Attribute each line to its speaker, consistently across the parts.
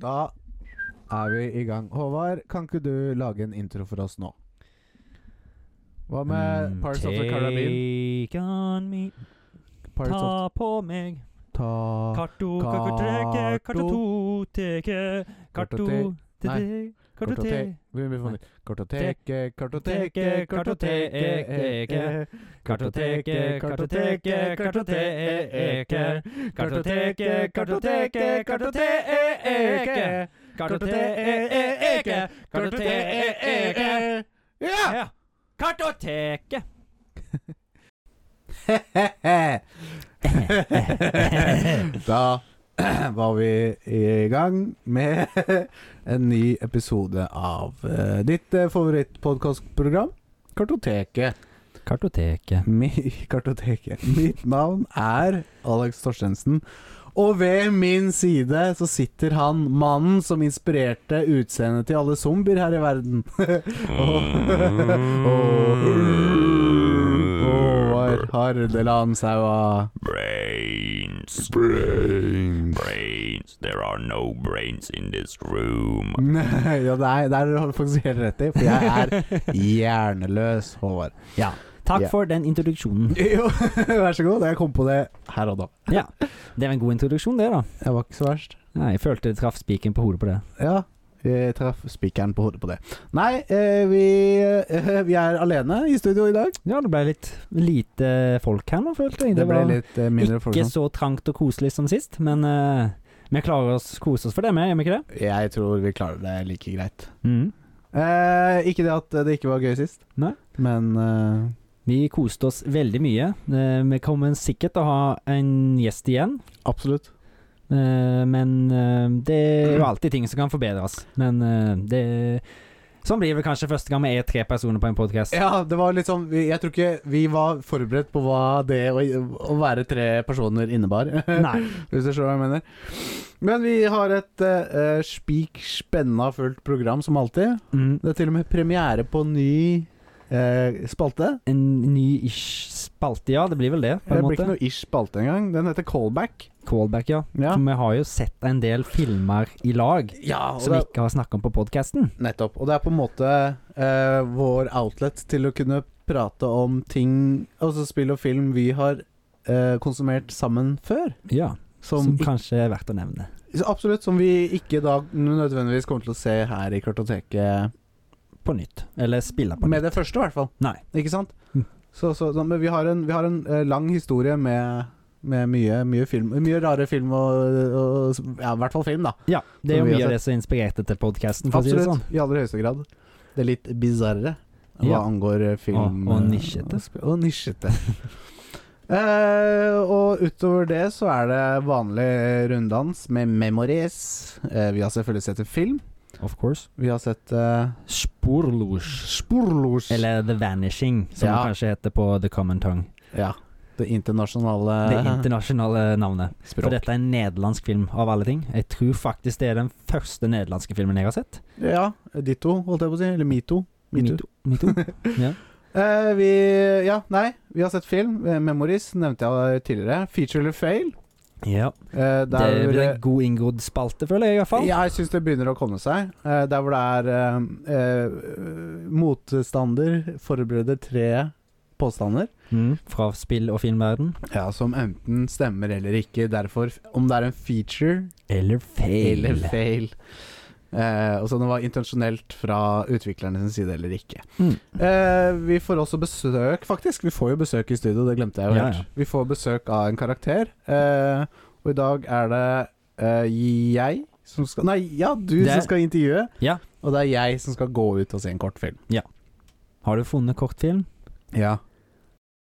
Speaker 1: Da er vi i gang. Håvard, kan ikke du lage en intro for oss nå? Hva med
Speaker 2: Mm,
Speaker 1: Parts of the Caribbean?
Speaker 2: Take on me,
Speaker 1: Parts of Ah,
Speaker 2: ta på meg.
Speaker 1: ta
Speaker 2: Karto,
Speaker 1: Karto.
Speaker 2: kakotrekke, karto to, teke, karto
Speaker 1: Kartote-
Speaker 2: te,
Speaker 1: nei,
Speaker 2: te, karto te.
Speaker 1: Vi må få
Speaker 2: Nei.
Speaker 1: nytt. Kartoteke, kartoteke, kartoteke Kartoteke, kartoteke, kartoteke
Speaker 2: Kartoteke, kartoteke, kartoteke. Kartoteke, kartoteke.
Speaker 1: Ja!
Speaker 2: Ja. Kartoteke.
Speaker 1: da var vi i gang med en ny episode av eh, ditt eh, favorittpodkastprogram, Kartoteket.
Speaker 2: Kartoteke.
Speaker 1: Mi, kartoteket. Mitt navn er Alex Torstensen. Og ved min side så sitter han, mannen som inspirerte utseendet til alle zombier her i verden.
Speaker 3: Mm.
Speaker 1: Håvard Hardeland Saua.
Speaker 3: Brains. Brains. Brains. There are no brains in this room.
Speaker 1: Ja, nei, der har du faktisk helt rett i, for jeg er hjerneløs, Håvard.
Speaker 2: Takk
Speaker 1: Ja.
Speaker 2: for den introduksjonen.
Speaker 1: Jo, vær så god. Jeg kom på det her og da.
Speaker 2: Ja, det var en god introduksjon, det, da.
Speaker 1: Jeg var ikke så verst.
Speaker 2: Nei, jeg følte det traff spiken på hodet på det.
Speaker 1: Ja, jeg traff spikeren på hodet på det. Nei, eh, vi, eh, vi er alene i studio i dag.
Speaker 2: Ja, det ble litt lite folk her nå, følte jeg.
Speaker 1: Det ble
Speaker 2: var
Speaker 1: litt eh, mindre folk
Speaker 2: ikke
Speaker 1: nå.
Speaker 2: så trangt og koselig som sist, men eh, vi klarer oss, koser oss for det, vi, gjør vi ikke det?
Speaker 1: Jeg tror vi klarer det like greit. Eh, ikke det at det ikke var gøy sist,
Speaker 2: Nei.
Speaker 1: men eh,
Speaker 2: Vi koste oss veldig mye. Eh, vi kommer sikkert til å ha en gjest igjen,
Speaker 1: absolutt.
Speaker 2: eh, men eh, det er jo alltid ting som kan forbedres. Men eh, det Sånn blir det kanskje første gang vi er tre personer på en podkast.
Speaker 1: Ja, det var litt sånn vi- Jeg tror ikke vi var forberedt på hva det å, å være tre personer innebar.
Speaker 2: Nei.
Speaker 1: Hvis du skjønner hva jeg mener. Men vi har et uh, spik spenna fullt program, som alltid.
Speaker 2: Mm.
Speaker 1: Det er til og med premiere på ny eh, spalte.
Speaker 2: En ny ish spalte, ja. Det blir vel det, på
Speaker 1: Det
Speaker 2: en
Speaker 1: blir ikke
Speaker 2: måte.
Speaker 1: noe ish spalte engang. Den heter Callback.
Speaker 2: Callback, ja.
Speaker 1: Ja,
Speaker 2: For vi har jo sett en del filmer i lag
Speaker 1: og
Speaker 2: som vi
Speaker 1: det,
Speaker 2: ikke har snakka om på podkasten.
Speaker 1: nettopp. Og det er på en måte eh, vår outlet til å kunne prate om ting, altså spill og film, vi har eh, konsumert sammen før.
Speaker 2: Ja, som,
Speaker 1: Som, ikk-
Speaker 2: kanskje er verdt å nevne.
Speaker 1: absolutt, som vi ikke da nødvendigvis kommer til å se her i kartoteket
Speaker 2: På nytt. Eller spille på nytt.
Speaker 1: med det første, i hvert fall.
Speaker 2: Nei.
Speaker 1: Ikke sant?
Speaker 2: Mm.
Speaker 1: Så, så, så, men vi har en, vi har en eh, lang historie med, med mye, mye film Mye rare film og, og Ja, i hvert fall film, da.
Speaker 2: Ja, det er
Speaker 1: Som
Speaker 2: jo
Speaker 1: vi
Speaker 2: mye
Speaker 1: har
Speaker 2: av det som inspirerte til podkasten, for å si det
Speaker 1: Absolutt.
Speaker 2: sånn.
Speaker 1: I aller høyeste grad. Det er litt bisarre hva
Speaker 2: Ja.
Speaker 1: angår eh, film
Speaker 2: Og- og
Speaker 1: eh,
Speaker 2: nisjete.
Speaker 1: Og, sp- og nisjete. Eh, og utover det så er det vanlig eh, runddans med memories. Eh, vi har selvfølgelig sett en film.
Speaker 2: Of course.
Speaker 1: Vi har sett uh,
Speaker 2: Sporlos.
Speaker 1: Sporlos.
Speaker 2: Eller The Vanishing, som
Speaker 1: Ja.
Speaker 2: det kanskje heter på The Common Tongue.
Speaker 1: ja. Det internasjonale
Speaker 2: Det internasjonale navnet. For
Speaker 1: språk.
Speaker 2: dette er en nederlandsk film, av alle ting. Jeg tror faktisk det er den første nederlandske filmen jeg har sett.
Speaker 1: Ja. Ditto, holdt jeg på å si. Eller mito. Mito.
Speaker 2: Mito. ja.
Speaker 1: Eh, vi Ja, nei. Vi har sett film. eh, Memories nevnte jeg tidligere. Feature eller fail.
Speaker 2: ja.
Speaker 1: Eh,
Speaker 2: Det
Speaker 1: der
Speaker 2: blir
Speaker 1: hvor-
Speaker 2: en god inngrodd spalte, føler jeg i hvert fall.
Speaker 1: Jeg syns det begynner å komme seg. Eh, der hvor det er eh, eh, motstander forbereder tre påstander.
Speaker 2: Mm, fra spill- og filmverden.
Speaker 1: Ja, som enten stemmer eller ikke. Derfor, om det er en feature
Speaker 2: Eller fail.
Speaker 1: eller fail. Eh, og så det var intensjonelt fra utviklerne sin side eller ikke.
Speaker 2: Mm.
Speaker 1: Eh, vi får også besøk, faktisk. Vi får jo besøk i studio, det glemte jeg jo
Speaker 2: Ja,
Speaker 1: helt.
Speaker 2: ja.
Speaker 1: Vi får besøk av en karakter. Eh, og i dag er det eh, jeg som skal Nei, ja, du
Speaker 2: Det-
Speaker 1: som skal intervjue.
Speaker 2: Ja.
Speaker 1: Og det er jeg som skal gå ut og se en kortfilm.
Speaker 2: Har du funnet kortfilm?
Speaker 1: Ja.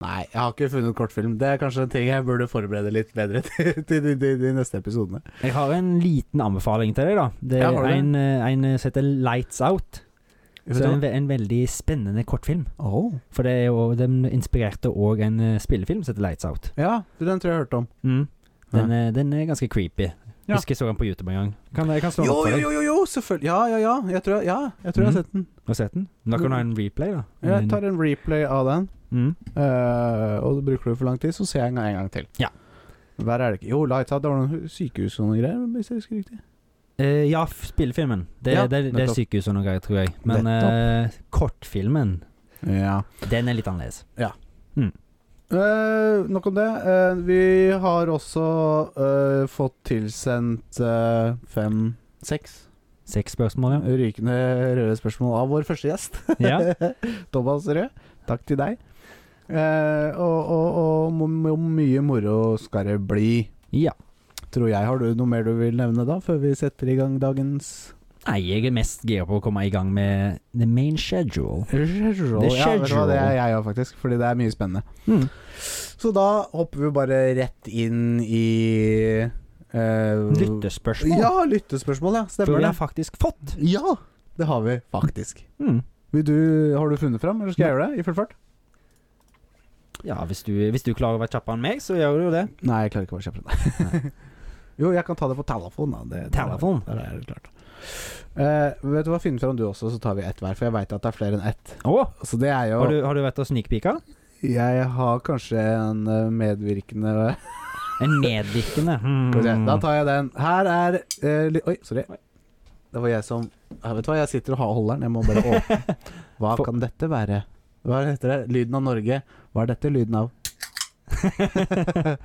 Speaker 1: Nei, jeg har ikke funnet kortfilm. Det er kanskje en ting jeg burde forberede litt bedre til, til de, de, de neste episodene.
Speaker 2: Jeg har en liten anbefaling til deg, da. Det
Speaker 1: Ja,
Speaker 2: er
Speaker 1: har du det?
Speaker 2: en, eh, en eh, som heter Lights Out.
Speaker 1: Vet
Speaker 2: Så
Speaker 1: du hva?
Speaker 2: en, ve- en veldig spennende kortfilm.
Speaker 1: Åh.
Speaker 2: For det er jo, den inspirerte òg en eh, spillefilm som heter Lights Out.
Speaker 1: Ja, den tror jeg jeg hørte om.
Speaker 2: Mm. Den, er, den er ganske creepy.
Speaker 1: Ja.
Speaker 2: Husker jeg så den på YouTube en gang. Kan, jeg kan slå den
Speaker 1: Jo,
Speaker 2: opp for
Speaker 1: jo,
Speaker 2: deg.
Speaker 1: jo, jo, jo, selvfølgelig. Ja, ja, ja. Jeg tror, ja, jeg, tror jeg har
Speaker 2: Mhm.
Speaker 1: sett den.
Speaker 2: Har du sett den? Da kan du ha en replay, da.
Speaker 1: Jeg tar en replay av den.
Speaker 2: Mm.
Speaker 1: eh, og bruker du for lang tid, så ser jeg den en gang til.
Speaker 2: Ja.
Speaker 1: Hver er det ikke Jo, Lights Out, det var noen sykehus og noen greier, hvis jeg husker riktig.
Speaker 2: Eh, Eh, ja, f- spillefilmen. Det,
Speaker 1: Ja,
Speaker 2: det, det er
Speaker 1: nettopp.
Speaker 2: sykehuset og noe, greier, tror jeg. Men eh, kortfilmen,
Speaker 1: Ja.
Speaker 2: den er litt annerledes.
Speaker 1: Eh, nok om det. Eh, vi har også eh, fått tilsendt eh, fem Seks
Speaker 2: Seks spørsmål, ja.
Speaker 1: rykende røde spørsmål av vår første gjest.
Speaker 2: ja.
Speaker 1: Thomas Rød, takk til deg. Eh, og, og, og mo- mo- mye moro skal det bli,
Speaker 2: ja.
Speaker 1: tror jeg. Har du noe mer du vil nevne da, før vi setter i gang dagens
Speaker 2: Nei, jeg er mest gira på å komme i gang med the main schedule.
Speaker 1: schedule? Ja, vet du hva, det er jeg òg, faktisk. Fordi det er mye spennende.
Speaker 2: Mm.
Speaker 1: Så da hopper vi bare rett inn i eh,
Speaker 2: Lyttespørsmål.
Speaker 1: Ja, lyttespørsmål, ja.
Speaker 2: for
Speaker 1: Stemmer
Speaker 2: vi
Speaker 1: det.
Speaker 2: har faktisk fått.
Speaker 1: Ja, det har vi faktisk.
Speaker 2: Mm.
Speaker 1: Vil du, har du funnet fram, eller skal jeg gjøre det i full fart?
Speaker 2: Ja, hvis du, hvis du klarer å være kjappere enn meg, så gjør du jo det.
Speaker 1: Nei, jeg klarer ikke å være kjappere enn deg. Jo, jeg kan ta det på telefon, da. Det,
Speaker 2: Telefon?
Speaker 1: Der er det klart. Eh, vet du hva, Finn fram du også, så tar vi ett hver. For jeg veit at det er flere enn ett.
Speaker 2: Å,
Speaker 1: Så det er jo
Speaker 2: har, du, har du vært og snikpika?
Speaker 1: Jeg har kanskje en eh, medvirkende
Speaker 2: En medvirkende.
Speaker 1: Skal vi se, Da
Speaker 2: Mm.
Speaker 1: tar jeg den. Her er eh, li... Oi, sorry. Det var jeg som Ja, Vet du hva, jeg sitter og har- holder den. Jeg må bare åpne. Hva
Speaker 2: For-
Speaker 1: kan dette være? Hva heter det? Lyden av Norge. Hva er dette lyden av? Har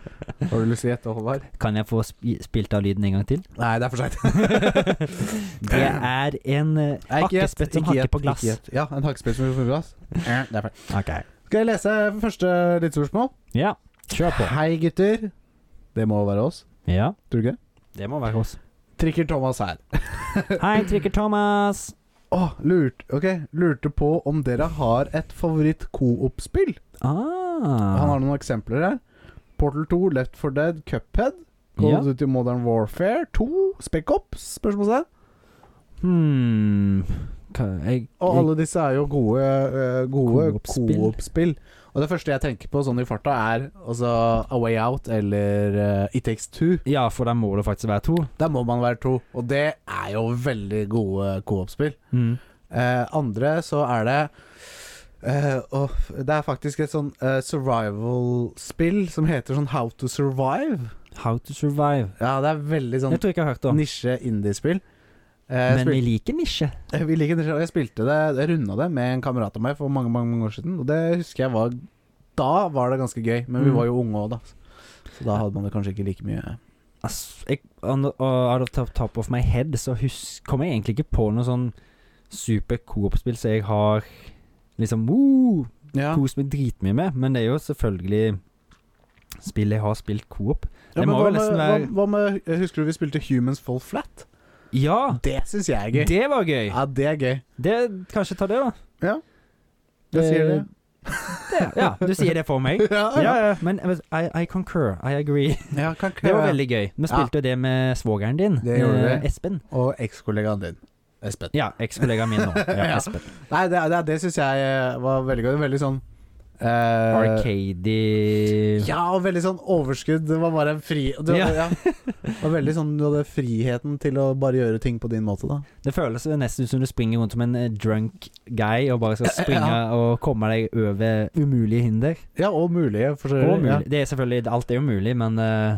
Speaker 1: du lyst til å gjette, Håvard?
Speaker 2: Kan jeg få sp spilt av lyden en gang til?
Speaker 1: Nei, det er for seint.
Speaker 2: Det er en eh, hakkespett som hakker på glass.
Speaker 1: Ja, en hakkespett som hakker på glass. Det er feil.
Speaker 2: Ok.
Speaker 1: Skal jeg lese første lyttespørsmål?
Speaker 2: Ja, kjør på.
Speaker 1: Hei, gutter. Det må være oss.
Speaker 2: Ja,
Speaker 1: Tror du ikke?
Speaker 2: det må være oss.
Speaker 1: Trikker Thomas her.
Speaker 2: Hei, Trikker Thomas.
Speaker 1: Å, lurt, ok, lurte på om dere har et favoritt co-op-spill. Han
Speaker 2: Ah.
Speaker 1: har noen eksempler her. Portal 2, Left 4 Dead, Cuphead. Call
Speaker 2: Ja.
Speaker 1: of Duty Modern Warfare 2, Spec Ops, spørsmålstegn.
Speaker 2: Hmm. Hva, jeg,
Speaker 1: Og
Speaker 2: jeg,
Speaker 1: alle disse er jo gode, eh, gode
Speaker 2: Co-op-spill.
Speaker 1: co-op-spill. Og det første jeg tenker på sånn i farta, er altså A Way Out eller eh, It Takes Two.
Speaker 2: ja, for der må det faktisk være to.
Speaker 1: Der må man være to, og det er jo veldig gode co-op-spill.
Speaker 2: Mm.
Speaker 1: Eh, andre så er det eh, åh, Det er faktisk et sånn eh, survival-spill som heter sånn How to Survive.
Speaker 2: How to survive.
Speaker 1: Ja, det er veldig sånn
Speaker 2: Jeg tror jeg ikke jeg har hørt om.
Speaker 1: nisje-indie-spill. Eh,
Speaker 2: Men
Speaker 1: spil,
Speaker 2: vi liker nisje.
Speaker 1: eh, vi liker nisje, og jeg spilte det Jeg runda det med en kamerat av meg for mange mange, mange år siden, og det husker jeg var Da var det ganske gøy, men vi
Speaker 2: Mm.
Speaker 1: var jo unge òg, da. Så da hadde man det kanskje ikke like mye
Speaker 2: Altså, jeg, on the, uh, out of top, top of my head, så husk, kommer jeg egentlig ikke på noe sånn super co-op-spill som jeg har liksom uh,
Speaker 1: Ja,
Speaker 2: kost meg dritmye med, men det er jo selvfølgelig spill jeg har spilt co-op.
Speaker 1: ja
Speaker 2: det
Speaker 1: men
Speaker 2: må
Speaker 1: hva
Speaker 2: vel
Speaker 1: med,
Speaker 2: nesten
Speaker 1: hva,
Speaker 2: være-
Speaker 1: hva med eh, Husker du vi spilte Humans Fall Flat?
Speaker 2: Ja!
Speaker 1: Det syns jeg er gøy.
Speaker 2: Det var gøy!
Speaker 1: Ja, det er gøy.
Speaker 2: Det, kanskje ta det, da.
Speaker 1: Jeg sier det.
Speaker 2: Eh, det- Ja, du sier det for meg.
Speaker 1: Ja,
Speaker 2: Ja, ja, men jeg vet- I, I concur. I agree.
Speaker 1: Ja, kan ikke
Speaker 2: Det var veldig gøy. Vi spilte jo det med svogeren din,
Speaker 1: Det gjorde
Speaker 2: eh,
Speaker 1: vi.
Speaker 2: Espen.
Speaker 1: Og ekskollegaen din, Espen.
Speaker 2: Ja, ekskollegaen min nå. Ja,
Speaker 1: Ja.
Speaker 2: Espen.
Speaker 1: Nei, det, det, det syns jeg eh, var veldig gøy. Veldig sånn eh,
Speaker 2: Arcady
Speaker 1: Ja, og veldig sånn overskudd. Det var bare en fri Du,
Speaker 2: Ja.
Speaker 1: ja. Det var veldig sånn, du hadde friheten til å bare gjøre ting på din måte, da.
Speaker 2: Det føles jo nesten ut som du springer rundt som en eh, drunk guy og bare skal springe
Speaker 1: Ja.
Speaker 2: og komme deg over umulige hinder.
Speaker 1: Ja, og mulige forskjeller.
Speaker 2: Og mulig. Det er selvfølgelig Alt er jo mulig, men eh,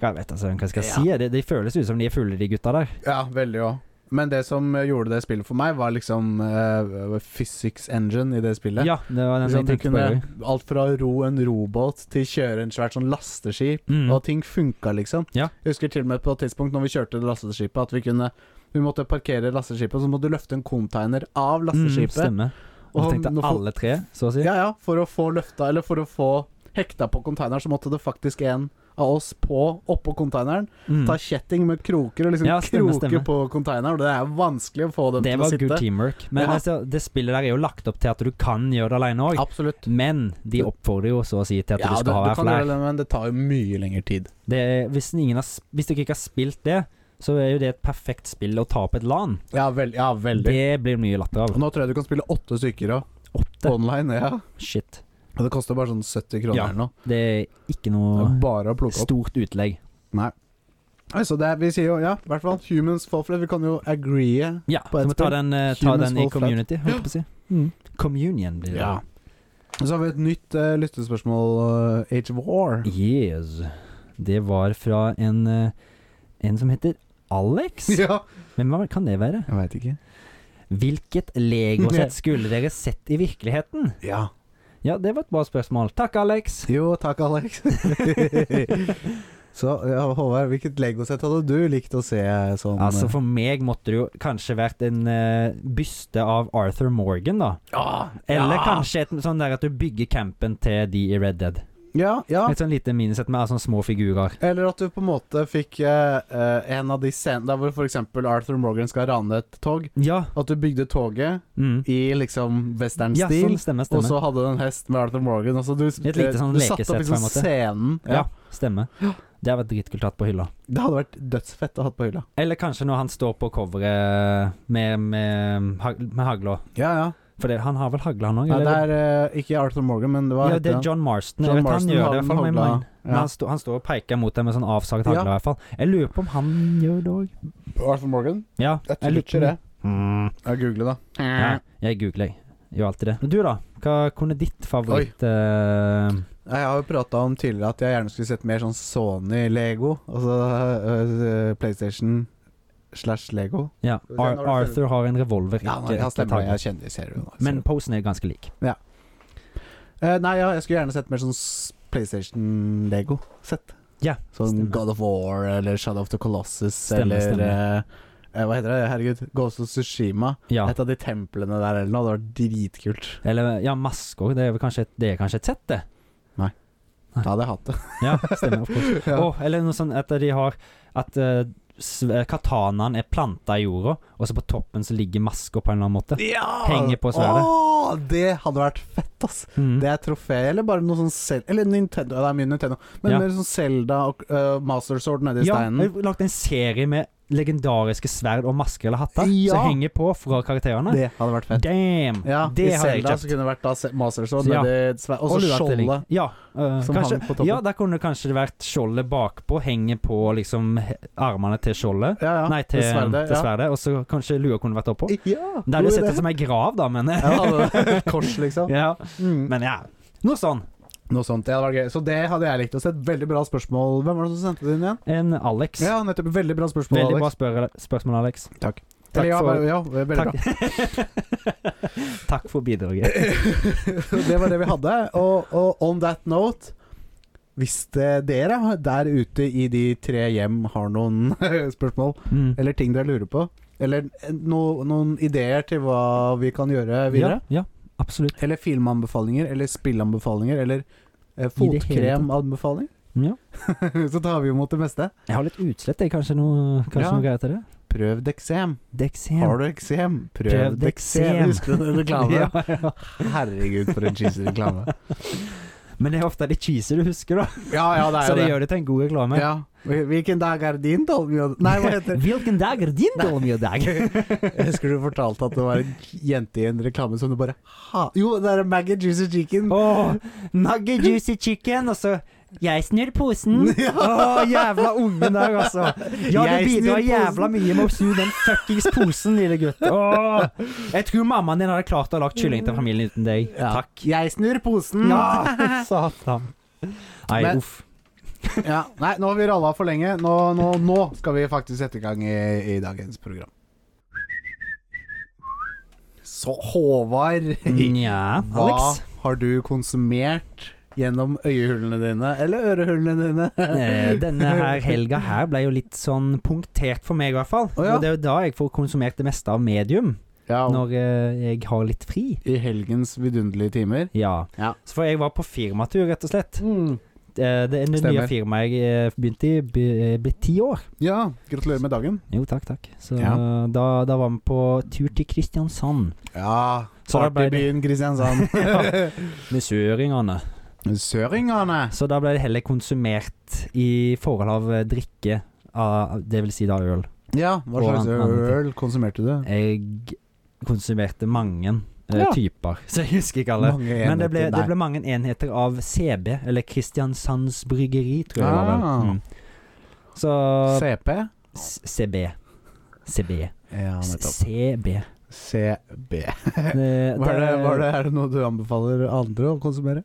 Speaker 2: jeg vet altså hva jeg skal
Speaker 1: Ja.
Speaker 2: si. Det, det føles ut som de er fulle, de gutta der.
Speaker 1: Ja. ja, veldig òg. Men det som gjorde det spillet for meg, var liksom eh, physics engine i det spillet.
Speaker 2: Ja, det var den
Speaker 1: Liksom,
Speaker 2: jeg
Speaker 1: du
Speaker 2: tenkte på.
Speaker 1: kunne
Speaker 2: jeg.
Speaker 1: alt fra å ro en robåt til kjøre en svært sånn lasteskip.
Speaker 2: Mm.
Speaker 1: Og ting funka, liksom.
Speaker 2: Ja.
Speaker 1: Jeg husker til og med på et tidspunkt når vi kjørte det lasteskipet, at vi kunne Vi måtte parkere lasteskipet, og så måtte du løfte en container av
Speaker 2: Mm,
Speaker 1: lasteskipet.
Speaker 2: stemmer.
Speaker 1: Og
Speaker 2: Og tenkte
Speaker 1: nå får-
Speaker 2: alle tre, så å si.
Speaker 1: ja, ja, for å få løfta Eller for å få hekta på containeren, så måtte det faktisk en av oss på oppå containeren.
Speaker 2: Mm.
Speaker 1: Ta kjetting med kroker og liksom
Speaker 2: Ja, stemmer,
Speaker 1: kroke
Speaker 2: stemmer.
Speaker 1: på containeren. og Det er vanskelig å få dem
Speaker 2: Det
Speaker 1: til å
Speaker 2: var
Speaker 1: sitte.
Speaker 2: good teamwork. Men
Speaker 1: Ja.
Speaker 2: altså, det spillet der er jo lagt opp til at du kan gjøre det alene òg.
Speaker 1: Absolutt.
Speaker 2: Men de oppfordrer jo så å si til at du
Speaker 1: Ja,
Speaker 2: skal
Speaker 1: du,
Speaker 2: ha
Speaker 1: du
Speaker 2: hver
Speaker 1: kan gjøre
Speaker 2: flere.
Speaker 1: det, men det tar jo mye lengre tid.
Speaker 2: Det er- Hvis, ingen har, s- hvis dere ikke har spilt det, så er jo det et perfekt spill å ta opp et LAN.
Speaker 1: Ja, vel, ja veldig.
Speaker 2: Det blir mye latter
Speaker 1: Og
Speaker 2: av.
Speaker 1: nå tror jeg du kan spille åtte stykker òg,
Speaker 2: Åtte.
Speaker 1: online. Ja.
Speaker 2: Shit.
Speaker 1: Og det koster bare sånn 70 kroner
Speaker 2: Ja.
Speaker 1: eller noe.
Speaker 2: Det er ikke
Speaker 1: Det er
Speaker 2: noe
Speaker 1: bare å plukke opp.
Speaker 2: stort utlegg.
Speaker 1: Nei, Så det er, vi sier jo ja, i hvert fall humans fall flat. Vi kan jo agree.
Speaker 2: Ja,
Speaker 1: På
Speaker 2: så
Speaker 1: et
Speaker 2: må ta
Speaker 1: spill.
Speaker 2: den, eh, ta
Speaker 1: Humans
Speaker 2: den
Speaker 1: Fall
Speaker 2: i
Speaker 1: Flat.
Speaker 2: community, holdt jeg på å si. Communion blir det.
Speaker 1: Mm. Ja. Så har vi et nytt eh, lyttespørsmål. eh, Age of War.
Speaker 2: Yes. Det var fra en, eh, en som heter Alex?
Speaker 1: Ja.
Speaker 2: Men hva kan det være?
Speaker 1: Jeg veit ikke.
Speaker 2: Hvilket legosett skulle dere sett i virkeligheten?
Speaker 1: Ja.
Speaker 2: Ja, det var et bra spørsmål. Takk, Alex.
Speaker 1: Jo, takk, Alex. Så ja, Håvard, hvilket legosett hadde du likt å se sånn
Speaker 2: Altså, for meg måtte det jo kanskje vært en eh, byste av Arthur Morgan, da.
Speaker 1: ja,
Speaker 2: Eller
Speaker 1: ja.
Speaker 2: kanskje et sånn der at du bygger campen til de i Red Dead.
Speaker 1: Ja, ja.
Speaker 2: Et sånn lite minisett med sånne små figurer.
Speaker 1: Eller at du på en måte fikk eh, eh, en av de scenene der hvor f.eks. Arthur Morgan skal rane et tog.
Speaker 2: Ja.
Speaker 1: At du bygde toget
Speaker 2: Mm.
Speaker 1: i liksom
Speaker 2: Ja, sånn
Speaker 1: western-stil,
Speaker 2: stemmer,
Speaker 1: og
Speaker 2: stemmer.
Speaker 1: så hadde du en hest med Arthur Morgan. Altså du
Speaker 2: Et lite sånn
Speaker 1: du satte opp
Speaker 2: lekesett, på en
Speaker 1: liksom
Speaker 2: måte.
Speaker 1: scenen.
Speaker 2: Ja, stemmer. Det hadde vært dritkult tatt på hylla.
Speaker 1: Det hadde vært dødsfett å ha på hylla.
Speaker 2: Eller kanskje når han står på coveret med, med, hag- med hagla.
Speaker 1: Ja, ja.
Speaker 2: For det, han har vel hagla, han òg?
Speaker 1: Nei, det er eh, ikke Arthur Morgan, men det var
Speaker 2: ja, det er John Marston.
Speaker 1: John
Speaker 2: jeg vet,
Speaker 1: Marston
Speaker 2: han gjør
Speaker 1: har
Speaker 2: det i hvert fall. men jeg
Speaker 1: hagla,
Speaker 2: mener- Men
Speaker 1: ja.
Speaker 2: han, sto, han står og peker mot deg med sånn avsagt hagle,
Speaker 1: Ja.
Speaker 2: i hvert fall. Jeg lurer på om han gjør det òg.
Speaker 1: Arthur Morgan?
Speaker 2: Ja,
Speaker 1: Jeg tror
Speaker 2: lurer
Speaker 1: ikke
Speaker 2: på-
Speaker 1: det.
Speaker 2: Mm.
Speaker 1: Jeg googler, da.
Speaker 2: Ja, jeg googler, jeg. Gjør alltid det. Men Du, da? Hva kunne ditt favoritt eh,
Speaker 1: Nei, Jeg har jo prata om tidligere at jeg gjerne skulle sett mer sånn Sony-Lego. Altså øh, øh, PlayStation slash Lego.
Speaker 2: Ja,
Speaker 1: Skal vi se,
Speaker 2: Ar
Speaker 1: nå har du
Speaker 2: Arthur har en revolver.
Speaker 1: Ja,
Speaker 2: ikke
Speaker 1: nei, jeg
Speaker 2: et
Speaker 1: stemmer.
Speaker 2: hagl.
Speaker 1: Jeg kjenner ser du nå.
Speaker 2: Men posen er ganske lik.
Speaker 1: Eh, Nei, ja, jeg skulle gjerne sett mer sånn s- PlayStation-Lego. Sett.
Speaker 2: Ja,
Speaker 1: Sånn
Speaker 2: stemmer.
Speaker 1: God of War eller Shadow of the Colossus
Speaker 2: Stemmer,
Speaker 1: eller
Speaker 2: stemmer.
Speaker 1: eh, eh, Hva heter det? Herregud. Ghost of Tsushima.
Speaker 2: Ja.
Speaker 1: Et av de templene der eller noe. Det var dritkult.
Speaker 2: Eller ja, masker. Det er vel kanskje et, det er kanskje et sett, det.
Speaker 1: Da hadde jeg hatt det.
Speaker 2: Ja, stemmer. Of course. Å, eller noe sånn at de har At eh, s- eh, katanaen er planta i jorda, og så på toppen så ligger masker på en eller annen måte.
Speaker 1: Ja!
Speaker 2: Henger på sverdet.
Speaker 1: Åh, det hadde vært fett, ass.
Speaker 2: Mm.
Speaker 1: Det er trofé, eller bare noe sånn Zel- Eller Nintendo, ja, det er mye Nintendo. Men
Speaker 2: Ja.
Speaker 1: mer sånn Zelda og øh, Master Sword nedi
Speaker 2: ja,
Speaker 1: steinen.
Speaker 2: jeg har lagt en serie med legendariske sverd og masker eller hatter
Speaker 1: Ja.
Speaker 2: som henger på fra karakterene.
Speaker 1: Det hadde vært fett.
Speaker 2: Damn!
Speaker 1: Ja,
Speaker 2: det
Speaker 1: I
Speaker 2: har jeg
Speaker 1: Zelda
Speaker 2: kjøpt.
Speaker 1: så kunne det vært da Se- Master Sword
Speaker 2: Ja.
Speaker 1: nedi sverdet. Og så
Speaker 2: luettelling.
Speaker 1: skjoldet.
Speaker 2: Ja, eh,
Speaker 1: som
Speaker 2: kanskje,
Speaker 1: hang på toppen.
Speaker 2: ja, der kunne det kanskje det vært skjoldet bakpå, henge på liksom he- armene til skjoldet.
Speaker 1: Ja, ja.
Speaker 2: Nei, til
Speaker 1: Det
Speaker 2: sverdet.
Speaker 1: sverdet,
Speaker 2: Til sverdet Og så kanskje lua kunne vært oppå.
Speaker 1: Ja,
Speaker 2: Der
Speaker 1: jo,
Speaker 2: hadde du sett det som ei grav, da, men
Speaker 1: ja, det hadde et Kors, liksom.
Speaker 2: ja.
Speaker 1: Mm.
Speaker 2: Men ja, noe sånn.
Speaker 1: Noe sånt. Det hadde vært gøy. Så det hadde jeg likt å se. Veldig bra spørsmål. Hvem var det som sendte det inn igjen?
Speaker 2: En Alex.
Speaker 1: Ja, nettopp. Veldig bra spørsmål,
Speaker 2: Veldig bra
Speaker 1: Alex.
Speaker 2: spørre- spørsmål, Alex.
Speaker 1: Eller, ja,
Speaker 2: Takk for-
Speaker 1: bare- ja, veldig bra.
Speaker 2: Takk. Takk for bidraget.
Speaker 1: det var det vi hadde. Og, og on that note Hvis det, dere der ute i de tre hjem har noen spørsmål
Speaker 2: Mm.
Speaker 1: eller ting dere lurer på, eller no, noen ideer til hva vi kan gjøre videre,
Speaker 2: Ja, ja absolutt.
Speaker 1: eller filmanbefalinger eller spillanbefalinger eller eh,
Speaker 2: I det hele
Speaker 1: fotkremanbefaling,
Speaker 2: Ja.
Speaker 1: så tar vi imot det meste.
Speaker 2: Jeg har litt utslett, jeg. Kanskje noe, kanskje
Speaker 1: Ja.
Speaker 2: noe greier til det?
Speaker 1: Prøv deksem.
Speaker 2: Deksem.
Speaker 1: Har du eksem? Prøv,
Speaker 2: Prøv
Speaker 1: deksem.
Speaker 2: deksem.
Speaker 1: Husker du den reklamen?
Speaker 2: Ja, ja.
Speaker 1: Herregud, for en cheesy reklame.
Speaker 2: Men det er ofte de cheesy du husker, da.
Speaker 1: Ja, ja, det er
Speaker 2: Så
Speaker 1: jo
Speaker 2: det
Speaker 1: det.
Speaker 2: gjør det til en god reklame.
Speaker 1: Ja. Hvil- Hvilken dag er din dolmjod? Nei, hva heter det?
Speaker 2: Hvilken dag er din dårlige dag?
Speaker 1: Jeg husker du fortalte at det var en jente i en reklame som du bare ha... Jo, det er Maggie Juicy Chicken.
Speaker 2: Åh, Nugget juicy chicken, og så Jeg snur posen. Åh,
Speaker 1: Ja.
Speaker 2: jævla ungen der, altså. Ja,
Speaker 1: Jeg
Speaker 2: du bidrar
Speaker 1: snur
Speaker 2: jævla
Speaker 1: posen.
Speaker 2: mye med å snu den fuckings posen, lille gutt. Åh, jeg tror mammaen din hadde klart å ha lagt kylling til familien uten deg.
Speaker 1: Mm. Ja.
Speaker 2: Takk.
Speaker 1: Jeg snur posen!
Speaker 2: Ja, satan. Nei,
Speaker 1: Men-
Speaker 2: uff.
Speaker 1: Ja. Nei, nå har vi ralla for lenge. Nå, nå, nå skal vi faktisk sette i gang i, i dagens program. Så Håvard,
Speaker 2: Nja,
Speaker 1: hva
Speaker 2: Alex.
Speaker 1: har du konsumert gjennom øyehullene dine? Eller ørehullene dine?
Speaker 2: Eh, Denne her helga her ble jo litt sånn punktert for meg, i hvert fall.
Speaker 1: Å, ja.
Speaker 2: Og det er jo da jeg får konsumert det meste av medium,
Speaker 1: Ja,
Speaker 2: når eh, jeg har litt fri.
Speaker 1: I helgens vidunderlige timer.
Speaker 2: Ja.
Speaker 1: Ja.
Speaker 2: Så for jeg var på firmatur, rett og slett.
Speaker 1: Mm.
Speaker 2: Eh, Det er det
Speaker 1: Stemmer.
Speaker 2: nye firmaet jeg eh, begynte i, be- ble ti år.
Speaker 1: Ja, gratulerer med dagen.
Speaker 2: Jo, takk, takk. Så
Speaker 1: Ja.
Speaker 2: da, da var vi på tur til Kristiansand.
Speaker 1: Ja,
Speaker 2: Så da ble det-
Speaker 1: partybyen Kristiansand.
Speaker 2: Ja, Med søringene.
Speaker 1: Søringene.
Speaker 2: Så da ble det heller konsumert i forhold av eh, drikke, av, det vil si da øl.
Speaker 1: Ja, hva
Speaker 2: Og
Speaker 1: slags
Speaker 2: an- annet.
Speaker 1: øl konsumerte du?
Speaker 2: Jeg konsumerte mange eh,
Speaker 1: Ja.
Speaker 2: typer, så jeg husker ikke alle.
Speaker 1: Mange
Speaker 2: Men det ble,
Speaker 1: enheter,
Speaker 2: det
Speaker 1: nei.
Speaker 2: ble mange enheter av CB, eller Kristiansands Bryggeri, tror jeg det var
Speaker 1: Ah.
Speaker 2: vel. Mm. Så
Speaker 1: CP?
Speaker 2: S- CB. CB.
Speaker 1: Ja, nettopp.
Speaker 2: CB.
Speaker 1: CB.
Speaker 2: Det-
Speaker 1: Var det, var det, er det noe du anbefaler andre å konsumere?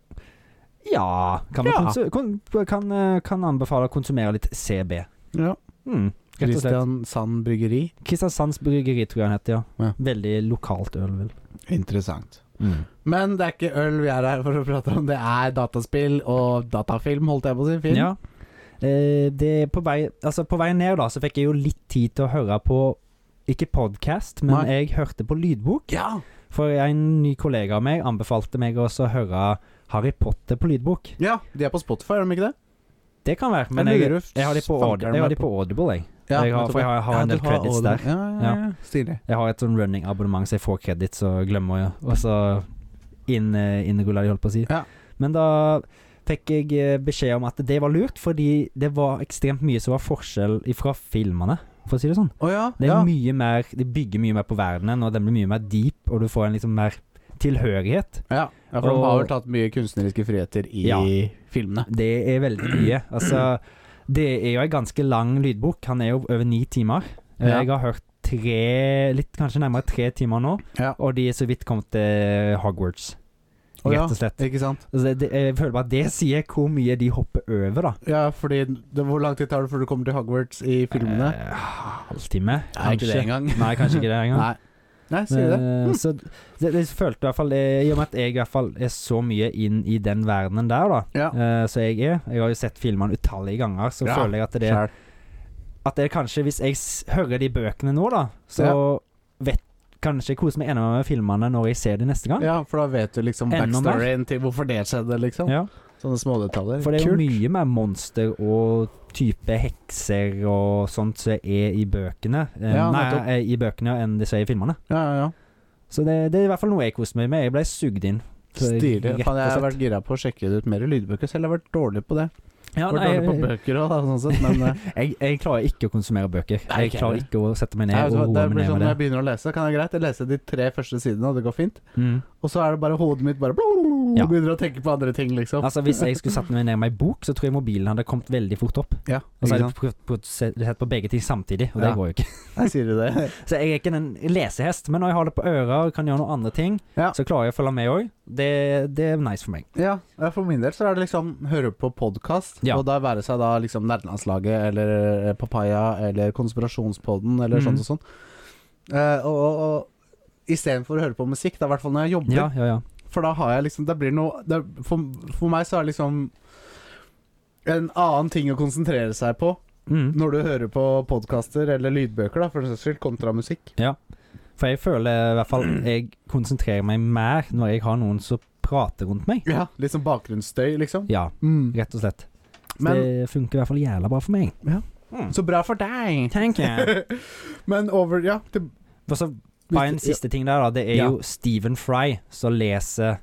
Speaker 2: Ja. Kan, man
Speaker 1: Ja.
Speaker 2: konsu- kon- kan, eh, kan anbefale å konsumere litt CB.
Speaker 1: Ja.
Speaker 2: Mm. Rett og slett.
Speaker 1: Kristiansand Bryggeri.
Speaker 2: Kristiansands Bryggeri, tror jeg han heter, ja.
Speaker 1: Ja.
Speaker 2: Veldig lokalt øl, vel.
Speaker 1: Interessant. Men det er ikke øl vi er her for å prate om, det er dataspill og datafilm, holdt jeg på å si. Film.
Speaker 2: Ja. Eh, det på vei, altså på vei ned, da, så fikk jeg jo litt tid til å høre på Ikke podkast, men
Speaker 1: Nei.
Speaker 2: jeg hørte på lydbok.
Speaker 1: Ja.
Speaker 2: For en ny kollega av meg anbefalte meg også å høre Harry Potter på lydbok.
Speaker 1: ja! De er på Spotify, er de ikke det?
Speaker 2: Det kan være, men
Speaker 1: Jeg
Speaker 2: jeg,
Speaker 1: lurer
Speaker 2: jeg, har de på,
Speaker 1: fanker
Speaker 2: Aud-
Speaker 1: om
Speaker 2: jeg har
Speaker 1: det
Speaker 2: de
Speaker 1: er
Speaker 2: på Audible, jeg.
Speaker 1: Ja,
Speaker 2: jeg har, for jeg har, har en
Speaker 1: Ja,
Speaker 2: del
Speaker 1: du har
Speaker 2: credits
Speaker 1: Audible.
Speaker 2: der.
Speaker 1: Ja, ja, ja. Stilig.
Speaker 2: Jeg har et sånn running abonnement, så jeg får credits og glemmer å- Og så inn, innruller de, holdt på å si.
Speaker 1: Ja.
Speaker 2: Men da fikk jeg eh, beskjed om at det var lurt, fordi det var ekstremt mye som var forskjell fra filmene, for å si det sånn.
Speaker 1: Å ja.
Speaker 2: Det er
Speaker 1: ja.
Speaker 2: mye mer De bygger mye mer på verdenen, og den blir mye mer deep, og du får en liksom mer tilhørighet.
Speaker 1: ja. ja, for de
Speaker 2: Og-
Speaker 1: har vel tatt mye kunstneriske friheter i
Speaker 2: Ja.
Speaker 1: filmene.
Speaker 2: Det er veldig mye. Altså, det er jo ei ganske lang lydbok. Han er jo over ni timer. Eh,
Speaker 1: Ja.
Speaker 2: Jeg har hørt tre Litt kanskje nærmere tre timer nå,
Speaker 1: Ja.
Speaker 2: og de er så vidt kommet til Hogwarts.
Speaker 1: Å ja.
Speaker 2: Rett og slett.
Speaker 1: Ikke sant?
Speaker 2: Altså, det, jeg føler bare at det sier hvor mye de hopper over, da.
Speaker 1: Ja, fordi det, Hvor lang tid tar det før du kommer til Hogwarts i filmene?
Speaker 2: Eh, halvtime?
Speaker 1: Nei, ikke det engang.
Speaker 2: Nei, kanskje ikke det engang. Eh,
Speaker 1: Nei. Nei, sier du det?
Speaker 2: Men, Så det, det følte i hvert fall eh, I og med at jeg i hvert fall er så mye inn i den verdenen der, da.
Speaker 1: Ja.
Speaker 2: eh, så jeg er. Jeg har jo sett filmene utallige ganger, så
Speaker 1: Ja,
Speaker 2: føler jeg at det,
Speaker 1: Skjær.
Speaker 2: at det kanskje Hvis jeg s hører de bøkene nå, da, så vet kanskje jeg koser meg enda mer med filmene når jeg ser de neste gang.
Speaker 1: Ja, for da vet du liksom
Speaker 2: Enda mer.
Speaker 1: backstoryen til hvorfor det skjedde, liksom.
Speaker 2: Ja.
Speaker 1: Sånne smådetaljer.
Speaker 2: For det er jo mye mer monster og type hekser og sånt som er i bøkene eh,
Speaker 1: Ja,
Speaker 2: Nei,
Speaker 1: nettopp.
Speaker 2: eh, i bøkene enn det som er i filmene.
Speaker 1: Ja, ja, ja.
Speaker 2: Så det, det er i hvert fall noe jeg koser meg med. Jeg ble sugd inn. Så jeg-
Speaker 1: Stilig.
Speaker 2: rett og
Speaker 1: Faen, jeg har
Speaker 2: slett.
Speaker 1: vært gira på å sjekke ut mer lydbøker, selv jeg har vært dårlig på det.
Speaker 2: Ja,
Speaker 1: vært
Speaker 2: nei,
Speaker 1: dårlig på bøker òg, sånn sett, men eh,
Speaker 2: Jeg, jeg klarer ikke å konsumere bøker.
Speaker 1: Nei,
Speaker 2: Jeg
Speaker 1: ikke
Speaker 2: klarer
Speaker 1: heller.
Speaker 2: ikke å sette meg
Speaker 1: nei, vet
Speaker 2: ned
Speaker 1: du hva,
Speaker 2: og
Speaker 1: det
Speaker 2: roe meg
Speaker 1: blir
Speaker 2: ned
Speaker 1: sånn
Speaker 2: med
Speaker 1: når jeg
Speaker 2: det.
Speaker 1: begynner å lese, kan det være greit. Jeg leser de tre første sidene, og det går fint.
Speaker 2: Mm.
Speaker 1: Og så er det bare hodet mitt bare
Speaker 2: Ja.
Speaker 1: begynner å tenke på andre ting, liksom.
Speaker 2: Altså Hvis jeg skulle satt meg ned med ei bok, så tror jeg mobilen hadde kommet veldig fort opp.
Speaker 1: Ja,
Speaker 2: Og så
Speaker 1: ikke
Speaker 2: hadde
Speaker 1: sant?
Speaker 2: jeg prøvd prøvd å se- sett på begge ting samtidig, og det
Speaker 1: Ja.
Speaker 2: går jo ikke.
Speaker 1: Nei, sier du det?
Speaker 2: Så jeg er ikke en lesehest, men når jeg har det på øra og kan gjøre noen andre ting,
Speaker 1: Ja.
Speaker 2: så klarer jeg å følge med òg. Det, det er nice for meg.
Speaker 1: Ja, ja, for min del så er det liksom høre på podkast,
Speaker 2: Ja.
Speaker 1: og da være seg da liksom Nerdelandslaget eller eh, Papaya eller Konspirasjonspodden eller
Speaker 2: Mhm.
Speaker 1: sånt og sånn. Eh, og og, og istedenfor å høre på musikk, da i hvert fall når jeg jobber,
Speaker 2: Ja, ja, ja.
Speaker 1: for da har jeg liksom Det blir noe det, for, for meg så er det liksom en annen ting å konsentrere seg på
Speaker 2: Mm.
Speaker 1: når du hører på podkaster eller lydbøker, da, for den saks skyld, kontra musikk.
Speaker 2: For jeg føler i hvert fall jeg konsentrerer meg mer når jeg har noen som prater rundt meg.
Speaker 1: Ja, Litt sånn bakgrunnsstøy, liksom.
Speaker 2: Ja,
Speaker 1: Mm.
Speaker 2: rett og slett. Så
Speaker 1: Men
Speaker 2: det funker i hvert fall jævla bra for meg.
Speaker 1: Ja.
Speaker 2: Mm.
Speaker 1: så bra for deg!
Speaker 2: Thank you.
Speaker 1: Men over Ja, til
Speaker 2: Og så bare en siste ting der, da. Det er
Speaker 1: Ja.
Speaker 2: jo Stephen Fry som leser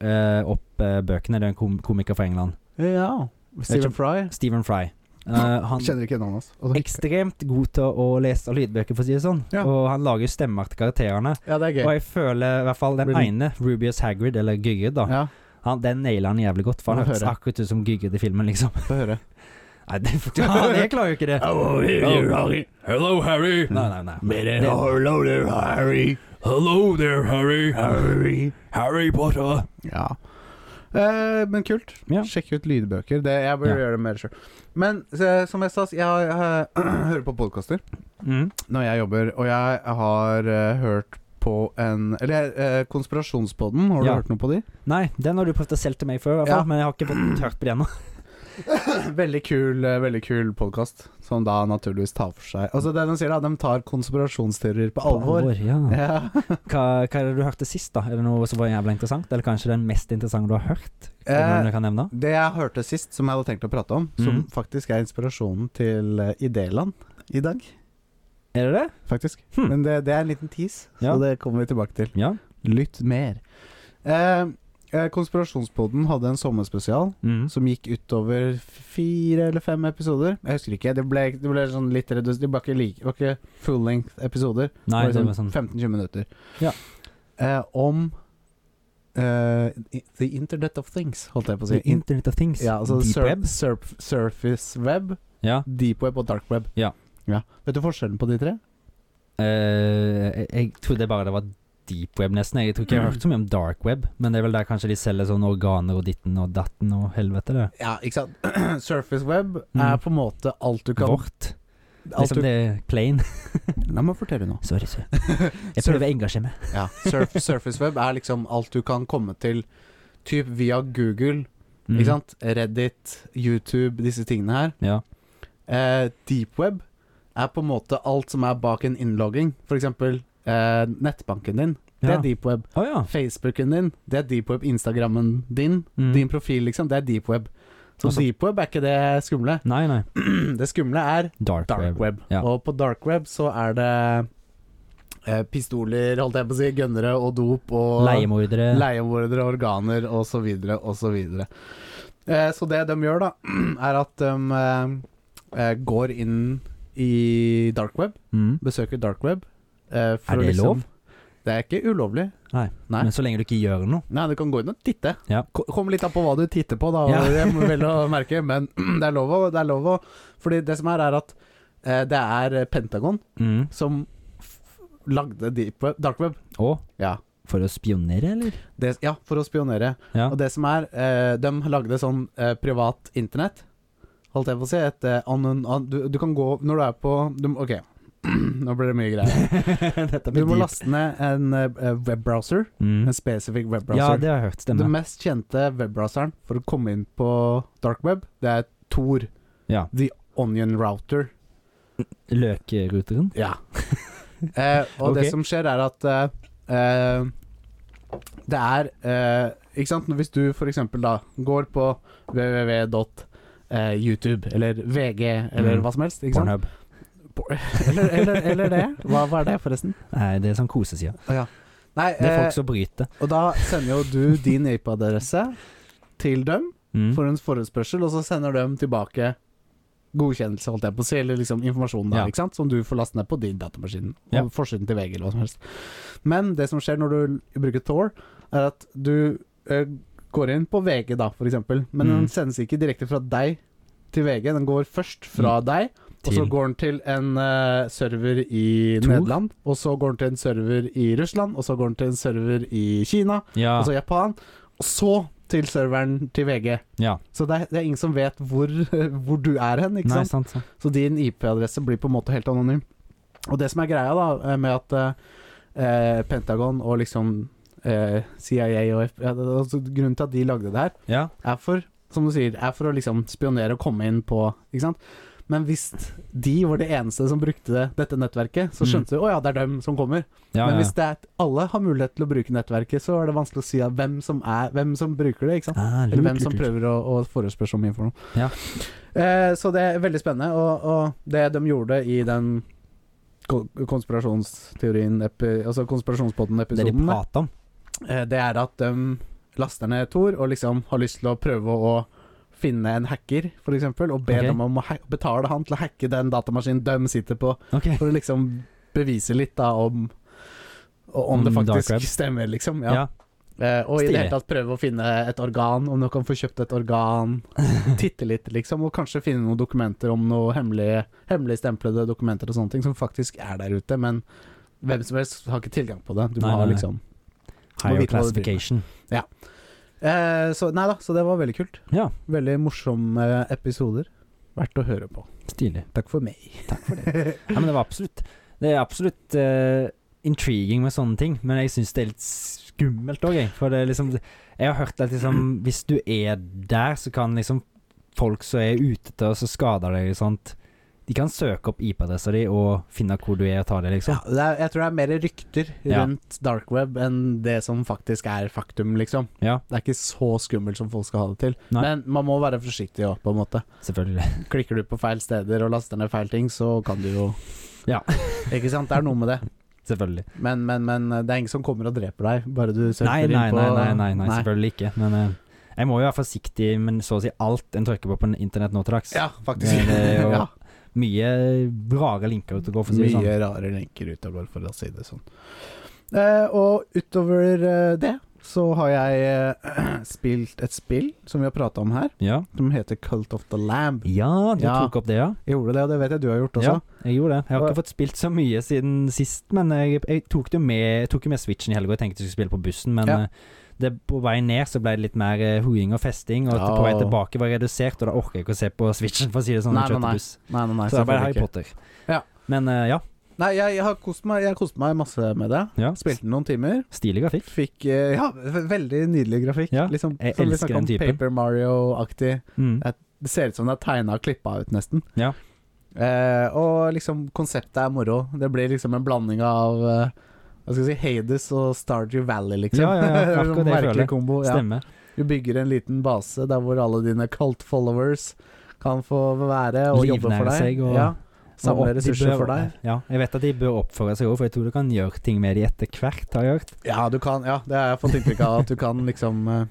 Speaker 2: eh, opp eh, bøkene. Det er en kom komiker fra England.
Speaker 1: Ja. Stephen
Speaker 2: Stephen
Speaker 1: Fry.
Speaker 2: Stephen Fry. Eh, han er
Speaker 1: Kjenner ikke navnet hans. Og det-
Speaker 2: ekstremt god til å lese lydbøker, for å si det sånn.
Speaker 1: Ja.
Speaker 2: Og han lager jo stemmer til karakterene.
Speaker 1: Ja, det er
Speaker 2: Og
Speaker 1: gøy.
Speaker 2: jeg føler i hvert fall den
Speaker 1: Blir den-
Speaker 2: ene, Rubius Hagrid, eller Gygged, da.
Speaker 1: Ja,
Speaker 2: Han, den nailer han jævlig godt, for han
Speaker 1: Få
Speaker 2: hørtes
Speaker 1: høre.
Speaker 2: akkurat ut som Gygged i filmen, liksom.
Speaker 1: få høre.
Speaker 2: Nei, det, ja, det klarer jo ikke det.
Speaker 3: Hello,
Speaker 2: you,
Speaker 3: Harry. Oh. Hello, Harry.
Speaker 2: Nei, nei, nei.
Speaker 3: Minute.
Speaker 2: Det-
Speaker 3: hello there, Harry. Hello there, Harry. Harry. Harry Potter.
Speaker 1: Ja. Eh, men kult.
Speaker 2: Ja.
Speaker 1: Sjekk ut lydbøker. Det, jeg bør
Speaker 2: Ja.
Speaker 1: gjøre det mer sjøl. Men eh, som jeg sa, jeg, har- jeg hører på podkaster
Speaker 2: Mm.
Speaker 1: når jeg jobber, og jeg har eh, hørt på en Eller eh, Konspirasjonspodden, har du
Speaker 2: Ja.
Speaker 1: hørt noe på de?
Speaker 2: Nei, den har du prøvd å selge til meg før, i hvert
Speaker 1: Ja.
Speaker 2: fall, men jeg har ikke fått hørt på det ennå.
Speaker 1: Veldig kul, eh, veldig kul podkast, som da naturligvis tar for seg Altså det de sier, da, de tar konspirasjonsteorier på alvor.
Speaker 2: Ja.
Speaker 1: Ja.
Speaker 2: Hva, hva er det du hørte sist, da? Er det noe som var jævla interessant? Eller kanskje den mest interessante du har hørt? Er det noe
Speaker 1: Eh,
Speaker 2: du kan nevne?
Speaker 1: Det jeg hørte sist, som jeg hadde tenkt å prate om, som
Speaker 2: Mhm.
Speaker 1: faktisk er inspirasjonen til eh, Idéland i dag,
Speaker 2: Er det det?
Speaker 1: faktisk.
Speaker 2: Hm.
Speaker 1: Men det, det er en liten tease,
Speaker 2: Ja.
Speaker 1: så det kommer vi tilbake til.
Speaker 2: Ja.
Speaker 1: Lytt mer. Eh, eh, Konspirasjonspodden hadde en sommerspesial
Speaker 2: Mm.
Speaker 1: som gikk utover fire eller fem episoder. Jeg husker ikke. Det ble, det ble sånn litt redusert. Det var ikke, like, det var ikke full length episoder.
Speaker 2: Nei,
Speaker 1: det
Speaker 2: det
Speaker 1: var
Speaker 2: var sånn
Speaker 1: 15-20 minutter.
Speaker 2: Ja.
Speaker 1: Eh, om eh, i- The Internet of Things, holdt jeg på å si.
Speaker 2: The Internet of Things.
Speaker 1: Ja, altså
Speaker 2: Deep
Speaker 1: sur
Speaker 2: Web.
Speaker 1: Surf, surface web,
Speaker 2: Ja.
Speaker 1: deep web og dark web.
Speaker 2: Ja.
Speaker 1: Vet du forskjellen på de tre?
Speaker 2: Eh, jeg, jeg trodde bare det var deep web, nesten. Jeg tror
Speaker 1: Mm.
Speaker 2: ikke jeg har hørt så mye om dark web, men det er vel der kanskje de selger sånne organer og ditten og datten og helvete, det.
Speaker 1: Ja, ikke sant. surface web
Speaker 2: Mm.
Speaker 1: er på en måte alt du kan
Speaker 2: Vårt.
Speaker 1: Alt
Speaker 2: Liksom
Speaker 1: du,
Speaker 2: det er plain.
Speaker 1: la meg fortelle nå.
Speaker 2: Sorry, sir. Jeg prøver å engasjere meg.
Speaker 1: Ja, surf, surface web er liksom alt du kan komme til typ via Google,
Speaker 2: Mm.
Speaker 1: ikke sant? Reddit, YouTube, disse tingene her.
Speaker 2: Ja.
Speaker 1: Eh, deep web er på en måte alt som er bak en innlogging. For eksempel eh, nettbanken din. Det
Speaker 2: Ja.
Speaker 1: er deep web.
Speaker 2: Å ja.
Speaker 1: Facebooken din, det er deep web. Instagrammen din,
Speaker 2: Mm.
Speaker 1: din profil, liksom, det er deep web. Så
Speaker 2: Altså-
Speaker 1: deep web er ikke det skumle.
Speaker 2: Nei, nei.
Speaker 1: Mm, Det skumle er
Speaker 2: Dark,
Speaker 1: dark
Speaker 2: web.
Speaker 1: web.
Speaker 2: Ja.
Speaker 1: Og på dark web så er det eh, pistoler, holdt jeg på å si, gønnere og dop og
Speaker 2: Leiemordere.
Speaker 1: leiemordere, organer og så videre og så videre. Eh, så det de gjør, da, er at de eh, eh, går inn i dark web,
Speaker 2: mm.
Speaker 1: besøker dark web. eh, for
Speaker 2: Er
Speaker 1: å
Speaker 2: det lov?
Speaker 1: Det er ikke ulovlig.
Speaker 2: Nei.
Speaker 1: Nei.
Speaker 2: Men så lenge du ikke gjør noe.
Speaker 1: Nei, du kan gå inn og titte.
Speaker 2: Ja.
Speaker 1: Ko- Kommer litt an på hva du titter på, da.
Speaker 2: Ja.
Speaker 1: det må vel å merke, men det er lov å, det er lov å Fordi det som er, er at eh, det er Pentagon
Speaker 2: Mm.
Speaker 1: som f lagde deep web, dark web.
Speaker 2: Og
Speaker 1: Ja.
Speaker 2: for å spionere, eller?
Speaker 1: Det, ja, for å spionere.
Speaker 2: Ja.
Speaker 1: Og det som er, eh, de lagde sånn eh, privat internett. Holdt jeg på å si. Et, eh, anon, an, du, du kan gå Når du er på du, må- Ok, nå blir det mye greier.
Speaker 2: Dette
Speaker 1: Du
Speaker 2: blir
Speaker 1: må
Speaker 2: dypt.
Speaker 1: laste ned en eh, webbrowser.
Speaker 2: Mm.
Speaker 1: En spesifikk
Speaker 2: Ja,
Speaker 1: webbrowser.
Speaker 2: det har jeg hørt.
Speaker 1: Den
Speaker 2: Stemmer.
Speaker 1: mest kjente webbrowseren for å komme inn på dark web, det er Tor.
Speaker 2: Ja.
Speaker 1: The Onion Router.
Speaker 2: Løkeruteren.
Speaker 1: Ja. eh, og
Speaker 2: Ok.
Speaker 1: det som skjer, er at eh, eh, det er eh, Ikke sant, hvis du for eksempel da går på www.youtube eller VG eller
Speaker 2: Mm.
Speaker 1: hva som helst, ikke sant?
Speaker 2: Pornhub.
Speaker 1: Eller, eller, eller det. Hva, hva er det, forresten?
Speaker 2: Nei, det er sånn koseside.
Speaker 1: Nei,
Speaker 2: Det er
Speaker 1: eh,
Speaker 2: folk som bryter.
Speaker 1: og da sender jo du din IP-adresse til dem.
Speaker 2: Mm.
Speaker 1: for en forespørsel, og så sender de tilbake godkjennelse, holdt jeg på å si, eller liksom informasjon der,
Speaker 2: Ja.
Speaker 1: ikke sant? som du får laste ned på din datamaskin. Og
Speaker 2: Ja.
Speaker 1: forsiden til VG, eller hva som helst. Men det som skjer når du l- bruker Tor, er at du eh, går inn på VG, da, for eksempel, men
Speaker 2: Mm.
Speaker 1: den sendes ikke direkte fra deg til VG, den går først fra deg, og så
Speaker 2: Mm. Til-
Speaker 1: går den til en eh, server i
Speaker 2: Tor?
Speaker 1: Nederland, og så går den til en server i Russland, og så går den til en server i Kina,
Speaker 2: Ja.
Speaker 1: og så Altså Japan, og så til serveren til VG.
Speaker 2: ja.
Speaker 1: Så det er, det er ingen som vet hvor, hvor du er hen, ikke
Speaker 2: Nei,
Speaker 1: sant?
Speaker 2: sant, sant.
Speaker 1: Så din IP-adresse blir på en måte helt anonym. Og det som er greia da, med at eh, Pentagon og liksom eh, CIA og F ja, det- altså, Grunnen til at de lagde det her,
Speaker 2: Ja.
Speaker 1: er for, som du sier, er for å liksom spionere og komme inn på, ikke sant? Men hvis de var det eneste som brukte dette nettverket,
Speaker 2: Mm.
Speaker 1: så skjønte du, å ja, det er dem som kommer.
Speaker 2: Ja,
Speaker 1: Men
Speaker 2: ja.
Speaker 1: hvis det er, alle har mulighet til å bruke nettverket, så er det vanskelig å si at hvem som, er, hvem som bruker det, ikke sant?
Speaker 2: ah,
Speaker 1: Eller
Speaker 2: lurt,
Speaker 1: hvem
Speaker 2: lurt,
Speaker 1: som
Speaker 2: lurt.
Speaker 1: prøver å, å forespørre så mye for noe.
Speaker 2: Ja.
Speaker 1: Eh, så det er veldig spennende. Og, og det de gjorde i den ko- konspirasjonsteorien epi, Altså
Speaker 2: Det de
Speaker 1: konspirasjonspodden-episoden, det,
Speaker 2: prater om.
Speaker 1: eh, det er at de laster ned Tor og liksom har lyst til å prøve å finne en hacker, f.eks., og be
Speaker 2: Ok.
Speaker 1: dem om å ha betale han til å hacke den datamaskinen de sitter på,
Speaker 2: Ok.
Speaker 1: for å liksom bevise litt da om om,
Speaker 2: Om
Speaker 1: det
Speaker 2: Mm, dark web.
Speaker 1: faktisk stemmer, liksom. Ja.
Speaker 2: Ja.
Speaker 1: Eh, og i det
Speaker 2: Stilig.
Speaker 1: hele tatt prøve å finne et organ, om du kan få kjøpt et organ. Titte litt, liksom, og kanskje finne noen dokumenter om noe hemmelige, hemmeligstemplede dokumenter og sånne ting som faktisk er der ute, men hvem som helst har ikke tilgang på det. Du må
Speaker 2: Nei,
Speaker 1: ha
Speaker 2: nei, nei.
Speaker 1: liksom Må
Speaker 2: Higher
Speaker 1: vite hva det driver med.
Speaker 2: classification.
Speaker 1: eh, Så nei da, så det var veldig kult.
Speaker 2: Ja.
Speaker 1: Veldig morsomme episoder. Verdt å høre på.
Speaker 2: Stilig.
Speaker 1: Takk for meg.
Speaker 2: Ja, men det var absolutt Det er absolutt eh, intriguing med sånne ting, men jeg syns det er litt skummelt òg, jeg. For det er liksom Jeg har hørt at liksom hvis du er der, så kan liksom folk som er ute til oss og skader deg og sånt De kan søke opp IP-adressa di og finne hvor du er og ta det,
Speaker 1: Ja,
Speaker 2: liksom.
Speaker 1: det er, jeg tror det er mer rykter
Speaker 2: Ja.
Speaker 1: rundt dark web enn det som faktisk er faktum, liksom.
Speaker 2: Ja.
Speaker 1: Det er ikke så skummelt som folk skal ha det til.
Speaker 2: Nei.
Speaker 1: Men man må være forsiktig òg, på en måte.
Speaker 2: Selvfølgelig.
Speaker 1: Klikker du på feil steder og laster ned feil ting, så kan du jo
Speaker 2: Ja.
Speaker 1: Ikke sant? Det er noe med det.
Speaker 2: Selvfølgelig.
Speaker 1: Men, men, men eh, det er ingen som kommer og dreper deg, bare du surfer
Speaker 2: Nei nei, nei,
Speaker 1: inn på
Speaker 2: nei, nei, nei, selvfølgelig ikke. Men eh, jeg må jo være forsiktig med så å si alt en trykker på på internett nå til dags.
Speaker 1: Ja, faktisk.
Speaker 2: Det- det er jo-
Speaker 1: ja.
Speaker 2: Mye rare linker ute og går, for å si det sånn.
Speaker 1: Mye rare lenker ut av går, for å si det sånn. Eh, og utover eh, det så har jeg eh, spilt et spill som vi har prata om her,
Speaker 2: Ja.
Speaker 1: som heter Cult of the Lamb.
Speaker 2: ja, du
Speaker 1: Ja.
Speaker 2: tok opp det, ja?
Speaker 1: Jeg gjorde det, og det vet jeg du har gjort også.
Speaker 2: Ja, jeg gjorde det. Jeg har
Speaker 1: Og-
Speaker 2: ikke fått spilt så mye siden sist, men jeg, jeg tok det jo med, jeg tok jo med Switchen i helga. Jeg tenkte jeg skulle spille på bussen, men
Speaker 1: Ja.
Speaker 2: eh, det, på vei ned så ble det litt mer eh, hoiing og festing, og
Speaker 1: Ja.
Speaker 2: på vei tilbake var redusert, og da orker jeg ikke å se på Switchen, for å si det sånn.
Speaker 1: Nei, nei,
Speaker 2: jeg kjørte
Speaker 1: nei.
Speaker 2: buss.
Speaker 1: Nei, nei, nei.
Speaker 2: Så det ble
Speaker 1: selvfølgelig
Speaker 2: Harry
Speaker 1: ikke.
Speaker 2: Potter.
Speaker 1: Ja.
Speaker 2: Men eh, ja.
Speaker 1: Nei, jeg, jeg har kost meg, jeg har kost meg masse med det.
Speaker 2: ja.
Speaker 1: Spilte noen timer.
Speaker 2: Stilig grafikk.
Speaker 1: Fikk eh, ja, ve- veldig nydelig grafikk.
Speaker 2: Ja,
Speaker 1: liksom,
Speaker 2: jeg
Speaker 1: som vi
Speaker 2: elsker
Speaker 1: snakket
Speaker 2: den
Speaker 1: om,
Speaker 2: typen.
Speaker 1: Paper Mario-aktig.
Speaker 2: Mm.
Speaker 1: Det ser ut som det er tegna og klippa ut, nesten.
Speaker 2: Ja.
Speaker 1: Eh, og liksom, konseptet er moro. Det blir liksom en blanding av eh, hva skal jeg si, Hades og Stardew Valley, liksom.
Speaker 2: Ja, ja, ja,
Speaker 1: Det er
Speaker 2: akkurat
Speaker 1: sånn
Speaker 2: det jeg
Speaker 1: merkelig
Speaker 2: føler.
Speaker 1: kombo. Ja.
Speaker 2: Stemmer.
Speaker 1: Du bygger en liten base der hvor alle dine cult followers kan få være og jobbe for
Speaker 2: Livnære
Speaker 1: deg.
Speaker 2: seg og-
Speaker 1: ja.
Speaker 2: Og
Speaker 1: Samle
Speaker 2: opp- de
Speaker 1: ressurser
Speaker 2: bør-
Speaker 1: for deg.
Speaker 2: Ja, jeg vet at de bør oppføre seg òg, for jeg tror du kan gjøre ting med de etter hvert, har jeg hørt.
Speaker 1: Ja, du kan, ja, det har jeg fått inntrykk av. At du kan liksom uh,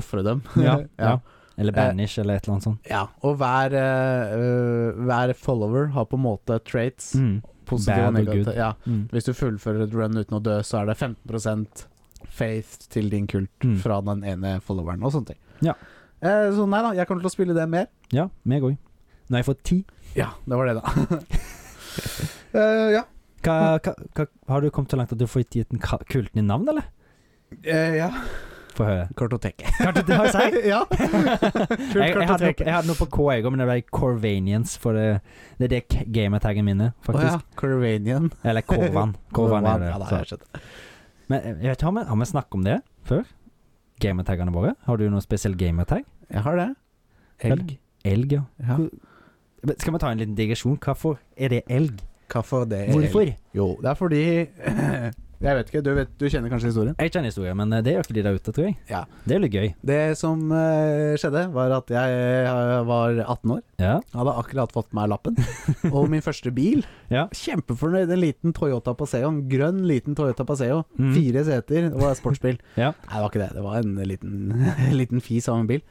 Speaker 1: ofre dem.
Speaker 2: Ja, ja.
Speaker 1: ja.
Speaker 2: Eller Banish, eller et eller annet sånt.
Speaker 1: Ja, Og hver, eh, eh, hver follower har på en måte traits.
Speaker 2: Mm.
Speaker 1: Positive og
Speaker 2: Bad og
Speaker 1: negative.
Speaker 2: good.
Speaker 1: Ja.
Speaker 2: Mm.
Speaker 1: Hvis du fullfører et run uten å dø, så er det 15 faith til din kult
Speaker 2: Mm.
Speaker 1: fra den ene followeren, og sånne ting.
Speaker 2: Ja.
Speaker 1: Eh, så nei da, jeg kommer til å spille det mer.
Speaker 2: Ja, meg òg. Nå har jeg fått ti.
Speaker 1: Ja, det var det, da. Eh, ja.
Speaker 2: Hva, hva, hva, har du kommet så langt at du får gitt den ka- kulten i navn, eller?
Speaker 1: Eh, ja.
Speaker 2: Få høre.
Speaker 1: Kartoteket.
Speaker 2: Kanskje det har jeg sagt?
Speaker 1: ja.
Speaker 2: Jeg, jeg, hadde, noe-
Speaker 1: kartoteket.
Speaker 2: jeg hadde noe på K, jeg òg, men det ble Corvanians. For det, det er det k- gamertaggen min er,
Speaker 1: Å ja.
Speaker 2: faktisk.
Speaker 1: Corvanian.
Speaker 2: Eller Korvan. Korvan er det.
Speaker 1: Ja, da
Speaker 2: så.
Speaker 1: har jeg skjønt.
Speaker 2: Men eh, jeg vet, ikke, har, vi, har vi snakket om det før? Gamertaggene våre? Har du noen spesiell gamertag?
Speaker 1: Jeg har det. Elg.
Speaker 2: Elg, ja.
Speaker 1: Ja.
Speaker 2: Men Skal vi ta en liten digresjon? Hvorfor er det elg?
Speaker 1: Hvorfor det er Eh, elg?
Speaker 2: Hvorfor?
Speaker 1: Jo, det er fordi Jeg vet ikke, du, vet, du kjenner kanskje historien?
Speaker 2: Jeg kjenner historien, men eh, det gjør ikke de der ute, tror jeg.
Speaker 1: Ja.
Speaker 2: Det er litt gøy.
Speaker 1: Det som eh, skjedde, var at jeg eh, var 18 år.
Speaker 2: Ja.
Speaker 1: Jeg hadde akkurat fått meg lappen. Og min første bil.
Speaker 2: Ja.
Speaker 1: Kjempefornøyd. En liten Toyota Paseo. En grønn, liten Toyota Paseo.
Speaker 2: Mm.
Speaker 1: Fire seter. Det var sportsbil.
Speaker 2: Ja.
Speaker 1: Nei, det var ikke det. Det var en liten, liten fis av en bil.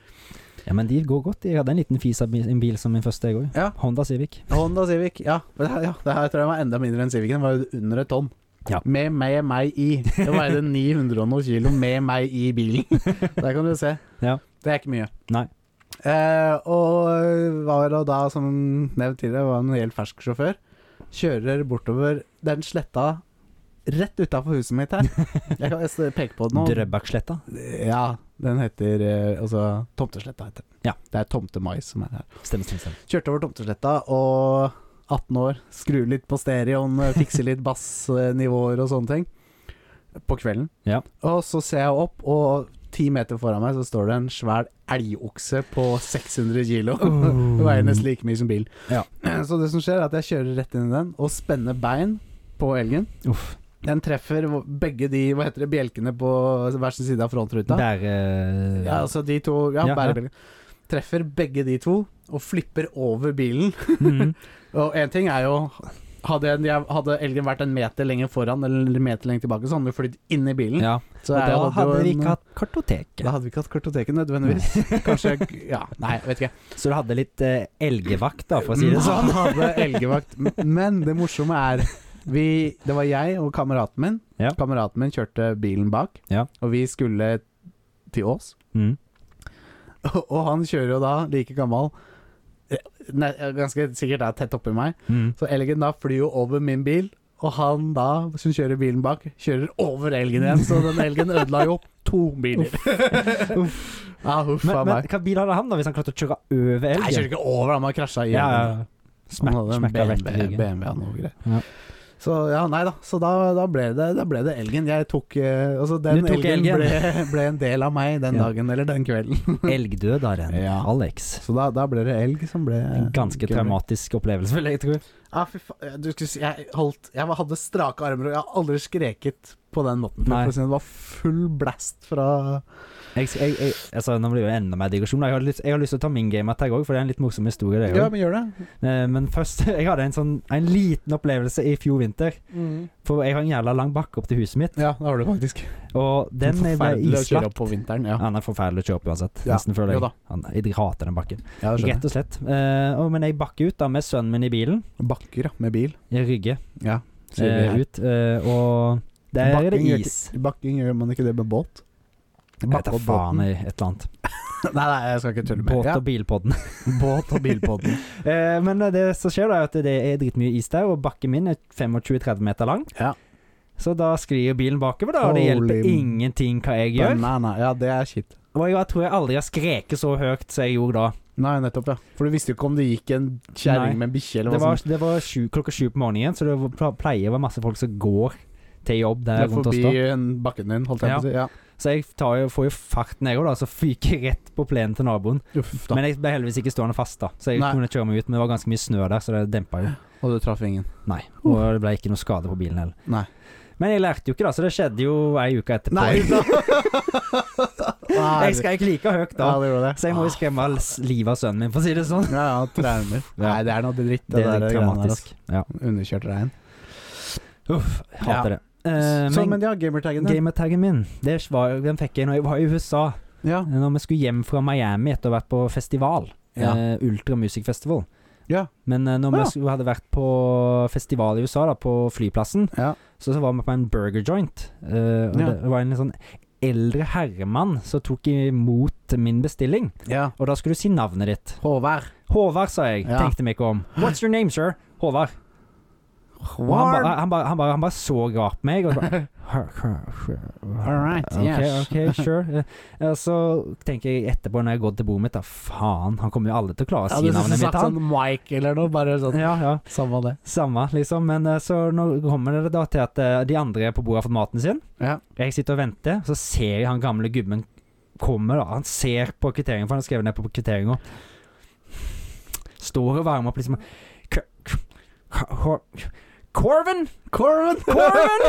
Speaker 2: ja, men de går godt. Jeg hadde en liten fis av bi- en bil som min første, jeg òg.
Speaker 1: Ja.
Speaker 2: Honda Civic.
Speaker 1: Honda Civic. Ja, men det her, ja, det her tror jeg var enda mindre enn Civicen. Den var jo under et tonn.
Speaker 2: Ja.
Speaker 1: Med meg, meg i. Det veide 900 og noen kilo med meg i bilen. Der kan du se.
Speaker 2: Ja.
Speaker 1: Det er ikke mye.
Speaker 2: Nei.
Speaker 1: Eh, og var da, da, som nevnt tidligere, var en helt fersk sjåfør. Kjører bortover den sletta rett utafor huset mitt her. Jeg kan jeg peke på det nå.
Speaker 2: Drøbaksletta.
Speaker 1: Ja, den heter eh, Altså Tomtesletta heter den.
Speaker 2: Ja.
Speaker 1: Det er Tomtemais som er her.
Speaker 2: Stemmer, stemmer. stemmer.
Speaker 1: Kjørte over Tomtesletta og 18 år, skru litt på stereoen, eh, fikse litt bassnivåer og sånne ting. På kvelden.
Speaker 2: Ja.
Speaker 1: Og så ser jeg opp, og ti meter foran meg så står det en svær elgokse på 600 kilo.
Speaker 2: Oh.
Speaker 1: Det veier nesten like mye som bil.
Speaker 2: Ja.
Speaker 1: Så det som skjer, er at jeg kjører rett inn i den og spenner bein på elgen.
Speaker 2: Uff.
Speaker 1: Den treffer begge de hva heter det, bjelkene på hver sin side av frontruta.
Speaker 2: Der eh,
Speaker 1: Ja, altså de to Ja,
Speaker 2: Ja, ja.
Speaker 1: bærebjelken. Treffer begge de to og flipper over bilen.
Speaker 2: mm.
Speaker 1: Og én ting er jo hadde, en, jeg, hadde elgen vært en meter lenger foran eller en meter lenger tilbake, så hadde den flydd inn i bilen.
Speaker 2: Ja.
Speaker 1: Så
Speaker 2: Og
Speaker 1: jeg
Speaker 2: da
Speaker 1: jo
Speaker 2: hadde vi
Speaker 1: en-
Speaker 2: ikke hatt kartoteket.
Speaker 1: da hadde vi ikke hatt kartoteket nødvendigvis. Kanskje Ja, nei, vet ikke.
Speaker 2: Så du hadde litt eh, elgevakt, da, for å si det sånn.
Speaker 1: Man hadde elgevakt. Men det morsomme er vi, Det var jeg og kameraten min.
Speaker 2: Ja.
Speaker 1: Kameraten min kjørte bilen bak,
Speaker 2: Ja.
Speaker 1: og vi skulle til Ås.
Speaker 2: Mm.
Speaker 1: Og, og han kjører jo da, like gammel eh, nei, Ganske sikkert er tett oppi meg.
Speaker 2: Mm.
Speaker 1: Så elgen da flyr jo over min bil, og han da, som kjører bilen bak, kjører over elgen igjen. Så den elgen ødela jo to biler. ja, huff
Speaker 2: Men,
Speaker 1: a
Speaker 2: men
Speaker 1: meg.
Speaker 2: hva bil hadde han, da, hvis han klarte å kjøre over elgen?
Speaker 1: Nei, jeg kjører ikke over, han har krasja i
Speaker 2: Ja, ja.
Speaker 1: elgen. Han hadde en
Speaker 2: Smack- smekka vekk i
Speaker 1: BMW,
Speaker 2: ryggen.
Speaker 1: BMW og noe greier.
Speaker 2: Ja.
Speaker 1: Så ja, nei da. Så da, da, ble det, da ble det elgen. Jeg tok eh, Altså, den
Speaker 2: Du tok
Speaker 1: elgen,
Speaker 2: elgen.
Speaker 1: Ble, ble en del av meg den
Speaker 2: Ja.
Speaker 1: dagen, eller den kvelden.
Speaker 2: Elgdødaren
Speaker 1: Ja.
Speaker 2: Alex.
Speaker 1: Så da, da ble det elg som ble
Speaker 2: En ganske
Speaker 1: gøy.
Speaker 2: traumatisk opplevelse, vil jeg tro.
Speaker 1: Ja, Ah, fy faen. Du skulle si Jeg, holdt, jeg var- hadde strake armer, og jeg har aldri skreket på den måten.
Speaker 2: Nei.
Speaker 1: For å si Det det var full blast fra
Speaker 2: Jeg, jeg, jeg, altså, nå blir det jo enda mer digresjon. da. Jeg har lyst, jeg har lyst til å ta min gamertag òg, for det er en litt morsom historie. Det,
Speaker 1: Ja,
Speaker 2: også.
Speaker 1: men gjør det.
Speaker 2: Eh, Men først Jeg hadde en, sånn, en liten opplevelse i fjor vinter.
Speaker 1: Mm.
Speaker 2: For jeg har en jævla lang bakke opp til huset mitt,
Speaker 1: Ja, det har du faktisk.
Speaker 2: og den jeg ble
Speaker 1: Forferdelig å kjøre
Speaker 2: islagt
Speaker 1: opp på vinteren. Ja,
Speaker 2: Han er forferdelig å kjøre opp uansett.
Speaker 1: Ja,
Speaker 2: Nesten føler
Speaker 1: jo
Speaker 2: jeg.
Speaker 1: da.
Speaker 2: Han, jeg hater den bakken.
Speaker 1: ja det skjønner
Speaker 2: Rett og slett. Eh, og, men jeg bakker ut da med sønnen min i bilen.
Speaker 1: jeg. Bakker, ja. Med bil.
Speaker 2: Jeg rygger
Speaker 1: Ja. sier vi
Speaker 2: eh,
Speaker 1: her.
Speaker 2: ut, eh, og der er det
Speaker 1: Bakking gjør
Speaker 2: is.
Speaker 1: Bakking gjør man ikke det med båt.
Speaker 2: Jeg vet da
Speaker 1: opp
Speaker 2: faen,
Speaker 1: båten.
Speaker 2: jeg- et eller annet.
Speaker 1: Nei, nei, jeg skal ikke tulle med
Speaker 2: Båt
Speaker 1: Ja,
Speaker 2: og bilpodden.
Speaker 1: båt og bilpodden.
Speaker 2: Eh, men det som skjer, da er at det er dritmye is der, og bakken min er 25-30 meter lang.
Speaker 1: Ja.
Speaker 2: Så da sklir bilen bakover, da, og det hjelper
Speaker 1: Holy
Speaker 2: ingenting hva jeg gjør.
Speaker 1: Banana. Ja, det er kjipt.
Speaker 2: Og jeg tror jeg aldri har skreket så høyt som jeg gjorde da.
Speaker 1: Nei, nettopp, ja. For du visste jo ikke om det gikk en
Speaker 2: Nei.
Speaker 1: kjerring med en bikkje eller
Speaker 2: Det
Speaker 1: hva
Speaker 2: var,
Speaker 1: som
Speaker 2: det var sju, klokka sju på morgenen, så det var- pleier å være masse folk som går til jobb
Speaker 1: Det
Speaker 2: der
Speaker 1: er
Speaker 2: rundt oss
Speaker 1: forbi
Speaker 2: da.
Speaker 1: en bakken din, holdt jeg
Speaker 2: Ja.
Speaker 1: på å si. Ja.
Speaker 2: Så jeg tar jo, får jo farten jeg òg, da, så fyker jeg rett på plenen til naboen.
Speaker 1: Uff da.
Speaker 2: Men jeg ble heldigvis ikke stående fast, da, så jeg
Speaker 1: Nei.
Speaker 2: kunne kjøre meg ut. Men det var ganske mye snø der, så det dempa jo.
Speaker 1: Og du traff ingen.
Speaker 2: Nei. Og det ble ikke noe skade på bilen heller.
Speaker 1: Nei.
Speaker 2: Men jeg lærte jo ikke, da, så det skjedde jo ei uke etterpå.
Speaker 1: Nei da!
Speaker 2: Jeg skrek like høyt da,
Speaker 1: Ja, det gjorde det.
Speaker 2: så jeg må jo skremme all s- livet av sønnen min, for å si det sånn.
Speaker 1: Ja, ja, traumer. Nei, det er noe dritt, det,
Speaker 2: Det er
Speaker 1: der.
Speaker 2: litt
Speaker 1: greiene der,
Speaker 2: dramatisk. Ja.
Speaker 1: altså. Underkjørt rein.
Speaker 2: Uff, jeg hater det. Eh,
Speaker 1: Så,
Speaker 2: men
Speaker 1: men ja, gamertaggen din.
Speaker 2: gamertaggen min, det var, den fikk jeg når jeg var i USA.
Speaker 1: Ja.
Speaker 2: Når vi skulle hjem fra Miami etter å ha vært på festival.
Speaker 1: Ja.
Speaker 2: eh, Ultra Music Festival.
Speaker 1: Ja.
Speaker 2: Men eh, når vi
Speaker 1: Ah, ja.
Speaker 2: skulle- hadde vært på festival i USA, da, på flyplassen,
Speaker 1: ja.
Speaker 2: så, så var vi på en burger joint. eh, og
Speaker 1: Ja.
Speaker 2: Det var en sånn eldre herremann som tok imot min bestilling.
Speaker 1: ja.
Speaker 2: Og da skulle du si navnet ditt.
Speaker 1: Håvard.
Speaker 2: Håvard, sa jeg.
Speaker 1: Ja.
Speaker 2: Tenkte meg ikke om. What's your name, sir? Håvard. Og han bare han bare- han bare- han bare så rart på meg. Og bare,
Speaker 1: All right, yes.
Speaker 2: Ok, ok, sure. Eh, og så tenker jeg etterpå, når jeg går til bordet mitt, da faen, han kommer jo aldri til å klare å
Speaker 1: Ja,
Speaker 2: si
Speaker 1: du
Speaker 2: navnet
Speaker 1: skulle
Speaker 2: mitt.
Speaker 1: sagt
Speaker 2: Han.
Speaker 1: sånn Mike eller noe, bare sånn.
Speaker 2: Ja, ja.
Speaker 1: Samme det.
Speaker 2: Samme, liksom. Men eh, så nå kommer det da til at eh, de andre på bordet har fått maten sin.
Speaker 1: Ja.
Speaker 2: Jeg sitter og venter, så ser jeg han gamle gubben kommer. da Han ser på kvitteringen, for han har skrevet ned på kvitteringa. Står og varmer opp liksom K- k- k- Corvin!
Speaker 1: Corvin!
Speaker 2: Corvin!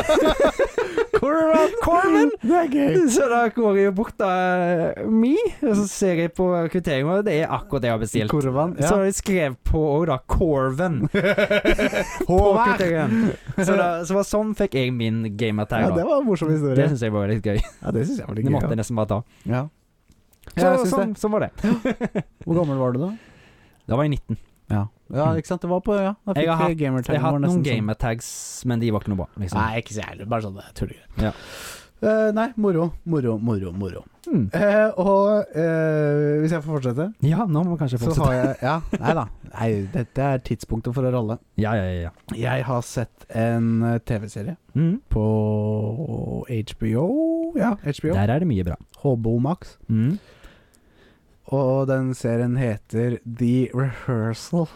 Speaker 1: Corvin!
Speaker 2: Corvin!
Speaker 1: Det er gøy.
Speaker 2: Så da går jeg jo bort da eh, mi, og så ser jeg på kvitteringa, og det er akkurat det jeg har bestilt.
Speaker 1: Korvan.
Speaker 2: Så
Speaker 1: Ja.
Speaker 2: har jeg skrevet på òg, da. Corvin. På
Speaker 1: Håvard!
Speaker 2: kvitteringen. Så, da, så var sånn fikk jeg min gamertag.
Speaker 1: Ja, det
Speaker 2: da.
Speaker 1: var en morsom
Speaker 2: det
Speaker 1: historie.
Speaker 2: syns jeg var litt gøy.
Speaker 1: Ja, det syns jeg var litt
Speaker 2: Det måtte
Speaker 1: gøy.
Speaker 2: jeg nesten bare ta.
Speaker 1: Ja.
Speaker 2: Så,
Speaker 1: Ja, jeg syns
Speaker 2: sånn, sånn var det.
Speaker 1: det. Hvor gammel var du da?
Speaker 2: Da var jeg 19.
Speaker 1: Ja. ja, ikke sant. Det var på Ja, da
Speaker 2: Mm. Jeg
Speaker 1: fikk
Speaker 2: har
Speaker 1: vi gamertaggen
Speaker 2: Jeg har
Speaker 1: vår
Speaker 2: hatt noen
Speaker 1: nesten sånn.
Speaker 2: gamertags, men de var ikke noe bra. Liksom.
Speaker 1: Nei, ikke så jævlig. Bare sånn tullegreier.
Speaker 2: Ja.
Speaker 1: Eh, nei, moro, moro, moro, moro.
Speaker 2: Hmm.
Speaker 1: Eh, og eh, hvis jeg får fortsette,
Speaker 2: Ja, nå må vi kanskje
Speaker 1: så
Speaker 2: fortsette.
Speaker 1: har jeg Ja, nei da. Nei, dette er tidspunktet for å ralle.
Speaker 2: Ja, ja, ja. ja.
Speaker 1: Jeg har sett en eh, TV-serie
Speaker 2: Mm.
Speaker 1: på HBO. Ja, HBO.
Speaker 2: Der er det mye bra.
Speaker 1: HBO Max.
Speaker 2: Mm.
Speaker 1: Og den serien heter The Rehearsal.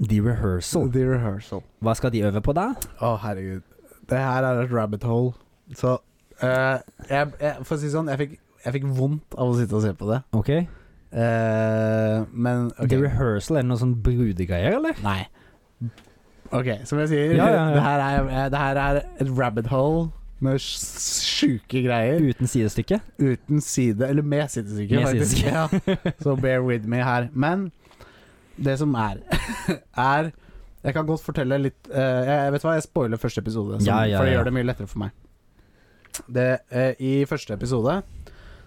Speaker 2: The Rehearsal.
Speaker 1: The Rehearsal.
Speaker 2: Hva skal de øve på da?
Speaker 1: Å, herregud. Det her er et rabbit hole. Så eh, jeg, jeg, For å si det sånn, jeg fikk, jeg fikk vondt av å sitte og se på det.
Speaker 2: Ok.
Speaker 1: Eh, men ok.
Speaker 2: The Rehearsal, er det noe sånn brudegreier, eller?
Speaker 1: Nei. Ok, som jeg sier,
Speaker 2: Ja, ja, ja.
Speaker 1: Det, her er, eh, det her er et rabbit hole med s- sjuke greier.
Speaker 2: Uten sidestykke?
Speaker 1: Uten side, eller med sidestykke,
Speaker 2: Med
Speaker 1: faktisk.
Speaker 2: sidestykke.
Speaker 1: Ja. Så bear with me her. Men det som er, er Jeg kan godt fortelle litt eh, jeg, Vet du hva, jeg spoiler første episode, som,
Speaker 2: Ja, ja,
Speaker 1: for det
Speaker 2: ja.
Speaker 1: gjør det mye lettere for meg. Det, eh, I første episode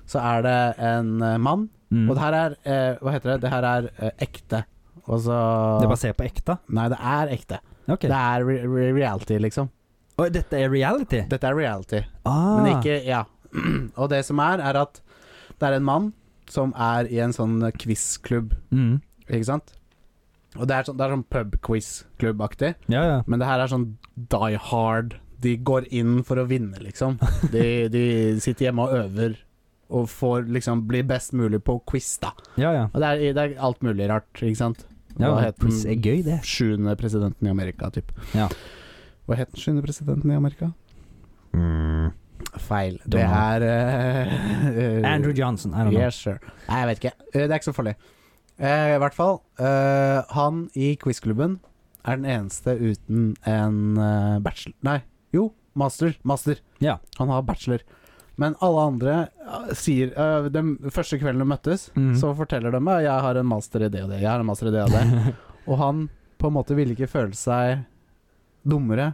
Speaker 1: så er det en eh, mann,
Speaker 2: Mm.
Speaker 1: og det her er eh, Hva heter det? Det her er eh, ekte. Og så
Speaker 2: Det er basert på ekte?
Speaker 1: Nei, det er ekte.
Speaker 2: Ok.
Speaker 1: Det er re re reality, liksom.
Speaker 2: Og dette er reality?
Speaker 1: Dette er reality.
Speaker 2: Ah.
Speaker 1: Men ikke Ja. Og det som er, er at det er en mann som er i en sånn quiz-klubb,
Speaker 2: mm.
Speaker 1: ikke sant? Og det er sånn, det er sånn pub-quiz-klubb-aktig,
Speaker 2: Ja, ja.
Speaker 1: men det her er sånn die hard. De går inn for å vinne, liksom. De, de sitter hjemme og øver og får liksom bli best mulig på quiz, da.
Speaker 2: Ja, ja.
Speaker 1: Og det er, det er alt mulig rart, ikke sant?
Speaker 2: ja
Speaker 1: Hva het
Speaker 2: quiz er
Speaker 1: den
Speaker 2: gøy, det.
Speaker 1: sjuende presidenten i Amerika, typ?
Speaker 2: Ja.
Speaker 1: Hva het den sjuende presidenten i Amerika?
Speaker 3: Mm.
Speaker 1: Feil. Det
Speaker 2: Donald.
Speaker 1: er eh, eh,
Speaker 2: Andrew Johnson, I don't know.
Speaker 1: Yes, sure. Nei, jeg vet ikke. Eh, Det er ikke så farlig. Eh, I hvert fall, eh, han i quizklubben er den eneste uten en eh, bachelor Nei, jo, master. Master.
Speaker 2: Ja.
Speaker 1: Han har bachelor. Men alle andre eh, sier eh, Den første kvelden de møttes,
Speaker 2: Mhm.
Speaker 1: så forteller de meg jeg har en master i det og det. Jeg har en master i det og det. og han på en måte ville ikke føle seg dummere.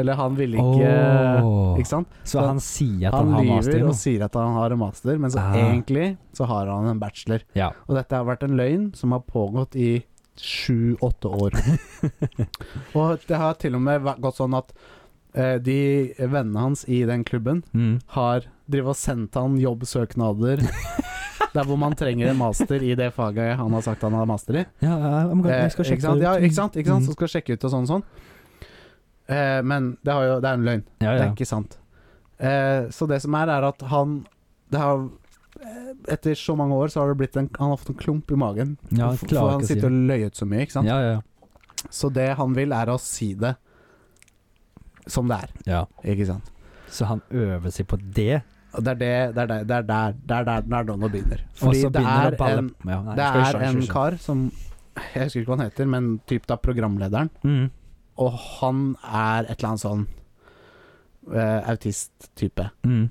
Speaker 1: Eller han ville ikke
Speaker 2: Åh.
Speaker 1: eh, Ikke sant?
Speaker 2: Så
Speaker 1: Så
Speaker 2: han sier at
Speaker 1: han,
Speaker 2: han, har master i
Speaker 1: lyver og
Speaker 2: noe?
Speaker 1: sier at han har en master, men så
Speaker 2: Ah.
Speaker 1: egentlig så har han en bachelor.
Speaker 2: Ja.
Speaker 1: Og dette har vært en løgn som har pågått i sju-åtte år. og det har til og med vært- gått sånn at eh, de vennene hans i den klubben
Speaker 2: Mm.
Speaker 1: har drevet og sendt han jobbsøknader der hvor man trenger en master i det faget han har sagt han har master i.
Speaker 2: Ja, jeg, må-
Speaker 1: Eh,
Speaker 2: jeg skal
Speaker 1: ikke
Speaker 2: sjekke
Speaker 1: sant?
Speaker 2: det
Speaker 1: Ja,
Speaker 2: ut.
Speaker 1: ikke sant? Ikke sant?
Speaker 2: Mm.
Speaker 1: Så skal jeg sjekke ut og sånn og sånn. Eh, men det, har jo, det er en løgn.
Speaker 2: Ja,
Speaker 1: Det
Speaker 2: ja.
Speaker 1: er ikke sant. Eh, så det som er, er at han det har, eh, Etter så mange år så har det blitt en, han har fått en klump i magen.
Speaker 2: ja
Speaker 1: for,
Speaker 2: jeg
Speaker 1: for
Speaker 2: klarer
Speaker 1: han
Speaker 2: ikke å si
Speaker 1: sitter
Speaker 2: det.
Speaker 1: og løyet så mye, ikke sant.
Speaker 2: Ja, ja,
Speaker 1: Så det han vil, er å si det som det er,
Speaker 2: ja.
Speaker 1: ikke sant.
Speaker 2: Så han øver seg på det,
Speaker 1: Og det er det Det er der det er der, det er der, det er da nå begynner.
Speaker 2: og
Speaker 1: Fordi
Speaker 2: så
Speaker 1: det
Speaker 2: begynner det å
Speaker 1: er
Speaker 2: balle
Speaker 1: en,
Speaker 2: ja, nei,
Speaker 1: det
Speaker 2: skal vi
Speaker 1: er
Speaker 2: se, skal
Speaker 1: en
Speaker 2: vi se.
Speaker 1: kar som Jeg husker ikke hva han heter, men typ da programlederen.
Speaker 2: Mm.
Speaker 1: Og han er et eller annet sånn eh, autist-type.
Speaker 2: Mm.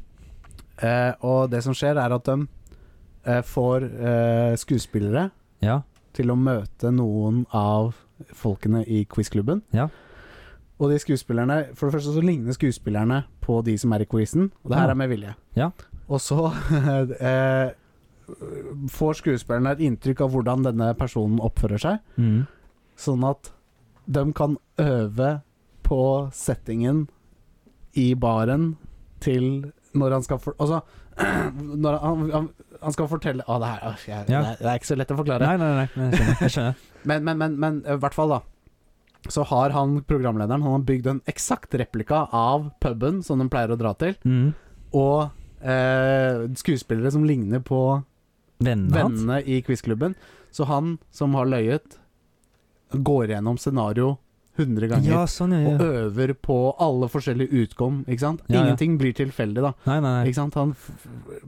Speaker 1: Eh, og det som skjer, er at de eh, får eh, skuespillere
Speaker 2: Ja.
Speaker 1: til å møte noen av folkene i quizklubben.
Speaker 2: Ja.
Speaker 1: Og de skuespillerne For det første så ligner skuespillerne på de som er i quizen, og det her
Speaker 2: Ja.
Speaker 1: er med vilje.
Speaker 2: Ja.
Speaker 1: Og så eh, får skuespillerne et inntrykk av hvordan denne personen oppfører seg,
Speaker 2: Mm.
Speaker 1: sånn at de kan øve på settingen i baren til når han skal for, Altså når han, han, han skal fortelle Å, det, her, åh, jeg,
Speaker 2: Ja.
Speaker 1: det, er, det er ikke så lett å forklare.
Speaker 2: Nei, nei, nei, nei, jeg skjønner. Jeg skjønner.
Speaker 1: Men, men, men, men i hvert fall da Så har han, programlederen Han har bygd en eksakt replika av puben Som de pleier å dra til
Speaker 2: Mm.
Speaker 1: Og eh, skuespillere som ligner på
Speaker 2: Vennene hans?
Speaker 1: Vennene i quizklubben Så han som har løyet Går gjennom scenario 100 ganger
Speaker 2: Ja, sånn, ja.
Speaker 1: Og
Speaker 2: ja.
Speaker 1: øver på alle forskjellige utkom Ikke sant?
Speaker 2: Ja, ja.
Speaker 1: Ingenting blir tilfeldig da
Speaker 2: Nei, nei, nei.
Speaker 1: Ikke sant? Han f-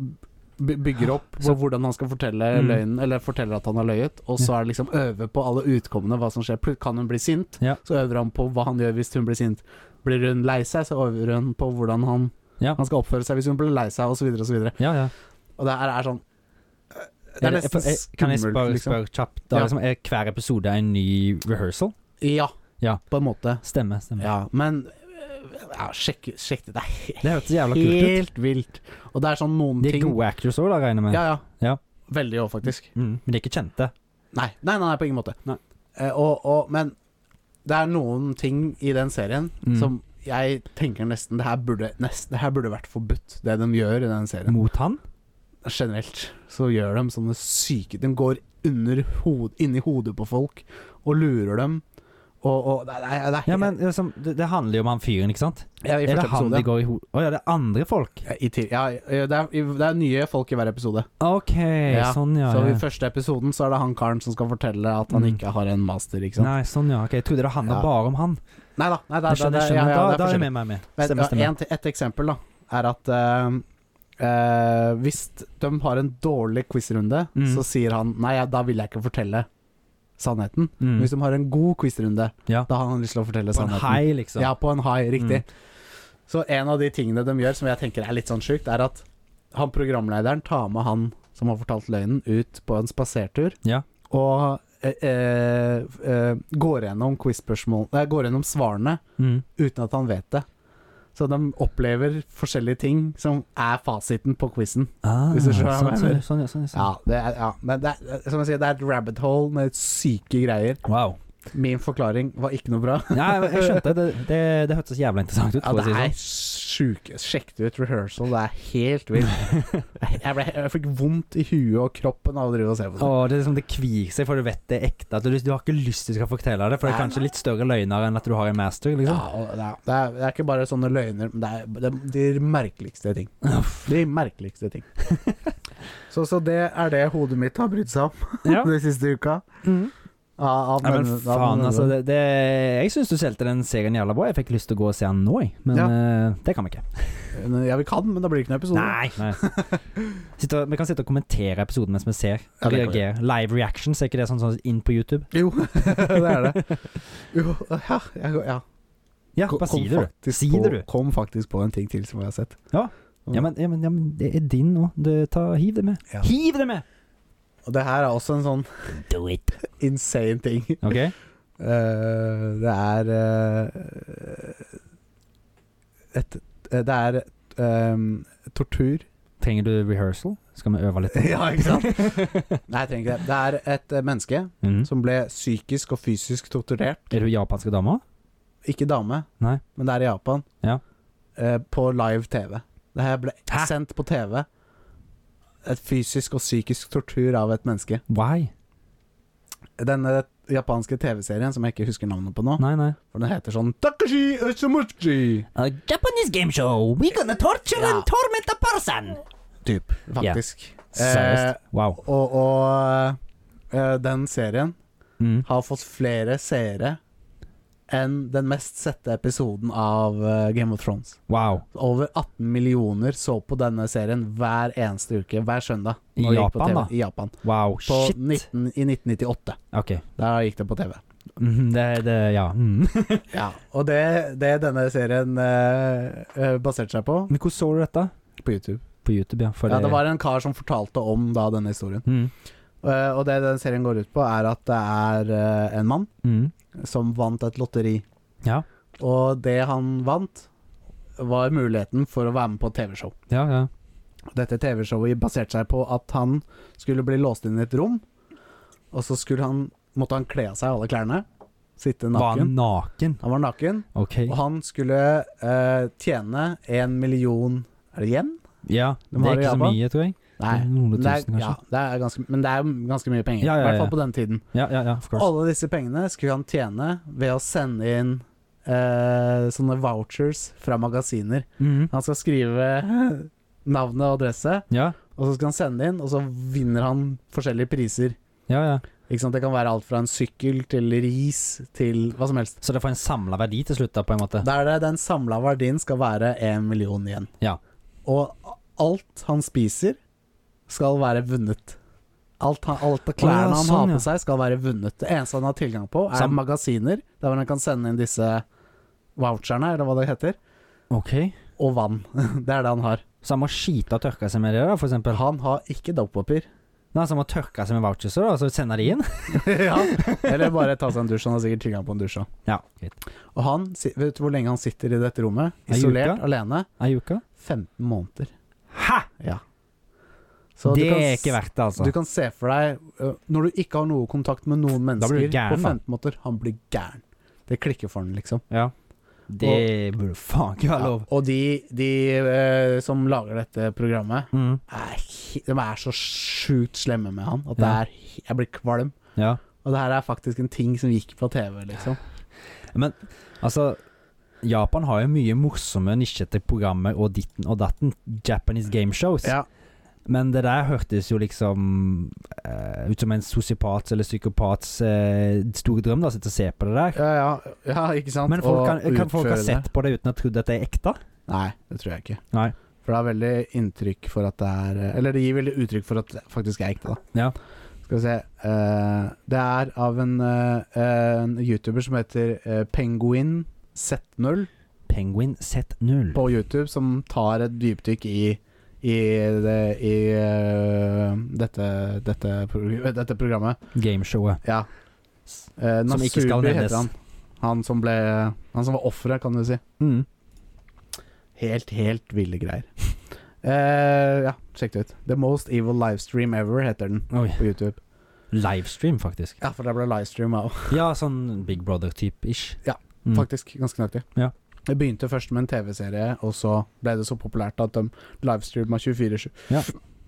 Speaker 1: by- bygger opp
Speaker 2: Så-
Speaker 1: på hvordan han skal fortelle
Speaker 2: Mm.
Speaker 1: løgnen, eller forteller at han har løyet, og så er det liksom øve på alle utkommene, hva som skjer. Plut- Kan hun bli sint,
Speaker 2: Ja.
Speaker 1: så øver han på hva han gjør hvis hun blir sint. Blir hun lei seg, så øver hun på hvordan han,
Speaker 2: Ja.
Speaker 1: han skal oppføre seg hvis hun blir lei seg, osv. Og, så videre.
Speaker 2: Ja, ja.
Speaker 1: og det her er sånn Det er
Speaker 2: det-
Speaker 1: nesten
Speaker 2: jeg- jeg- Kan jeg
Speaker 1: skummelt,
Speaker 2: spørre
Speaker 1: liksom.
Speaker 2: spørre kjapt? Da,
Speaker 1: Ja.
Speaker 2: liksom, er hver episode en ny rehearsal?
Speaker 1: Ja,
Speaker 2: Ja. Mm.
Speaker 1: på en måte.
Speaker 2: Stemmer. stemmer.
Speaker 1: Ja, men øh, ja, sjekk, sjekk det. Det er he-
Speaker 2: Det hørtes jævla kult ut.
Speaker 1: helt vilt. Og det er sånn noen
Speaker 2: De er
Speaker 1: ting
Speaker 2: gode actors òg, regner jeg med.
Speaker 1: Ja, ja.
Speaker 2: Ja.
Speaker 1: Veldig òg, faktisk.
Speaker 2: Mm. Men de er ikke kjente.
Speaker 1: Nei, nei, nei, nei på ingen måte.
Speaker 2: Nei.
Speaker 1: Eh, og, og, men det er noen ting i den serien
Speaker 2: Mm.
Speaker 1: som jeg tenker nesten det her, burde, nesten det her burde vært forbudt, det de gjør i den serien.
Speaker 2: Mot han?
Speaker 1: Generelt så gjør de sånne syke De går under hod, inni hodet på folk og lurer dem. Og, og det, er- det, er- det er
Speaker 2: Ja, men liksom, det, det handler jo om han fyren, ikke sant?
Speaker 1: ja, I
Speaker 2: Er
Speaker 1: første
Speaker 2: det han
Speaker 1: episode.
Speaker 2: de går i hodet Å ja, det er andre folk?
Speaker 1: Ja, I, til- ja, ja, det, er, i- det er nye folk i hver episode.
Speaker 2: OK,
Speaker 1: Ja,
Speaker 2: sånn ja.
Speaker 1: så i
Speaker 2: ja.
Speaker 1: første episoden så er det han karen som skal fortelle at han
Speaker 2: Mm.
Speaker 1: ikke har en master. Ikke sant?
Speaker 2: Nei, sånn ja. Ok, Jeg trodde det
Speaker 1: Ja.
Speaker 2: handla bare om han.
Speaker 1: Nei da. Nei, det, er-
Speaker 2: Jeg skjønner,
Speaker 1: det, er-
Speaker 2: jeg
Speaker 1: ja,
Speaker 2: skjønner.
Speaker 1: ja, det er
Speaker 2: Da, da er jeg
Speaker 1: forskjellig.
Speaker 2: med meg med.
Speaker 1: Men,
Speaker 2: Stemmer,
Speaker 1: ja,
Speaker 2: stemmer.
Speaker 1: en, et eksempel da er at eh, eh, hvis de har en dårlig quizrunde,
Speaker 2: Mm.
Speaker 1: så sier han nei, ja, da vil jeg ikke fortelle sannheten. Men Hvis
Speaker 2: Mm.
Speaker 1: de har en god quizrunde,
Speaker 2: Ja.
Speaker 1: da har han lyst til å fortelle
Speaker 2: På en
Speaker 1: sannheten.
Speaker 2: high, liksom.
Speaker 1: Ja, på en high, riktig. Så en av de tingene de gjør som jeg tenker er litt sånn sjukt, er at han programlederen tar med han som har fortalt løgnen, ut på en spasertur
Speaker 2: Ja.
Speaker 1: og eh, eh, eh, går gjennom quizspørsmål Nei, går gjennom svarene
Speaker 2: Mm.
Speaker 1: uten at han vet det. Så de opplever forskjellige ting som er fasiten på quizen.
Speaker 2: Ah,
Speaker 1: Hvis du skjønner hva
Speaker 2: sånn,
Speaker 1: jeg
Speaker 2: sånn,
Speaker 1: mener.
Speaker 2: sånn, ja, sånn, ja, sånn.
Speaker 1: Ja, det er, ja. Men det er, som jeg sier, det er et rabbit hole med syke greier.
Speaker 2: Wow.
Speaker 1: Min forklaring var ikke noe bra.
Speaker 2: Nei, jeg- jeg skjønte. Det, det, det hørtes jævla interessant ut.
Speaker 1: Ja,
Speaker 2: for å
Speaker 1: det
Speaker 2: si
Speaker 1: er
Speaker 2: sånn.
Speaker 1: sjuke Sjekk det ut rehearsal, det er helt vilt. Jeg, ble, jeg fikk vondt i huet og kroppen av å drive og se på sånn. det.
Speaker 2: Åh, det er liksom det kvir seg, for du vet det er ekte. At du, du har ikke lyst til å skal fortelle det, for det er
Speaker 1: Nei,
Speaker 2: kanskje litt større løgner enn at du har en master,
Speaker 1: Ja,
Speaker 2: liksom.
Speaker 1: og det, er, det, er, det er ikke bare sånne løgner, men det er, det er de merkeligste ting. De merkeligste ting. Så, så det er det hodet mitt har brydd seg om
Speaker 2: Ja.
Speaker 1: den siste uka.
Speaker 2: Mm.
Speaker 1: Av, av
Speaker 2: Nei, men
Speaker 1: denne- av
Speaker 2: faen,
Speaker 1: denne-
Speaker 2: altså. Det, det, jeg syns du solgte den serien jævla bra. Jeg fikk lyst til å gå og se den nå, jeg. Men eh, det kan vi ikke.
Speaker 1: Ja, vi kan, men da blir det ikke noen episode.
Speaker 2: Nei. Sitte og- vi kan sitte og kommentere episoden mens vi ser.
Speaker 1: Ja, det kan vi.
Speaker 2: Reagere. Live reactions, er ikke det sånn, sånn inn på YouTube?
Speaker 1: Jo, det er det. Jo, ja, jeg, ja.
Speaker 2: Ja,
Speaker 1: Kom-
Speaker 2: bare si
Speaker 1: kom
Speaker 2: det, du.
Speaker 1: faktisk
Speaker 2: Si
Speaker 1: på,
Speaker 2: det, du.
Speaker 1: Kom faktisk på en ting til som jeg har sett.
Speaker 2: Ja men, ja, men, ja, men det er din nå. Du, ta, hiv det med.
Speaker 1: Ja.
Speaker 2: Hiv det med!
Speaker 1: Og det her er også en sånn
Speaker 2: Do it.
Speaker 1: insane ting.
Speaker 2: Ok?
Speaker 1: Eh, det er eh, et, eh, Det er ehm, tortur.
Speaker 2: Trenger du rehearsal? Skal vi øve litt?
Speaker 1: ja, ikke sant? Nei, jeg trenger ikke det. Det er et eh, menneske
Speaker 2: Mm.
Speaker 1: som ble psykisk og fysisk torturert.
Speaker 2: Er du japanske dama?
Speaker 1: Ikke dame,
Speaker 2: Nei.
Speaker 1: men det er i Japan.
Speaker 2: Ja.
Speaker 1: Eh, på live TV. Det her ble
Speaker 2: Hæ?
Speaker 1: sendt på TV. Et fysisk og psykisk tortur av et menneske.
Speaker 2: Why?
Speaker 1: denne japanske TV-serien som jeg ikke husker navnet på nå,
Speaker 2: Nei, nei.
Speaker 1: for den heter sånn Takashi Ushumushi,
Speaker 2: A Japanese game show. We gonna torture
Speaker 1: Ja.
Speaker 2: and torment a person.
Speaker 1: typ, faktisk. Eh,
Speaker 2: Seriøst. Wow.
Speaker 1: og og eh, den serien
Speaker 2: Mm.
Speaker 1: har fått flere seere enn den mest sette episoden av eh, Game of Thrones.
Speaker 2: Wow.
Speaker 1: Over 18 millioner så på denne serien hver eneste uke, hver søndag.
Speaker 2: I
Speaker 1: når det gikk på
Speaker 2: Japan,
Speaker 1: TV.
Speaker 2: da?
Speaker 1: I Japan.
Speaker 2: Wow.
Speaker 1: På
Speaker 2: Shit.
Speaker 1: 19, I 1998.
Speaker 2: OK.
Speaker 1: Da gikk det på TV.
Speaker 2: Mhm, Det, det Ja. Mm.
Speaker 1: Ja, Og det, det denne serien eh, eh, baserte seg på,
Speaker 2: Men hvor så du dette?
Speaker 1: på YouTube
Speaker 2: På YouTube, ja. For
Speaker 1: Ja, Det var en kar som fortalte om da denne historien.
Speaker 2: mm.
Speaker 1: Eh, og det den serien går ut på, er at det er eh, en mann
Speaker 2: Mm.
Speaker 1: som vant et lotteri.
Speaker 2: Ja.
Speaker 1: Og det han vant, var muligheten for å være med på et TV-show.
Speaker 2: Ja, ja.
Speaker 1: Dette TV-showet baserte seg på at han skulle bli låst inn i et rom, og så skulle han, måtte han kle av seg alle klærne. Sitte
Speaker 2: Var
Speaker 1: naken.
Speaker 2: han naken?
Speaker 1: Han var naken,
Speaker 2: OK.
Speaker 1: og han skulle eh, tjene en million Er det yen?
Speaker 2: Ja.
Speaker 1: De
Speaker 2: Det
Speaker 1: har
Speaker 2: er
Speaker 1: det i
Speaker 2: ikke så
Speaker 1: Japan.
Speaker 2: mye, tror jeg.
Speaker 1: Nei.
Speaker 2: Noen
Speaker 1: Men det, er,
Speaker 2: tusen,
Speaker 1: ja,
Speaker 2: kanskje.
Speaker 1: det er ganske, men det er ganske mye penger.
Speaker 2: Ja, ja,
Speaker 1: I hvert
Speaker 2: ja.
Speaker 1: fall på den tiden.
Speaker 2: Ja, ja, ja. Of course.
Speaker 1: Alle disse pengene skulle han tjene ved å sende inn eh, sånne vouchers fra magasiner.
Speaker 2: Mhm.
Speaker 1: Han skal skrive navnet og adresse,
Speaker 2: Ja.
Speaker 1: og så skal han sende inn, og så vinner han forskjellige priser.
Speaker 2: Ja, ja.
Speaker 1: Ikke sant? Det kan være alt fra en sykkel til ris til hva som helst.
Speaker 2: Så det får en samla verdi til slutt, da, på en måte?
Speaker 1: Der det den samla verdien skal være én million igjen.
Speaker 2: Ja.
Speaker 1: Og alt han spiser, skal være vunnet. Alt, han, alt av
Speaker 2: Å,
Speaker 1: klærne
Speaker 2: ja,
Speaker 1: han
Speaker 2: sånn,
Speaker 1: har
Speaker 2: ja.
Speaker 1: på seg, skal være vunnet. Det eneste han har tilgang på, er
Speaker 2: Sam-
Speaker 1: magasiner, der hvor han kan sende inn disse voucherne, eller hva det heter,
Speaker 2: OK.
Speaker 1: og vann. Det er det han har.
Speaker 2: Så han må skite og tørke seg med det, da, for eksempel?
Speaker 1: Han har ikke dopapir.
Speaker 2: Nei, så han må tørke seg med vouchers, da, og så sende de inn?
Speaker 1: ja. Eller bare ta seg en dusj. Han har sikkert tilgang på en dusj òg.
Speaker 2: Ja.
Speaker 1: Og han, si- vet du hvor lenge han sitter i dette rommet?
Speaker 2: Ei uke?
Speaker 1: Isolert, alene?
Speaker 2: Ei uke?
Speaker 1: 15 måneder.
Speaker 2: Hæ!
Speaker 1: Ja.
Speaker 2: det er ikke verdt det, altså.
Speaker 1: Du kan se for deg ø, Når du ikke har noe kontakt med noen
Speaker 2: Da
Speaker 1: mennesker
Speaker 2: blir du gæren,
Speaker 1: på
Speaker 2: da.
Speaker 1: 15 måneder, han blir gæren. Det klikker for han, liksom.
Speaker 2: Ja. Det burde faen ikke være lov.
Speaker 1: Og de, de ø, som lager dette programmet,
Speaker 2: Mm.
Speaker 1: er, he- de er så sjukt slemme med han at det
Speaker 2: Ja.
Speaker 1: er, he- jeg blir kvalm.
Speaker 2: Ja.
Speaker 1: Og det her er faktisk en ting som gikk på TV, liksom.
Speaker 2: Altså, Japan har jo mye morsomme nisjete programmer og ditten og datten. Japanese game shows.
Speaker 1: Ja,
Speaker 2: Men det der hørtes jo liksom eh, ut som en sosiopats eller psykopats eh, store drøm, da, å sitte og se på det der.
Speaker 1: ja, ja, ja ikke sant?
Speaker 2: Men folk
Speaker 1: Og
Speaker 2: kan, kan folk ha
Speaker 1: utføre det.
Speaker 2: sett på det uten å ha trodd at det er ekte?
Speaker 1: Nei, det tror jeg ikke.
Speaker 2: Nei.
Speaker 1: For det er veldig inntrykk for at det er Eller det gir veldig uttrykk for at det faktisk er ekte, da.
Speaker 2: Ja.
Speaker 1: Skal vi se eh, Det er av en, eh, en YouTuber som heter eh, Penguin Z0
Speaker 2: Penguin Z0.
Speaker 1: på YouTube, som tar et dypdykk i i, det, i eh, dette, dette, progr dette programmet.
Speaker 2: Gameshowet.
Speaker 1: Ja. Eh,
Speaker 2: Som ikke skal
Speaker 1: Natsubi
Speaker 2: nevnes.
Speaker 1: heter han. Han som ble Han som var offeret, kan du si.
Speaker 2: Mm.
Speaker 1: Helt, helt ville greier. Eh, ja, sjekk det ut. The Most Evil Livestream Ever heter den
Speaker 2: Oi.
Speaker 1: på YouTube.
Speaker 2: Livestream, faktisk.
Speaker 1: Ja, for det ble livestream òg,
Speaker 2: Ja, sånn Big Brother-type-ish.
Speaker 1: Ja,
Speaker 2: Mm.
Speaker 1: faktisk. Ganske nøyaktig.
Speaker 2: Ja.
Speaker 1: Det begynte først med en TV-serie, og så ble det så populært at de livestreama 24-7.
Speaker 2: Ja.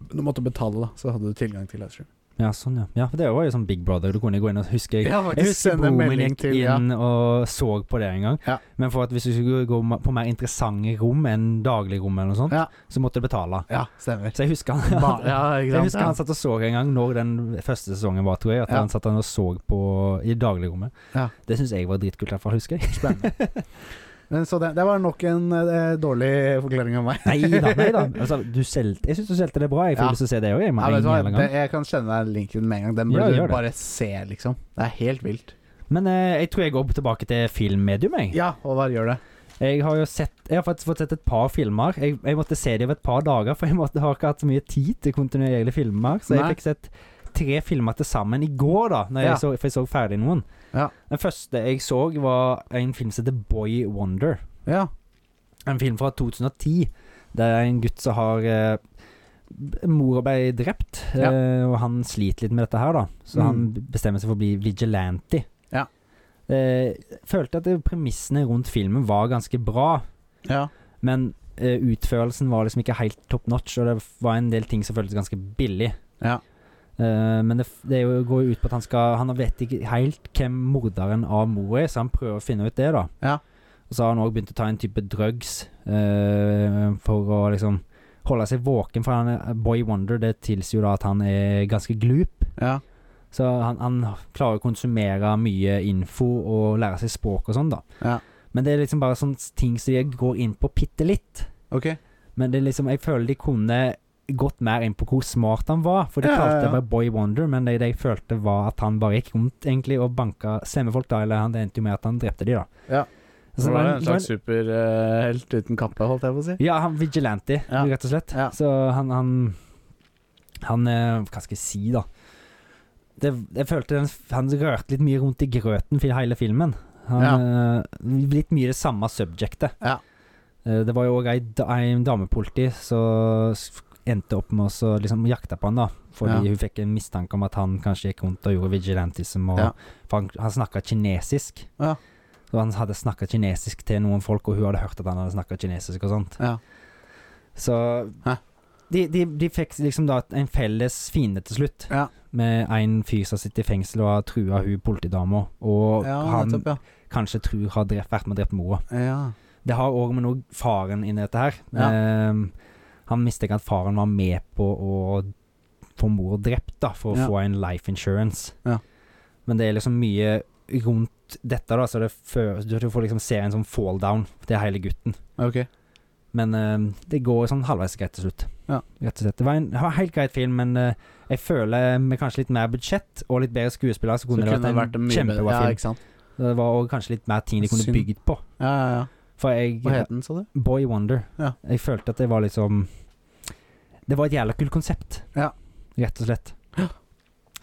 Speaker 1: Du måtte betale, da, så hadde du tilgang til livestream.
Speaker 2: Ja, sånn, ja. ja. for Det var jo sånn Big Brother. Du kunne gå inn og huske Jeg,
Speaker 1: Ja,
Speaker 2: jeg husker broren min gikk
Speaker 1: til ja.
Speaker 2: inn og så på det en gang.
Speaker 1: Ja.
Speaker 2: Men for at hvis du skulle gå ma- på mer interessante rom enn dagligrom, eller noe sånt,
Speaker 1: Ja.
Speaker 2: så måtte du betale.
Speaker 1: ja, stemmer.
Speaker 2: Så jeg husker han
Speaker 1: Ba ja,
Speaker 2: Jeg
Speaker 1: ikke
Speaker 2: husker han
Speaker 1: sant.
Speaker 2: satt og så en gang når den første sesongen var, tror jeg. At
Speaker 1: Ja.
Speaker 2: han satt han og så på i dagligrommet.
Speaker 1: Ja.
Speaker 2: Det syns jeg var dritkult, i hvert fall, husker jeg.
Speaker 1: Ja, spennende. Men så det, det var nok en eh, dårlig forklaring av meg.
Speaker 2: Nei da, nei da. Altså, du selgte Jeg syns du solgte det bra. Jeg får
Speaker 1: Ja.
Speaker 2: lyst til å se det òg, jeg.
Speaker 1: Ja,
Speaker 2: Med
Speaker 1: vet
Speaker 2: en
Speaker 1: du hva,
Speaker 2: jævla
Speaker 1: det,
Speaker 2: gang.
Speaker 1: jeg kan kjenne deg linken med en gang. Den
Speaker 2: Ja,
Speaker 1: burde du
Speaker 2: gjør det.
Speaker 1: bare se, liksom. Det er helt vilt.
Speaker 2: Men eh, jeg tror jeg går tilbake til filmmedium, jeg.
Speaker 1: Ja, og hva gjør det?
Speaker 2: Jeg har jo sett Jeg har faktisk fått sett et par filmer. Jeg, jeg måtte se dem over et par dager, for jeg måtte, har ikke hatt så mye tid til kontinuerlige filmer. Så
Speaker 1: Nei.
Speaker 2: jeg fikk sett tre filmer til sammen i går, da, når
Speaker 1: Ja.
Speaker 2: jeg så, for jeg så ferdig noen.
Speaker 1: Ja.
Speaker 2: Den første jeg så, var en film som heter Boy Wonder.
Speaker 1: Ja.
Speaker 2: En film fra 2010. Det er en gutt som har eh, b- Mora ble drept,
Speaker 1: Ja.
Speaker 2: eh, og han sliter litt med dette her, da. Så
Speaker 1: Mm.
Speaker 2: han b- bestemmer seg for å bli vigilante.
Speaker 1: Ja.
Speaker 2: Eh, følte at det- premissene rundt filmen var ganske bra.
Speaker 1: ja.
Speaker 2: Men eh, utførelsen var liksom ikke helt top notch, og det var en del ting som føltes ganske billig.
Speaker 1: Ja.
Speaker 2: Eh, men det, f- det er jo- går jo ut på at han skal Han vet ikke helt hvem morderen av Mo er, så han prøver å finne ut det, da.
Speaker 1: Ja.
Speaker 2: Og så har han òg begynt å ta en type drugs eh, for å liksom holde seg våken, for han er Boy Wonder det tilsier jo da at han er ganske glup.
Speaker 1: Ja.
Speaker 2: Så han, han klarer å konsumere mye info og lære seg språk og sånn, da.
Speaker 1: Ja.
Speaker 2: Men det er liksom bare sånne ting som de går inn på bitte litt.
Speaker 1: Ok.
Speaker 2: Men det er liksom, jeg føler de kunne gått mer inn på hvor smart han var. For de
Speaker 1: Ja, ja,
Speaker 2: kalte det
Speaker 1: ja.
Speaker 2: bare Boy Wonder, men det, det jeg følte var at han bare gikk rundt egentlig og banka slemme folk, da. Eller han det endte jo med at han drepte de, da. Altså,
Speaker 1: Ja.
Speaker 2: Så det var en, det var en
Speaker 1: superhelt uten kappe, holdt jeg på å si.
Speaker 2: ja, han vigilante,
Speaker 1: Ja.
Speaker 2: rett og slett.
Speaker 1: Ja.
Speaker 2: Så han, han Han eh, Hva skal jeg si, da? Det, jeg følte den, han rørte litt mye rundt i grøten for hele filmen. Han, eh, litt mye det samme subjectet.
Speaker 1: Ja.
Speaker 2: Eh, det var jo òg ei, da- ei damepoliti som s- endte opp med å så liksom jakte på han da fordi
Speaker 1: Ja.
Speaker 2: hun fikk en mistanke om at han kanskje gikk rundt og gjorde vigilantism. Og,
Speaker 1: Ja.
Speaker 2: For han, han snakka kinesisk.
Speaker 1: Ja.
Speaker 2: Så han hadde snakka kinesisk til noen folk, og hun hadde hørt at han hadde snakka kinesisk og sånt.
Speaker 1: Ja.
Speaker 2: Så
Speaker 1: Hæ?
Speaker 2: de, de, de fikk liksom da en felles fiende til slutt,
Speaker 1: Ja.
Speaker 2: med en fyr som sitter i fengsel og har trua hun politidama, og
Speaker 1: Ja,
Speaker 2: han
Speaker 1: nettopp, ja.
Speaker 2: kanskje tror har drept, vært med og drept mora.
Speaker 1: ja.
Speaker 2: Det har òg med noe faren inn i dette her.
Speaker 1: Ja.
Speaker 2: Ehm, han mistenker at faren var med på å få mor drept, da, for å
Speaker 1: Ja.
Speaker 2: få en life insurance.
Speaker 1: Ja.
Speaker 2: Men det er liksom mye rundt dette, da, så det fø- du du får liksom se en sånn fall down til hele gutten.
Speaker 1: Ok.
Speaker 2: Men eh, det går sånn halvveis greit til slutt.
Speaker 1: Ja.
Speaker 2: Rett og slett. Det var en, det var en helt greit film, men eh, jeg føler med kanskje litt mer budsjett og litt bedre skuespillere, så
Speaker 1: Så
Speaker 2: kunne det vært en
Speaker 1: mye
Speaker 2: kjempebra
Speaker 1: bedre- Ja,
Speaker 2: film.
Speaker 1: ikke sant.
Speaker 2: det var også kanskje litt mer ting de kunne
Speaker 1: Synd.
Speaker 2: bygd på.
Speaker 1: Ja, ja, ja.
Speaker 2: For jeg
Speaker 1: Hva het den, sa du?
Speaker 2: Boy Wonder.
Speaker 1: Ja.
Speaker 2: Jeg følte at det var liksom Det var et jævla kult konsept,
Speaker 1: Ja.
Speaker 2: rett og slett.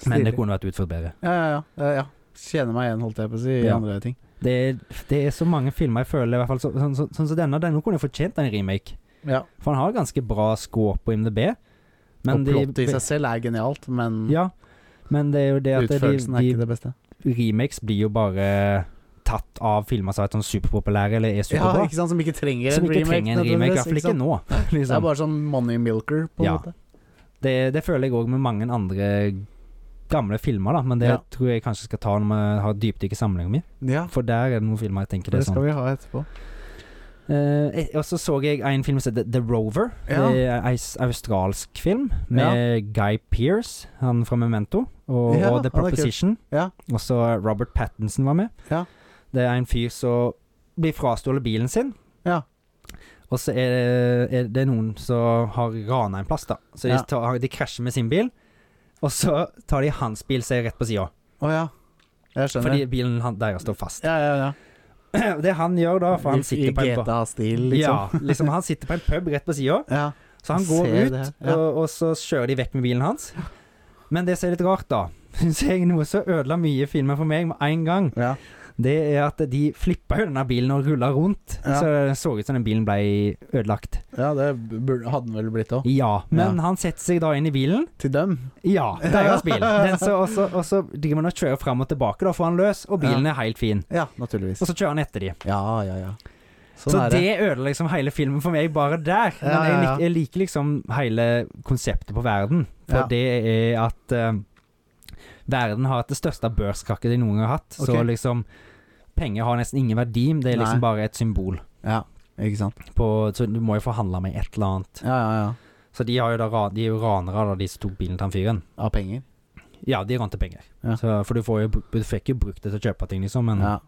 Speaker 2: Men det
Speaker 1: Stilig.
Speaker 2: kunne vært utført bedre.
Speaker 1: Ja, ja, ja. ja, ja. Kjenner meg igjen, holdt jeg på å si, i
Speaker 2: Ja.
Speaker 1: andre ting.
Speaker 2: Det er, det er så mange filmer jeg føler i hvert fall så, Sånn som så, sånn som denne. Denne kunne fortjent en remake.
Speaker 1: Ja.
Speaker 2: For han har ganske bra score på IMDb. Men
Speaker 1: og
Speaker 2: de-
Speaker 1: plottet i seg selv er genialt, men
Speaker 2: Ja, men det er jo det at
Speaker 1: Mm. utførelsen er
Speaker 2: de,
Speaker 1: ikke det beste.
Speaker 2: de remakes blir jo bare tatt av filmer som er sånn superpopulære eller er
Speaker 1: Ja,
Speaker 2: superbra.
Speaker 1: ikke sant, Som ikke trenger
Speaker 2: som
Speaker 1: en
Speaker 2: ikke
Speaker 1: remake.
Speaker 2: trenger en remake, i
Speaker 1: nødvendigvis,
Speaker 2: hvert fall
Speaker 1: ikke
Speaker 2: ikke
Speaker 1: sant?
Speaker 2: nå.
Speaker 1: Det er
Speaker 2: Liksom.
Speaker 1: bare sånn money milker, på en
Speaker 2: Ja.
Speaker 1: måte.
Speaker 2: Det, det føler jeg òg med mange andre gamle filmer, da, men det
Speaker 1: Ja.
Speaker 2: tror jeg kanskje skal ta når vi har dypdykket samlinger mi.
Speaker 1: Ja,
Speaker 2: For der er det noen filmer jeg tenker
Speaker 1: det
Speaker 2: det er
Speaker 1: skal
Speaker 2: sånn.
Speaker 1: vi ha etterpå.
Speaker 2: Eh, eh, og så så jeg en film som heter The Rover.
Speaker 1: Ja.
Speaker 2: Det er en s- Eh, australsk film med Guy Pearce, han fra Memento, og,
Speaker 1: Ja,
Speaker 2: og
Speaker 1: han
Speaker 2: The
Speaker 1: er kul.
Speaker 2: Proposition.
Speaker 1: Ja.
Speaker 2: Og så Robert Pattinson var med.
Speaker 1: Ja.
Speaker 2: Det er en fyr som blir frastjålet bilen sin.
Speaker 1: Ja.
Speaker 2: Og så er det, er det noen som har rana en plass, da. Så
Speaker 1: Ja.
Speaker 2: de, tar, de krasjer med sin bil, og så tar de hans bil som er rett på sida.
Speaker 1: Å ja. Jeg skjønner.
Speaker 2: Fordi bilen han- deres står fast.
Speaker 1: ja, ja, ja.
Speaker 2: Det han gjør da, for han sitter
Speaker 1: I
Speaker 2: på en
Speaker 1: GTA-stil, liksom.
Speaker 2: Ja, liksom han sitter på en pub rett på sida,
Speaker 1: Ja.
Speaker 2: så han
Speaker 1: Jeg
Speaker 2: går
Speaker 1: ser
Speaker 2: ut,
Speaker 1: det, ja.
Speaker 2: og, og så kjører de vekk med bilen hans. Men det som er litt rart, da, syns jeg noe som ødela mye filmen for meg med en gang,
Speaker 1: Ja.
Speaker 2: det er at de flippa jo denne bilen og rulla rundt,
Speaker 1: Ja.
Speaker 2: så det så ut som den bilen ble ødelagt.
Speaker 1: ja, det burde, hadde den vel blitt òg.
Speaker 2: Ja, men
Speaker 1: Ja.
Speaker 2: han setter seg da inn i bilen.
Speaker 1: Til dem.
Speaker 2: Ja, deres bil. Den så, og, så, og så driver han og kjører fram og tilbake, da får han løs, og bilen er helt fin.
Speaker 1: Ja, naturligvis.
Speaker 2: Og så kjører han etter de.
Speaker 1: Ja, ja, ja. Sånn
Speaker 2: Så
Speaker 1: er det.
Speaker 2: det ødela liksom hele filmen for meg, bare der. Men
Speaker 1: Ja, ja, ja.
Speaker 2: Jeg, lik, jeg liker liksom hele konseptet på verden. For
Speaker 1: Ja.
Speaker 2: det er at eh, verden har hatt det største børskrakket de noen gang har hatt. Så
Speaker 1: Ok.
Speaker 2: liksom Penger har nesten ingen verdi, det er liksom
Speaker 1: Nei.
Speaker 2: bare et symbol.
Speaker 1: Ja, ikke sant.
Speaker 2: På, så du må jo forhandle med et eller annet.
Speaker 1: Ja, ja, ja.
Speaker 2: Så de, har jo da, ra- de er jo ranere, da, de som tok bilen til han fyren.
Speaker 1: Av penger.
Speaker 2: Ja, de rante penger.
Speaker 1: Ja.
Speaker 2: Så, for du, får jo, br- du fikk jo brukt det til å kjøpe ting, liksom, men
Speaker 1: Ja.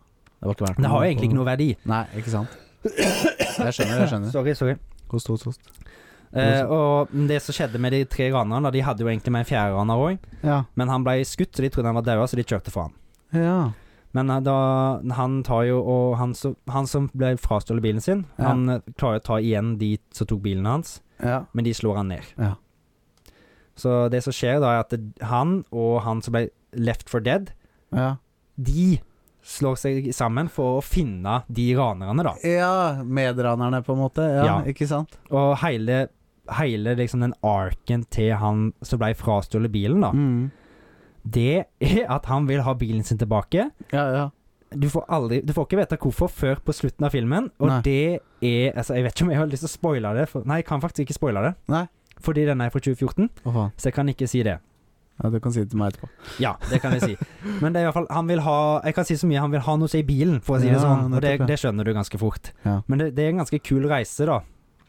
Speaker 1: Det var ikke verdt
Speaker 2: det har jo egentlig ikke noe verdi.
Speaker 1: Nei, ikke sant. Jeg skjønner, jeg skjønner.
Speaker 2: Sorry, sorry.
Speaker 1: Kost, kost, kost.
Speaker 2: Eh, og det som skjedde med de tre ranerne, da, de hadde jo egentlig med en fjerde raner òg,
Speaker 1: Ja.
Speaker 2: men han ble skutt, så de trodde han var død, så de kjørte for han.
Speaker 1: Ja.
Speaker 2: Men eh, da, han tar jo og han, som- han som ble frastjålet bilen sin,
Speaker 1: Ja.
Speaker 2: han eh, klarer å ta igjen de som tok bilen hans,
Speaker 1: Ja.
Speaker 2: men de slår han ned.
Speaker 1: Ja.
Speaker 2: Så det som skjer da, er at det- han og han som ble left for dead,
Speaker 1: Ja.
Speaker 2: de slår seg sammen for å finne de ranerne, da.
Speaker 1: Ja, medranerne på en måte. Ja,
Speaker 2: Ja.
Speaker 1: ikke sant?
Speaker 2: Og hele, hele liksom den arken til han som ble frastjålet bilen, da.
Speaker 1: Mm.
Speaker 2: Det er at han vil ha bilen sin tilbake.
Speaker 1: Ja, ja.
Speaker 2: Du får, aldri, du får ikke vite hvorfor før på slutten av filmen. Og
Speaker 1: Nei.
Speaker 2: det er altså, Jeg vet ikke om jeg har lyst til å spoile det. For, nei, jeg kan faktisk ikke spoile det.
Speaker 1: Nei.
Speaker 2: Fordi den er fra 2014,
Speaker 1: Å faen.
Speaker 2: så jeg kan ikke si det.
Speaker 1: Ja, du kan si det til meg etterpå.
Speaker 2: Ja, det kan jeg si. Men det er i hvert fall, han vil ha Jeg kan si så mye, han vil ha noe å si i bilen, for å si det
Speaker 1: Ja,
Speaker 2: sånn. Og det,
Speaker 1: nettopp, ja.
Speaker 2: det skjønner du ganske fort.
Speaker 1: Ja.
Speaker 2: Men det, det er en ganske kul reise, da.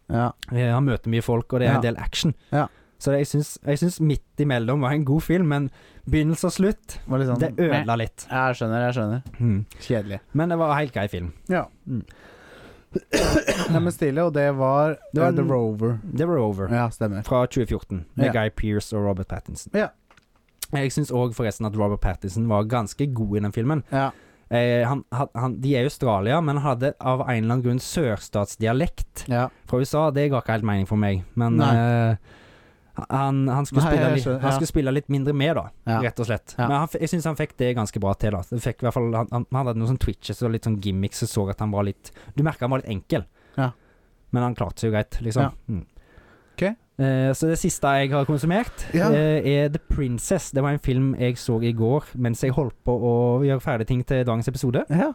Speaker 1: Ja.
Speaker 2: Eh, Han møter mye folk, og det er
Speaker 1: Ja.
Speaker 2: en del action.
Speaker 1: Ja.
Speaker 2: Så det, jeg syns- jeg syns midt imellom var en god film, men begynnelse og slutt,
Speaker 1: Var litt sånn,
Speaker 2: det ødela litt.
Speaker 1: Ja, jeg skjønner, jeg skjønner.
Speaker 2: Mm.
Speaker 1: Kjedelig.
Speaker 2: Men det var en helt grei film.
Speaker 1: Ja.
Speaker 2: Mm.
Speaker 1: Nei, men stille, og det var,
Speaker 2: Det var
Speaker 1: eh, The
Speaker 2: en-
Speaker 1: Rover.
Speaker 2: Det var over.
Speaker 1: Ja, stemmer.
Speaker 2: Fra 2014, med
Speaker 1: Ja.
Speaker 2: Guy Pearce og Robert Pattinson.
Speaker 1: Ja.
Speaker 2: Jeg syns òg forresten at Robert Pattinson var ganske god i den filmen.
Speaker 1: Ja.
Speaker 2: Eh, han, han, han, de er i Australia, men han hadde av en eller annen grunn sørstatsdialekt
Speaker 1: ja.
Speaker 2: fra USA. Det ga ikke helt mening for meg, men eh, han, han, skulle
Speaker 1: Nei,
Speaker 2: spille
Speaker 1: jeg
Speaker 2: litt,
Speaker 1: skjønner,
Speaker 2: han
Speaker 1: ja.
Speaker 2: skulle spille litt mindre med, da,
Speaker 1: Ja.
Speaker 2: rett og slett.
Speaker 1: Ja.
Speaker 2: Men han, f- jeg syns han fikk det ganske bra til. da Det fikk i hvert fall, han, han, han hadde noen sånn twitches og litt sånn gimmicks, og så at han var litt Du merka han var litt enkel,
Speaker 1: Ja.
Speaker 2: men han klarte seg jo greit, liksom.
Speaker 1: Ja.
Speaker 2: Mm.
Speaker 1: Ok.
Speaker 2: Eh, så det siste jeg har konsumert,
Speaker 1: Ja.
Speaker 2: eh, er The Princess. Det var en film jeg så i går mens jeg holdt på å gjøre ferdig ting til dagens episode.
Speaker 1: Ja.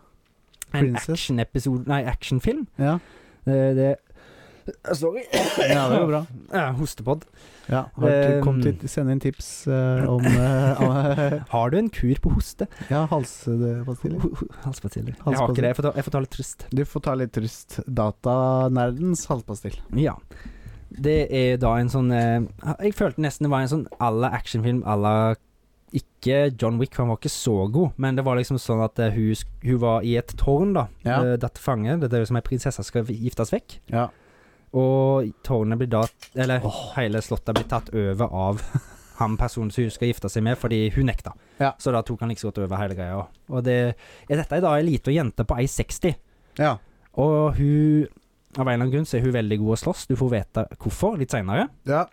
Speaker 2: En
Speaker 1: Princess.
Speaker 2: action-episode Nei, actionfilm.
Speaker 1: Ja.
Speaker 2: Eh, det Eh, Sorry.
Speaker 1: ja, det går bra. Ehm,
Speaker 2: Eh, hostepod.
Speaker 1: Ja. Har du
Speaker 2: Eh,
Speaker 1: kommet til sende inn tips eh, om eh,
Speaker 2: Har du en kur på hoste?
Speaker 1: Ja, halspastiller.
Speaker 2: Ho- ho- Halspastiller. Jeg har
Speaker 1: Halspastiller.
Speaker 2: ikke det. Jeg får ta, jeg får ta litt trist.
Speaker 1: Du får ta litt trøst. Datanerdens halspastill.
Speaker 2: Ja. Det er da en sånn eh, Jeg følte nesten det var en sånn à la actionfilm à la ikke John Wick, han var ikke så god, men det var liksom sånn at eh, hun, sk- hun var i et tårn, da.
Speaker 1: Ja.
Speaker 2: Eh, Datt fange. Det er jo som ei prinsesse skal giftes vekk.
Speaker 1: Ja.
Speaker 2: Og tårnet blir da Eller hele slottet blir tatt over av han personen som hun skal gifte seg med, fordi hun nekta.
Speaker 1: Ja.
Speaker 2: Så da tok han like så godt over hele greia. Og det, ja, dette er da ei lita jente på 1,60,
Speaker 1: Ja.
Speaker 2: og hun Av en eller annen grunn så er hun veldig god å slåss, du får vite hvorfor litt seinere.
Speaker 1: Ja.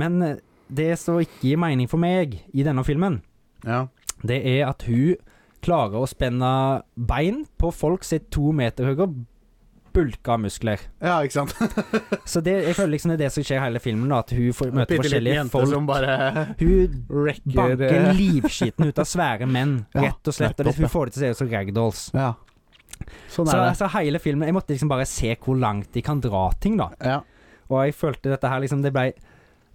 Speaker 2: Men eh, det som ikke gir mening for meg i denne filmen,
Speaker 1: Ja.
Speaker 2: det er at hun klarer å spenne bein på folk som er to meter høye og bulker av muskler.
Speaker 1: ja, ikke sant?
Speaker 2: Så det, jeg føler liksom det er det som skjer i hele filmen, da, at hun får, møter forskjellige
Speaker 1: jente
Speaker 2: folk.
Speaker 1: som bare
Speaker 2: Hun
Speaker 1: wrecker
Speaker 2: banker
Speaker 1: eh,
Speaker 2: livskiten ut av svære menn,
Speaker 1: Ja,
Speaker 2: rett og slett. Og det,
Speaker 1: nettopp, ja.
Speaker 2: hun får det til å se ut som ragdolls.
Speaker 1: Ja. Sånn
Speaker 2: Så
Speaker 1: er det.
Speaker 2: altså, hele filmen Jeg måtte liksom bare se hvor langt de kan dra ting, da.
Speaker 1: Ja.
Speaker 2: Og jeg følte dette her liksom Det ble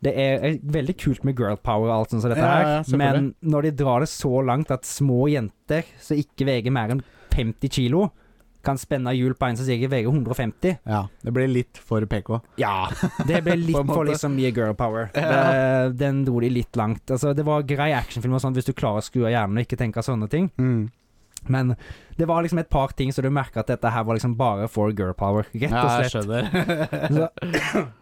Speaker 2: Det er eh, veldig kult med girl power og alt sånt som dette
Speaker 1: Ja,
Speaker 2: her,
Speaker 1: ja, selvfølgelig.
Speaker 2: men når de drar det så langt at små jenter som ikke veier mer enn 50 kilo, kan spenne hjul på en som sikkert veier 150
Speaker 1: ja. Det blir litt for PK.
Speaker 2: Ja, det
Speaker 1: På
Speaker 2: ble litt
Speaker 1: en
Speaker 2: for
Speaker 1: måte.
Speaker 2: liksom mye girl power.
Speaker 1: Ja.
Speaker 2: Det, den dro de litt langt. Altså, det var grei actionfilm og sånn hvis du klarer å skru av hjernen og ikke tenke sånne ting,
Speaker 1: Mm.
Speaker 2: men det var liksom et par ting så du merka at dette her var liksom bare for girl power, rett og
Speaker 1: Ja, jeg
Speaker 2: slett.
Speaker 1: skjønner.
Speaker 2: Så,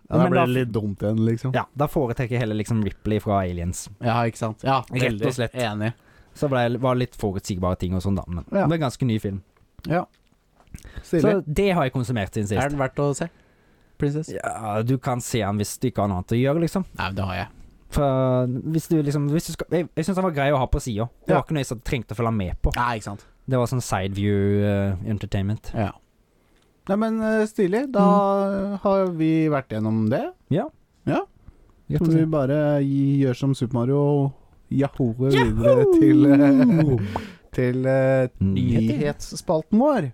Speaker 1: Ja, da
Speaker 2: Men
Speaker 1: blir
Speaker 2: da-
Speaker 1: det litt dumt igjen, liksom.
Speaker 2: ja, da foretrekker jeg heller liksom Ripley fra Aliens.
Speaker 1: Ja, ikke sant. Ja,
Speaker 2: Rett og
Speaker 1: veldig
Speaker 2: slett.
Speaker 1: Enig.
Speaker 2: Så ble, var det litt forutsigbare ting og sånn, da, men
Speaker 1: Ja.
Speaker 2: det var en ganske ny film.
Speaker 1: Stilig.
Speaker 2: Så det har jeg konsumert siden
Speaker 1: Er
Speaker 2: sist.
Speaker 1: den verdt å se? Princess?
Speaker 2: Ja, du kan se den hvis du ikke har noe annet å gjøre, liksom.
Speaker 1: Nei, men det har jeg.
Speaker 2: For hvis du liksom hvis du skal, Jeg, jeg syns den var grei å ha på sida. Det
Speaker 1: Ja.
Speaker 2: var ikke noe jeg så trengte å følge med på.
Speaker 1: Nei, ikke sant.
Speaker 2: Det var sånn sideview uh, entertainment.
Speaker 1: Ja. Nei, men eh, stilig. Da
Speaker 2: Mm.
Speaker 1: har vi vært gjennom det. Så vi bare gjør som Super Mario og jahoer videre til, eh, til eh,
Speaker 2: Nyheter.
Speaker 1: nyhetsspalten vår.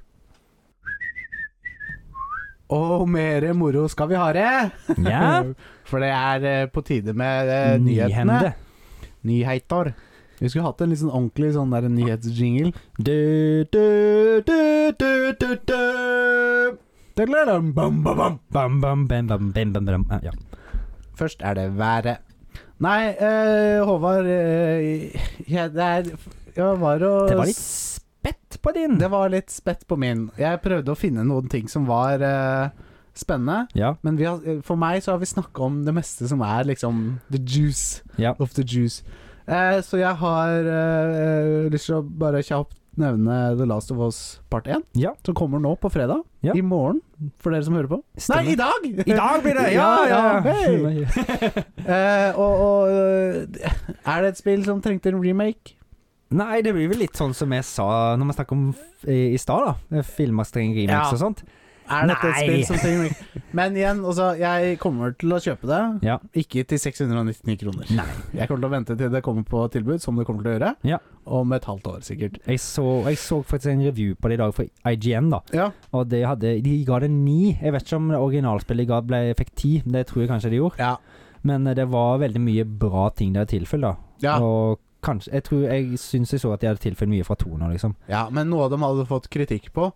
Speaker 1: Og mere moro skal vi ha det!
Speaker 2: Ja.
Speaker 1: For det er eh, på tide med eh, nyhetene.
Speaker 2: Nyhende.
Speaker 1: Nyheter. Vi skulle hatt en litt sånn ordentlig sånn der nyhetsjingle.
Speaker 2: Du, du, du, du, du, du.
Speaker 1: Tadadam, bam, bam, bam.
Speaker 2: Bam, bam, bam, bam, bam, bam, bam. Ja.
Speaker 1: Først er det været. Nei, eh, Håvard eh, jeg, det er, jeg var og
Speaker 2: Det var litt spett på din.
Speaker 1: Det var litt spett på min. Jeg prøvde å finne noen ting som var eh, spennende.
Speaker 2: Ja,
Speaker 1: Men vi har, for meg så har vi snakka om det meste som er liksom the juice
Speaker 2: ja.
Speaker 1: of the juice. Eh, så jeg har eh, lyst til å bare kjapt nevne The Last of Us part 1,
Speaker 2: Ja.
Speaker 1: som kommer nå på fredag.
Speaker 2: Ja.
Speaker 1: I morgen, for dere som hører på.
Speaker 2: Stemmer.
Speaker 1: Nei, i dag!
Speaker 2: I dag blir det! Ja,
Speaker 1: Ja,
Speaker 2: ja.
Speaker 1: ja, Eh, og og eh, er det et spill som trengte en remake?
Speaker 2: Nei, det blir vel litt sånn som jeg sa når vi snakka om f- i, i stad, da. Eh, Filmastring,
Speaker 1: Ja.
Speaker 2: remakes og sånt.
Speaker 1: Er dette et
Speaker 2: Nei.
Speaker 1: spill som trenger remake? Men igjen, altså, jeg kommer til å kjøpe det.
Speaker 2: Ja.
Speaker 1: Ikke til 699 kroner.
Speaker 2: Nei.
Speaker 1: Jeg kommer til å vente til det kommer på tilbud, som det kommer til å gjøre.
Speaker 2: Ja.
Speaker 1: Om et halvt år, sikkert.
Speaker 2: Jeg så, jeg så faktisk en review på det i dag fra IGN, da.
Speaker 1: Ja,
Speaker 2: Og de, hadde, de ga det ni. Jeg vet ikke om originalspillet ga ble, fikk ti, det tror jeg kanskje de gjorde.
Speaker 1: ja,
Speaker 2: Men eh, det var veldig mye bra ting der tilfelle, da.
Speaker 1: Ja,
Speaker 2: Og kanskje Jeg tror jeg syns jeg så at de hadde tilføyd mye fra to nå, liksom.
Speaker 1: ja, men noe de hadde fått kritikk på,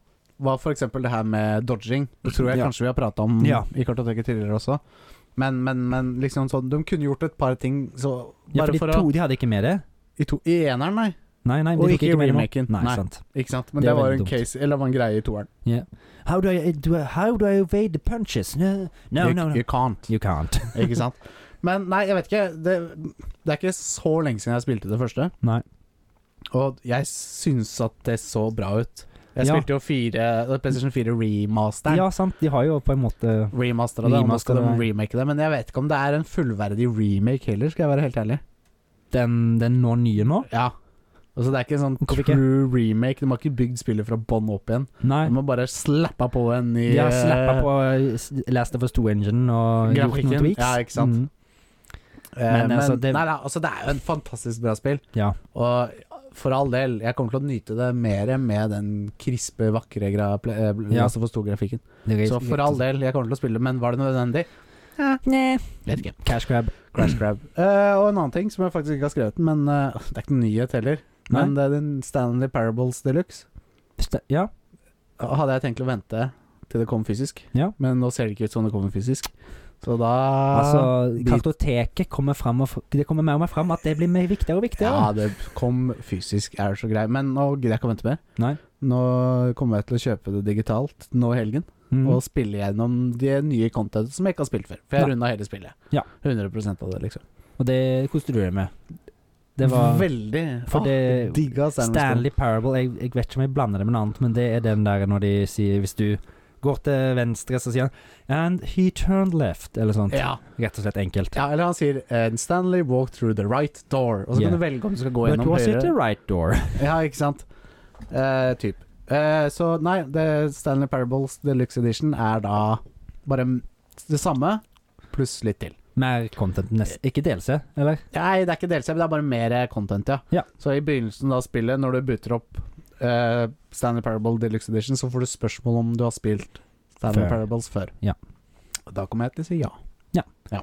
Speaker 1: var f.eks. det her med dodging. Det tror jeg
Speaker 2: Ja.
Speaker 1: kanskje vi har prata om
Speaker 2: Ja.
Speaker 1: i kartoteket tidligere også. Men, men, men liksom sånn De kunne gjort et par ting, så
Speaker 2: Ja,
Speaker 1: bare
Speaker 2: for de
Speaker 1: for
Speaker 2: to
Speaker 1: å
Speaker 2: de hadde ikke med det.
Speaker 1: I to I eneren, nei.
Speaker 2: Nei, nei, de
Speaker 1: Og
Speaker 2: tok
Speaker 1: ikke i
Speaker 2: med det nå.
Speaker 1: remaken.
Speaker 2: Nei,
Speaker 1: Nei.
Speaker 2: sant.
Speaker 1: Ikke sant? Men
Speaker 2: Det
Speaker 1: det,
Speaker 2: er
Speaker 1: var
Speaker 2: veldig
Speaker 1: en
Speaker 2: dumt.
Speaker 1: case Eller det var en greie i toeren.
Speaker 2: How do I, eh, do I, how do I evade the punches? No, no,
Speaker 1: you,
Speaker 2: no. no.
Speaker 1: you can't.
Speaker 2: You can't.
Speaker 1: Ikke sant? Men nei, jeg vet ikke. Det, det er ikke så lenge siden jeg spilte det første.
Speaker 2: Nei.
Speaker 1: Og jeg syns at det så bra ut. Jeg
Speaker 2: Ja.
Speaker 1: spilte jo fire det er PlayStation 4 remasteren.
Speaker 2: Ja, sant. De har jo på en måte
Speaker 1: Remastera det, og nå skal de
Speaker 2: Remasteret, ja.
Speaker 1: remake det. Men jeg vet ikke om det er en fullverdig remake heller, skal jeg være helt ærlig.
Speaker 2: den, den nå nye nå.
Speaker 1: Ja. Altså Det er ikke en sånn
Speaker 2: Hvorfor ikke?
Speaker 1: true remake. De har ikke bygd spillet fra bånn opp igjen.
Speaker 2: Nei.
Speaker 1: De har bare slappa på en ny
Speaker 2: De har slappa
Speaker 1: eh,
Speaker 2: på eh, s- Last of Us 2-engine og gjort
Speaker 1: Grafikken,
Speaker 2: noen tweaks.
Speaker 1: ja, ikke sant.
Speaker 2: Mm.
Speaker 1: Eh,
Speaker 2: Men,
Speaker 1: men,
Speaker 2: altså, det-
Speaker 1: nei, nei, altså, det er jo en fantastisk bra spill.
Speaker 2: Ja.
Speaker 1: Og for all del, jeg kommer til å nyte det mer med den krispe, vakre gra ple- eh,
Speaker 2: Ja.
Speaker 1: Last of Us 2-grafikken.
Speaker 2: Det er-
Speaker 1: Så for all del, jeg kommer til å spille, men var det nødvendig?
Speaker 2: Nei.
Speaker 1: Vet ikke.
Speaker 2: Cash grab.
Speaker 1: Crash Grab. Eh, og en annen ting som jeg faktisk ikke har skrevet, men eh, det er ikke noen nyhet heller.
Speaker 2: Nei.
Speaker 1: Men det er den Stanley Parables Deluxe.
Speaker 2: Sta- Ja.
Speaker 1: Hadde jeg tenkt å vente til det kom fysisk,
Speaker 2: Ja.
Speaker 1: men nå ser det ikke ut som det kommer fysisk. Så da
Speaker 2: Altså,
Speaker 1: bit-
Speaker 2: kartoteket kommer fram og fr- Det kommer mer og mer fram at det blir mer viktigere og
Speaker 1: Ja,
Speaker 2: viktigere.
Speaker 1: det kom fysisk, er det så grei. Men nå gidder jeg ikke å vente mer.
Speaker 2: Nei.
Speaker 1: Nå kommer jeg til å kjøpe det digitalt nå i helgen,
Speaker 2: Mm.
Speaker 1: og spille gjennom det nye contentet som jeg ikke har spilt før. For jeg
Speaker 2: Nei.
Speaker 1: runda hele spillet.
Speaker 2: Ja.
Speaker 1: 100 av det, liksom.
Speaker 2: Og det koste du deg med. Det var
Speaker 1: Veldig.
Speaker 2: For
Speaker 1: Åh,
Speaker 2: det-
Speaker 1: digga Stanley.
Speaker 2: Stanley Parable. Jeg, jeg vet ikke om jeg blander det med noe annet, men det er den der når de sier Hvis du går til venstre, så sier han And he turned left, eller sånt.
Speaker 1: Ja.
Speaker 2: Rett og slett enkelt.
Speaker 1: Ja, eller han sier eh, Stanley walk through the right door. Og så
Speaker 2: Yeah.
Speaker 1: kan du velge om du skal gå
Speaker 2: But
Speaker 1: gjennom
Speaker 2: was it the
Speaker 1: høyre.
Speaker 2: right door?
Speaker 1: Ja, ikke sant? Eh, typ. Eh, så nei, det Stanley Parables Deluxe Edition er da bare m- det samme, pluss litt til.
Speaker 2: Mer content nest. Ikke DLC, eller?
Speaker 1: Nei, det er ikke DLC, men det er bare mer eh, content, ja.
Speaker 2: Ja.
Speaker 1: Så i begynnelsen av spillet, når du booter opp eh, Stanley Parable Deluxe Edition, så får du spørsmål om du har spilt Stanley
Speaker 2: Før.
Speaker 1: Parables før.
Speaker 2: Ja.
Speaker 1: Og Da kommer jeg til å si ja.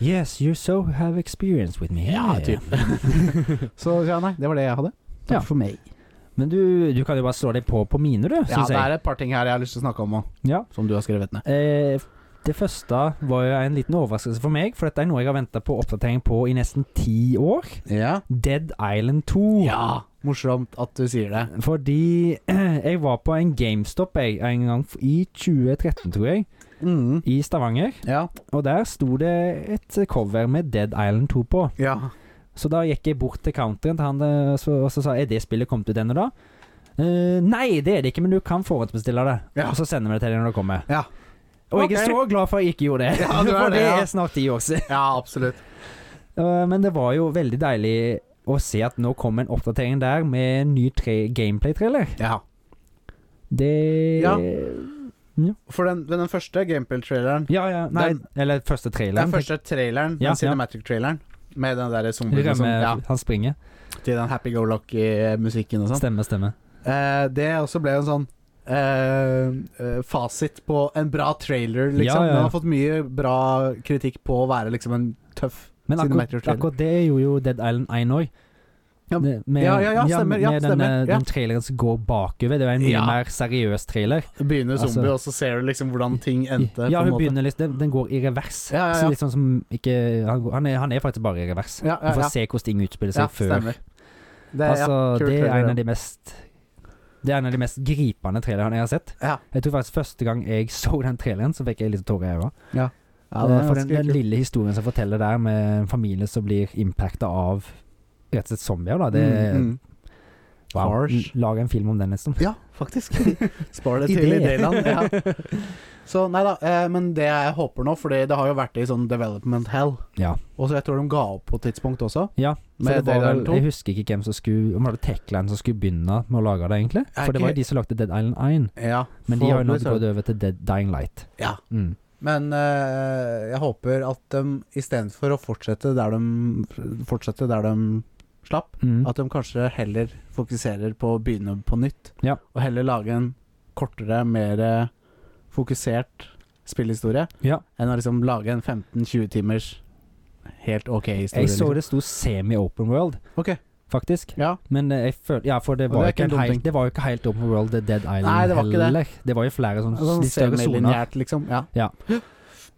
Speaker 2: Yes, you so have experience with me.
Speaker 1: Ja, typ. så ja, nei, det var det jeg hadde. Takk
Speaker 2: Ja.
Speaker 1: for meg.
Speaker 2: Men du, du kan jo bare slå deg på på mine, du,
Speaker 1: Ja,
Speaker 2: syns
Speaker 1: det
Speaker 2: jeg.
Speaker 1: er et par ting her jeg har lyst til å snakke om òg,
Speaker 2: Ja.
Speaker 1: som du har skrevet ned.
Speaker 2: Eh, det første var jo en liten overraskelse for meg, for dette er noe jeg har venta på oppdatering på i nesten ti år.
Speaker 1: Ja.
Speaker 2: Dead Island 2.
Speaker 1: Morsomt at du sier det.
Speaker 2: Fordi jeg var på en GameStop jeg, en gang f- i 2013, tror jeg,
Speaker 1: Mm.
Speaker 2: i Stavanger.
Speaker 1: Ja.
Speaker 2: Og der sto det et cover med Dead Island 2 på.
Speaker 1: ja.
Speaker 2: Så da gikk jeg bort til counteren til han eh, så- og så sa jeg, er det spillet kommet ut ennå, da? «Eh, nei, det er det ikke, men du kan forhåndsbestille det.
Speaker 1: Ja.
Speaker 2: Og så sender vi det til deg når det kommer.
Speaker 1: Ja.
Speaker 2: Og jeg er
Speaker 1: Ok.
Speaker 2: så glad for at jeg ikke gjorde det,
Speaker 1: Ja, du er
Speaker 2: for
Speaker 1: det, ja.
Speaker 2: er snart ti år siden.
Speaker 1: absolutt.
Speaker 2: Eh, Men det var jo veldig deilig å se at nå kom en oppdatering der med en ny tre- gameplay-trailer.
Speaker 1: Ja.
Speaker 2: Det
Speaker 1: Ja. For den, den første Gameplay-traileren
Speaker 2: Ja, ja. Nei,
Speaker 1: Den-
Speaker 2: eller første traileren.
Speaker 1: Den første traileren,
Speaker 2: Ja, ja.
Speaker 1: den cinematic-traileren, med den der zombien
Speaker 2: Rømme,
Speaker 1: som ja,
Speaker 2: Han springer.
Speaker 1: Til den happy go lucky-musikken og sånn.
Speaker 2: Stemme, stemme.
Speaker 1: Eh, det også ble en sånn eh, eh, fasit på en bra trailer, liksom.
Speaker 2: Ja, ja, ja.
Speaker 1: Den har fått mye bra kritikk på å være liksom en tøff
Speaker 2: Men akkurat,
Speaker 1: Cinematic trailer.
Speaker 2: akkurat det gjorde jo Dead Island 1 òg.
Speaker 1: Ja, ja, ja, ja, stemmer, ja,
Speaker 2: med
Speaker 1: stemmer,
Speaker 2: den,
Speaker 1: ja.
Speaker 2: den traileren som går bakover. Det var en mye
Speaker 1: Ja.
Speaker 2: mer seriøs trailer.
Speaker 1: Begynner
Speaker 2: Altså-
Speaker 1: zombie, og så ser du liksom hvordan ting endte.
Speaker 2: ja,
Speaker 1: på en
Speaker 2: hun
Speaker 1: måte.
Speaker 2: begynner liksom den- Den går i revers.
Speaker 1: Ja, ja, ja.
Speaker 2: Så litt sånn som ikke Han, går- han, er, han er faktisk bare i revers.
Speaker 1: Ja,
Speaker 2: Du
Speaker 1: ja,
Speaker 2: får
Speaker 1: ja.
Speaker 2: se hvordan ting utspiller seg
Speaker 1: ja
Speaker 2: før.
Speaker 1: stemmer. Det,
Speaker 2: altså,
Speaker 1: kul
Speaker 2: det er
Speaker 1: trailer,
Speaker 2: en
Speaker 1: ja.
Speaker 2: av de mest Det er en av de mest gripende trailerne jeg har sett.
Speaker 1: Ja.
Speaker 2: Jeg tror faktisk første gang jeg så den traileren, så fikk jeg litt tårer i øynene.
Speaker 1: ja, det er
Speaker 2: for den,
Speaker 1: ganske
Speaker 2: den
Speaker 1: kult.
Speaker 2: lille historien som forteller der, med en familie som blir impacta av rett og slett zombier, da. Det er
Speaker 1: Mm, mm.
Speaker 2: wow. Mm,
Speaker 1: Harsh.
Speaker 2: Lag en film om den, nesten.
Speaker 1: Ja, faktisk. Spar det til
Speaker 2: Idé.
Speaker 1: i Dayland. Ja. Så nei da, eh, men det jeg håper nå, Fordi det har jo vært i sånn development hell,
Speaker 2: Ja.
Speaker 1: og så jeg tror de ga opp på et tidspunkt også.
Speaker 2: Ja, for
Speaker 1: Med
Speaker 2: det var
Speaker 1: Dead
Speaker 2: vel,
Speaker 1: Island 2?
Speaker 2: jeg husker ikke hvem som skulle Om det var Techland som skulle begynne med å lage det, egentlig.
Speaker 1: Er
Speaker 2: For det var
Speaker 1: ikke-
Speaker 2: jo de som lagde Dead Island 1.
Speaker 1: Ja,
Speaker 2: Men de har jo nå
Speaker 1: forhåpentligvis
Speaker 2: gått over til Dead Dying Light.
Speaker 1: Ja.
Speaker 2: Mm.
Speaker 1: Men eh, jeg håper at de istedenfor å fortsette der de Fortsette der de slapp,
Speaker 2: Mm.
Speaker 1: at de kanskje heller fokuserer på å begynne på nytt.
Speaker 2: Ja.
Speaker 1: Og heller lage en kortere, mer eh, fokusert spillhistorie
Speaker 2: Ja.
Speaker 1: enn å liksom lage en 15-20 timers helt ok historie.
Speaker 2: Jeg så
Speaker 1: liksom.
Speaker 2: det sto semi-open world,
Speaker 1: Ok,
Speaker 2: faktisk.
Speaker 1: ja.
Speaker 2: Men eh, jeg følte Ja, for det
Speaker 1: Og
Speaker 2: var,
Speaker 1: det er ikke en
Speaker 2: jo ikke en
Speaker 1: dum
Speaker 2: helt,
Speaker 1: ting.
Speaker 2: det var jo ikke helt open world The Dead Island
Speaker 1: Nei, det var ikke det.
Speaker 2: heller. Det var jo flere sånne
Speaker 1: Sånn
Speaker 2: litt større soner.
Speaker 1: semilinjært, liksom. Ja.
Speaker 2: Ja.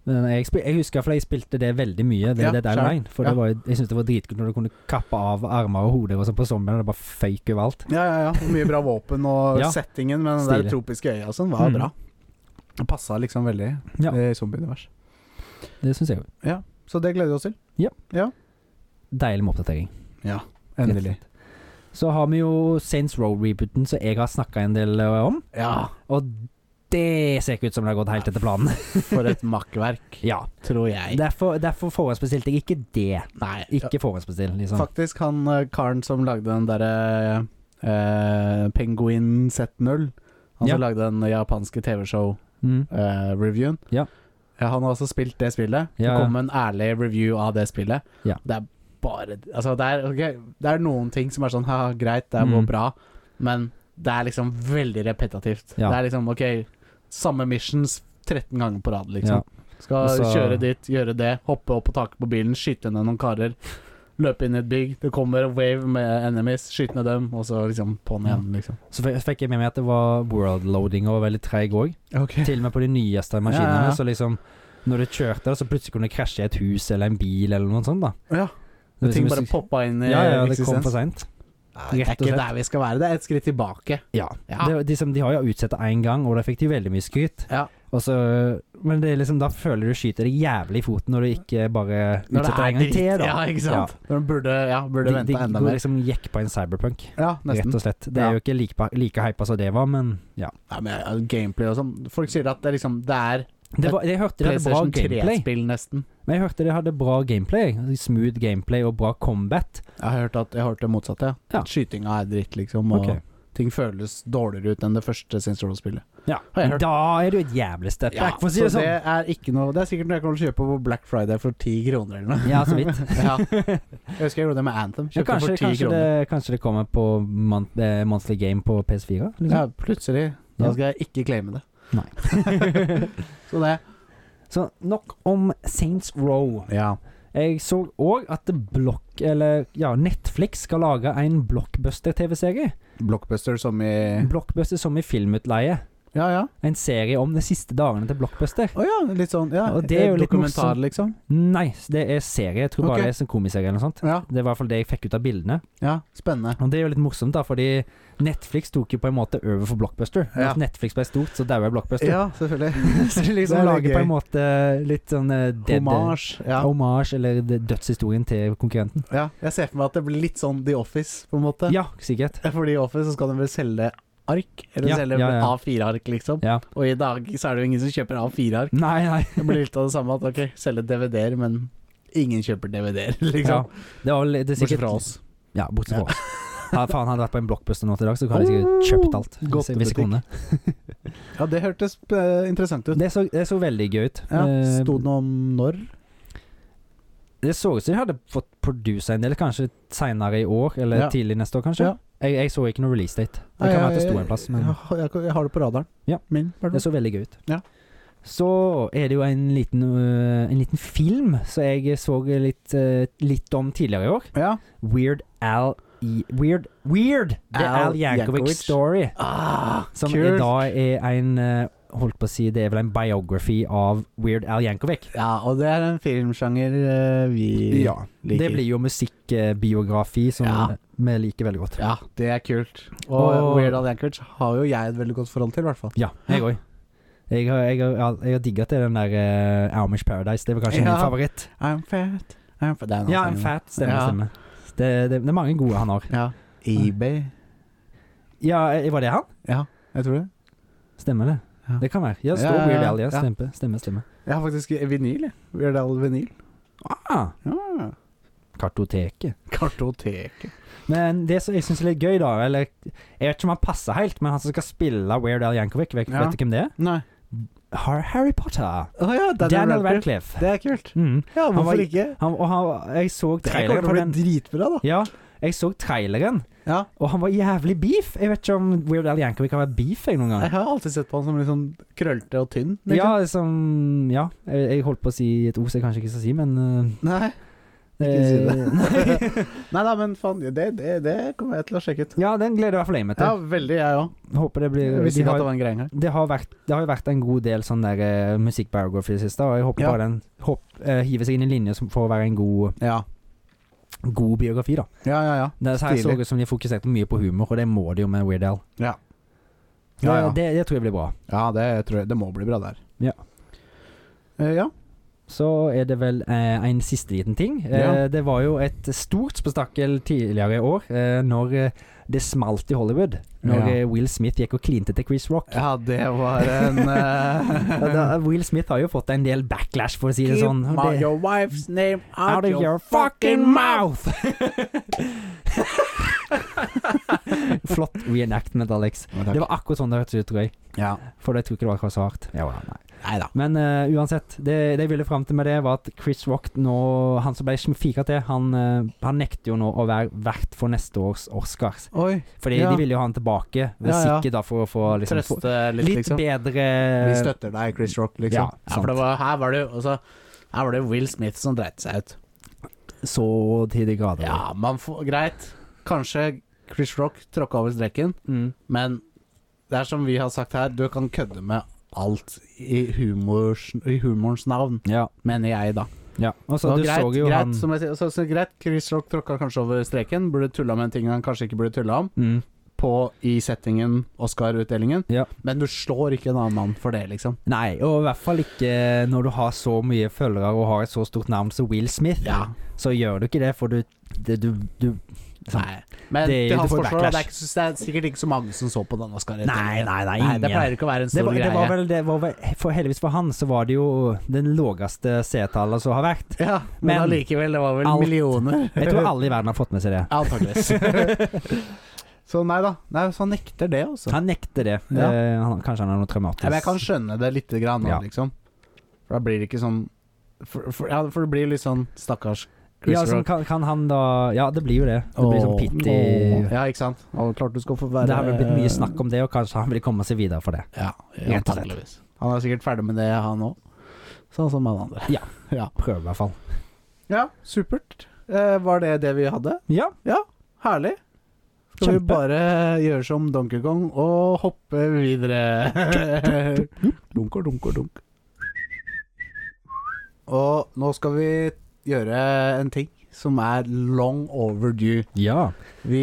Speaker 2: Men jeg, spil, jeg husker iallfall jeg spilte det veldig mye, det
Speaker 1: Ja,
Speaker 2: Dead
Speaker 1: skjønner.
Speaker 2: Island. For
Speaker 1: Ja.
Speaker 2: det var, jo- jeg syntes det var dritkult når du kunne kappe av armer og hoder og sånn på zombiene, og det bare føyk overalt.
Speaker 1: ja, ja, ja. Og Mye bra våpen og
Speaker 2: Ja.
Speaker 1: settingen med den der
Speaker 2: Stilig.
Speaker 1: tropiske øya og sånn var
Speaker 2: Mm.
Speaker 1: bra. Det passa liksom veldig
Speaker 2: Ja.
Speaker 1: i zombieunivers.
Speaker 2: Det syns jeg jo.
Speaker 1: Så det gleder vi oss til.
Speaker 2: Deilig med oppdatering.
Speaker 1: Ja, endelig.
Speaker 2: Så har vi jo Saints Row-rebooten, som jeg har snakka en del eh, om.
Speaker 1: Ja,
Speaker 2: Og det ser ikke ut som det har gått helt etter planen.
Speaker 1: for et makkverk,
Speaker 2: ja.
Speaker 1: tror jeg.
Speaker 2: Derfor, derfor forhåndsbestilte jeg ikke det.
Speaker 1: Nei, ja,
Speaker 2: Ikke forhåndsbestill, liksom.
Speaker 1: faktisk han eh, karen som lagde den derre eh, Penguin Z0 Han
Speaker 2: Ja.
Speaker 1: som lagde den japanske TV-show
Speaker 2: Mm.
Speaker 1: eh, reviewen.
Speaker 2: Ja.
Speaker 1: Ja, han har også spilt det spillet.
Speaker 2: Ja, ja.
Speaker 1: Det kom en ærlig review av det spillet.
Speaker 2: Ja.
Speaker 1: Det er bare Altså, det er, ok, det er noen ting som er sånn ha, greit, det går
Speaker 2: Mm.
Speaker 1: bra, men det er liksom veldig repetitivt.
Speaker 2: Ja.
Speaker 1: Det er liksom OK, samme missions 13 ganger på rad, liksom. Skal
Speaker 2: Og så-
Speaker 1: kjøre dit, gjøre det, hoppe opp på taket på bilen, skyte ned noen karer. Løpe inn i et bygg, det kommer en wave med enemies, skyte ned dem, og så liksom på'n igjen, liksom.
Speaker 2: Så f- fikk jeg med meg at det var worldloading og var veldig treig òg. Til og med på de nyeste maskinene.
Speaker 1: Ja, ja, ja.
Speaker 2: Så liksom når du kjørte, det, så plutselig kunne det krasje i et hus eller en bil eller noe sånt. da
Speaker 1: Ja.
Speaker 2: Det var
Speaker 1: Ting
Speaker 2: liksom-
Speaker 1: bare poppa inn i
Speaker 2: ja, ja, det kom
Speaker 1: eksistens.
Speaker 2: for seint.
Speaker 1: Nei, det er
Speaker 2: Rett og
Speaker 1: ikke
Speaker 2: slett.
Speaker 1: der vi skal være. Det er et skritt tilbake.
Speaker 2: Ja.
Speaker 1: Ja.
Speaker 2: Det, de, som- de har jo utsatt det én gang, og da fikk de veldig mye skryt.
Speaker 1: Ja.
Speaker 2: Og så, men det er liksom, da føler du skyter deg jævlig i foten når du ikke bare
Speaker 1: Når det
Speaker 2: utsetter det en
Speaker 1: er
Speaker 2: gang
Speaker 1: dritt.
Speaker 2: til. Da.
Speaker 1: Ja, ikke sant. Den burde, ja,
Speaker 2: Ja.
Speaker 1: burde
Speaker 2: De, de
Speaker 1: venta enda
Speaker 2: går
Speaker 1: mer.
Speaker 2: liksom gikk på en cyberpunk,
Speaker 1: Ja,
Speaker 2: rett
Speaker 1: nesten.
Speaker 2: og slett. Det
Speaker 1: Ja.
Speaker 2: er jo ikke like, like hypa som det var, men ja.
Speaker 1: Ja, men, ja, gameplay og sånn. Folk sier at det er liksom Det er
Speaker 2: Det var, jeg hørte de hadde bra
Speaker 1: PlayStation
Speaker 2: gameplay.
Speaker 1: 3-spill, nesten.
Speaker 2: Men jeg hørte de hadde bra gameplay. Smooth gameplay og bra combat.
Speaker 1: Jeg har hørt at jeg hørte det motsatte.
Speaker 2: Ja.
Speaker 1: At skytinga er dritt, liksom. Og
Speaker 2: Ok.
Speaker 1: ting føles dårligere ut enn det første Saints Row-spillet.
Speaker 2: Ja.
Speaker 1: Har jeg hørt.
Speaker 2: Da er du et jævlig step
Speaker 1: Ja,
Speaker 2: back, for å si
Speaker 1: så
Speaker 2: det sånn.
Speaker 1: det er ikke noe Det er sikkert noe jeg kommer til å kjøpe på Black Friday for ti kroner eller noe.
Speaker 2: Ja, så vidt.
Speaker 1: ja. Jeg husker jeg gjorde det med Anthem.
Speaker 2: Ja,
Speaker 1: Kjøpte
Speaker 2: kanskje,
Speaker 1: for ti
Speaker 2: kanskje,
Speaker 1: kroner.
Speaker 2: det, kanskje det kommer på mon eh, Monthly Game på PS4?
Speaker 1: Ja,
Speaker 2: Liksom.
Speaker 1: plutselig.
Speaker 2: Ja.
Speaker 1: Da skal jeg ikke claime det. Så det
Speaker 2: så nok om Saints Row.
Speaker 1: Ja.
Speaker 2: Jeg så òg at Block, eller, ja, Netflix skal lage en blockbuster-TV-serie.
Speaker 1: Blockbuster som i
Speaker 2: Blockbuster som i filmutleie.
Speaker 1: Ja, ja.
Speaker 2: En serie om de siste dagene til Blockbuster.
Speaker 1: Å ja, litt sånn ja.
Speaker 2: Og det er jo litt
Speaker 1: Dokumentar,
Speaker 2: morsomt.
Speaker 1: liksom.
Speaker 2: Nei, det er serie. Jeg tror bare
Speaker 1: Ok.
Speaker 2: det er som komiserie eller noe sånt.
Speaker 1: Ja,
Speaker 2: Det var i hvert fall det jeg fikk ut av bildene.
Speaker 1: ja, spennende.
Speaker 2: Og det er jo litt morsomt, da, fordi Netflix tok jo på en måte over for Blockbuster.
Speaker 1: Ja.
Speaker 2: Når Netflix ble stort, så daua Blockbuster.
Speaker 1: Ja, selvfølgelig.
Speaker 2: Så de
Speaker 1: Det
Speaker 2: liksom
Speaker 1: er litt
Speaker 2: lager på
Speaker 1: gøy.
Speaker 2: en måte litt sånn eh, dead,
Speaker 1: Hommage. Ja.
Speaker 2: Hommage, eller d- dødshistorien til konkurrenten.
Speaker 1: ja. Jeg ser for meg at det blir litt sånn The Office, på en måte.
Speaker 2: Ja, sikkert.
Speaker 1: For The Office så skal de vel selge ark, eller
Speaker 2: Ja,
Speaker 1: selge
Speaker 2: ja, ja.
Speaker 1: A4-ark, liksom.
Speaker 2: Ja.
Speaker 1: Og i dag så er det jo ingen som kjøper A4-ark.
Speaker 2: Nei, nei.
Speaker 1: Det blir litt av det samme at ok, selge DVD-er, men ingen kjøper DVD-er,
Speaker 2: Ja.
Speaker 1: liksom.
Speaker 2: Det var vel- det er
Speaker 1: Bortsett
Speaker 2: sikkert,
Speaker 1: fra oss.
Speaker 2: Ja, bortsett fra oss. Ja, faen, hadde jeg vært på en blockbuster nå til i dag, så hadde jeg sikkert kjøpt alt.
Speaker 1: Oh,
Speaker 2: Hvis,
Speaker 1: godt
Speaker 2: hvis jeg kunne.
Speaker 1: Ja, det hørtes eh, interessant ut.
Speaker 2: Det så, det så veldig gøy ut.
Speaker 1: Ja,
Speaker 2: Eh,
Speaker 1: Sto det noe om når?
Speaker 2: det så ut som de hadde fått produsa en del, kanskje seinere i år, eller
Speaker 1: Ja.
Speaker 2: tidlig neste år, kanskje.
Speaker 1: Ja.
Speaker 2: Jeg, jeg så ikke noe release date. Det kan være at det sto en plass, men
Speaker 1: Jeg, Eh, jeg, jeg, har det på radaren.
Speaker 2: Ja.
Speaker 1: Min, i hvert fall.
Speaker 2: Det så veldig gøy ut.
Speaker 1: Ja.
Speaker 2: Så er det jo en liten, øh, en liten film som jeg så litt, øh, litt om tidligere i år.
Speaker 1: Ja.
Speaker 2: Weird Al i Weird Weird! The
Speaker 1: Al
Speaker 2: Al, Yankovic
Speaker 1: Yankovic.
Speaker 2: Story.
Speaker 1: Ah,
Speaker 2: Som i
Speaker 1: kult.
Speaker 2: dag er en øh, Holdt på å si, det er vel en biography av Weird Al Yankovic.
Speaker 1: Ja, og det er en filmsjanger eh, vi liker.
Speaker 2: Det blir jo musikkbiografi som
Speaker 1: Ja.
Speaker 2: vi liker veldig godt.
Speaker 1: Ja, det er kult. Og,
Speaker 2: Og-
Speaker 1: Weird Al Yankovic har jo jeg et veldig godt forhold til, i hvert fall.
Speaker 2: Ja, jeg òg. Jeg har, jeg har, jeg har digga til den der øh, Amish Paradise. Det var
Speaker 1: Ja.
Speaker 2: kanskje min favoritt.
Speaker 1: I'm fat, I'm fat. Det er en annen
Speaker 2: Ja, en
Speaker 1: sang.
Speaker 2: fat stemme.
Speaker 1: Ja.
Speaker 2: stemme. Det, det, det er mange gode han har.
Speaker 1: Ja. eBay.
Speaker 2: Ja, eh, var det han?
Speaker 1: Ja, jeg tror det.
Speaker 2: Stemmer det.
Speaker 1: Ja.
Speaker 2: Det kan være. Ja, det står
Speaker 1: Ja, ja, ja.
Speaker 2: Weird Al, ja.
Speaker 1: Ja.
Speaker 2: Stemme, stemme. stemme.
Speaker 1: Jeg har faktisk vinyl, jeg. Weird Al vinyl.
Speaker 2: Ah,
Speaker 1: Ja.
Speaker 2: kartoteket.
Speaker 1: Kartoteket.
Speaker 2: Men det som jeg syns er litt gøy, da eller, Jeg vet ikke om han passer helt, men han som skal spille Weird Al Yankovic, vet,
Speaker 1: Ja.
Speaker 2: vet du hvem det er?
Speaker 1: Nei.
Speaker 2: Har Harry Potter.
Speaker 1: Å ja,
Speaker 2: Daniel Radcliffe.
Speaker 1: Det er kult.
Speaker 2: Mm.
Speaker 1: Ja, hvorfor
Speaker 2: var-
Speaker 1: ikke?
Speaker 2: Han, og han, jeg så
Speaker 1: Det kommer til å
Speaker 2: traileren på
Speaker 1: bli
Speaker 2: den.
Speaker 1: dritbra, da.
Speaker 2: Ja, jeg så traileren,
Speaker 1: Ja.
Speaker 2: og han var jævlig beef. Jeg vet ikke om Weird Al Yankovic har vært beef jeg, noen gang.
Speaker 1: Jeg har alltid sett på han som litt sånn krøllete og tynn. liksom.
Speaker 2: liksom, Ja, som Ja, jeg, jeg holdt på å si et ord som jeg kanskje ikke skal si, men øh,
Speaker 1: Nei. Ikke si det.
Speaker 2: Eh, nei.
Speaker 1: Nei da, men faen, det, det, det kommer jeg til å sjekke ut.
Speaker 2: ja, den gleder i hvert fall jeg meg
Speaker 1: Ja,
Speaker 2: til.
Speaker 1: veldig, jeg òg.
Speaker 2: Håper det blir
Speaker 1: Visste
Speaker 2: de
Speaker 1: ikke
Speaker 2: har-
Speaker 1: at det var en greie engang.
Speaker 2: det har, vært, det har jo vært en god del sånn der eh, musikkbiography i det siste, og jeg håper
Speaker 1: Ja.
Speaker 2: bare den hopp, eh, hiver seg inn i linje som for å være en god,
Speaker 1: Ja.
Speaker 2: god biografi, da.
Speaker 1: ja, ja, ja.
Speaker 2: Det her så
Speaker 1: Stilig.
Speaker 2: ut som de fokuserte mye på humor, og det må de jo med Weird Al.
Speaker 1: Ja.
Speaker 2: Det,
Speaker 1: Ja, ja.
Speaker 2: det, det tror jeg blir bra.
Speaker 1: Ja, det tror jeg Det må bli bra der.
Speaker 2: Ja.
Speaker 1: Eh, ja.
Speaker 2: Så er det vel eh, en siste liten ting. Eh,
Speaker 1: Ja.
Speaker 2: det var jo et stort spetakkel tidligere i år eh, når eh, det smalt i Hollywood. Når
Speaker 1: Ja.
Speaker 2: eh, Will Smith gikk og klinte til Chris Rock.
Speaker 1: ja, det var en eh,
Speaker 2: Ja, da, Will Smith har jo fått en del backlash, for å si det sånn. og
Speaker 1: my-
Speaker 2: det-
Speaker 1: your wife's name
Speaker 2: out of your fucking mouth! Flott reenactment, Alex. Det var akkurat sånn det hørtes ut, tror jeg.
Speaker 1: Ja.
Speaker 2: For jeg tror ikke det var akkurat så hardt.
Speaker 1: Nei da.
Speaker 2: Men eh, uansett, det, det jeg ville fram til med det, var at Chris Rock nå Han som ble fika til, han, eh, han nekter jo nå å være vert for neste års Oscars.
Speaker 1: Oi.
Speaker 2: Fordi
Speaker 1: Ja.
Speaker 2: de ville jo ha han tilbake,
Speaker 1: Ja, ja.
Speaker 2: sikkert da for å få liksom, få
Speaker 1: Trøste litt,
Speaker 2: litt,
Speaker 1: liksom.
Speaker 2: bedre
Speaker 1: Vi støtter deg, Chris Rock,
Speaker 2: Ja,
Speaker 1: liksom. Ja,
Speaker 2: sant.
Speaker 1: for det var, her var det jo altså, Her var det Will Smith som dreit seg ut.
Speaker 2: Så til de grader.
Speaker 1: Ja, man får Greit. Kanskje Chris Rock tråkka over streken,
Speaker 2: Mm.
Speaker 1: men det er som vi har sagt her, du kan kødde med alt i, humors, i humorens navn,
Speaker 2: ja.
Speaker 1: mener jeg, da.
Speaker 2: ja. Og så
Speaker 1: Og
Speaker 2: du
Speaker 1: greit,
Speaker 2: så jo
Speaker 1: greit,
Speaker 2: han
Speaker 1: som jeg sier, så, så, greit, Chris Rock tråkka kanskje over streken, burde tulla med en ting han kanskje ikke burde tulla om,
Speaker 2: mm.
Speaker 1: på i settingen Oscar-utdelingen,
Speaker 2: Ja.
Speaker 1: men du slår ikke en annen mann for det, liksom.
Speaker 2: Nei, og i hvert fall ikke når du har så mye følgere og har et så stort navn som Will Smith.
Speaker 1: Ja.
Speaker 2: Så gjør du ikke det, for du, det, du, du
Speaker 1: Nei. Men
Speaker 2: Det-
Speaker 1: til hans
Speaker 2: du får
Speaker 1: forsvar, det er,
Speaker 2: backlash.
Speaker 1: ikke, det er sikkert ikke så mange som så på den
Speaker 2: Nei,
Speaker 1: Oscar-utdelingen.
Speaker 2: nei, nei,
Speaker 1: Nei,
Speaker 2: ingen.
Speaker 1: det pleier ikke å være en
Speaker 2: Det
Speaker 1: stor
Speaker 2: var, det
Speaker 1: greie.
Speaker 2: var vel, det var vel for Heldigvis for han så var det jo den lågeste seertallet som har vært.
Speaker 1: Ja, men
Speaker 2: Men
Speaker 1: allikevel, det var vel
Speaker 2: alt-
Speaker 1: millioner.
Speaker 2: Jeg tror alle i verden har fått med seg det.
Speaker 1: Antakeligvis. så nei da. Nei, så han nekter det, altså.
Speaker 2: Han nekter det.
Speaker 1: Ja.
Speaker 2: Eh, han, kanskje han har noe traumatisk
Speaker 1: Ja, men jeg kan skjønne det lite grann, nå,
Speaker 2: Ja.
Speaker 1: liksom. For da blir det ikke sånn For, for, ja, for det blir litt sånn stakkars Chris
Speaker 2: ja, sånn,
Speaker 1: Rock.
Speaker 2: kan, kan han da Ja, det blir jo det. Det blir sånn
Speaker 1: Åh, åh.
Speaker 2: pity
Speaker 1: Eh. Ja, ikke sant. Og klart du skal få være
Speaker 2: Det har vel blitt mye snakk om det, og kanskje han vil komme seg videre for det.
Speaker 1: Ja,
Speaker 2: Rett og slett.
Speaker 1: antakeligvis. Han er sikkert ferdig med det, han òg. Sånn som alle andre.
Speaker 2: Ja.
Speaker 1: ja.
Speaker 2: Prøve, i hvert fall.
Speaker 1: Ja, supert. Eh, var det det vi hadde?
Speaker 2: Ja.
Speaker 1: Herlig. Skal vi
Speaker 2: Kjempe.
Speaker 1: bare gjøre som Donkey Kong og hoppe videre? dunk og dunk og dunk. Og nå skal vi gjøre en ting som er long overdue.
Speaker 2: ja.
Speaker 1: Vi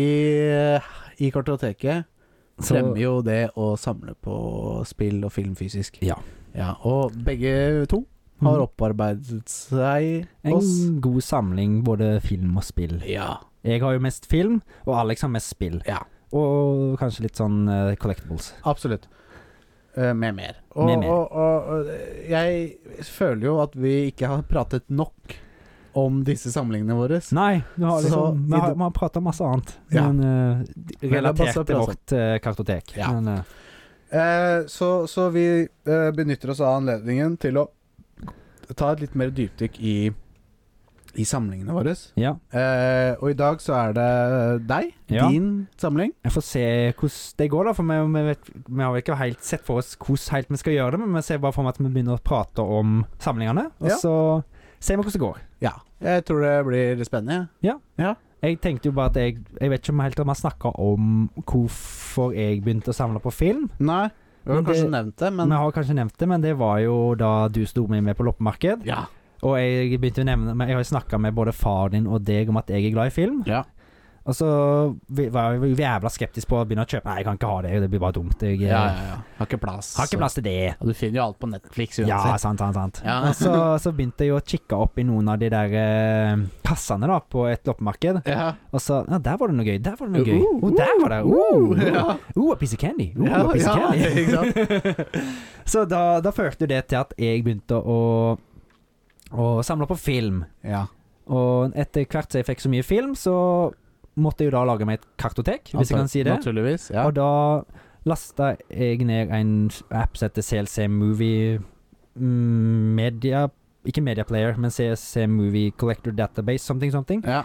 Speaker 1: eh, i Kartoteket
Speaker 2: Så-
Speaker 1: fremmer jo det å samle på spill og film fysisk.
Speaker 2: Ja.
Speaker 1: ja Mm. og begge to har opparbeidet seg
Speaker 2: En
Speaker 1: oss.
Speaker 2: god samling både film og spill.
Speaker 1: Ja.
Speaker 2: Jeg har jo mest film, og Alex har mest spill.
Speaker 1: Ja.
Speaker 2: Og kanskje litt sånn eh, collectibles.
Speaker 1: Absolutt. Eh, Med mer. Og,
Speaker 2: Med mer.
Speaker 1: Og, og, og jeg føler jo at vi ikke har pratet nok om disse samlingene våre.
Speaker 2: Nei, vi har,
Speaker 1: Så
Speaker 2: liksom, vi
Speaker 1: i
Speaker 2: har,
Speaker 1: det-
Speaker 2: vi har prata masse annet.
Speaker 1: Ja.
Speaker 2: Men eh,
Speaker 1: det er
Speaker 2: relatert
Speaker 1: masse
Speaker 2: til
Speaker 1: prat.
Speaker 2: vårt eh, kartotek.
Speaker 1: altså. Ja.
Speaker 2: Men, eh,
Speaker 1: Eh, så, så vi eh, benytter oss av anledningen til å ta et litt mer dypdykk i, i samlingene våre.
Speaker 2: ja.
Speaker 1: Eh, og i dag så er det deg,
Speaker 2: Ja.
Speaker 1: din samling.
Speaker 2: Jeg får se hvordan det går, da. For vi, vi, vet, vi har jo ikke helt sett for oss hvordan helt vi skal gjøre det, men vi ser bare for meg at vi begynner å prate om samlingene, og
Speaker 1: Ja.
Speaker 2: så ser vi hvordan det går.
Speaker 1: Ja. Jeg tror det blir spennende.
Speaker 2: Jeg tenkte jo bare at jeg Jeg vet ikke om helt om jeg snakka om hvorfor jeg begynte å samle på film.
Speaker 1: Nei, vi har
Speaker 2: Men
Speaker 1: kanskje
Speaker 2: det-
Speaker 1: nevnt det,
Speaker 2: Vi
Speaker 1: men
Speaker 2: har kanskje nevnt det, men det var jo da du sto med meg på loppemarked.
Speaker 1: Ja.
Speaker 2: Og jeg begynte å nevne men Jeg har jo snakka med både far din og deg om at jeg er glad i film.
Speaker 1: Ja.
Speaker 2: Og så vi- var jeg jo jævla skeptisk på å begynne å kjøpe. Nei, jeg kan ikke ha det, det blir bare dumt. Jeg
Speaker 1: Ja, ja,
Speaker 2: eh,
Speaker 1: ja. Har ikke plass.
Speaker 2: har ikke plass til det.
Speaker 1: Og du finner jo alt på Netflix
Speaker 2: Ja,
Speaker 1: uansett.
Speaker 2: sant, sant, sant.
Speaker 1: Ja.
Speaker 2: Og så, så begynte jeg å kikke opp i noen av de der eh, kassene da, på et loppemarked.
Speaker 1: Ja.
Speaker 2: Og så Ja, der var det noe gøy. Der var det noe gøy.
Speaker 1: Uh,
Speaker 2: Oh, der var det. Oh,
Speaker 1: ja.
Speaker 2: oh, a piece of candy. Oh,
Speaker 1: Ja,
Speaker 2: a piece of
Speaker 1: ja,
Speaker 2: candy.
Speaker 1: ikke sant?
Speaker 2: Så da, da førte jo det til at jeg begynte å, å samle på film.
Speaker 1: Ja.
Speaker 2: Og etter hvert som jeg fikk så mye film, så måtte jeg jo da lage meg et kartotek, hvis jeg kan si det.
Speaker 1: Naturligvis. Ja.
Speaker 2: Og da lasta jeg ned en app som heter CLC Movie mm, Media Ikke Media Player, men CLC Movie Collector Database, something, something.
Speaker 1: Ja.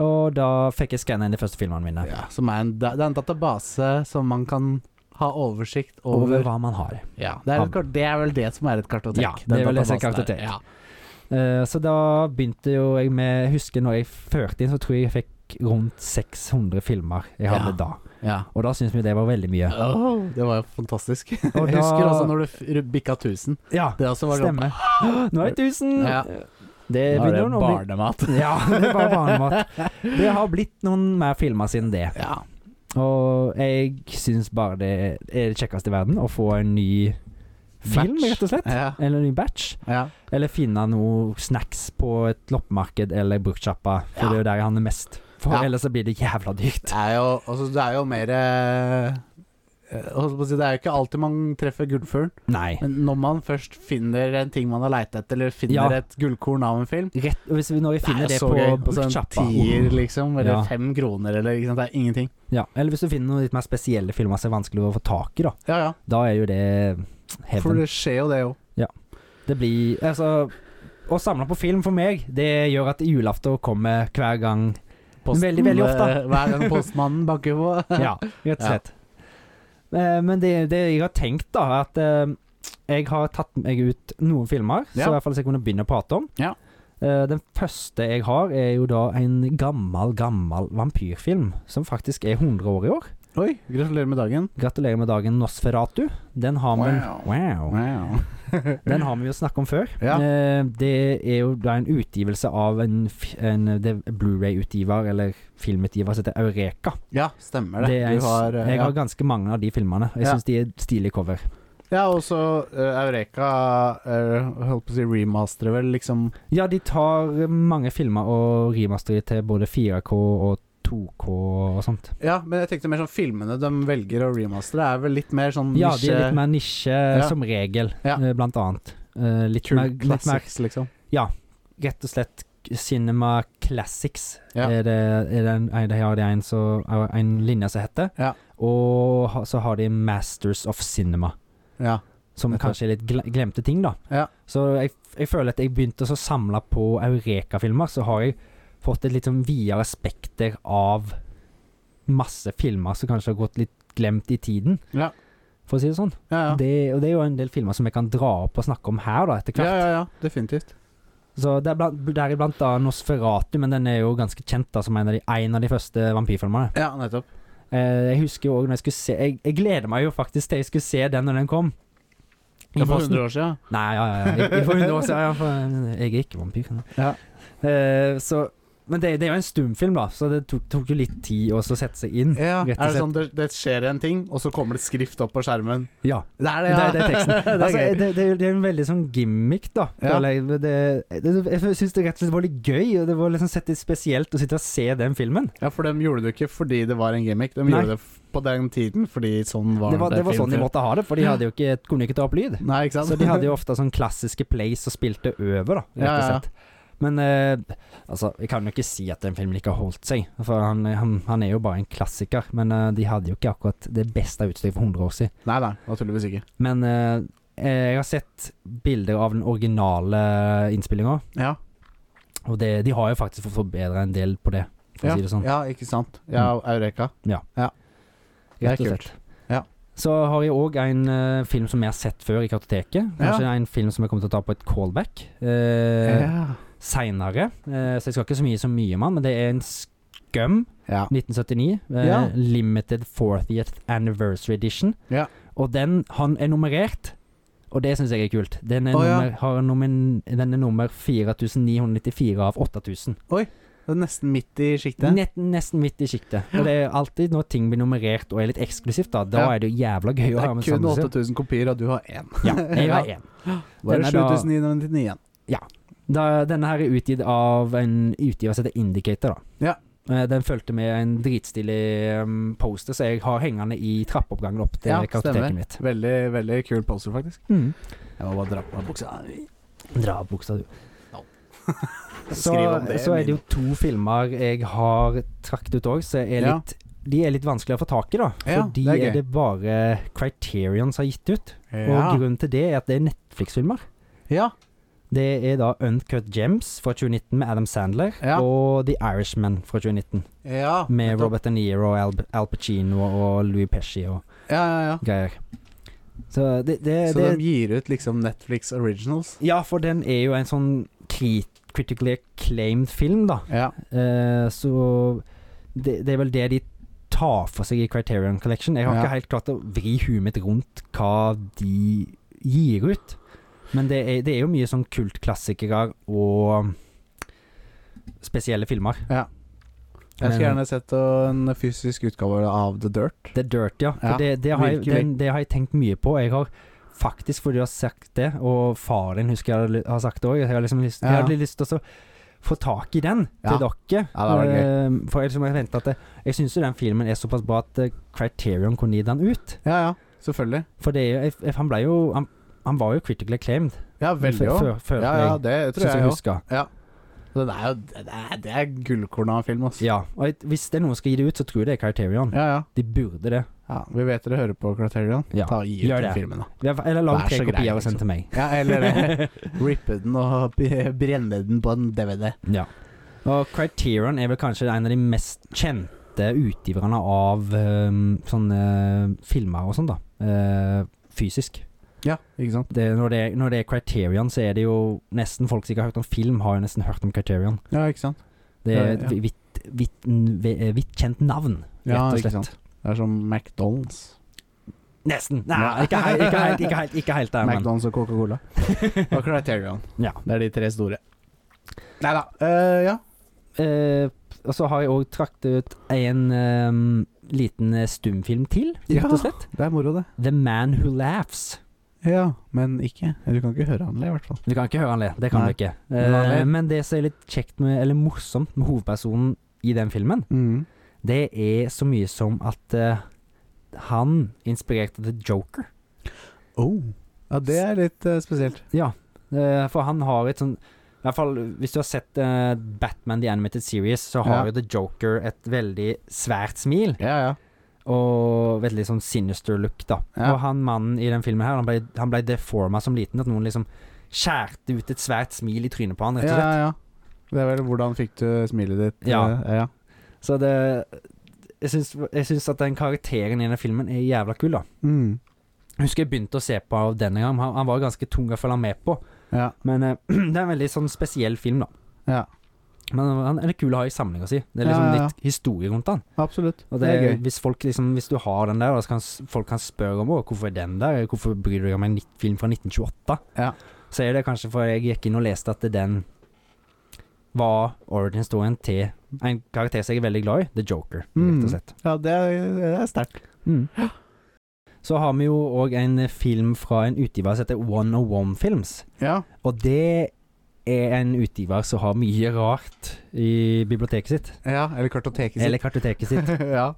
Speaker 2: Og da fikk jeg skanna inn de første filmene mine.
Speaker 1: ja. Som er en, da- det er en database som man kan ha oversikt over,
Speaker 2: Over hva man har.
Speaker 1: ja. det, er et, kart- det er vel det som er et kartotek.
Speaker 2: Ja, det
Speaker 1: den
Speaker 2: er vel det som er
Speaker 1: databasen der.
Speaker 2: kartotek.
Speaker 1: Ja.
Speaker 2: Eh, så da begynte jo jeg med Jeg husker når jeg førte inn, så tror jeg jeg fikk rundt 600 filmer jeg hadde
Speaker 1: Ja.
Speaker 2: da.
Speaker 1: Ja.
Speaker 2: Og da syntes vi det var veldig mye.
Speaker 1: Åh, det var jo fantastisk. Jeg
Speaker 2: Og da-
Speaker 1: husker også når du f- r- bikka 1000.
Speaker 2: Ja,
Speaker 1: Det også var
Speaker 2: stemmer. Nå er det 1000!
Speaker 1: Ja.
Speaker 2: Det
Speaker 1: sånn Nå er
Speaker 2: begynner
Speaker 1: det
Speaker 2: jo nå å bli
Speaker 1: barnemat.
Speaker 2: Ja, det er bare barnemat. Det har blitt noen mer filmer siden det.
Speaker 1: Ja.
Speaker 2: Og jeg syns bare det er det kjekkeste i verden å få en ny film,
Speaker 1: Batch.
Speaker 2: rett og slett.
Speaker 1: Ja.
Speaker 2: Eller en ny batch.
Speaker 1: ja.
Speaker 2: Eller finne noe snacks på et loppemarked eller bruktsjappa, for
Speaker 1: Ja.
Speaker 2: det er jo der jeg handler mest. For
Speaker 1: Ja.
Speaker 2: ellers så blir det jævla dyrt.
Speaker 1: Det er jo, altså, det er jo mer eh, eh, holdt på å si, Det er jo ikke alltid man treffer gullfuglen,
Speaker 2: Nei.
Speaker 1: men når man først finner en ting man har leita etter, eller
Speaker 2: Ja.
Speaker 1: finner et gullkorn av en film
Speaker 2: Rett, og hvis vi når vi finner
Speaker 1: er
Speaker 2: det,
Speaker 1: Og
Speaker 2: på
Speaker 1: så en
Speaker 2: bruktsjappa
Speaker 1: sånn tier, liksom, eller
Speaker 2: Ja.
Speaker 1: fem kroner, eller ikke sant, det er ingenting.
Speaker 2: ja. Eller hvis du finner noen litt mer spesielle filmer som er vanskelig å få tak i, da.
Speaker 1: Ja, ja.
Speaker 2: Da er jo det
Speaker 1: For
Speaker 2: heaven.
Speaker 1: det skjer jo det òg.
Speaker 2: Det blir Altså, å samle på film for meg, det gjør at julaften kommer hver gang Veldig, veldig ofte.
Speaker 1: eh, Hver gang postmannen banker på.
Speaker 2: Ja, rett og slett. Eh, Men det, det jeg har tenkt, da, er at eh, jeg har tatt meg ut noen filmer,
Speaker 1: Ja.
Speaker 2: så i hvert fall så jeg kunne begynne å prate om.
Speaker 1: Ja.
Speaker 2: Eh, Den første jeg har, er jo da en gammel, gammel vampyrfilm, som faktisk er 100 år i år.
Speaker 1: Oi, gratulerer med dagen.
Speaker 2: Gratulerer med dagen, Nosferatu. Den har vi wow.
Speaker 1: Wow.
Speaker 2: Den har vi jo snakket om før.
Speaker 1: Ja.
Speaker 2: Eh, Det er jo da en utgivelse av en, f- en det er Blu-ray-utgiver, eller filmutgiver, som heter Eureka.
Speaker 1: Ja, stemmer det.
Speaker 2: Det er,
Speaker 1: du har, eh,
Speaker 2: jeg
Speaker 1: ja.
Speaker 2: har ganske mange av de filmene. Jeg
Speaker 1: Ja.
Speaker 2: syns de er stilige cover.
Speaker 1: ja, og så eh, Eureka eh, Holdt på å si remasterer vel, liksom.
Speaker 2: Ja, de tar eh, mange filmer og remasterer til både 4K og 2K og sånt.
Speaker 1: Ja, men jeg tenkte mer sånn filmene de velger å remastere, er vel litt mer sånn
Speaker 2: Ja,
Speaker 1: nisje-
Speaker 2: de er litt mer nisje,
Speaker 1: Ja.
Speaker 2: som regel,
Speaker 1: Ja.
Speaker 2: eh, blant annet. Eh, litt,
Speaker 1: Kul
Speaker 2: mer, litt mer
Speaker 1: classics, liksom.
Speaker 2: rett og slett Cinema Classics.
Speaker 1: Ja.
Speaker 2: Er det, er det en, er det, har de en, så, eh, en linje som heter.
Speaker 1: Ja.
Speaker 2: Og ha- så har de Masters of Cinema.
Speaker 1: Ja.
Speaker 2: Som
Speaker 1: Nettopp.
Speaker 2: kanskje er litt gle- glemte ting, da.
Speaker 1: Ja.
Speaker 2: Så jeg, jeg føler at jeg begynte å samle på Eureka-filmer, så har jeg fått et litt sånn videre spekter av masse filmer som kanskje har gått litt glemt i tiden,
Speaker 1: Ja.
Speaker 2: for å si det sånn.
Speaker 1: Ja, ja.
Speaker 2: Det, og det er jo en del filmer som jeg kan dra opp og snakke om her, da, etter
Speaker 1: ja,
Speaker 2: hvert.
Speaker 1: ja, ja. Definitivt.
Speaker 2: Så det er blant, deriblant da Nosferatu, men den er jo ganske kjent da som en av de, en av de første vampyrfilmene.
Speaker 1: Ja, nettopp.
Speaker 2: Eh, jeg husker jo også når jeg skulle se jeg, jeg gleder meg jo faktisk til jeg skulle se den når den kom.
Speaker 1: Det var for
Speaker 2: posten.
Speaker 1: 100 år siden.
Speaker 2: Nei, ja, ja, ja. I- i For 100 år siden. Ja, for, jeg er ikke vampyr. nei.
Speaker 1: Ja.
Speaker 2: Eh, så, men det, det er jo en stumfilm, da, så det tok, tok jo litt tid også å sette seg inn.
Speaker 1: Ja, er
Speaker 2: Rett og
Speaker 1: det
Speaker 2: slett.
Speaker 1: sånn det, det skjer en ting, og så kommer det et skrift opp på skjermen?
Speaker 2: Ja.
Speaker 1: Det er
Speaker 2: Det,
Speaker 1: det, ja!
Speaker 2: er- det er teksten.
Speaker 1: det er
Speaker 2: altså,
Speaker 1: gøy.
Speaker 2: det, det, er- det er en veldig sånn gimmick, da.
Speaker 1: Ja.
Speaker 2: føler jeg. Det, det, jeg syns det rett og slett var litt gøy, og det var liksom sett litt spesielt å sitte og se den filmen.
Speaker 1: Ja, for de gjorde det ikke fordi det var en gimmick, de
Speaker 2: Nei.
Speaker 1: gjorde det f- på den tiden fordi sånn var
Speaker 2: Det var, det var
Speaker 1: film
Speaker 2: sånn de
Speaker 1: før.
Speaker 2: måtte ha det, for de hadde jo ikke, kunne ikke ta opp lyd.
Speaker 1: Nei, ikke sant?
Speaker 2: Så de hadde jo ofte sånn klassiske plays og spilte over, da, rett
Speaker 1: Ja,
Speaker 2: og
Speaker 1: ja, ja.
Speaker 2: slett. Men eh, altså, jeg kan jo ikke si at den filmen ikke har holdt seg, for han, han, han er jo bare en klassiker. Men eh, de hadde jo ikke akkurat det beste utstyret for 100 år siden.
Speaker 1: Nei, nei, naturligvis ikke.
Speaker 2: Men eh, jeg har sett bilder av den originale innspillinga,
Speaker 1: Ja,
Speaker 2: og det, de har jo faktisk fått forbedra en del på det, for
Speaker 1: ja,
Speaker 2: å si det sånn. Mm.
Speaker 1: ja ikke sant. Ja, Eureka. Det er
Speaker 2: Rett og
Speaker 1: kult.
Speaker 2: slett.
Speaker 1: Ja.
Speaker 2: Så har jeg òg en eh, film som jeg har sett før i kartoteket. Kanskje en film som jeg kommer til å ta på et callback uh,
Speaker 1: Ja.
Speaker 2: seinere. Eh, så jeg skal ikke så mye så mye om den, men det er en Skum
Speaker 1: Ja.
Speaker 2: 1979. eh,
Speaker 1: Ja.
Speaker 2: Limited 40th Anniversary Edition.
Speaker 1: Ja.
Speaker 2: Og den han er nummerert, og det syns jeg er kult. Den er,
Speaker 1: Å, ja.
Speaker 2: nummer, har nomin- den er nummer 4994 av 8000.
Speaker 1: Det er nesten midt i sjiktet.
Speaker 2: Net, nesten midt i sjiktet. Og det er alltid når ting blir nummerert og er litt eksklusivt, da, da
Speaker 1: Ja.
Speaker 2: er det jo jævla gøy
Speaker 1: Det
Speaker 2: å ha
Speaker 1: er
Speaker 2: med
Speaker 1: kun
Speaker 2: sammen.
Speaker 1: 8000 kopier, og du har én.
Speaker 2: Ja, jeg var en.
Speaker 1: Bare
Speaker 2: Den er da-
Speaker 1: 7999 igjen.
Speaker 2: Da, denne her er utgitt av en utgiver som heter Indicator, da.
Speaker 1: Ja.
Speaker 2: Eh, Den fulgte med en dritstilig um, poster som jeg har hengende i trappeoppgangen opp til
Speaker 1: Ja, stemmer.
Speaker 2: kartoteket mitt.
Speaker 1: Veldig, veldig kul poster, faktisk.
Speaker 2: Mm.
Speaker 1: Jeg må bare dra på meg buksa.
Speaker 2: Dra av buksa, du.
Speaker 1: Ja.
Speaker 2: Så,
Speaker 1: Skriv om det,
Speaker 2: så er det
Speaker 1: min.
Speaker 2: jo to filmer jeg har trakt ut òg, som er
Speaker 1: Ja.
Speaker 2: litt De er litt vanskelig å få tak i, da.
Speaker 1: Ja,
Speaker 2: Fordi
Speaker 1: det er
Speaker 2: er,
Speaker 1: gøy.
Speaker 2: det bare Criterion som har gitt ut. Og
Speaker 1: Ja.
Speaker 2: grunnen til det er at det er Netflix-filmer.
Speaker 1: ja.
Speaker 2: Det er da Uncut Gems fra 2019 med Adam Sandler,
Speaker 1: Ja.
Speaker 2: og The Irishman fra 2019
Speaker 1: ja.
Speaker 2: med
Speaker 1: nettopp.
Speaker 2: Robert De Niro, Al, Al Pacino og Louis Pesci og
Speaker 1: Ja, ja, ja.
Speaker 2: greier. Så det, det,
Speaker 1: Så
Speaker 2: det
Speaker 1: de gir ut liksom Netflix Originals?
Speaker 2: Ja, for den er jo en sånn k- cri- critically acclaimed film, da.
Speaker 1: Ja.
Speaker 2: Eh, så det, det er vel det de tar for seg i Criterion Collection. Jeg har
Speaker 1: Ja.
Speaker 2: ikke helt klart å vri huet mitt rundt hva de gir ut. Men det er, det er jo mye sånn kultklassikere og spesielle filmer.
Speaker 1: Ja. Jeg skulle
Speaker 2: Men-
Speaker 1: gjerne sett uh, en fysisk utgave av The Dirt.
Speaker 2: The Dirt, ja. For
Speaker 1: Ja,
Speaker 2: det, det, har jeg,
Speaker 1: virkelig.
Speaker 2: den, det har jeg tenkt mye på. Jeg har faktisk, fordi du har sagt det, og faren din husker jeg har li- har sagt det òg, jeg, har liksom lyst- jeg
Speaker 1: Ja.
Speaker 2: hadde lyst til å få tak i den
Speaker 1: Ja.
Speaker 2: til dere.
Speaker 1: Ja, det hadde
Speaker 2: Eh, for jeg, liksom, jeg, venter at det, jeg syns jo den filmen er såpass bra at eh, Criterion kunne gi den ut.
Speaker 1: Ja, ja. Selvfølgelig.
Speaker 2: For det er jo jeg, jeg, Han ble jo han, han var jo critically acclaimed.
Speaker 1: Ja, veldig
Speaker 2: før-
Speaker 1: òg.
Speaker 2: før- før
Speaker 1: Ja, ja,
Speaker 2: jeg-
Speaker 1: det tror
Speaker 2: synes jeg
Speaker 1: jeg òg.
Speaker 2: husker.
Speaker 1: Ja. Det er jo det er, det er gullkorn av en film, altså.
Speaker 2: Ja, og jeg, hvis det er noen som skal gi det ut, så tror jeg det er Criterion.
Speaker 1: Ja, ja.
Speaker 2: De burde det.
Speaker 1: ja. Vi vet dere hører på Criterion.
Speaker 2: Ja,
Speaker 1: Ta og Gi ut
Speaker 2: gjør
Speaker 1: den
Speaker 2: det.
Speaker 1: filmen, da.
Speaker 2: Eller lag
Speaker 1: Vær
Speaker 2: tre
Speaker 1: så grei,
Speaker 2: kopier og
Speaker 1: liksom.
Speaker 2: send til meg.
Speaker 1: Ja, eller det. Rippe den og b- brenne den på en DVD.
Speaker 2: Ja. Og Criterion er vel kanskje en av de mest kjente utgiverne av ehm, sånne filmer og sånn, da. Eh, fysisk.
Speaker 1: Ja, ikke sant.
Speaker 2: Det, når, det er, når det er Criterion, så er det jo nesten folk som ikke har hørt om film, har jo nesten hørt om Criterion.
Speaker 1: Ja, ikke sant.
Speaker 2: Det er
Speaker 1: Ja,
Speaker 2: et
Speaker 1: ja.
Speaker 2: vidt, vidt, vidt, vidt eh, kjent navn, rett
Speaker 1: Ja,
Speaker 2: og
Speaker 1: ikke
Speaker 2: slett.
Speaker 1: sant. Det er som McDonald's.
Speaker 2: Nesten. Nei,
Speaker 1: Ja.
Speaker 2: ikke, he- ikke helt, ikke helt, ikke helt der, men
Speaker 1: McDonald's og Coca-Cola. og Criterion.
Speaker 2: Ja.
Speaker 1: Det er de tre store. Nei da. ja.
Speaker 2: Eh, Og så har jeg òg trakt ut en ehm, liten eh, stumfilm til, rett og
Speaker 1: Ja.
Speaker 2: slett.
Speaker 1: Det er moro, det.
Speaker 2: The Man Who Laughs.
Speaker 1: Ja, men ikke Du kan ikke høre han le, i hvert fall.
Speaker 2: Du kan ikke høre han le, det kan
Speaker 1: Nei.
Speaker 2: du ikke.
Speaker 1: Men han
Speaker 2: Eh,
Speaker 1: ler.
Speaker 2: men det som er litt kjekt med, eller morsomt med hovedpersonen i den filmen,
Speaker 1: Mm.
Speaker 2: det er så mye som at eh, han inspirerte The Joker.
Speaker 1: Oh. Ja, det er litt eh, spesielt.
Speaker 2: Ja, eh, for han har et sånn i hvert fall Hvis du har sett eh, Batman The Animated Series, så
Speaker 1: Ja.
Speaker 2: har jo The Joker et veldig svært smil
Speaker 1: Ja, ja.
Speaker 2: og veldig sånn sinister look, da.
Speaker 1: Ja.
Speaker 2: Og han mannen i den filmen her, han ble, han ble deforma som liten. At noen liksom skjærte ut et svært smil i trynet på han, rett
Speaker 1: ja,
Speaker 2: og slett.
Speaker 1: ja. Det er vel hvordan fikk du smilet ditt?
Speaker 2: Ja.
Speaker 1: eh, ja.
Speaker 2: Så det jeg syns, jeg syns at den karakteren i den filmen er jævla kul, da.
Speaker 1: Mm.
Speaker 2: Jeg husker jeg begynte å se på av denne gang. Han, han var ganske tung å følge med på.
Speaker 1: ja.
Speaker 2: Men eh, det er en veldig sånn spesiell film, da.
Speaker 1: Ja.
Speaker 2: Men han er litt kul å ha i samlinga si. Det er
Speaker 1: Ja,
Speaker 2: liksom
Speaker 1: ja, ja.
Speaker 2: litt historie rundt han.
Speaker 1: Absolutt.
Speaker 2: Og det, er Hvis, folk liksom, hvis du har den der, da, så kan s- folk kan spørre om «Å, hvorfor er den der, hvorfor bryr du deg om en nitt- film fra 1928?
Speaker 1: Ja.
Speaker 2: Så er det kanskje for jeg gikk inn og leste at den var origin-storyen til en karakter som jeg er veldig glad i, The Joker, rett
Speaker 1: Mm.
Speaker 2: og slett.
Speaker 1: Ja, det er, det er sterkt.
Speaker 2: Så har vi jo òg en film fra en utgiver som heter 101 Films.
Speaker 1: Ja.
Speaker 2: Og det er en utgiver som har mye rart i biblioteket sitt.
Speaker 1: ja. Eller kartoteket
Speaker 2: Eller kartoteket sitt.
Speaker 1: ja.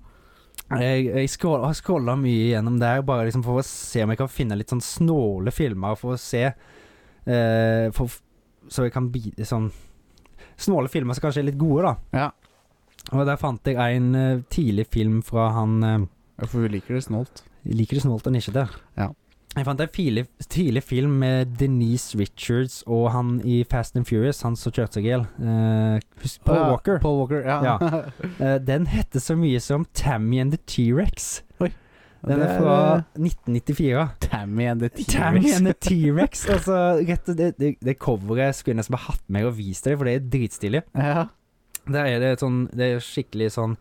Speaker 2: Jeg, jeg scroll, har scrolla mye gjennom der, bare liksom for å se om jeg kan finne litt sånn snåle filmer, for å se eh, for, Så jeg kan bi... Sånn Snåle filmer som kanskje er litt gode, da.
Speaker 1: Ja.
Speaker 2: Og der fant jeg en eh, tidlig film fra han eh,
Speaker 1: Ja, For vi liker det snålt.
Speaker 2: Jeg liker det snålt og nisjete.
Speaker 1: Ja.
Speaker 2: Jeg fant en tidlig, tidlig film med Denise Richards og han i Fast and Furious, han som kjørte seg i hjel. Eh, husk Paul
Speaker 1: Ja,
Speaker 2: Walker.
Speaker 1: Paul Walker, ja.
Speaker 2: Ja. Eh, den heter så mye som Tammy and the T-Rex. Den
Speaker 1: Det eh,
Speaker 2: er fra 1994.
Speaker 1: Tammy and the
Speaker 2: Tammy
Speaker 1: T-Rex.
Speaker 2: and the T-Rex. altså, rett og det, det, det coveret skulle jeg nesten bare hatt med og vist deg, for det er dritstilig.
Speaker 1: Ja.
Speaker 2: Der er det et sånn Det er skikkelig sånn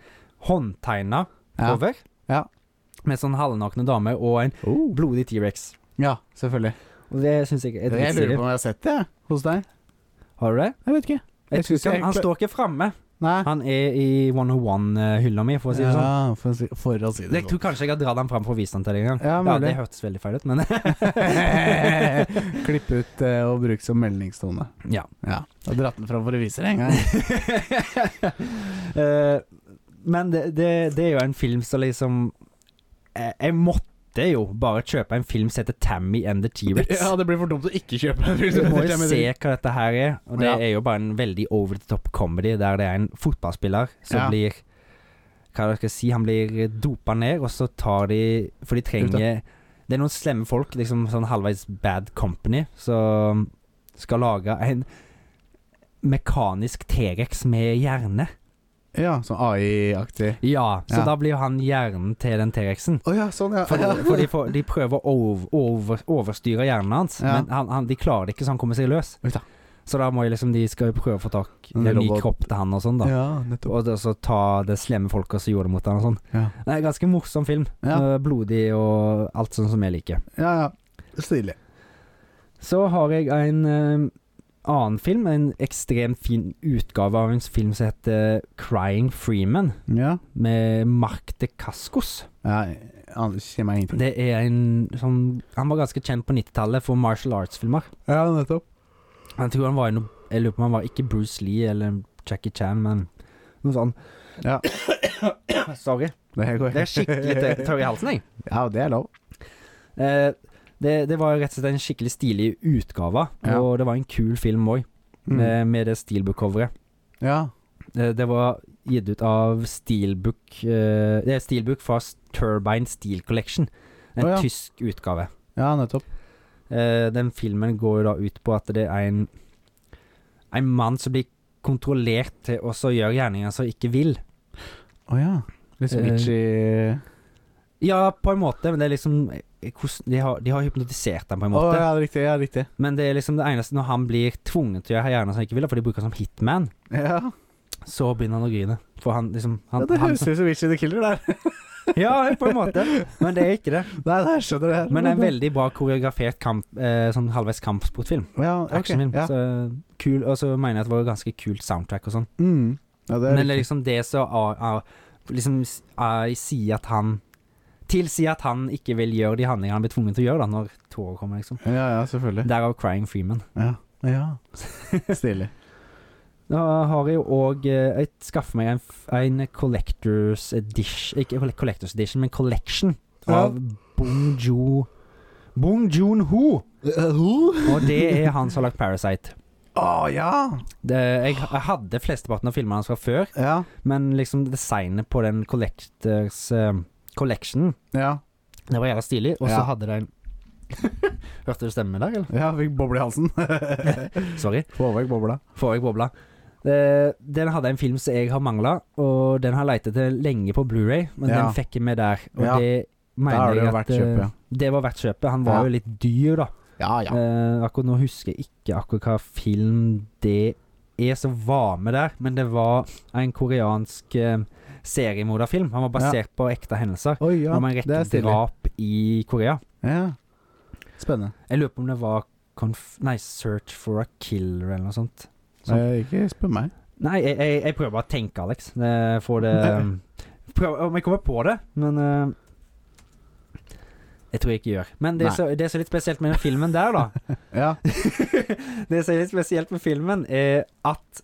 Speaker 2: håndtegna
Speaker 1: Ja.
Speaker 2: cover.
Speaker 1: Ja.
Speaker 2: Med sånn halvnakne dame og en
Speaker 1: Oh.
Speaker 2: blodig T-rex.
Speaker 1: ja, selvfølgelig.
Speaker 2: Og det syns jeg er
Speaker 1: Jeg lurer
Speaker 2: dritstilig.
Speaker 1: på om jeg har sett det jeg, hos deg.
Speaker 2: Har du det?
Speaker 1: Jeg vet ikke.
Speaker 2: Jeg tror
Speaker 1: synes
Speaker 2: ikke han,
Speaker 1: jeg-
Speaker 2: han står ikke framme.
Speaker 1: Nei.
Speaker 2: Han er i 101-hylla mi, for å si det sånn.
Speaker 1: Ja, for å si, for å si det sånn.
Speaker 2: Jeg tror kanskje jeg har dratt han fram for å vise han til deg en gang.
Speaker 1: Ja,
Speaker 2: Ja,
Speaker 1: mulig.
Speaker 2: det hørtes veldig feil ut, men
Speaker 1: Klipp ut eh, og bruk som meldingstone.
Speaker 2: ja.
Speaker 1: Ja. Og dratt den fram for å vise det en gang.
Speaker 2: Eh, men det, det, det er jo en film som liksom Jeg, jeg måtte jo bare kjøpe en film som heter Tammy and the T-Rex.
Speaker 1: Ja, det blir for dumt å ikke kjøpe den.
Speaker 2: Du må jo se hva dette her er, og det
Speaker 1: Ja.
Speaker 2: er jo bare en veldig over the top comedy der det er en fotballspiller som
Speaker 1: Ja.
Speaker 2: blir Hva skal jeg si, han blir dopa ned, og så tar de For de trenger Det er noen slemme folk, liksom sånn halvveis bad company, som skal lage en mekanisk T-rex med hjerne.
Speaker 1: Ja, sånn AI-aktig.
Speaker 2: Ja, så
Speaker 1: Ja.
Speaker 2: da blir jo han hjernen til den T-rexen.
Speaker 1: Å ja, sånn, ja.
Speaker 2: For, for, de, får- de prøver å over, over, overstyre hjernen hans,
Speaker 1: Ja.
Speaker 2: men han, han, de klarer det ikke, så han kommer seg løs.
Speaker 1: Oi da.
Speaker 2: Så da må jeg liksom, de skal jo prøve å få tak i en ny
Speaker 1: Robot.
Speaker 2: kropp til han og sånn, da.
Speaker 1: Ja, nettopp.
Speaker 2: Og det- så ta det slemme folka som gjorde det mot han og sånn.
Speaker 1: Ja,
Speaker 2: Det er en ganske morsom film.
Speaker 1: Ja.
Speaker 2: Eh, Blodig og alt sånn som jeg liker.
Speaker 1: ja. ja. Stilig.
Speaker 2: Så har jeg en eh, annen film, en ekstremt fin utgave av en film som heter Crying Freeman,
Speaker 1: Ja.
Speaker 2: med Mark de Cascos.
Speaker 1: ja jeg aner- sier meg ingenting.
Speaker 2: Det er en sånn Han var ganske kjent på 90-tallet for martial arts-filmer.
Speaker 1: Ja, nettopp.
Speaker 2: Jeg tror han var i noe Jeg lurer på om han var ikke Bruce Lee eller Jackie Chan, men noe sånn.
Speaker 1: Ja.
Speaker 2: Sorry.
Speaker 1: Det, går.
Speaker 2: Det er skikkelig tørr- tørr i halsen, jeg.
Speaker 1: Ja, det er lov.
Speaker 2: Eh, det, det var rett og slett en skikkelig stilig utgave,
Speaker 1: Ja.
Speaker 2: og det var en kul film òg,
Speaker 1: Mm.
Speaker 2: med, med det steelbook-coveret.
Speaker 1: Ja.
Speaker 2: Eh, det var gitt ut av Steelbook eh, Det er Steelbook fra Turbine Steel Collection. En
Speaker 1: Å, ja.
Speaker 2: tysk utgave.
Speaker 1: ja, nettopp.
Speaker 2: Eh, den filmen går jo da ut på at det er en En mann som blir kontrollert til å så gjøre gjerninger som ikke vil.
Speaker 1: Å ja. Litt
Speaker 2: Eh,
Speaker 1: switchy
Speaker 2: Ja, på en måte, men det er liksom eh, hvordan- de har, de har hypnotisert ham på en
Speaker 1: Å
Speaker 2: måte.
Speaker 1: ja, riktig. Ja, riktig.
Speaker 2: Men det er liksom det eneste når han blir tvunget til å gjøre gjerninger som han ikke vil, for de bruker han som hitman,
Speaker 1: Ja,
Speaker 2: så begynner han å grine. For han liksom han,
Speaker 1: ja Det
Speaker 2: han,
Speaker 1: høres ut som Witchy the Killer der.
Speaker 2: Ja, på en måte. Men det er ikke det.
Speaker 1: Nei, nei, jeg skjønner det. her.
Speaker 2: Men det er en veldig bra koreografert kamp, eh, sånn halvveis kampsportfilm.
Speaker 1: ja, ok,
Speaker 2: Actionfilm.
Speaker 1: Ja.
Speaker 2: Så eh, kul. Og så mener jeg at det var ganske kult soundtrack og sånn.
Speaker 1: Mm. Ja, det er
Speaker 2: Men det
Speaker 1: riktig.
Speaker 2: er liksom det som ah, ah, liksom s- ah, sier at han Tilsier at han ikke vil gjøre de handlingene han blir tvunget til å gjøre da når tårer kommer, liksom.
Speaker 1: Ja, ja, selvfølgelig.
Speaker 2: Derav Crying Freeman.
Speaker 1: Ja. ja. Stilig.
Speaker 2: Da har jeg jo òg Jeg skaffer meg en, f- en collectors edition Ikke colle- collectors edition, men collection
Speaker 1: Ja.
Speaker 2: av Bong Jo Bong Joon-ho!
Speaker 1: Å
Speaker 2: Og det er han som har lagd Parasite.
Speaker 1: ja.
Speaker 2: Det, jeg, jeg hadde flesteparten av filmene hans fra før,
Speaker 1: Ja.
Speaker 2: men liksom designet på den collectors eh, collectionen
Speaker 1: Ja.
Speaker 2: Det var jævla stilig, og så
Speaker 1: Ja.
Speaker 2: hadde det en Hørte du stemmen der, eller?
Speaker 1: ja fikk boble i halsen.
Speaker 2: Sorry.
Speaker 1: Få vekk bobla.
Speaker 2: Får jeg bobla. Eh, Den hadde en film som jeg har mangla, og den har leita etter lenge på Blu-ray men
Speaker 1: Ja.
Speaker 2: den fikk jeg med der. Og
Speaker 1: Ja.
Speaker 2: det
Speaker 1: Da har
Speaker 2: mener
Speaker 1: det
Speaker 2: jeg
Speaker 1: jo
Speaker 2: at
Speaker 1: vært kjøp,
Speaker 2: eh,
Speaker 1: ja.
Speaker 2: Det var verdt kjøpet. Han var
Speaker 1: Ja.
Speaker 2: jo litt dyr, da.
Speaker 1: Ja, ja.
Speaker 2: Eh, akkurat nå husker jeg ikke akkurat hva film det er som var med der, men det var en koreansk eh, seriemorderfilm. Han var basert på ekte hendelser.
Speaker 1: Oi, ja.
Speaker 2: om en
Speaker 1: Det
Speaker 2: rekke
Speaker 1: er stilig.
Speaker 2: drap i Korea.
Speaker 1: Ja. Spennende.
Speaker 2: Jeg lurer på om det var Conf... Nei, Search for a Killer eller noe sånt. Sånn.
Speaker 1: Eh, ikke spør meg.
Speaker 2: Nei, jeg, jeg, jeg prøver bare å tenke, Alex. Eh, Får det um, Prøv om jeg kommer på det, men eh, Jeg tror jeg ikke gjør. Men det
Speaker 1: Nei.
Speaker 2: som det som er litt spesielt med den filmen der, da,
Speaker 1: Ja.
Speaker 2: det som er litt spesielt med filmen, er at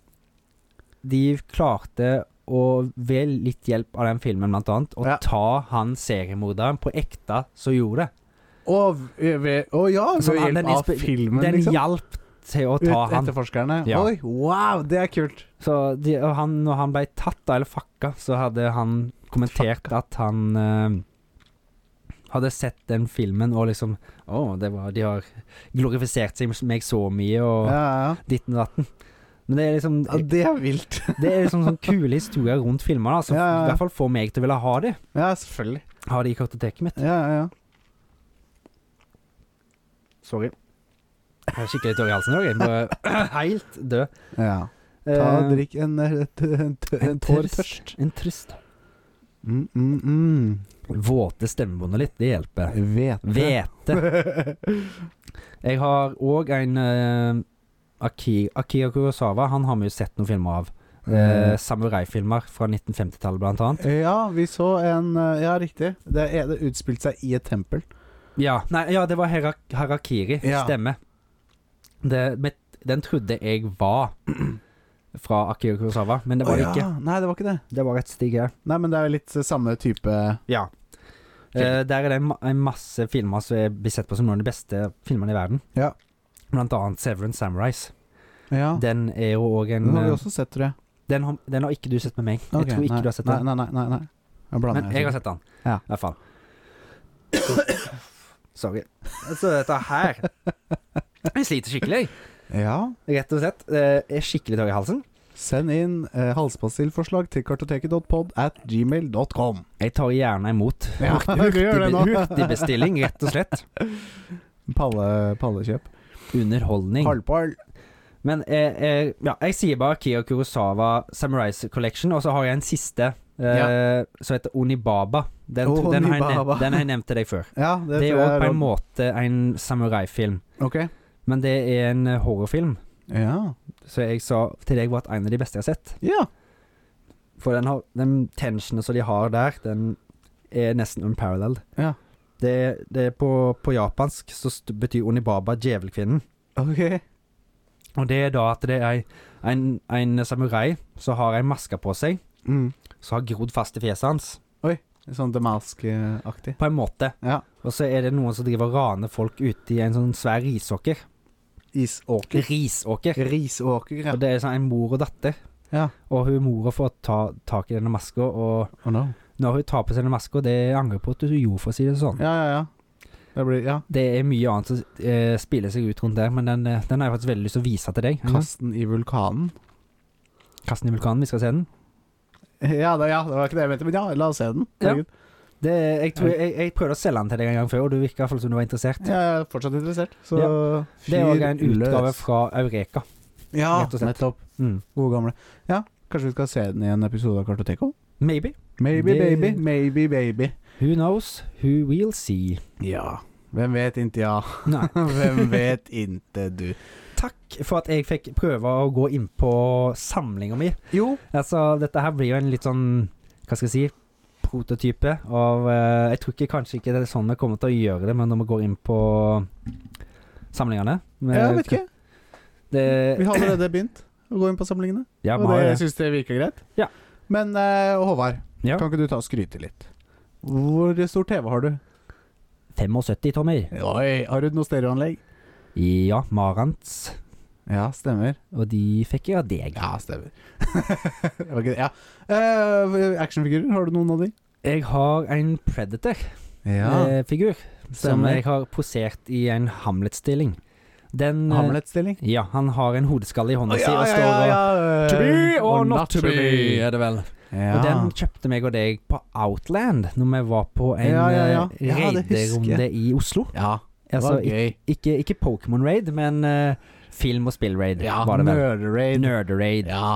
Speaker 2: de klarte å, ved litt hjelp av den filmen blant annet, å
Speaker 1: Ja.
Speaker 2: ta han seriemorderen på ekte som gjorde det.
Speaker 1: Å ved, å ja,
Speaker 2: Så
Speaker 1: ved
Speaker 2: han- den
Speaker 1: hjelp av
Speaker 2: inspi-
Speaker 1: filmen,
Speaker 2: Den
Speaker 1: liksom.
Speaker 2: hjalp til å
Speaker 1: Ut
Speaker 2: ta han.
Speaker 1: etterforskerne.
Speaker 2: Ja.
Speaker 1: Oi, wow, det er kult.
Speaker 2: Så de, og han, når han ble tatt, da, eller fakka, så hadde han kommentert at han eh, hadde sett den filmen og liksom Å, det var De har glorifisert seg meg så mye, og
Speaker 1: Ja, ja,
Speaker 2: ditten og datten. Men det er liksom
Speaker 1: ja. Det er vilt.
Speaker 2: Det er liksom sånn kule historier rundt filmer, da, som
Speaker 1: Ja, ja, ja.
Speaker 2: i hvert fall får meg til å ville ha de.
Speaker 1: Ja, selvfølgelig.
Speaker 2: Ha de i kartoteket mitt.
Speaker 1: Ja, ja, ja.
Speaker 2: Sorry. Jeg har skikkelig tørr i halsen i dag. Jeg bare helt død.
Speaker 1: ja. Ta
Speaker 2: Eh,
Speaker 1: Drikk en, eh, t- en, t- en tår tørst.
Speaker 2: En trist.
Speaker 1: Mm, mm, mm.
Speaker 2: Våte stemmebåndet litt, det hjelper.
Speaker 1: Vet
Speaker 2: Hvete. Jeg har òg en eh, Aki, Akira Kurosawa. Han har vi jo sett noen filmer av.
Speaker 1: Mm.
Speaker 2: Eh, Samuraifilmer fra 1950-tallet, blant annet.
Speaker 1: Ja, vi så en eh, Ja, riktig. Det, er- det utspilte seg i et tempel.
Speaker 2: Ja, nei, ja det var Hera, Harakiri.
Speaker 1: Ja.
Speaker 2: Stemmer. Det, men den trodde jeg var fra Akira Kurosawa, men det var
Speaker 1: Å,
Speaker 2: det
Speaker 1: ja.
Speaker 2: ikke.
Speaker 1: Nei, det var ikke det.
Speaker 2: Det var et stig her.
Speaker 1: Nei, men det er jo litt eh, samme type
Speaker 2: Ja. Eh, der er det en, ma- en masse filmer som er- blir sett på som noen av de beste filmene i verden.
Speaker 1: Ja.
Speaker 2: Blant annet Severin Samurais.
Speaker 1: Ja.
Speaker 2: Den er jo òg en
Speaker 1: Den har vi
Speaker 2: eh,
Speaker 1: også sett, tror jeg.
Speaker 2: den, har- den har ikke du sett med meg.
Speaker 1: Ok,
Speaker 2: jeg tror ikke
Speaker 1: nei,
Speaker 2: du har sett den.
Speaker 1: Nei, nei, nei. nei, nei. Jeg blander
Speaker 2: Men jeg har sett den,
Speaker 1: Ja.
Speaker 2: i hvert fall. Sorry. Så dette her Jeg sliter skikkelig, jeg.
Speaker 1: Ja.
Speaker 2: Rett og slett. Eh, jeg er skikkelig tørr i halsen.
Speaker 1: Send inn eh, halspastillforslag til kartoteket.pod at gmail.com.
Speaker 2: Jeg tar gjerne imot.
Speaker 1: Ja,
Speaker 2: Hurtig-
Speaker 1: du gjør det nå.
Speaker 2: hurtig- Hurtigbestilling, rett og slett.
Speaker 1: Palle, pallekjøp.
Speaker 2: Underholdning.
Speaker 1: Halvpall.
Speaker 2: Men eh, eh, ja, jeg sier bare Akira Kurosawa Samurai Collection, og så har jeg en siste eh, som heter Onibaba. Den,
Speaker 1: Å,
Speaker 2: den, har jeg
Speaker 1: Onibaba.
Speaker 2: nevnt, den har jeg nevnt til deg før.
Speaker 1: Ja,
Speaker 2: Det,
Speaker 1: det,
Speaker 2: er
Speaker 1: tror
Speaker 2: òg
Speaker 1: jeg
Speaker 2: på
Speaker 1: er
Speaker 2: en
Speaker 1: lov.
Speaker 2: måte en samuraifilm,
Speaker 1: Ok.
Speaker 2: men det er en eh, horrorfilm.
Speaker 1: Ja.
Speaker 2: Så jeg sa til deg var at en av de beste jeg har sett.
Speaker 1: ja.
Speaker 2: For den, har, den tensionen som de har der, den er nesten unparalleled.
Speaker 1: Ja.
Speaker 2: Det, det er på, på japansk så st betyr Onibaba djevelkvinnen.
Speaker 1: Ok.
Speaker 2: Og det er da at det er ei- en, en samurai som har ei maske på seg
Speaker 1: Mm.
Speaker 2: som har grodd fast i fjeset hans,
Speaker 1: Sånn Damask-aktig.
Speaker 2: på en måte.
Speaker 1: Ja.
Speaker 2: Og så er det noen som driver og raner folk ute i en sånn svær risåker.
Speaker 1: Isåker.
Speaker 2: Risåker.
Speaker 1: Risåker, ja.
Speaker 2: Og det er sånn en mor og datter.
Speaker 1: Ja.
Speaker 2: Og hun mora får ta tak i denne maska, og
Speaker 1: Oh no.
Speaker 2: når hun tar på seg den maska, det angrer jeg på at hun gjorde, for å si det sånn.
Speaker 1: Ja, ja, ja. Det blir Ja.
Speaker 2: Det er mye annet som eh, spiller seg ut rundt der, men den, eh, den har jeg faktisk veldig lyst til å vise til deg. en gang.
Speaker 1: Kasten i vulkanen.
Speaker 2: Kasten i vulkanen, vi skal se den.
Speaker 1: Ja det, ja, det var ikke det jeg mente, men ja, la oss se den.
Speaker 2: Ja.
Speaker 1: Herregud.
Speaker 2: Det, jeg, tror, jeg, jeg prøvde å selge den til deg en gang før, og du virka iallfall som du var interessert.
Speaker 1: Jeg er fortsatt interessert, så
Speaker 2: Det er òg en
Speaker 1: fyr
Speaker 2: utgave
Speaker 1: løs.
Speaker 2: fra Eureka.
Speaker 1: Ja,
Speaker 2: rett og slett.
Speaker 1: nettopp.
Speaker 2: Mm.
Speaker 1: Gode gamle. Ja, kanskje vi skal se den i en episode av Kartoteko?
Speaker 2: Maybe.
Speaker 1: Maybe,
Speaker 2: Det-
Speaker 1: baby, maybe, baby.
Speaker 2: Who knows? Who will see?
Speaker 1: Ja. Hvem vet inte ja.
Speaker 2: Nei.
Speaker 1: Hvem vet inte du.
Speaker 2: Takk for at jeg fikk prøve å gå inn på samlinga mi.
Speaker 1: Jo.
Speaker 2: Altså, dette her blir jo en litt sånn Hva skal jeg si? Prototype av eh, Jeg tror ikke kanskje ikke det er sånn vi kommer til å gjøre det, men når vi går inn på samlingene
Speaker 1: Jeg vet ikke.
Speaker 2: Det,
Speaker 1: Vi har allerede begynt å gå inn på samlingene.
Speaker 2: ja, vi
Speaker 1: Og
Speaker 2: har
Speaker 1: det,
Speaker 2: det.
Speaker 1: jeg syns det virker greit.
Speaker 2: Ja.
Speaker 1: Men eh, Håvard,
Speaker 2: Ja.
Speaker 1: kan ikke du ta og skryte litt? Hvor stor TV har du?
Speaker 2: 75 tommer.
Speaker 1: Oi, har du noe stereoanlegg?
Speaker 2: Ja, Marantz.
Speaker 1: Ja, stemmer.
Speaker 2: Og de fikk jeg av deg.
Speaker 1: Ja, stemmer. det var ikke det. Ja. Eh, actionfigurer, har du noen av de?
Speaker 2: Jeg har en Predator-figur eh, figur, som
Speaker 1: stemmer.
Speaker 2: jeg har posert i en Hamlet-stilling. Den eh,
Speaker 1: Hamlet-stilling.
Speaker 2: Ja, han har en hodeskalle i hånda si og står og Eh,
Speaker 1: ja. eh,
Speaker 2: To be or not to be, er det vel.
Speaker 1: Ja.
Speaker 2: Og den kjøpte meg og deg på Outland Når vi var på en
Speaker 1: Ja,
Speaker 2: ja,
Speaker 1: ja, ja. Ja, det husker
Speaker 2: raiderunde i Oslo.
Speaker 1: ja, det
Speaker 2: Altså,
Speaker 1: var
Speaker 2: ik-
Speaker 1: gøy.
Speaker 2: ikke ikke Pokémon-raid, men eh, film- og spill-raid
Speaker 1: Ja,
Speaker 2: var det vel.
Speaker 1: Murder-raid.
Speaker 2: Nerd-raid.
Speaker 1: Ja.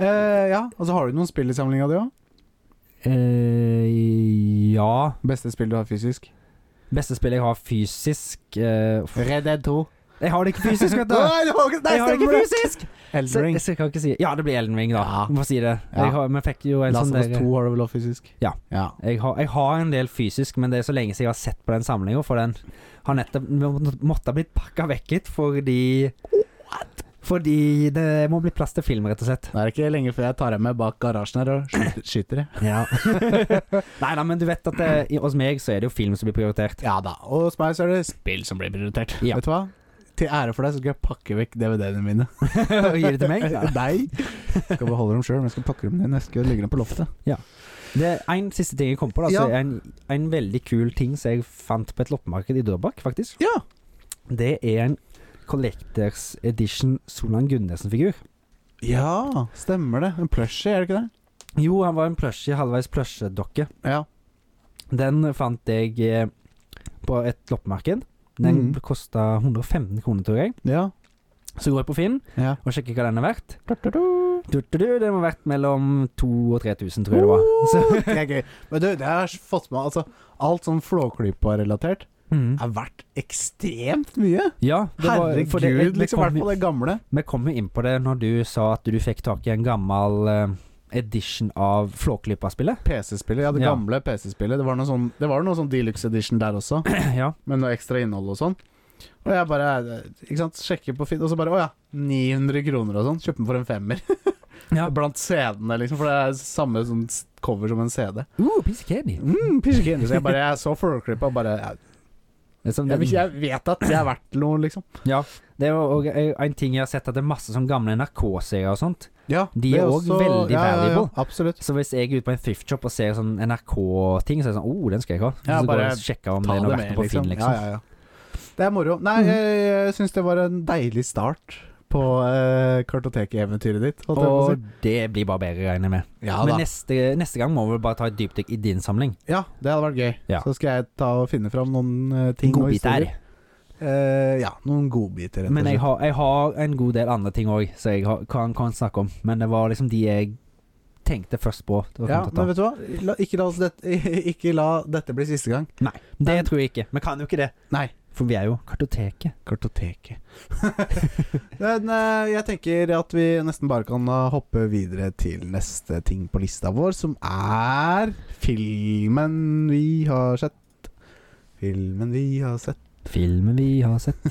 Speaker 1: Eh, ja, og så har du noen spill i samlinga di òg.
Speaker 2: Eh, ja
Speaker 1: Beste spill du har fysisk.
Speaker 2: Beste spill jeg har fysisk eh, f-
Speaker 1: Red Dead 2.
Speaker 2: Jeg har det ikke fysisk, vet du!
Speaker 1: Nei, det var ikke, nei,
Speaker 2: jeg har det ikke
Speaker 1: stemmer det.
Speaker 2: fysisk! Så,
Speaker 1: Elden Ring.
Speaker 2: så jeg kan ikke si Ja, det blir Elden Ring, da.
Speaker 1: Ja.
Speaker 2: Må si det.
Speaker 1: Ja.
Speaker 2: Jeg har, vi fikk jo en
Speaker 1: Last
Speaker 2: sånn
Speaker 1: of Us
Speaker 2: der-
Speaker 1: 2 har du vel også fysisk?
Speaker 2: Ja. Jeg har, jeg har en del fysisk, men det er så lenge siden jeg har sett på den samlinga, for den har nettopp må- måtte ha blitt pakka vekk litt fordi Fordi det må bli plass til film, rett og slett.
Speaker 1: Det er ikke lenge før jeg tar dem med bak garasjen her og skyter, skyter jeg.
Speaker 2: Ja. nei da, men du vet at det, i- hos meg så er det jo film som blir prioritert.
Speaker 1: Ja da. Og hos meg så er det spill som blir prioritert.
Speaker 2: Ja.
Speaker 1: Vet du hva? Til ære for deg så skal jeg pakke vekk DVD-ene mine.
Speaker 2: Og gir det til meg? Ja.
Speaker 1: Nei. Skal beholde dem sjøl, men jeg skal pakke dem ned neste gang jeg legger dem på loftet.
Speaker 2: Det er en siste ting jeg kom på, da,
Speaker 1: Ja.
Speaker 2: så er en, en veldig kul ting som jeg fant på et loppemarked i Drøbak, faktisk.
Speaker 1: Ja.
Speaker 2: Det er en Collectors Edition Solan Gundersen-figur.
Speaker 1: Ja, stemmer det. En plushie, er det ikke det?
Speaker 2: Jo, han var en plushie, halvveis plushiedokke.
Speaker 1: Ja.
Speaker 2: Den fant jeg eh, på et loppemarked. Den
Speaker 1: Mhm.
Speaker 2: kosta 115 kroner, tror jeg.
Speaker 1: Ja.
Speaker 2: Så går jeg på Finn
Speaker 1: ja.
Speaker 2: og sjekker hva den er verdt. Du, du, du, Den var verdt mellom 2000 og 3000, tror jeg det var. Så,
Speaker 1: Oh, det er gøy. Men du, det har jeg fått med altså, Alt sånn flåklypa-relatert
Speaker 2: Mhm.
Speaker 1: er verdt ekstremt mye.
Speaker 2: Ja, det var,
Speaker 1: Herregud,
Speaker 2: for det, jeg- vi
Speaker 1: liksom. I
Speaker 2: kom
Speaker 1: hvert fall det gamle.
Speaker 2: jo- Vi kom jo inn på det når du sa at du fikk tak i en gammel eh, edition av Flåklypa-spillet.
Speaker 1: PC-spillet. Ja, det
Speaker 2: Ja.
Speaker 1: gamle PC-spillet. Det var noe sånn, det var noe sånn deluxe edition der også,
Speaker 2: ja.
Speaker 1: med noe ekstra innhold og sånn. Og jeg bare ikke sant, sjekker på Finn, og så bare Å ja, 900 kroner og sånn. Kjøpte den for en femmer.
Speaker 2: ja.
Speaker 1: Blant CD-ene, liksom, for det er samme sånn s- cover som en CD.
Speaker 2: Uh, piece of candy.
Speaker 1: Mm, Pisjekine. Så jeg bare jeg så forklippa og bare jeg,
Speaker 2: Det er som
Speaker 1: jeg,
Speaker 2: den-
Speaker 1: jeg vet at jeg er verdt noe, liksom.
Speaker 2: Det er jo også eh, en ting jeg har sett, at det er masse sånn gamle NRK-serier og sånt.
Speaker 1: Ja,
Speaker 2: De
Speaker 1: det
Speaker 2: er også veldig valuable.
Speaker 1: absolutt.
Speaker 2: Så hvis jeg er ute på en thrift shop og ser sånn NRK-ting, så er det sånn oh, den skal jeg ha.
Speaker 1: Ja,
Speaker 2: så går
Speaker 1: bare
Speaker 2: jeg og sjekker om
Speaker 1: Ta
Speaker 2: det er
Speaker 1: det
Speaker 2: noe
Speaker 1: med,
Speaker 2: verdt på
Speaker 1: liksom.
Speaker 2: Finn, liksom. Mm.
Speaker 1: Ja, ja, ja. Det er moro. Nei, jeg, jeg syns det var en deilig start på uh, kartoteket-eventyret ditt. holdt jeg på å si.
Speaker 2: Og det blir bare bedre, regner jeg med.
Speaker 1: Ja
Speaker 2: Men neste, neste gang må vi bare ta et dypdykk i din samling.
Speaker 1: Ja, det hadde vært gøy.
Speaker 2: Ja.
Speaker 1: Så skal jeg ta og finne fram noen eh, ting. og
Speaker 2: Godbiter.
Speaker 1: historier. eh, ja, noen godbiter, rett og
Speaker 2: Men jeg
Speaker 1: slett.
Speaker 2: har, jeg har en god del andre ting òg som jeg har, kan, kan snakke om. Men det var liksom de jeg tenkte først på. Det, var
Speaker 1: Ja,
Speaker 2: fint å ta.
Speaker 1: men vet du hva? La, ikke, la oss det, ikke la dette bli siste gang.
Speaker 2: det tror jeg ikke. Vi kan jo ikke det.
Speaker 1: Nei.
Speaker 2: For vi er jo kartoteket.
Speaker 1: Kartoteket. Men eh, jeg tenker at vi nesten bare kan eh, hoppe videre til neste ting på lista vår, som er filmen vi har sett. Filmen vi har sett.
Speaker 2: Filmen vi har sett.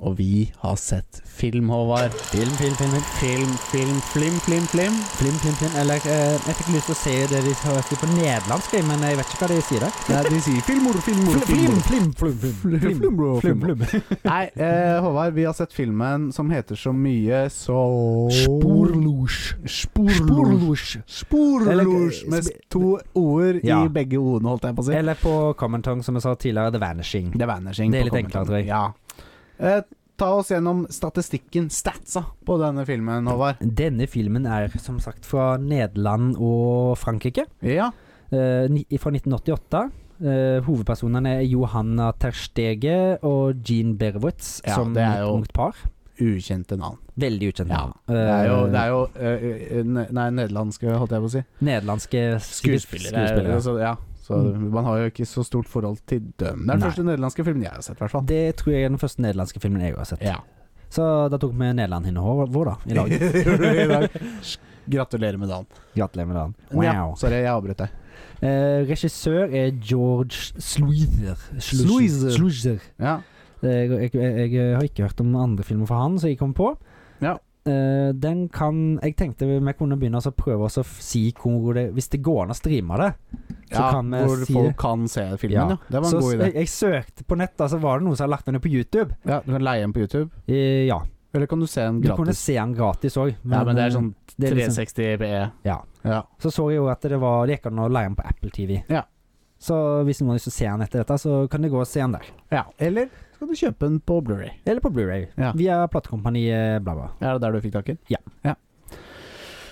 Speaker 1: Og vi har sett film, Håvard.
Speaker 2: Film, film, film. Film,
Speaker 1: Film, film, flim, flim, flim.
Speaker 2: film, film, film. Eller eh, jeg fikk lyst til å se det de har sagt på nederlandsk, jeg, men jeg vet ikke hva de sier der.
Speaker 1: Nei, de sier filmor, filmor, filmor.
Speaker 2: flim, flim,
Speaker 1: Flim, flim, bro,
Speaker 2: flim,
Speaker 1: flim.
Speaker 2: flim.
Speaker 1: Nei, eh, Håvard, vi har sett filmen som heter så mye så
Speaker 2: Sporlosj.
Speaker 1: Sporlosj. Sporlosj
Speaker 2: Eller-
Speaker 1: med to ord
Speaker 2: Ja.
Speaker 1: i begge ordene, holdt jeg på å si.
Speaker 2: Eller på Commentong, som jeg sa tidligere, The Vanishing.
Speaker 1: Det er vanishing.
Speaker 2: Det er
Speaker 1: på
Speaker 2: litt enklere,
Speaker 1: kommentaren.
Speaker 2: tror jeg.
Speaker 1: Ja. Eh, ta oss gjennom statistikken, statsa, på denne filmen, Håvard.
Speaker 2: Denne filmen er som sagt fra Nederland og Frankrike.
Speaker 1: Ja.
Speaker 2: Eh, ni, fra 1988. Eh, hovedpersonene er Johanna Terstege og Jean Berwitz
Speaker 1: Ja,
Speaker 2: som
Speaker 1: det er
Speaker 2: et
Speaker 1: jo-
Speaker 2: ungt par.
Speaker 1: Ukjente navn.
Speaker 2: Veldig ukjent.
Speaker 1: Ja, Det er jo, det er jo eh, eh, ne- Nei, nederlandske, holdt jeg på å si.
Speaker 2: Eh, Nederlandske skuespillere.
Speaker 1: Skuespillere.
Speaker 2: skuespillere.
Speaker 1: Altså, ja. Så man har jo ikke så stort forhold til dem. Det er den
Speaker 2: Nei.
Speaker 1: første nederlandske filmen jeg har sett, i hvert fall.
Speaker 2: Det tror jeg er den første nederlandske filmen jeg har sett.
Speaker 1: Ja.
Speaker 2: Så da tok vi Nederland hinne vår, da, i dag.
Speaker 1: Gjorde vi i dag. Gratulerer med dagen.
Speaker 2: Gratulerer med dagen.
Speaker 1: Ja,
Speaker 2: Wow.
Speaker 1: sorry, jeg avbrøt deg.
Speaker 2: Eh, regissør er George Sluizer.
Speaker 1: Sluizer.
Speaker 2: Sluizer.
Speaker 1: Ja.
Speaker 2: Eh, Jeg, jeg, jeg har ikke hørt om andre filmer fra han, så jeg kom på.
Speaker 1: Ja.
Speaker 2: Eh, den kan Jeg tenkte vi kunne begynne å prøve oss å f- si hvor det Hvis det går an å streame det. Så
Speaker 1: ja,
Speaker 2: kan vi
Speaker 1: hvor
Speaker 2: si
Speaker 1: folk
Speaker 2: det.
Speaker 1: kan se filmen,
Speaker 2: Ja.
Speaker 1: ja. eh, Det var en
Speaker 2: så
Speaker 1: god idé.
Speaker 2: Jeg, jeg søkte på nett, da, så var det noen som hadde lagt den ut på YouTube.
Speaker 1: Ja, du kan leie den på YouTube,
Speaker 2: Eh, ja.
Speaker 1: eller kan du se den
Speaker 2: Du kunne
Speaker 1: gratis?
Speaker 2: se den gratis òg.
Speaker 1: Ja, men det er sånn
Speaker 2: det er liksom,
Speaker 1: 360 PE.
Speaker 2: Ja.
Speaker 1: ja.
Speaker 2: Så så jeg jo at det var Det gikk an å leie den på Apple TV.
Speaker 1: Ja.
Speaker 2: Så hvis noen har lyst til å se den etter dette, så kan det gå og se den der.
Speaker 1: Ja, Eller skal du kjøpe den på Blueray?
Speaker 2: Eller på Blu-ray
Speaker 1: Ja.
Speaker 2: Via platekompaniet bla, bla.
Speaker 1: Er det der du fikk tak i den?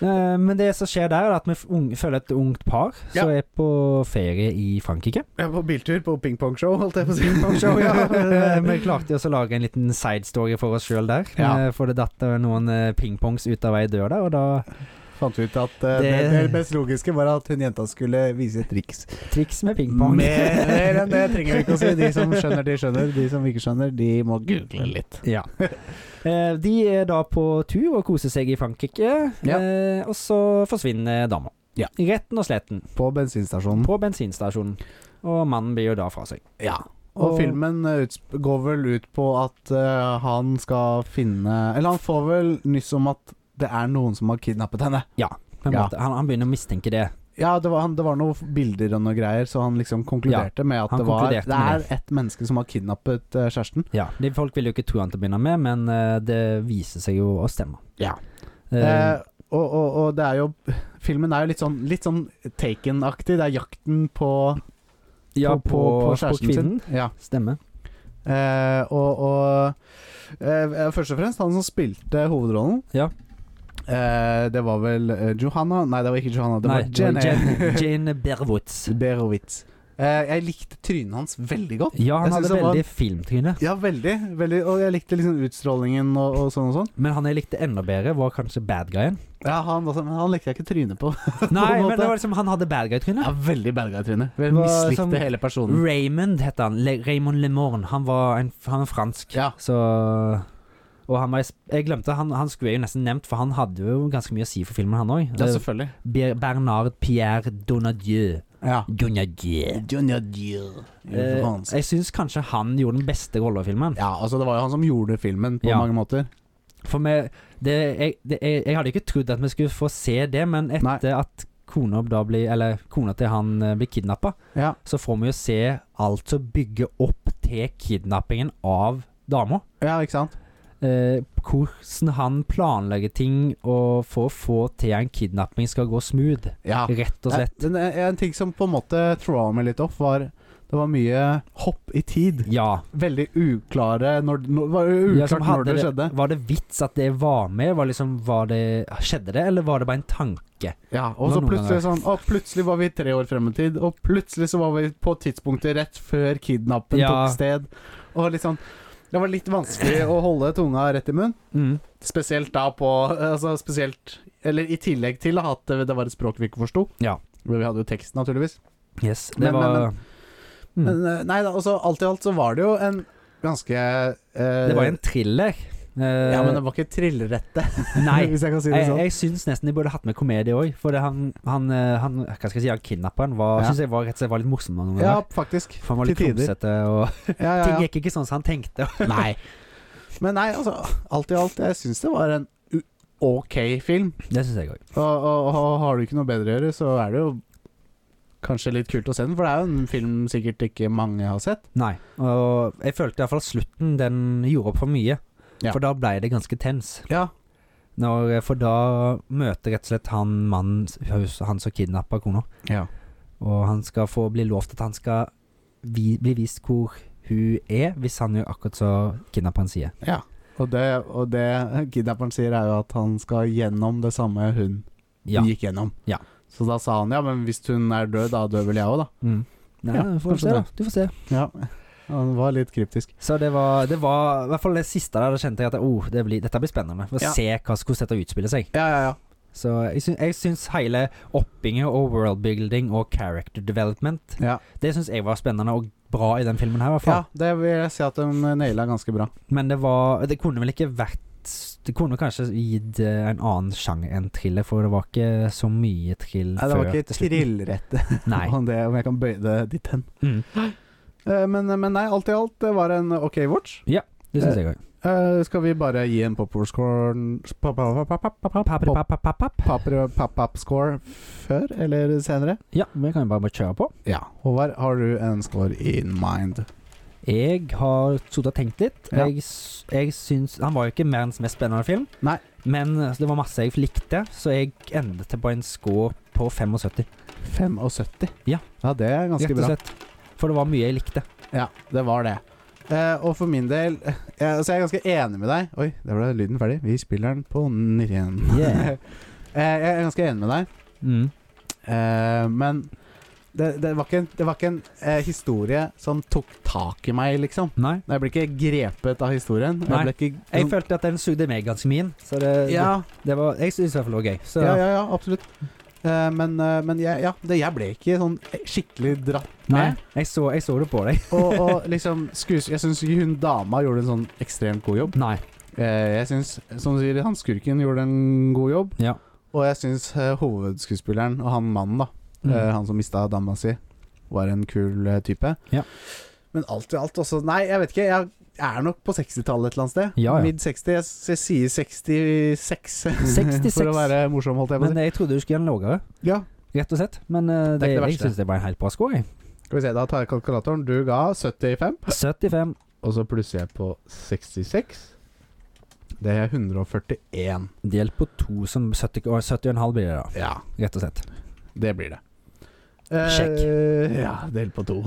Speaker 2: Eh, Men det som skjer der, er at vi f- unge- følger et ungt par
Speaker 1: Ja.
Speaker 2: som er på ferie i Frankrike.
Speaker 1: Ja, på biltur på pingpongshow, holdt jeg på å si.
Speaker 2: Show, ja. Eh, Vi klarte jo også å lage en liten sidestory for oss sjøl der.
Speaker 1: Ja.
Speaker 2: Eh, For det datt eh, noen eh, pingpongs ut av ei dør der, og da
Speaker 1: Fant ut at eh, det,
Speaker 2: Det-
Speaker 1: det, mest logiske var at hun jenta skulle vise et triks.
Speaker 2: triks med pingpong.
Speaker 1: Mer enn det trenger vi ikke å si. De som skjønner, de skjønner. De som ikke skjønner, de må google litt.
Speaker 2: Ja. Eh, De er da på tur og koser seg i Frankrike,
Speaker 1: Ja.
Speaker 2: eh, og så forsvinner dama.
Speaker 1: Ja. Mm.
Speaker 2: Retten og sletten,
Speaker 1: På bensinstasjonen.
Speaker 2: på bensinstasjonen. Og mannen blir jo da fra seg.
Speaker 1: Ja. Og,
Speaker 2: Og-
Speaker 1: filmen eh, utsp- går vel ut på at eh, han skal finne Eller han får vel nyss om at det er noen som har kidnappet henne.
Speaker 2: På en
Speaker 1: Ja.
Speaker 2: måte. Han, han begynner å mistenke det.
Speaker 1: Ja, det var, han, det var noen f- bilder og noen greier, så han liksom konkluderte med at
Speaker 2: han
Speaker 1: det, var,
Speaker 2: konkluderte
Speaker 1: det
Speaker 2: med
Speaker 1: er ett menneske som har kidnappet eh, kjæresten.
Speaker 2: Ja, det, Folk vil jo ikke tro han til å begynne med, men eh, det viser seg jo å stemme.
Speaker 1: Ja.
Speaker 2: Eh,
Speaker 1: Eh, og, og, og det er jo Filmen er jo litt sånn, litt sånn Taken-aktig. Det er jakten på,
Speaker 2: ja, på, på,
Speaker 1: kjæresten
Speaker 2: kvinnen.
Speaker 1: sin. Ja.
Speaker 2: Stemmer.
Speaker 1: Eh, og og eh, først og fremst han som spilte hovedrollen.
Speaker 2: Ja.
Speaker 1: Eh, det var vel eh, Johanna Nei, det var ikke Johanna. Det
Speaker 2: Nei,
Speaker 1: var Jenny
Speaker 2: Jane, Jane Berwitz.
Speaker 1: Berowitz. Eh, jeg likte trynet hans veldig godt.
Speaker 2: Ja, han
Speaker 1: Jeg synes
Speaker 2: hadde
Speaker 1: han var-
Speaker 2: veldig filmtryne,
Speaker 1: Ja, veldig. veldig og jeg likte liksom utstrålingen og, og sånn og sånn.
Speaker 2: men han jeg likte enda bedre, var kanskje bad guyen.
Speaker 1: Ja, han, var sånn, men han likte jeg ikke trynet på.
Speaker 2: Nei, men
Speaker 1: måte.
Speaker 2: det var liksom, han hadde bad guy-tryne.
Speaker 1: Ja, veldig bad guy-tryne.
Speaker 2: Det var
Speaker 1: Mislikte
Speaker 2: som-
Speaker 1: hele personen.
Speaker 2: Raymond het han. Le Raymond Lemorne. Han var en, han er fransk,
Speaker 1: Ja.
Speaker 2: så og han var, i sp- jeg glemte, han, han skulle jeg jo nesten nevnt, for han hadde jo ganske mye å si for filmen, han
Speaker 1: ja,
Speaker 2: òg.
Speaker 1: selvfølgelig.
Speaker 2: Bernard Pierre Donadieu.
Speaker 1: Ja.
Speaker 2: Donadieu.
Speaker 1: Johnny Depp.
Speaker 2: Eh, jeg syns kanskje han gjorde den beste rolla i filmen.
Speaker 1: Ja, altså, det var jo han som gjorde filmen på
Speaker 2: Ja.
Speaker 1: mange måter.
Speaker 2: For meg, det, jeg, det, jeg, jeg hadde ikke trodd at vi skulle få se det, men etter at kona, da blir, eller, kona til han eh, blir kidnappa,
Speaker 1: Ja.
Speaker 2: så får vi jo se alt som bygger opp til kidnappingen av dama.
Speaker 1: ja, ikke sant?
Speaker 2: Eh, hvordan han planlegger ting og for å få til en kidnapping skal gå smooth,
Speaker 1: Ja. Eh,
Speaker 2: rett og slett.
Speaker 1: Nei, den- en ting som på en måte throwa meg litt off, var Det var mye hopp i tid.
Speaker 2: Ja.
Speaker 1: Veldig uklare når, når, det var jo uklart
Speaker 2: som
Speaker 1: når
Speaker 2: hadde
Speaker 1: det skjedde.
Speaker 2: Var det vits at det var med? Var liksom, var det, skjedde det, eller var det bare en tanke?
Speaker 1: Ja, og
Speaker 2: Det
Speaker 1: så
Speaker 2: var noen
Speaker 1: plutselig sånn Og plutselig var vi tre år frem i tid, og plutselig så var vi på tidspunktet rett før kidnappen
Speaker 2: Ja.
Speaker 1: tok sted. Og litt sånn Det var litt vanskelig å holde tunga rett i munnen. Spesielt da på altså spesielt, Eller i tillegg til at det det var et språk vi ikke forsto.
Speaker 2: Ja.
Speaker 1: Men Vi hadde jo tekst, naturligvis.
Speaker 2: Yes, det
Speaker 1: Men- men-
Speaker 2: var Mm.
Speaker 1: Men eh, nei da, altså alt i alt så var det jo en ganske eh,
Speaker 2: Det var en thriller. Eh,
Speaker 1: Ja, men det var ikke trillrette,
Speaker 2: nei,
Speaker 1: hvis jeg kan si det
Speaker 2: jeg,
Speaker 1: sånn.
Speaker 2: jeg syns nesten de burde hatt med komedie òg. For det han, han, eh, han Hva skal jeg si, han kidnapperen var,
Speaker 1: Ja.
Speaker 2: synes jeg var, rett og slett var litt morsom. noen
Speaker 1: Ja,
Speaker 2: ganger.
Speaker 1: faktisk.
Speaker 2: For han var litt
Speaker 1: til tider.
Speaker 2: klumsete, og
Speaker 1: Ja, ja,
Speaker 2: ting
Speaker 1: ja.
Speaker 2: gikk ikke sånn som han tenkte. Nei,
Speaker 1: Men nei, altså, alt i alt, jeg syns det var en u- ok film.
Speaker 2: det syns jeg òg.
Speaker 1: Og, og, og har du ikke noe bedre å gjøre, så er det jo kanskje litt kult å se den, for det er jo en film sikkert ikke mange har sett.
Speaker 2: Nei. Og jeg følte iallfall at slutten den gjorde opp for mye.
Speaker 1: Ja.
Speaker 2: For da ble det ganske tens.
Speaker 1: Ja.
Speaker 2: Når, eh, for da møter rett og slett han mannen Han som kidnappa kona.
Speaker 1: Ja.
Speaker 2: Og han skal få bli lovt at han skal vi, bli vist hvor hun er, hvis han gjør akkurat så kidnapperen sier.
Speaker 1: Og det, og det kidnapperen sier, er jo at han skal gjennom det samme hun
Speaker 2: Ja.
Speaker 1: gikk gjennom.
Speaker 2: Ja.
Speaker 1: Så da sa han ja, men hvis hun er død, da dør vel jeg òg, da.
Speaker 2: Mm. Nei,
Speaker 1: Ja,
Speaker 2: du får
Speaker 1: kanskje
Speaker 2: se, da.
Speaker 1: det.
Speaker 2: Du får se.
Speaker 1: Ja. Han var litt kryptisk.
Speaker 2: Så det var, det var I hvert fall det siste der, da kjente jeg at oh, det blir, dette blir spennende. Få
Speaker 1: Ja.
Speaker 2: se hva, hvordan dette utspiller seg.
Speaker 1: Ja, ja, ja.
Speaker 2: Så jeg syns, jeg syns hele oppbygginga og worldbuilding og character development
Speaker 1: Ja,
Speaker 2: Det syns jeg var spennende og bra i den filmen her, i hvert
Speaker 1: ja
Speaker 2: fall.
Speaker 1: det vil jeg si at de naila ganske bra.
Speaker 2: Men det var Det kunne vel ikke vært det kunne kanskje gitt eh, en annen sjanger enn thriller, for det var ikke så mye thrill
Speaker 1: Nei, det var ikke
Speaker 2: til slutten.
Speaker 1: trillrette,
Speaker 2: Nei.
Speaker 1: om, det- om jeg kan bøye det dit hen.
Speaker 2: Mm.
Speaker 1: Eh, Men, men nei, alt i alt, det var en ok watch.
Speaker 2: Det syns jeg òg.
Speaker 1: Eh, skal vi bare gi en popcorn Popcorn Popcorn før eller senere?
Speaker 2: Ja, vi kan jo bare, bare kjøre på.
Speaker 1: Ja. Håvard, har du en score in mind?
Speaker 2: Jeg har sittet og tenkt litt.
Speaker 1: Ja.
Speaker 2: Jeg, s- jeg syns Han var jo ikke verdens mest spennende film,
Speaker 1: Nei.
Speaker 2: men eh, det var masse jeg likte, så jeg endte på en score på 75,
Speaker 1: 75.
Speaker 2: Ja.
Speaker 1: ja det er ganske
Speaker 2: rett og
Speaker 1: bra.
Speaker 2: slett. For det var mye jeg likte.
Speaker 1: Ja, det var det. Eh, og for min del eh, altså Jeg er ganske enig med deg. Oi, der ble lyden ferdig. Vi spiller den på nytt igjen.
Speaker 2: Yeah.
Speaker 1: Eh, jeg er ganske enig med deg.
Speaker 2: Mm.
Speaker 1: Eh, men det, det var ikke en, det var ikke en eh, historie som tok tak i meg, liksom.
Speaker 2: Nei.
Speaker 1: Jeg ble ikke grepet av historien.
Speaker 2: Nei.
Speaker 1: Jeg ble ikke
Speaker 2: Jeg følte at den sugde meg ganske min, så det,
Speaker 1: ja,
Speaker 2: det, det var Jeg syns i hvert fall det var gøy. Så
Speaker 1: ja, ja, ja, absolutt. Eh, men eh, men jeg, ja, det, jeg ble ikke sånn skikkelig dratt
Speaker 2: nei,
Speaker 1: med.
Speaker 2: jeg så, jeg så det på deg.
Speaker 1: og, og liksom skues, Jeg syns ikke hun dama gjorde en sånn ekstremt god jobb.
Speaker 2: Nei.
Speaker 1: Eh, jeg syns, som du sier, han skurken gjorde en god jobb.
Speaker 2: Ja.
Speaker 1: Og jeg syns eh, hovedskuespilleren og han mannen, da,
Speaker 2: Mm.
Speaker 1: Eh, han som mista dama si, var en kul eh, type.
Speaker 2: Ja.
Speaker 1: Men alt i alt også Nei, jeg vet ikke. Jeg er nok på 60-tallet et eller annet sted.
Speaker 2: Ja, ja.
Speaker 1: Mid 60. Jeg, s- jeg sier 66,
Speaker 2: 66.
Speaker 1: for å være morsom, holdt jeg på å
Speaker 2: Men
Speaker 1: si.
Speaker 2: jeg trodde du skulle gjøre den lavere,
Speaker 1: Ja.
Speaker 2: rett og slett. Men eh,
Speaker 1: Det er
Speaker 2: det,
Speaker 1: ikke det
Speaker 2: jeg
Speaker 1: verste.
Speaker 2: syns det var en helt bra score, jeg.
Speaker 1: Skal vi se, da tar jeg kalkulatoren. Du ga 75,
Speaker 2: 75.
Speaker 1: og så plusser jeg på 66. Det er 141.
Speaker 2: Delt på to som 70, og 70,5 blir det, da.
Speaker 1: Ja,
Speaker 2: Rett og slett.
Speaker 1: det blir det.
Speaker 2: Sjekk.
Speaker 1: Eh, ja, del på to.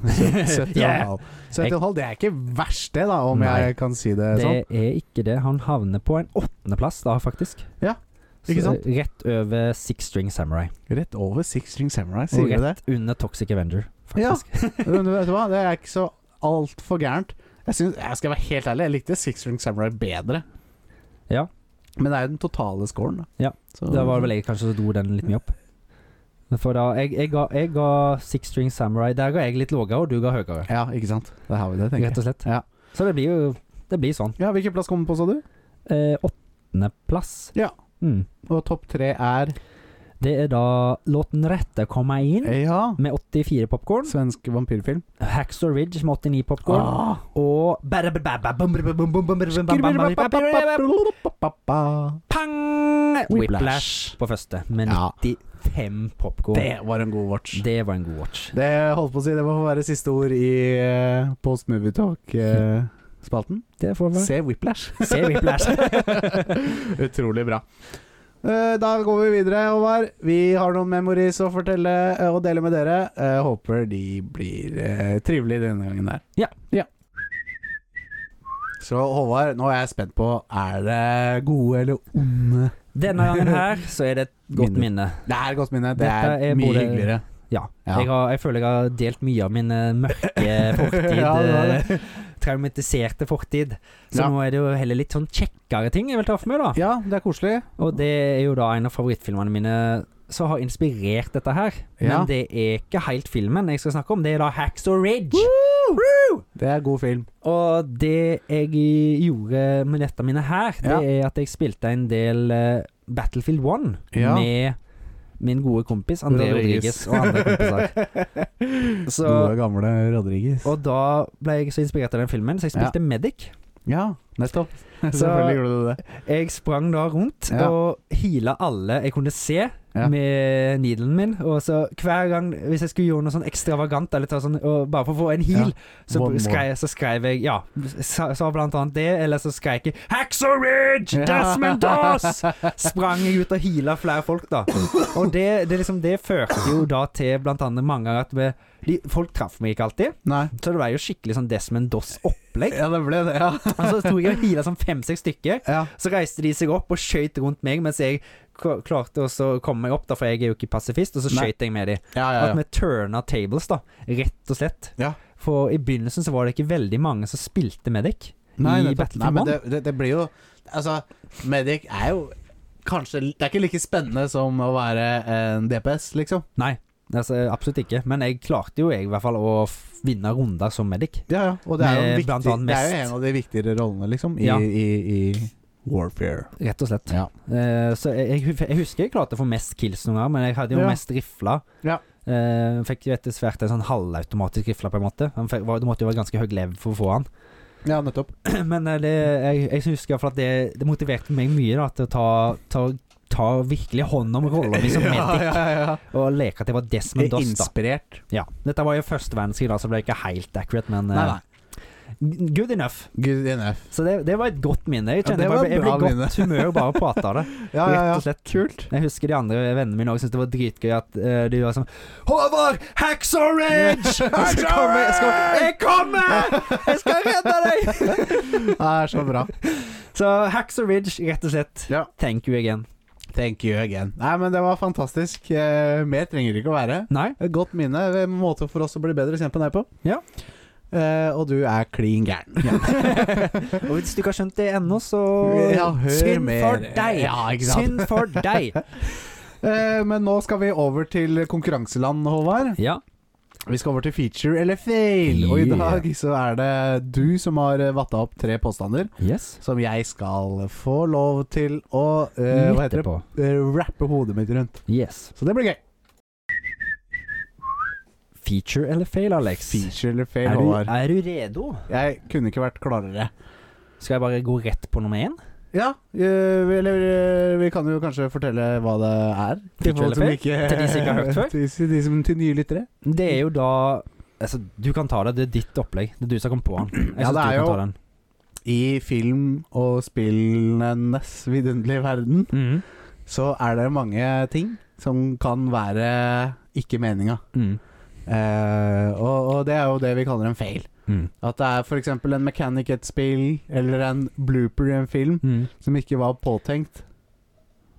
Speaker 1: 70,5.
Speaker 2: Yeah.
Speaker 1: 70,5, det er ikke verst, det, da, om
Speaker 2: Nei.
Speaker 1: jeg kan si det,
Speaker 2: Det
Speaker 1: sånn.
Speaker 2: er ikke det. Han havner på en åttendeplass da, faktisk.
Speaker 1: Ja, ikke
Speaker 2: Så,
Speaker 1: sant?
Speaker 2: Rett over Six String Samurai.
Speaker 1: Rett over Six String Samurai, sier
Speaker 2: Og
Speaker 1: du det?
Speaker 2: Oh, rett under Toxic Avenger, faktisk.
Speaker 1: Men vet du hva, det er ikke så altfor gærent. Jeg, synes, jeg skal være helt ærlig, jeg likte Six String Samurai bedre.
Speaker 2: Ja.
Speaker 1: Men det er jo den totale scoren, da.
Speaker 2: Ja,
Speaker 1: Så-
Speaker 2: Da var det vel jeg kanskje som dro den litt mye opp. For da, jeg, jeg, ga, jeg ga Six String Samurai Der ga jeg litt lavere, og du ga høyere.
Speaker 1: Ja, ikke sant. Der har vi det, tenker
Speaker 2: Rett
Speaker 1: jeg.
Speaker 2: og slett.
Speaker 1: Ja.
Speaker 2: Så det blir jo Det blir sånn.
Speaker 1: Ja, Hvilken plass kommer på, sa du?
Speaker 2: Eh, åttendeplass.
Speaker 1: Ja.
Speaker 2: Mm.
Speaker 1: Og topp tre er
Speaker 2: Det er da Låt den rette komme inn
Speaker 1: Ja.
Speaker 2: med 84 popkorn.
Speaker 1: Svensk vampyrfilm.
Speaker 2: Hacksaw Ridge med 89 popkorn.
Speaker 1: Ah.
Speaker 2: Og Pang! Whiplash på første, med
Speaker 1: Ja.
Speaker 2: 95 popkorn.
Speaker 1: Det var en god watch.
Speaker 2: Det var en god watch.
Speaker 1: Det holdt på å si, det må få være siste ord i eh, Post Movie Talk-spalten.
Speaker 2: Det får vi
Speaker 1: Se Whiplash.
Speaker 2: se Whiplash.
Speaker 1: Utrolig bra. Eh, Da går vi videre, Håvard. Vi har noen memories å fortelle eh, og dele med dere. Eh, Håper de blir eh, trivelige denne gangen der.
Speaker 2: Ja.
Speaker 1: Så Håvard, nå er jeg spent på Er det gode eller onde
Speaker 2: Denne gangen her så er det et godt minne.
Speaker 1: Det er godt minne. Det
Speaker 2: Dette
Speaker 1: er,
Speaker 2: er
Speaker 1: mye
Speaker 2: både-
Speaker 1: hyggeligere.
Speaker 2: Ja.
Speaker 1: Ja.
Speaker 2: Jeg, har, jeg føler jeg har delt mye av min eh, mørke fortid.
Speaker 1: Ja, det var det.
Speaker 2: eh, Traumatiserte fortid. Så
Speaker 1: Ja.
Speaker 2: nå er det jo heller litt sånn kjekkere ting jeg vil ta for meg, da.
Speaker 1: Ja, det er koselig.
Speaker 2: Og det er jo da en av favorittfilmene mine som har inspirert dette her. Men
Speaker 1: Ja.
Speaker 2: det er ikke helt filmen jeg skal snakke om, det er da Hacksaw Ridge.
Speaker 1: Det er god film.
Speaker 2: Og det jeg gjorde med dette mine her, det
Speaker 1: Ja.
Speaker 2: er at jeg spilte en del eh, Battlefield 1
Speaker 1: Ja.
Speaker 2: med min gode kompis André
Speaker 1: Rodriguez.
Speaker 2: Rodriguez og andre kompiser. Så,
Speaker 1: Gode, gamle Rodriguez.
Speaker 2: og da ble jeg så inspirert av den filmen, så jeg
Speaker 1: Ja.
Speaker 2: spilte Medic.
Speaker 1: Ja, nettopp. Selvfølgelig gjorde du det.
Speaker 2: Jeg sprang da rundt
Speaker 1: Ja.
Speaker 2: og heala alle jeg kunne se
Speaker 1: Ja.
Speaker 2: med needlen min. Og så hver gang hvis jeg skulle gjøre noe sånn ekstravagant, eller ta sånn, og bare for å få en heal, så,
Speaker 1: One more.
Speaker 2: skrev, så skrev jeg Ja, sa, sa blant annet det, eller så skreik jeg 'Haxor Ridge! Desmond Doss!' Sprang jeg ut og heala flere folk, da. Og det, det, liksom, det førte jo da til blant annet mange ganger at vi, de, folk traff meg ikke alltid.
Speaker 1: Nei.
Speaker 2: Så det ble jo skikkelig sånn Desmond Doss-opplegg.
Speaker 1: Ja, det ble det, ja.
Speaker 2: Og så tok jeg og heala sånn fem-seks stykker.
Speaker 1: ja.
Speaker 2: Så reiste de seg opp og skøyt rundt meg, mens jeg k- klarte også å komme meg opp, da, for jeg er jo ikke pasifist, og så
Speaker 1: Nei.
Speaker 2: skøyt jeg med de.
Speaker 1: Ja, ja,
Speaker 2: At vi turna tables, da, rett og slett.
Speaker 1: Ja.
Speaker 2: For i begynnelsen så var det ikke veldig mange som spilte medic.
Speaker 1: Nei,
Speaker 2: i
Speaker 1: nettopp.
Speaker 2: Battlefield
Speaker 1: Nei, men
Speaker 2: 1.
Speaker 1: det, det, det blir jo Altså, Medic er jo kanskje Det er ikke like spennende som å være en DPS, liksom.
Speaker 2: Nei, altså, absolutt ikke. Men jeg klarte jo jeg, i hvert fall å f- vinne runder som medic.
Speaker 1: Ja, ja. Og det er, jo en
Speaker 2: Med blant
Speaker 1: viktig,
Speaker 2: annet
Speaker 1: det er jo
Speaker 2: mest-
Speaker 1: en av de viktigere rollene, liksom, i,
Speaker 2: Ja.
Speaker 1: i, i Warfare.
Speaker 2: Rett og slett.
Speaker 1: Ja.
Speaker 2: Eh, så jeg, jeg, hu- jeg husker jeg klarte å få mest kills noen ganger, men jeg hadde jo
Speaker 1: Ja.
Speaker 2: mest rifla.
Speaker 1: Ja.
Speaker 2: Eh, fikk jo etter hvert en sånn halvautomatisk rifle, på en måte. Han fikk, var, du måtte jo være ganske høy level for å få han.
Speaker 1: ja, nettopp.
Speaker 2: Men eh, det, jeg, jeg husker i hvert fall at det, det motiverte meg mye da, til å ta, ta, ta virkelig hånd om rolla mi
Speaker 1: liksom
Speaker 2: som medic
Speaker 1: ja, ja.
Speaker 2: og leke at jeg var
Speaker 1: Det
Speaker 2: Desmond
Speaker 1: er
Speaker 2: Doss. da
Speaker 1: inspirert.
Speaker 2: ja. Dette var jo første verdenskrig, da, så det ble ikke helt accurate, men
Speaker 1: Nei,
Speaker 2: eh,
Speaker 1: nei.
Speaker 2: good enough.
Speaker 1: Good enough.
Speaker 2: Så det, det var et godt minne. Jeg
Speaker 1: Ja,
Speaker 2: kjenner
Speaker 1: det
Speaker 2: jeg
Speaker 1: var
Speaker 2: bare- jeg ble
Speaker 1: bra
Speaker 2: i
Speaker 1: minne.
Speaker 2: godt humør bare av å prate av det,
Speaker 1: Ja, ja,
Speaker 2: rett
Speaker 1: ja.
Speaker 2: og slett.
Speaker 1: Kult.
Speaker 2: Jeg husker de andre vennene mine også syntes det var dritgøy at eh, de var sånn Håvard, Hacksaw Ridge! Og så kommer jeg, skal, jeg kommer! Jeg skal redde deg!
Speaker 1: Det er så bra.
Speaker 2: Så Hacksaw Ridge, rett og slett.
Speaker 1: Ja.
Speaker 2: Thank you again.
Speaker 1: Thank you again. Nei, men det var fantastisk. Eh, mer trenger det ikke å være.
Speaker 2: Nei?
Speaker 1: Et godt minne. En måte for oss å bli bedre kjent med deg på.
Speaker 2: Ja.
Speaker 1: Eh, og du er klin gæren.
Speaker 2: Og hvis du ikke har skjønt det ennå, så
Speaker 1: Ja, hør
Speaker 2: Synd for
Speaker 1: mer.
Speaker 2: deg!
Speaker 1: Ja, ikke sant?
Speaker 2: Synd for deg!
Speaker 1: Eh, men nå skal vi over til konkurranseland, Håvard.
Speaker 2: Ja.
Speaker 1: Vi skal over til feature eller fail. Og i
Speaker 2: Yeah.
Speaker 1: dag så er det du som har eh, vatta opp tre påstander
Speaker 2: Yes.
Speaker 1: som jeg skal få lov til å eh, Hva heter det?
Speaker 2: på.
Speaker 1: Eh, Rappe hodet mitt rundt.
Speaker 2: Yes.
Speaker 1: Så det blir gøy.
Speaker 2: Feature eller fail, Alex?
Speaker 1: Feature eller fail,
Speaker 2: Er du,
Speaker 1: Håvard.
Speaker 2: er du redo?
Speaker 1: Jeg kunne ikke vært klarere.
Speaker 2: Skal jeg bare gå rett på nummer én?
Speaker 1: Ja, eh, vi- eller eh, vi kan jo kanskje fortelle hva det er.
Speaker 2: Feature eller fail? Til de som ikke har hørt før?
Speaker 1: Til, til de som til nye lyttere.
Speaker 2: Det er jo da Altså, du kan ta det. Det er ditt opplegg. Det er du som kom på den. Jeg
Speaker 1: Ja,
Speaker 2: synes
Speaker 1: det er
Speaker 2: du kan
Speaker 1: jo-
Speaker 2: ta den.
Speaker 1: I film- og spillenes vidunderlige verden
Speaker 2: Mhm.
Speaker 1: så er det mange ting som kan være ikke meninga.
Speaker 2: Mhm.
Speaker 1: Eh, og, og det er jo det vi kaller en fail.
Speaker 2: Mhm.
Speaker 1: At det er f.eks. en mechanic i et spill, eller en blooper i en film,
Speaker 2: Mhm.
Speaker 1: som ikke var påtenkt,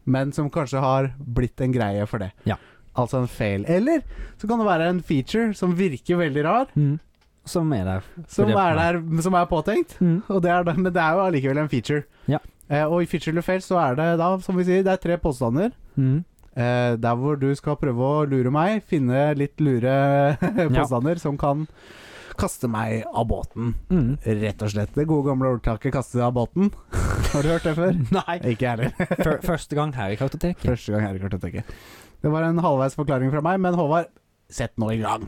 Speaker 1: men som kanskje har blitt en greie for det.
Speaker 2: Ja.
Speaker 1: Altså en fail. Eller så kan det være en feature som virker veldig rar,
Speaker 2: Mhm. Som er der.
Speaker 1: som
Speaker 2: Fordi-
Speaker 1: er der, som er påtenkt.
Speaker 2: Mhm.
Speaker 1: Og det er, det- men det er jo allikevel en feature.
Speaker 2: Ja.
Speaker 1: Eh, og i feature eller fail så er det da, som vi sier, det er tre påstander.
Speaker 2: Mhm.
Speaker 1: Eh, der hvor du skal prøve å lure meg, finne litt lure påstander som kan kaste meg av båten.
Speaker 2: Mhm.
Speaker 1: Rett og slett. Det gode gamle ordtaket 'kaste deg av båten'. har du hørt det før?
Speaker 2: Nei.
Speaker 1: Ikke jeg heller.
Speaker 2: Før- Første gang her i Kartoteket.
Speaker 1: Første gang her i kartoteket. Det var en halvveis forklaring fra meg, men Håvard, sett nå i gang.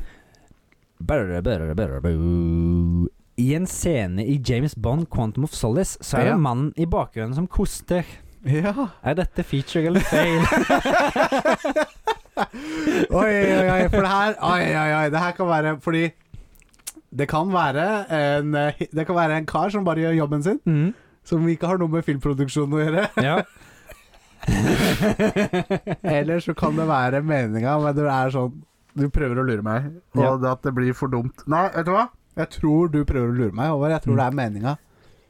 Speaker 2: Brr, brr, brr, brr. I en scene i James Bond Quantum of Solace så er det
Speaker 1: Ja.
Speaker 2: mannen i bakgrunnen som koster.
Speaker 1: Ja.
Speaker 2: Er dette feature eller fail?
Speaker 1: Oi, oi, oi, for det her Oi, oi, oi, det her kan være Fordi det kan være en eh, Det kan være en kar som bare gjør jobben sin,
Speaker 2: mm.
Speaker 1: som ikke har noe med filmproduksjon å gjøre.
Speaker 2: Ja.
Speaker 1: Eller så kan det være meninga, men det er sånn Du prøver å lure meg, og
Speaker 2: Ja.
Speaker 1: det at det blir for dumt. Nei, vet du hva? Jeg tror du prøver å lure meg, Håvard. Jeg tror det er meninga.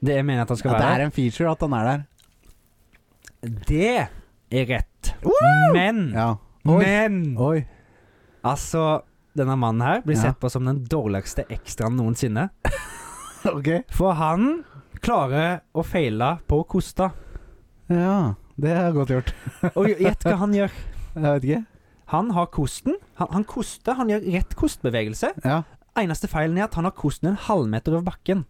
Speaker 2: Det jeg mener at han skal
Speaker 1: At det
Speaker 2: være
Speaker 1: er en feature at han er der.
Speaker 2: Det er rett. Men,
Speaker 1: Ja. Oi.
Speaker 2: men
Speaker 1: Mm. Oi.
Speaker 2: Altså, denne mannen her blir
Speaker 1: Ja.
Speaker 2: sett på som den dårligste ekstraen noensinne.
Speaker 1: Ok.
Speaker 2: For han klarer å feile på å koste.
Speaker 1: Ja. Det er godt gjort.
Speaker 2: Og gjett hva han gjør.
Speaker 1: Jeg vet ikke.
Speaker 2: Han har kosten. Han, han koster. Han gjør rett kostbevegelse.
Speaker 1: Ja.
Speaker 2: Eneste feilen er at han har kosten en halvmeter over bakken.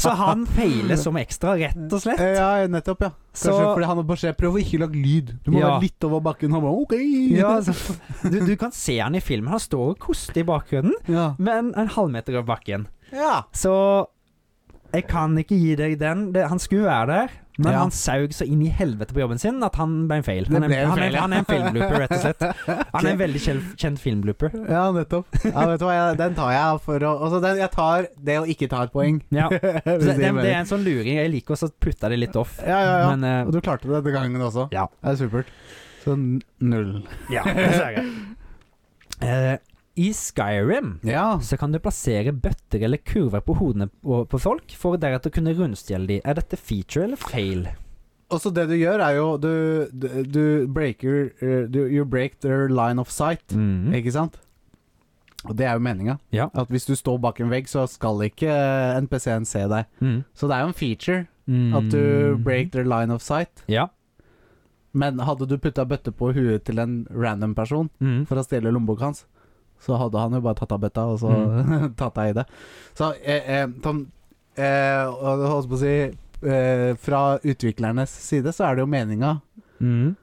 Speaker 2: Så han feiler som ekstra, rett og slett.
Speaker 1: Eh, Ja, nettopp, ja. Kanskje
Speaker 2: Så
Speaker 1: fordi han har beskjed prøv å ikke lage lyd. Du må
Speaker 2: Ja.
Speaker 1: være litt over bakken. Han bare OK.
Speaker 2: ja, altså, du, du kan se han i filmen. Han står og koster i bakgrunnen,
Speaker 1: ja.
Speaker 2: men en halvmeter over bakken.
Speaker 1: ja.
Speaker 2: Så jeg kan ikke gi deg den. Det, han skulle være der, men
Speaker 1: Ja.
Speaker 2: han saug så inn i helvete på jobben sin at han ble en fail.
Speaker 1: Det
Speaker 2: Han er,
Speaker 1: ble en
Speaker 2: han,
Speaker 1: fail,
Speaker 2: er,
Speaker 1: ja.
Speaker 2: han er en filmblooper, rett og slett. Han er en veldig kjent, kjent filmblooper.
Speaker 1: Ja, nettopp. Ja, vet du hva, jeg, Den tar jeg for å Altså, den, jeg tar det å ikke ta et poeng.
Speaker 2: Ja.
Speaker 1: Hvis
Speaker 2: Så det,
Speaker 1: gir
Speaker 2: det, det
Speaker 1: mening.
Speaker 2: er en sånn luring. Jeg liker også å putte det litt off.
Speaker 1: Ja, ja, ja.
Speaker 2: Men eh,
Speaker 1: Og du klarte det denne gangen også.
Speaker 2: Ja.
Speaker 1: Det er supert. Så n- null.
Speaker 2: ja, dessverre. Eh, I Skyrim
Speaker 1: Ja.
Speaker 2: så kan du plassere bøtter eller kurver på hodene på på folk, for deretter å kunne rundstjele de. Er dette feature eller fail?
Speaker 1: Og så det du gjør, er jo Du, du, du breaker eh, du, You break their line of sight,
Speaker 2: Mm.
Speaker 1: ikke sant? Og det er jo meninga.
Speaker 2: Ja.
Speaker 1: At hvis du står bak en vegg, så skal ikke eh, NPC-en se deg.
Speaker 2: Mm.
Speaker 1: Så det er jo en feature
Speaker 2: Mm.
Speaker 1: at du break their line of sight.
Speaker 2: Ja.
Speaker 1: Men hadde du putta bøtte på huet til en random person
Speaker 2: Mm.
Speaker 1: for å stjele lommeboka hans, så hadde han jo bare tatt av bøtta, og så
Speaker 2: Mm.
Speaker 1: tatt deg i det. Så eh, eh, Tom, eh, og jeg holdt på å si eh, Fra utviklernes side så er det jo meninga,
Speaker 2: Mm.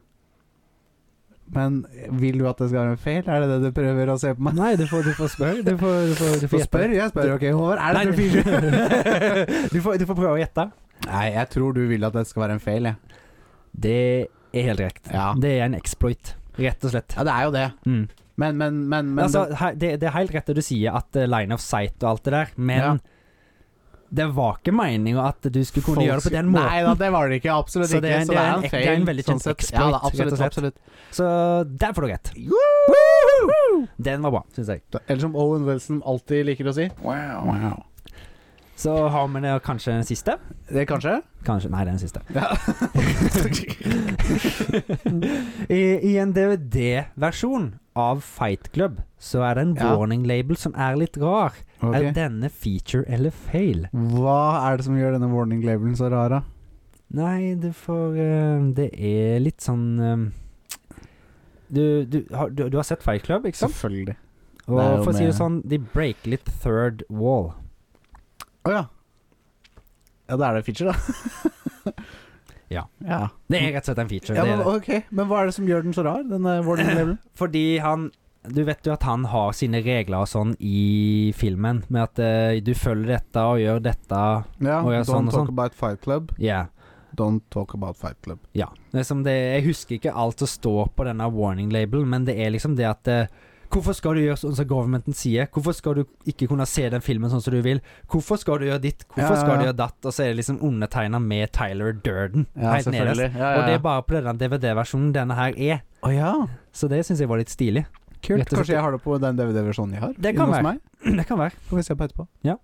Speaker 1: men vil du at det skal være en feil? Er det det du prøver å se på meg?
Speaker 2: Nei, du får, du får spørre. Du får, du får, du
Speaker 1: Du får
Speaker 2: gjette.
Speaker 1: spørre, jeg spør. Ok, Håvard, er det
Speaker 2: Nei,
Speaker 1: en feature?
Speaker 2: du, får, du får prøve å gjette.
Speaker 1: Nei, jeg tror du vil at det skal være en feil, jeg.
Speaker 2: Det er helt riktig.
Speaker 1: Ja.
Speaker 2: Det er en exploit, rett og slett.
Speaker 1: ja, det er jo det.
Speaker 2: Mm.
Speaker 1: Men, men, men, men
Speaker 2: altså, he- det, det er helt rett det du sier, at eh, line of sight og alt det der, men
Speaker 1: Ja.
Speaker 2: det var ikke meninga at du skulle kunne
Speaker 1: Folk
Speaker 2: gjøre det på den
Speaker 1: skulle-
Speaker 2: måten.
Speaker 1: Nei da, det var det ikke. Absolutt
Speaker 2: Så det er
Speaker 1: ikke.
Speaker 2: en-
Speaker 1: Så det er
Speaker 2: det
Speaker 1: en
Speaker 2: er en-
Speaker 1: feil.
Speaker 2: det er en veldig
Speaker 1: sånn
Speaker 2: kjent
Speaker 1: sett.
Speaker 2: exploit,
Speaker 1: Ja, da,
Speaker 2: rett og
Speaker 1: absolutt,
Speaker 2: slett.
Speaker 1: absolutt.
Speaker 2: Så der får du rett. Den var bra, syns jeg.
Speaker 1: Eller som Owen Wilson alltid liker å si. Wow.
Speaker 2: Så har vi det kanskje den siste?
Speaker 1: Det kanskje?
Speaker 2: Kanskje, nei, det er den siste.
Speaker 1: Ja.
Speaker 2: I, I en DVD-versjon av Fight Club så er det en
Speaker 1: Ja.
Speaker 2: warning label som er litt rar.
Speaker 1: Ok.
Speaker 2: Er denne feature eller fail?
Speaker 1: Hva er det som gjør denne warning labelen så rar, da?
Speaker 2: Nei, det får eh, Det er litt sånn eh, du, du, har, du, du har sett Fight Club, ikke sant?
Speaker 1: Selvfølgelig.
Speaker 2: Og
Speaker 1: det er jo
Speaker 2: for å si det
Speaker 1: med-
Speaker 2: sånn, de breaker litt third wall.
Speaker 1: Å ja. Ja, da er det feature, da.
Speaker 2: Ja.
Speaker 1: ja.
Speaker 2: Det er rett og slett en feature.
Speaker 1: Mm. Ja,
Speaker 2: det er
Speaker 1: men,
Speaker 2: det.
Speaker 1: ok, men hva er det som gjør den eh, så rar, denne warning labelen?
Speaker 2: Fordi han Du vet jo at han har sine regler og sånn i filmen, med at eh, du følger dette og gjør dette.
Speaker 1: Ja,
Speaker 2: Å, ja, sånn og sånn.
Speaker 1: about fight club.
Speaker 2: Yeah.
Speaker 1: Don't talk about fight club.
Speaker 2: Ja. Det er som det, jeg husker ikke alt som står på denne warning label, men det er liksom det at eh, Hvorfor skal du gjøre sånn som governmenten sier? Hvorfor skal du ikke kunne se den filmen sånn som du vil? Hvorfor skal du gjøre ditt? Hvorfor
Speaker 1: Ja, ja,
Speaker 2: skal du
Speaker 1: ja.
Speaker 2: gjøre datt? Og så er det liksom undertegna med Tyler Durden.
Speaker 1: Ja,
Speaker 2: helt nederst.
Speaker 1: selvfølgelig. Ja,
Speaker 2: Og det
Speaker 1: ja,
Speaker 2: er bare på denne DVD-versjonen denne her er.
Speaker 1: Å ja.
Speaker 2: Så det syns jeg var litt stilig.
Speaker 1: Kult.
Speaker 2: Rett og slett.
Speaker 1: Kanskje jeg har det på den DVD-versjonen jeg har?
Speaker 2: Det kan
Speaker 1: inne hos
Speaker 2: være.
Speaker 1: meg?
Speaker 2: Det kan være.
Speaker 1: Får vi se på etterpå.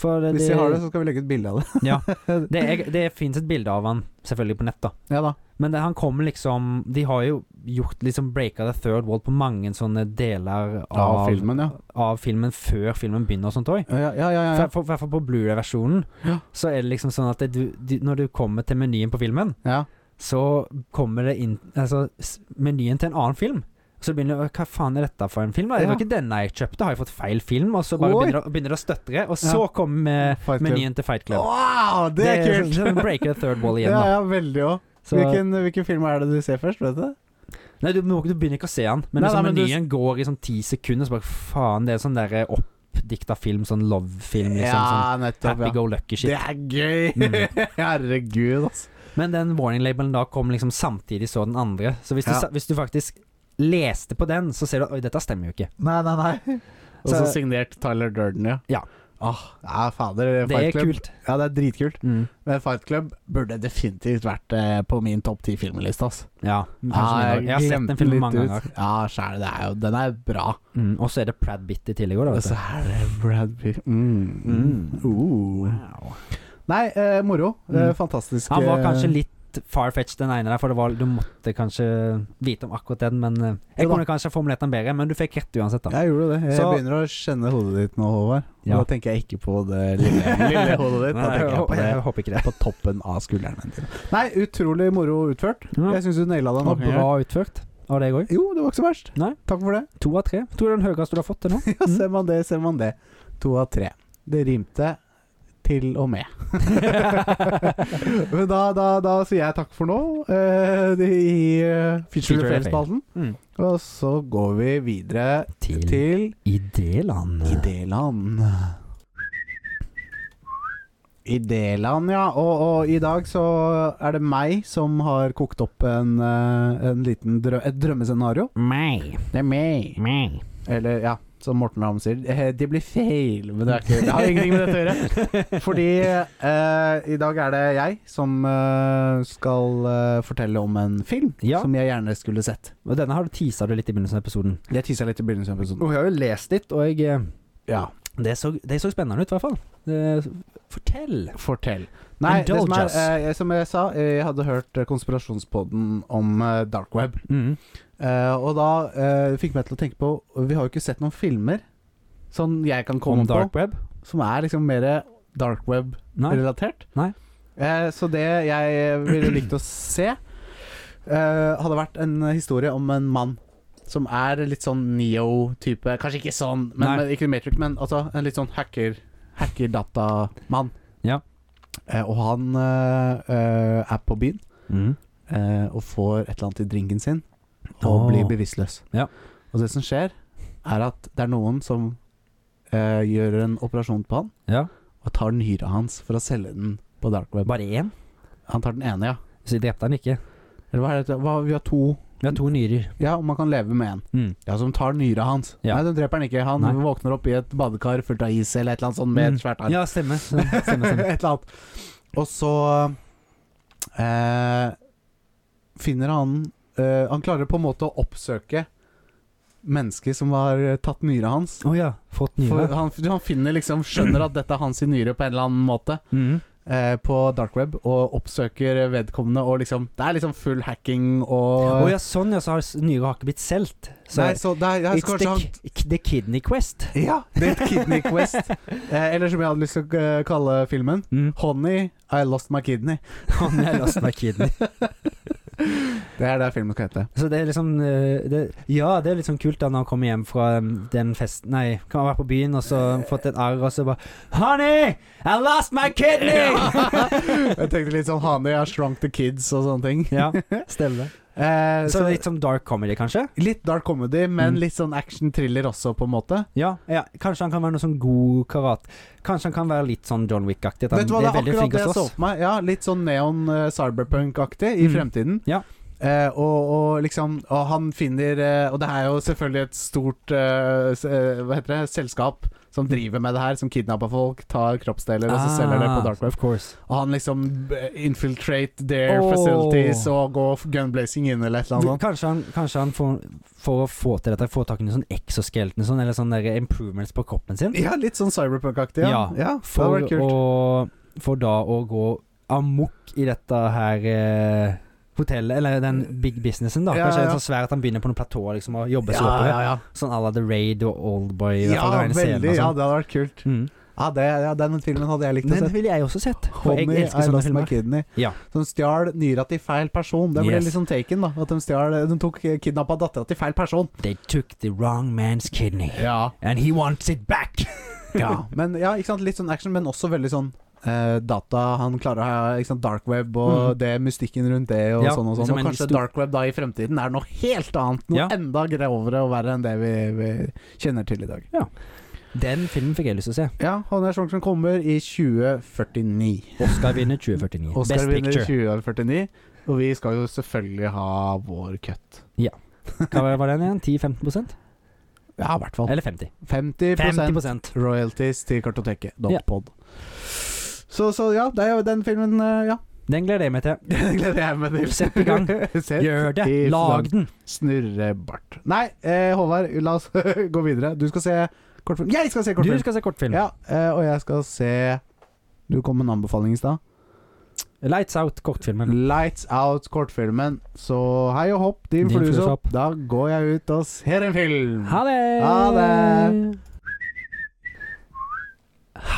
Speaker 2: For det,
Speaker 1: Hvis vi har det,
Speaker 2: det,
Speaker 1: så skal vi legge ut bilde av det.
Speaker 2: er- det fins et bilde av han, selvfølgelig på nett, da.
Speaker 1: Ja da.
Speaker 2: Men det, han kommer liksom De har jo gjort liksom breaka the third wall på mange sånne deler
Speaker 1: Av
Speaker 2: av
Speaker 1: filmen, ja.
Speaker 2: av filmen før filmen begynner og sånt òg.
Speaker 1: Ja, ja, ja.
Speaker 2: I
Speaker 1: ja,
Speaker 2: hvert fall på Blu-ray-versjonen
Speaker 1: Ja.
Speaker 2: så er det liksom sånn at det, du, du, når du kommer til menyen på filmen,
Speaker 1: ja.
Speaker 2: så kommer det inn Altså s- menyen til en annen film. Så begynner du å, Hva faen er dette for en film? da? Det
Speaker 1: Ja.
Speaker 2: var ikke denne jeg kjøpte, har jeg fått feil film? Og så bare
Speaker 1: Oi.
Speaker 2: begynner det, å- begynner det å støtre, og så kommer
Speaker 1: Fight Club.
Speaker 2: eh, menyen til Fight Club.
Speaker 1: Wow, det er kult!
Speaker 2: så- så sånn breaker the third wall igjen,
Speaker 1: Ja,
Speaker 2: da.
Speaker 1: ja, veldig òg.
Speaker 2: Så,
Speaker 1: Hvilken, hvilken film er det du ser først, vet du?
Speaker 2: nei, du, må ikke- du begynner ikke å se den, men
Speaker 1: Nei,
Speaker 2: liksom,
Speaker 1: nei, men du-
Speaker 2: menyen går i sånn ti sekunder, så bare faen, det er sånn derre oppdikta film, sånn love-film, liksom. sånn.
Speaker 1: nettopp.
Speaker 2: Happy go lucky shit.
Speaker 1: Det er gøy!
Speaker 2: Mm.
Speaker 1: Herregud, altså.
Speaker 2: Men den warning labelen da kom liksom samtidig så den andre. Så hvis, du,
Speaker 1: Ja.
Speaker 2: sa- hvis du faktisk leste på den, så ser du at oi, dette stemmer jo ikke.
Speaker 1: Nei, nei, nei. Og så
Speaker 2: Så-
Speaker 1: signert Tyler Durden, ja.
Speaker 2: Ja. Ah,
Speaker 1: Ja, fader.
Speaker 2: det
Speaker 1: Fight
Speaker 2: er
Speaker 1: Club.
Speaker 2: kult.
Speaker 1: Ja, det er dritkult.
Speaker 2: Mm.
Speaker 1: Men Fight Club burde definitivt vært eh, på min topp ti filmliste, ass.
Speaker 2: Ja. kanskje
Speaker 1: Ja,
Speaker 2: jeg, jeg har sett
Speaker 1: glemte
Speaker 2: den filmen
Speaker 1: litt
Speaker 2: mange
Speaker 1: ut.
Speaker 2: ganger.
Speaker 1: Ja, sjæl, det er jo Den er bra.
Speaker 2: Mm. Og så er det Prad Bitt i tillegg òg, da.
Speaker 1: Og
Speaker 2: Vet
Speaker 1: så
Speaker 2: du.
Speaker 1: er det Brad Pitt mm.
Speaker 2: Mm.
Speaker 1: uh.
Speaker 2: Wow.
Speaker 1: Nei, eh, moro. Eh,
Speaker 2: Mm.
Speaker 1: fantastisk.
Speaker 2: Han var
Speaker 1: eh,
Speaker 2: kanskje litt far-fetched, den ene der, for det var, du måtte kanskje vite om akkurat den. Men eh, jeg
Speaker 1: Jo da.
Speaker 2: kunne kanskje formulert den bedre, men du fikk rett uansett, da.
Speaker 1: Jeg gjorde det. Jeg
Speaker 2: Så-
Speaker 1: begynner å kjenne hodet ditt nå, Håvard.
Speaker 2: Ja.
Speaker 1: Da tenker jeg ikke på det lille, lille hodet ditt. Da
Speaker 2: Nei,
Speaker 1: tenker jeg på det
Speaker 2: håper ikke det.
Speaker 1: på toppen av skuldrene dine. Nei, utrolig moro utført.
Speaker 2: Ja.
Speaker 1: Jeg syns du naila det
Speaker 2: Og
Speaker 1: nok.
Speaker 2: bra utført av deg òg.
Speaker 1: Jo, det var ikke så verst.
Speaker 2: Nei.
Speaker 1: Takk for det.
Speaker 2: To av tre. Tror det er den høyeste du har fått til nå.
Speaker 1: Ja, ser man det, ser man det. To av tre. Det rimte til og med. Men da, da, da sier jeg takk for nå eh, i uh, Feature
Speaker 2: Feature eller
Speaker 1: Fail-spalten.
Speaker 2: Mm.
Speaker 1: Og så går vi videre
Speaker 2: Til-
Speaker 1: til
Speaker 2: Idéland.
Speaker 1: Idéland. Idéland, ja. Og, og i dag så er det meg som har kokt opp en, eh, en liten drø et drømmescenario.
Speaker 2: Meg.
Speaker 1: Det er meg.
Speaker 2: Meg.
Speaker 1: Eller, ja, som Morten Ramm sier, eh, det blir feil. Men det, er ikke, det har ingenting med dette å gjøre. Fordi eh, i dag er det jeg som eh, skal eh, fortelle om en film
Speaker 2: Ja.
Speaker 1: som jeg gjerne skulle sett.
Speaker 2: Og denne har du tisa du litt i begynnelsen av episoden.
Speaker 1: Jeg tisa litt i begynnelsen av episoden.
Speaker 2: Og jeg har jo lest litt, og jeg eh,
Speaker 1: Ja,
Speaker 2: Det så, det så spennende ut, i hvert fall. Det, fortell.
Speaker 1: Fortell. Nei, det som,
Speaker 2: Indulge
Speaker 1: er,
Speaker 2: us.
Speaker 1: eh, jeg- som jeg sa, eh, jeg hadde hørt eh, konspirasjonspodden om eh, dark web.
Speaker 2: Mm.
Speaker 1: Eh, og da eh, fikk meg til å tenke på Vi har jo ikke sett noen filmer sånn jeg kan komme
Speaker 2: Om dark
Speaker 1: på,
Speaker 2: web?
Speaker 1: som er liksom mer dark
Speaker 2: Nei.
Speaker 1: web-relatert.
Speaker 2: Nei.
Speaker 1: Eh, så det jeg ville likt å se, eh, hadde vært en historie om en mann. Som er litt sånn Neo-type Kanskje ikke sånn, men,
Speaker 2: Nei.
Speaker 1: men, ikke Matrix, men altså en litt sånn hacker hacker-datamann.
Speaker 2: Ja.
Speaker 1: Eh, og han eh, eh, er på byen
Speaker 2: Mm.
Speaker 1: eh, og får et eller annet i drinken sin, og
Speaker 2: Åh.
Speaker 1: blir bevisstløs.
Speaker 2: Ja.
Speaker 1: Og det som skjer, er at det er noen som eh, gjør en operasjon på han,
Speaker 2: Ja.
Speaker 1: og tar nyra hans for å selge den på dark web.
Speaker 2: Bare én?
Speaker 1: Han tar den ene, ja.
Speaker 2: Så jeg drepte han ikke.
Speaker 1: Eller hva er det? Hva, vi har to.
Speaker 2: Vi har to nyrer.
Speaker 1: Ja, og man kan leve med én.
Speaker 2: Mm.
Speaker 1: Ja, som tar nyra hans.
Speaker 2: Ja.
Speaker 1: Nei, den dreper han ikke. Han
Speaker 2: Nei.
Speaker 1: våkner opp i et badekar fullt av is eller et eller annet sånt med
Speaker 2: Mm.
Speaker 1: et svært arr.
Speaker 2: Ja, stemmer. Stemmer, stemmer.
Speaker 1: et eller annet. Og så eh, finner han eh, Han klarer på en måte å oppsøke mennesket som har eh, tatt nyra hans.
Speaker 2: Å ja. Fått
Speaker 1: For
Speaker 2: nyrer.
Speaker 1: han, han finner liksom skjønner at dette er hans nyre på en eller annen måte
Speaker 2: Mm.
Speaker 1: eh, på dark web, og oppsøker vedkommende og liksom Det er liksom full hacking og
Speaker 2: Å ja, sånn ja, så har s- nyrer har ikke blitt solgt. Så
Speaker 1: Nei, så det er, jeg
Speaker 2: it's
Speaker 1: skal
Speaker 2: the,
Speaker 1: kanskje han
Speaker 2: ki- the Kidney Quest.
Speaker 1: Ja, det er et Kidney Quest. Eh, eller som jeg hadde lyst til å eh, kalle filmen.
Speaker 2: Mm.
Speaker 1: Honey, I lost my kidney.
Speaker 2: Han er lost my kidney.
Speaker 1: Det er det filmen skal hete.
Speaker 2: Så det er liksom eh, det, Ja, det er litt sånn kult da når han kommer hjem fra um, den festen Nei, kan ha vært på byen og så fått et arr, og så bare Honey, I lost my kidney!
Speaker 1: Jeg tenkte litt sånn Hane, jeg har shrunk the kids og sånne ting.
Speaker 2: Ja, stemmer.
Speaker 1: Eh,
Speaker 2: Så
Speaker 1: så
Speaker 2: litt som dark comedy, kanskje?
Speaker 1: litt dark comedy, men
Speaker 2: Mm.
Speaker 1: litt sånn action-thriller også, på en måte.
Speaker 2: Ja, ja, Kanskje han kan være noe sånn god karat Kanskje han kan være litt sånn John Wick-aktig. at Han
Speaker 1: Vet du hva, det
Speaker 2: er
Speaker 1: er
Speaker 2: veldig flink
Speaker 1: akkurat det
Speaker 2: til å
Speaker 1: jeg så
Speaker 2: slåss.
Speaker 1: for meg. Ja, Litt sånn neon eh, cyberpunk-aktig i
Speaker 2: Mm.
Speaker 1: fremtiden.
Speaker 2: Ja.
Speaker 1: Eh, og, og liksom Og han finner eh, Og det er jo selvfølgelig et stort eh, s- eh, Hva heter det? Selskap som driver med det her, som kidnapper folk, tar kroppsdeler og så altså, selger det på dark web.
Speaker 2: Ah. Of course.
Speaker 1: Og han liksom eh, infiltrate their
Speaker 2: Åh.
Speaker 1: facilities og gå gunblazing inn eller et eller annet. sånt.
Speaker 2: Kanskje han, kanskje han får, for å få til dette, får tak i noen sånn exoskeleton sånn, eller sånne der improvements på kroppen sin.
Speaker 1: Ja, litt sånn cyberpunk-aktig. Ja.
Speaker 2: Ja,
Speaker 1: ja, det hadde
Speaker 2: For,
Speaker 1: vært kult.
Speaker 2: å, for da å gå amok i dette her eh, hotellet, eller den big businessen, da.
Speaker 1: Ja,
Speaker 2: kanskje
Speaker 1: ja.
Speaker 2: det er så svær at han begynner på noen platåer liksom, og jobber seg
Speaker 1: ja,
Speaker 2: oppover.
Speaker 1: ja, ja.
Speaker 2: Sånn à la The Raid og Oldboy. i hvert
Speaker 1: ja
Speaker 2: fall, den ene scenen
Speaker 1: veldig. Ja,
Speaker 2: og sånn.
Speaker 1: det hadde vært kult.
Speaker 2: Mm.
Speaker 1: Ja, det, ja, Den filmen hadde jeg likt å
Speaker 2: Den
Speaker 1: se.
Speaker 2: ville jeg også sett. For jeg
Speaker 1: Honey,
Speaker 2: elsker
Speaker 1: I
Speaker 2: sånne
Speaker 1: lost my
Speaker 2: filmer.
Speaker 1: kidney.
Speaker 2: Ja.
Speaker 1: Som stjal nyra til feil person. Det ble
Speaker 2: Yes.
Speaker 1: liksom taken, da. At de stjal eh, De tok kidnappa dattera til feil person.
Speaker 2: They took the wrong man's kidney.
Speaker 1: Ja.
Speaker 2: And he wants it back!
Speaker 1: Men ja, ikke sant. Litt sånn action, men også veldig sånn eh, data Han klarer å ha ikke sant, dark web og
Speaker 2: Mhm.
Speaker 1: det mystikken rundt det og
Speaker 2: Ja,
Speaker 1: sånn og sånn.
Speaker 2: liksom
Speaker 1: Og
Speaker 2: en
Speaker 1: kanskje
Speaker 2: stor-
Speaker 1: dark web da i fremtiden er noe helt annet. Noe
Speaker 2: Ja.
Speaker 1: enda grovere og verre enn det vi, vi kjenner til i dag.
Speaker 2: Den filmen fikk jeg lyst til å se.
Speaker 1: Ja, han er sånn som kommer i 2049.
Speaker 2: Oscar vinner 2049.
Speaker 1: Oscar
Speaker 2: Best
Speaker 1: vinner i
Speaker 2: picture.
Speaker 1: 2049, og vi skal jo selvfølgelig ha vår cut.
Speaker 2: Hva var den igjen? 10-15 prosent?
Speaker 1: Ja, i hvert fall.
Speaker 2: Eller 50.
Speaker 1: 50,
Speaker 2: 50
Speaker 1: royalties til kartoteket.
Speaker 2: Ja.
Speaker 1: Dotpod. Så, så ja, det er jo den filmen eh, Ja,
Speaker 2: Den gleder jeg meg til.
Speaker 1: den gleder jeg meg til.
Speaker 2: Sett i gang.
Speaker 1: Sett
Speaker 2: Gjør det!
Speaker 1: i gang.
Speaker 2: Lag den!
Speaker 1: Snurrebart. Nei, eh, Håvard, la oss gå videre. Du skal se kortfilm. Jeg skal se
Speaker 2: Du
Speaker 1: kortfilm!
Speaker 2: skal se kortfilm.
Speaker 1: Ja, eh, og jeg skal se Du kom med en anbefaling i stad.
Speaker 2: Lights Out-kortfilmen.
Speaker 1: Lights Out-kortfilmen. Så hei og hopp, din,
Speaker 2: Din
Speaker 1: fluesopp.
Speaker 2: fluesopp.
Speaker 1: Da går jeg ut og ser en film.
Speaker 2: Ha det!
Speaker 1: Ha det!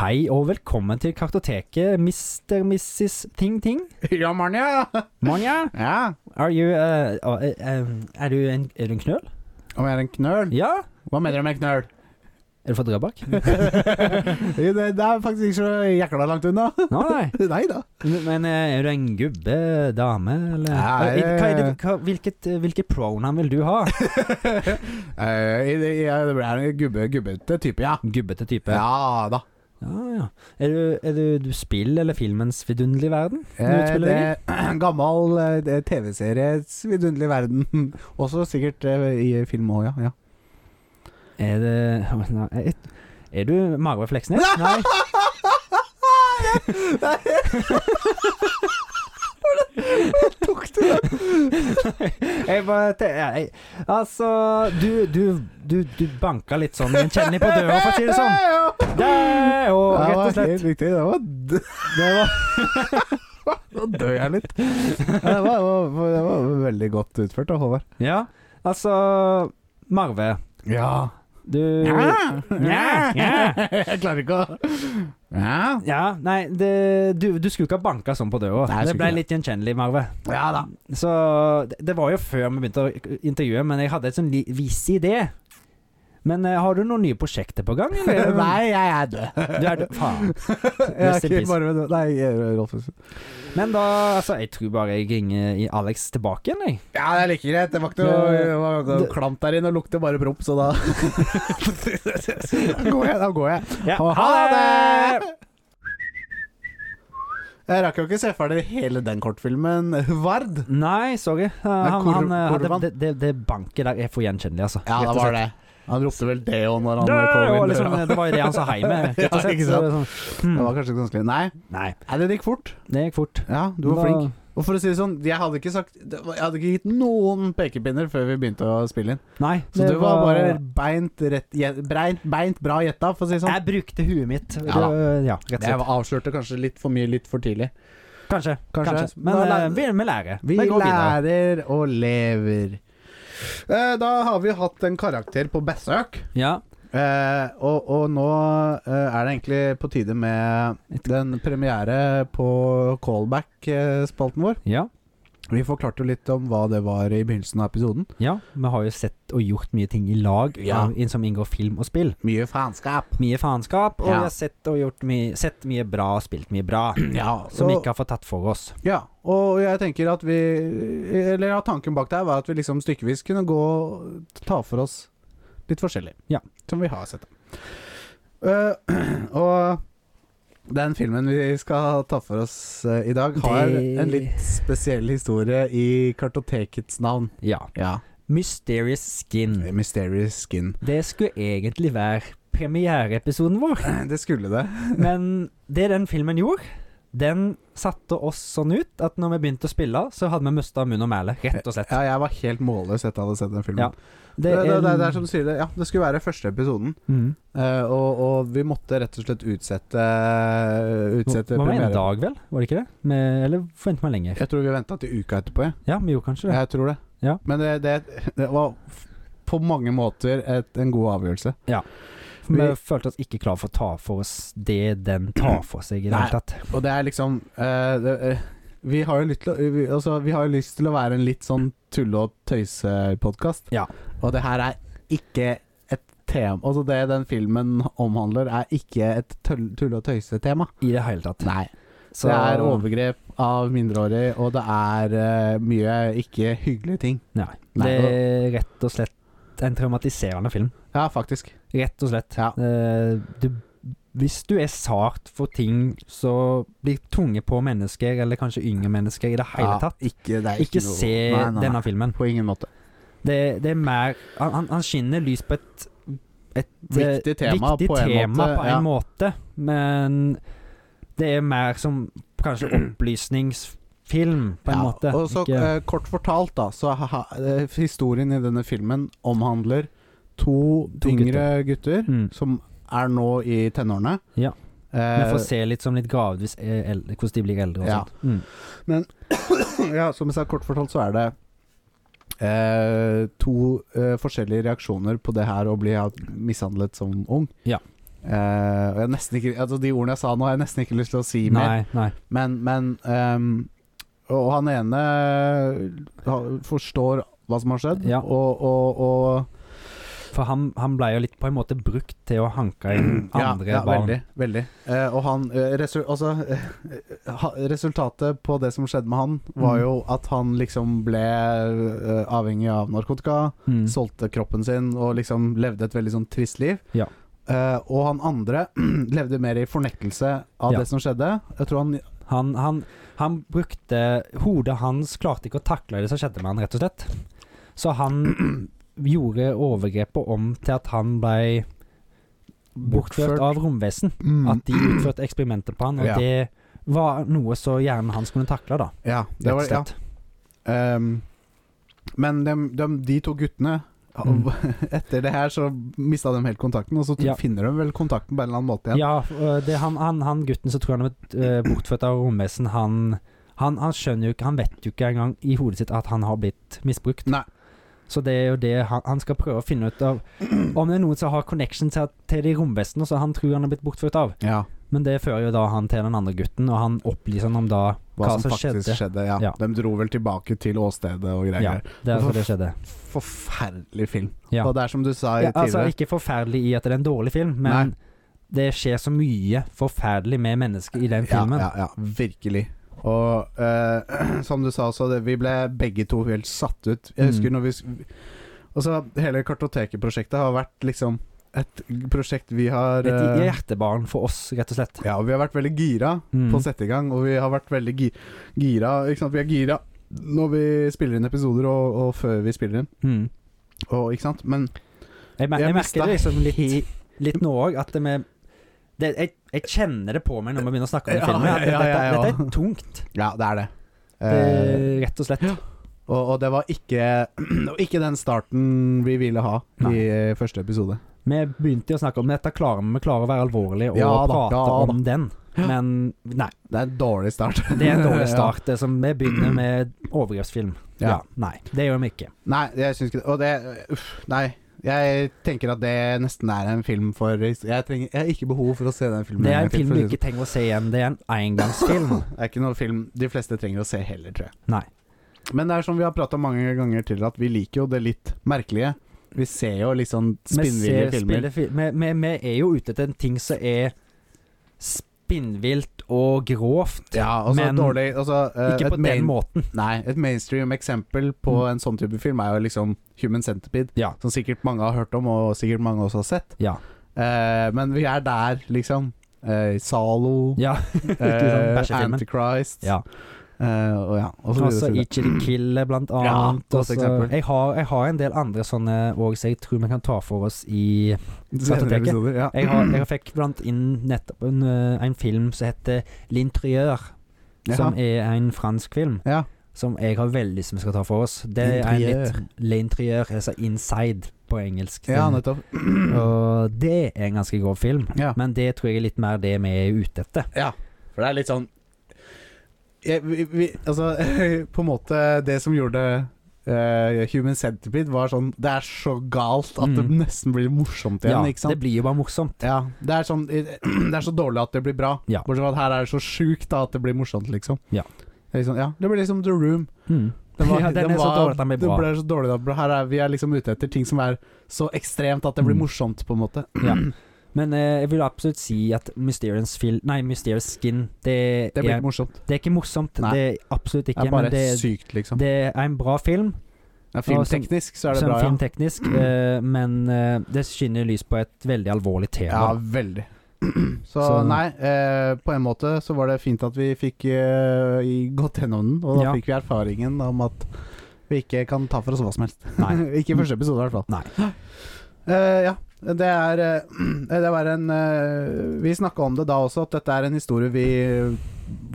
Speaker 2: Hei og velkommen til kartoteket, Mr. Mrs. Ting Ting.
Speaker 1: Ja, Marnia.
Speaker 2: Monja,
Speaker 1: Ja.
Speaker 2: are you uh, uh, um, Er du en, er du en knøl?
Speaker 1: Om jeg er en knøl?
Speaker 2: Ja.
Speaker 1: Hva mener du med knøl?
Speaker 2: Er du fra Drøbak?
Speaker 1: det, det er faktisk ikke så jækla langt unna.
Speaker 2: Nå, nei.
Speaker 1: Nei da.
Speaker 2: Men eh, er du en gubbe, dame, eller
Speaker 1: Nei,
Speaker 2: Eh, hva er det, hva, hvilket, eh, hvilket pronoun vil du ha?
Speaker 1: Eh, i- i- jeg er en gubbe, gubbete type, ja.
Speaker 2: Gubbete type.
Speaker 1: Ja da.
Speaker 2: ja, ja. Er du, er du, du spill eller filmens vidunderlige verden? Når du
Speaker 1: Eh,
Speaker 2: spiller
Speaker 1: det en gammel eh, det er TV-series vidunderlige verden. Også sikkert eh, i film òg, ja. ja.
Speaker 2: Er det Nei, er- Er du Marve Fleksnes? Nei.
Speaker 1: Tok du det?
Speaker 2: Jeg bare te- jeg, Altså, du, du, du, du banka litt sånn gjenkjennelig på døra, for å si det sånn.
Speaker 1: Ja,
Speaker 2: Det, og
Speaker 1: Det
Speaker 2: rett og
Speaker 1: var
Speaker 2: slett
Speaker 1: helt riktig. Det var d-
Speaker 2: Det var
Speaker 1: Nå dør jeg litt. Ja, Det var, det var, det var veldig godt utført av Håvard.
Speaker 2: Ja, altså Marve,
Speaker 1: Ja.
Speaker 2: du
Speaker 1: Ja.
Speaker 2: Ja.
Speaker 1: Jeg klarer ikke å Ja.
Speaker 2: Ja, nei, det, du, du skulle ikke ha banka sånn på
Speaker 1: Nei,
Speaker 2: døra.
Speaker 1: jeg
Speaker 2: Det
Speaker 1: skulle
Speaker 2: ble
Speaker 1: ikke
Speaker 2: litt gjenkjennelig, Marve.
Speaker 1: ja da.
Speaker 2: Så det, det var jo før vi begynte å intervjue, men jeg hadde et sånn li- vis idé. Men eh, har du noen nye prosjekter på gang, eller?
Speaker 1: Nei, jeg er død.
Speaker 2: Du er, faen.
Speaker 1: Jeg er
Speaker 2: Rest in
Speaker 1: ikke
Speaker 2: peace.
Speaker 1: bare død. Nei, jeg er Rolf Husen.
Speaker 2: Men da Altså, jeg tror bare jeg ringer i Alex tilbake igjen, jeg.
Speaker 1: Ja, det er like greit. Det var ikke noe,
Speaker 2: Det-
Speaker 1: det var ikke noe
Speaker 2: det-
Speaker 1: klamt der inne, og lukter bare promp, så da Da går jeg. Da går jeg. Og ha det! Jeg rakk jo ikke se ferdig hele den kortfilmen. Vard.
Speaker 2: Nei, sorry. Eh, han,
Speaker 1: kor-
Speaker 2: han, eh,
Speaker 1: korvan.
Speaker 2: hadde, det, det, det banket der er for gjenkjennelig, altså.
Speaker 1: Ja,
Speaker 2: Rett
Speaker 1: det
Speaker 2: og
Speaker 1: var
Speaker 2: slett.
Speaker 1: det. Han ropte vel det òg når han
Speaker 2: Det,
Speaker 1: kom
Speaker 2: og
Speaker 1: inn.
Speaker 2: liksom,
Speaker 1: døra.
Speaker 2: det var jo det han sa hei med, rett og
Speaker 1: Ja,
Speaker 2: slett.
Speaker 1: ikke
Speaker 2: Så det er sånn,
Speaker 1: Det
Speaker 2: hmm,
Speaker 1: var kanskje ikke så vanskelig. Nei,
Speaker 2: Nei,
Speaker 1: Nei, det gikk fort.
Speaker 2: det gikk fort.
Speaker 1: Ja, du var
Speaker 2: Da-
Speaker 1: flink. Og for å si det sånn, jeg hadde ikke sagt det var- Jeg hadde ikke gitt noen pekepinner før vi begynte å spille inn.
Speaker 2: Nei,
Speaker 1: Så du var bare beint, rett, gje- breint, beint bra gjetta, for å si det sånn.
Speaker 2: Jeg brukte huet mitt. Det,
Speaker 1: Ja
Speaker 2: ja, rett og
Speaker 1: Jeg
Speaker 2: slett.
Speaker 1: avslørte kanskje litt for mye litt for tidlig.
Speaker 2: Kanskje.
Speaker 1: Kanskje.
Speaker 2: kanskje. Men
Speaker 1: Da-
Speaker 2: eh, vi, vi lærer.
Speaker 1: Vi
Speaker 2: går videre.
Speaker 1: lærer og lever. Eh, da har vi hatt en karakter på besøk,
Speaker 2: Ja.
Speaker 1: eh, og, og nå eh, er det egentlig på tide med den premiere på callback-spalten vår.
Speaker 2: ja.
Speaker 1: Vi forklarte jo litt om hva det var i begynnelsen av episoden.
Speaker 2: Ja. Vi har jo sett og gjort mye ting i lag
Speaker 1: Ja.
Speaker 2: eh, som inngår film og spill.
Speaker 1: Mye faenskap.
Speaker 2: Mye faenskap, og
Speaker 1: Ja.
Speaker 2: vi har sett og gjort mye, sett mye bra og spilt mye bra.
Speaker 1: Ja,
Speaker 2: Som vi
Speaker 1: og-
Speaker 2: ikke har fått tatt for oss.
Speaker 1: Ja, og jeg tenker at vi Eller ja, tanken bak der var at vi liksom stykkevis kunne gå og ta for oss litt forskjellig.
Speaker 2: Ja.
Speaker 1: Som vi har sett. Eh, og den filmen vi skal ta for oss eh, i dag, har
Speaker 2: Det-
Speaker 1: en litt spesiell historie i kartotekets navn.
Speaker 2: Ja. Mm.
Speaker 1: Ja.
Speaker 2: Mysterious Skin.
Speaker 1: Mysterious Skin.
Speaker 2: Det skulle egentlig være premiereepisoden vår,
Speaker 1: Det skulle det.
Speaker 2: men det den filmen gjorde den satte oss sånn ut at når vi begynte å spille, så hadde vi mista munn og mæle, rett og slett.
Speaker 1: Ja, jeg var helt målløs etter at jeg hadde sett den filmen.
Speaker 2: Ja,
Speaker 1: Det, det, det, det er sånn- som du sier det. Ja, det skulle være første episoden.
Speaker 2: mm.
Speaker 1: Eh, og, og vi måtte rett og slett utsette eh, Utsette
Speaker 2: Hva var det en
Speaker 1: premiere.
Speaker 2: dag, vel? Var det ikke det? Med, eller forventer man lenger?
Speaker 1: Jeg tror vi venta til uka etterpå, jeg.
Speaker 2: Ja, vi gjorde kanskje det.
Speaker 1: jeg tror det.
Speaker 2: Ja.
Speaker 1: Men det, det, det var f- på mange måter et, en god avgjørelse.
Speaker 2: For vi,
Speaker 1: vi-
Speaker 2: følte oss ikke klar for å ta for oss det den tar for seg i det
Speaker 1: Nei.
Speaker 2: hele tatt.
Speaker 1: Og det er liksom eh, det, eh, vi, har jo lyst til å, vi, altså, vi har jo lyst til å være en litt sånn tulle- og tøysepodkast,
Speaker 2: Ja.
Speaker 1: og det her er ikke et tema Altså det den filmen omhandler, er ikke et tull- tulle- og tøysetema.
Speaker 2: I det hele tatt.
Speaker 1: Nei.
Speaker 2: Så
Speaker 1: Det er overgrep av mindreårige, og det er eh, mye ikke hyggelige ting.
Speaker 2: Nei.
Speaker 1: Nei,
Speaker 2: Det er rett og slett en traumatiserende film.
Speaker 1: Ja, faktisk.
Speaker 2: Rett og slett.
Speaker 1: Ja.
Speaker 2: Eh, du, hvis du er sart for ting som blir tunge på mennesker, eller kanskje yngre mennesker i det hele
Speaker 1: Ja,
Speaker 2: tatt,
Speaker 1: Ikke, det er
Speaker 2: ikke
Speaker 1: noe-
Speaker 2: se
Speaker 1: Nei, nei, nei.
Speaker 2: denne filmen.
Speaker 1: På ingen måte.
Speaker 2: Det, det er mer han, han, han skinner lys på et eh,
Speaker 1: Viktig tema
Speaker 2: viktig
Speaker 1: på en
Speaker 2: tema
Speaker 1: måte,
Speaker 2: på en
Speaker 1: ja.
Speaker 2: måte. Men det er mer som kanskje opplysningsfilm, på en
Speaker 1: Ja,
Speaker 2: måte.
Speaker 1: Og så
Speaker 2: Ikke-
Speaker 1: eh, Kort fortalt, da, så ha, ha, eh, historien i denne filmen omhandler to,
Speaker 2: To
Speaker 1: yngre gutter,
Speaker 2: Mm.
Speaker 1: som er nå i tenårene.
Speaker 2: Ja. Vi
Speaker 1: Eh,
Speaker 2: får se litt som litt gavevis eh, el- hvordan de blir eldre og
Speaker 1: Ja.
Speaker 2: sånt. Mm.
Speaker 1: ja, som jeg sa, kort fortalt så er det eh, to eh, forskjellige reaksjoner på det her å bli ja, mishandlet som ung.
Speaker 2: Ja.
Speaker 1: Eh, og jeg har nesten ikke, altså de ordene jeg sa nå, har jeg nesten ikke lyst til å si mer.
Speaker 2: Nei, nei.
Speaker 1: Men, men ehm, Og han ene eh, ha- forstår hva som har skjedd,
Speaker 2: Ja.
Speaker 1: og, og, og
Speaker 2: For han, han ble jo litt på en måte brukt til å hanke inn andre
Speaker 1: ja, ja,
Speaker 2: barn.
Speaker 1: Veldig. veldig. Eh, og han eh, resul, altså, eh, ha, Resultatet på det som skjedde med han, var
Speaker 2: Mm.
Speaker 1: jo at han liksom ble eh, avhengig av narkotika,
Speaker 2: Mm.
Speaker 1: solgte kroppen sin og liksom levde et veldig sånn trist liv.
Speaker 2: Ja.
Speaker 1: Eh, og han andre levde mer i fornektelse av
Speaker 2: Ja.
Speaker 1: det som skjedde. Jeg tror han
Speaker 2: Han, han, han brukte Hodet hans klarte ikke å takle det som skjedde med han, rett og slett. Så han gjorde overgrepet om til at han ble
Speaker 1: Bortført.
Speaker 2: bortført av romvesen. At de utførte eksperimenter på han, og
Speaker 1: Mm. Ja.
Speaker 2: det var noe så hjernen hans kunne takle, da.
Speaker 1: Ja, det
Speaker 2: Rett og
Speaker 1: var, ja,
Speaker 2: slett.
Speaker 1: Ehm, men dem- dem- de to guttene
Speaker 2: Mm.
Speaker 1: Etter det her så mista de helt kontakten, og så
Speaker 2: Ja.
Speaker 1: finner de vel kontakten på en eller annen måte igjen.
Speaker 2: Ja, øh, det, han, han, han gutten som tror han er øh, bortfødt av romvesen, han, han, han skjønner jo ikke Han vet jo ikke engang i hodet sitt at han har blitt misbrukt.
Speaker 1: Nei.
Speaker 2: Så det er jo det han, han skal prøve å finne ut av. Om det er noen som har connection til, til de romvesenene som han tror han er blitt bortført av.
Speaker 1: Ja,
Speaker 2: Men det fører jo da han til den andre gutten, og han opplyser han om da
Speaker 1: hva,
Speaker 2: hva
Speaker 1: som, faktisk skjedde. ja.
Speaker 2: Ja.
Speaker 1: De dro vel tilbake til åstedet og
Speaker 2: Ja,
Speaker 1: greier.
Speaker 2: det er derfor det skjedde.
Speaker 1: Forferdelig film.
Speaker 2: Ja.
Speaker 1: Og det er som du sa
Speaker 2: Ja, altså,
Speaker 1: tidligere.
Speaker 2: ikke forferdelig i at det er en dårlig film, men
Speaker 1: Nei.
Speaker 2: det skjer så mye forferdelig med mennesker i den filmen.
Speaker 1: Ja, ja, ja, virkelig. Og eh, som du sa også, det, vi ble begge to helt satt ut. Jeg husker
Speaker 2: Mm.
Speaker 1: når vi s- Altså, hele Kartoteket-prosjektet har vært liksom et prosjekt vi har
Speaker 2: Et
Speaker 1: eh,
Speaker 2: hjertebarn for oss, rett og slett.
Speaker 1: Ja, og vi har vært veldig gira
Speaker 2: Mm.
Speaker 1: på å sette i gang, og vi har vært veldig gi gira Ikke sant, vi er gira når vi spiller inn episoder, og, og før vi spiller inn,
Speaker 2: Mm.
Speaker 1: og ikke sant, men
Speaker 2: Jeg, mer
Speaker 1: Jeg
Speaker 2: jeg
Speaker 1: mistet
Speaker 2: merker det liksom litt, litt nå òg, at det med det, jeg, jeg kjenner det på meg når vi begynner å snakke om
Speaker 1: Ja,
Speaker 2: den filmen. At det,
Speaker 1: ja, ja, ja.
Speaker 2: Dette, dette er tungt,
Speaker 1: Ja, det er det.
Speaker 2: det,
Speaker 1: Eh,
Speaker 2: rett og slett.
Speaker 1: og, og det var ikke, og ikke den starten vi ville ha i eh, første episode.
Speaker 2: Vi begynte jo å snakke om dette, klarer vi klarer å være alvorlige og
Speaker 1: Ja da,
Speaker 2: prate
Speaker 1: ja da.
Speaker 2: om den. Men nei,
Speaker 1: Det er en dårlig start.
Speaker 2: det er en
Speaker 1: Ja.
Speaker 2: dårlig start. Det er som vi begynner med overgrepsfilm.
Speaker 1: Ja.
Speaker 2: Ja. Nei, det gjør vi ikke.
Speaker 1: Nei, jeg syns ikke det. Og det Uff, nei. Jeg tenker at det nesten er en film for Jeg, trenger, jeg har ikke behov for å se den filmen.
Speaker 2: Det er
Speaker 1: en
Speaker 2: en
Speaker 1: gang til,
Speaker 2: film
Speaker 1: for å si
Speaker 2: du
Speaker 1: sånn.
Speaker 2: ikke trenger å se igjen. Det er en
Speaker 1: det
Speaker 2: engangsfilm.
Speaker 1: sånn. Det er ikke noen film de fleste trenger å se heller, tror jeg.
Speaker 2: Nei.
Speaker 1: Men det er som vi har prata mange ganger til, at vi liker jo det litt merkelige. Vi ser jo litt sånn
Speaker 2: Vi
Speaker 1: spinnville
Speaker 2: ser
Speaker 1: filmer.
Speaker 2: spillefil- Vi, vi, vi er jo ute etter en ting som er spinnvilt og grovt.
Speaker 1: Ja, altså
Speaker 2: men
Speaker 1: dårlig altså, eh,
Speaker 2: Ikke
Speaker 1: et
Speaker 2: på den måten.
Speaker 1: Nei, et mainstream eksempel på
Speaker 2: Mm.
Speaker 1: en sånn type film er jo liksom Human Centipede,
Speaker 2: Ja.
Speaker 1: som sikkert mange har hørt om, og sikkert mange også har sett.
Speaker 2: Ja.
Speaker 1: Eh, men vi er der, liksom. Eh, Zalo,
Speaker 2: ja. sånn
Speaker 1: eh,
Speaker 2: bæsjefilmen.
Speaker 1: Antichrist
Speaker 2: ja.
Speaker 1: eh, og ja, og så videre.
Speaker 2: Altså
Speaker 1: så videre.
Speaker 2: Itchy the Killer, blant annet.
Speaker 1: Ja, godt
Speaker 2: Også-
Speaker 1: eksempel.
Speaker 2: jeg, har, jeg har en del andre sånne òg som jeg tror vi kan ta for oss i
Speaker 1: Senere
Speaker 2: kartoteket.
Speaker 1: episoder, ja.
Speaker 2: Jeg, har, jeg fikk blant inn nettopp en, eh, en film som heter L'Interieur, som
Speaker 1: Jaha.
Speaker 2: er en fransk film.
Speaker 1: Ja.
Speaker 2: Som jeg har veldig lyst til vi skal ta for oss. Det er en litt L'Interieur, altså Inside på engelsk.
Speaker 1: Ja,
Speaker 2: Den-
Speaker 1: nettopp.
Speaker 2: Og det er en ganske grov film,
Speaker 1: Ja.
Speaker 2: men det tror jeg er litt mer det vi er ute etter.
Speaker 1: Ja, for det er litt sånn jeg, vi, vi, Altså, på en måte Det som gjorde eh, Human Centipede var sånn Det er så galt at det
Speaker 2: Mm.
Speaker 1: nesten blir morsomt
Speaker 2: Ja,
Speaker 1: igjen, ikke sant?
Speaker 2: Det blir jo bare morsomt.
Speaker 1: ja, det er sånn Det er så dårlig at det blir bra.
Speaker 2: Ja.
Speaker 1: Bortsett fra at her er det så sjukt da, at det blir morsomt, liksom.
Speaker 2: Ja.
Speaker 1: Det er liksom, ja, det blir liksom The Room. Den var-
Speaker 2: ja, den, er så
Speaker 1: var-
Speaker 2: dårlig at den blir bra.
Speaker 1: Det ble så dårlig at det ble- Her er vi er liksom ute etter ting som er så ekstremt at det blir
Speaker 2: Mm.
Speaker 1: morsomt, på en måte.
Speaker 2: Ja. Men eh, jeg vil absolutt si at Mysterious, fil nei, Mysterious Skin det,
Speaker 1: Det blir
Speaker 2: er,
Speaker 1: ikke morsomt.
Speaker 2: det er ikke morsomt.
Speaker 1: Nei.
Speaker 2: Det er absolutt
Speaker 1: Det
Speaker 2: ikke.
Speaker 1: er bare
Speaker 2: men det,
Speaker 1: sykt, liksom.
Speaker 2: det er en bra film,
Speaker 1: Ja,
Speaker 2: og som-
Speaker 1: filmteknisk så er det
Speaker 2: som
Speaker 1: bra, ja.
Speaker 2: filmteknisk, eh, men eh, det skinner lys på et veldig alvorlig
Speaker 1: Ja,
Speaker 2: tema.
Speaker 1: veldig. Så,
Speaker 2: Så-
Speaker 1: nei, eh, på en måte så var det fint at vi fikk eh, i- gått gjennom den, og da
Speaker 2: Ja.
Speaker 1: fikk vi erfaringen om at vi ikke kan ta for oss hva som helst.
Speaker 2: Nei.
Speaker 1: ikke i første episode, i hvert fall.
Speaker 2: Nei.
Speaker 1: Eh, ja. Det er eh, Det var en eh, Vi snakka om det da også, at dette er en historie vi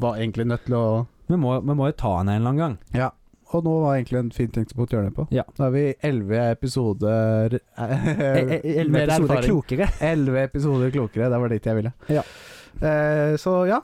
Speaker 1: var egentlig nødt til å
Speaker 2: Vi må, vi må jo ta den en eller annen gang.
Speaker 1: Ja. Og nå var egentlig en fin ting å putte hjørnet på.
Speaker 2: Ja.
Speaker 1: Da er vi elleve episoder
Speaker 2: Eh, eh, Elleve
Speaker 1: Mer
Speaker 2: episoder
Speaker 1: erfaring.
Speaker 2: klokere.
Speaker 1: Elleve episoder klokere. Det var dit jeg ville.
Speaker 2: Ja.
Speaker 1: Eh, så ja.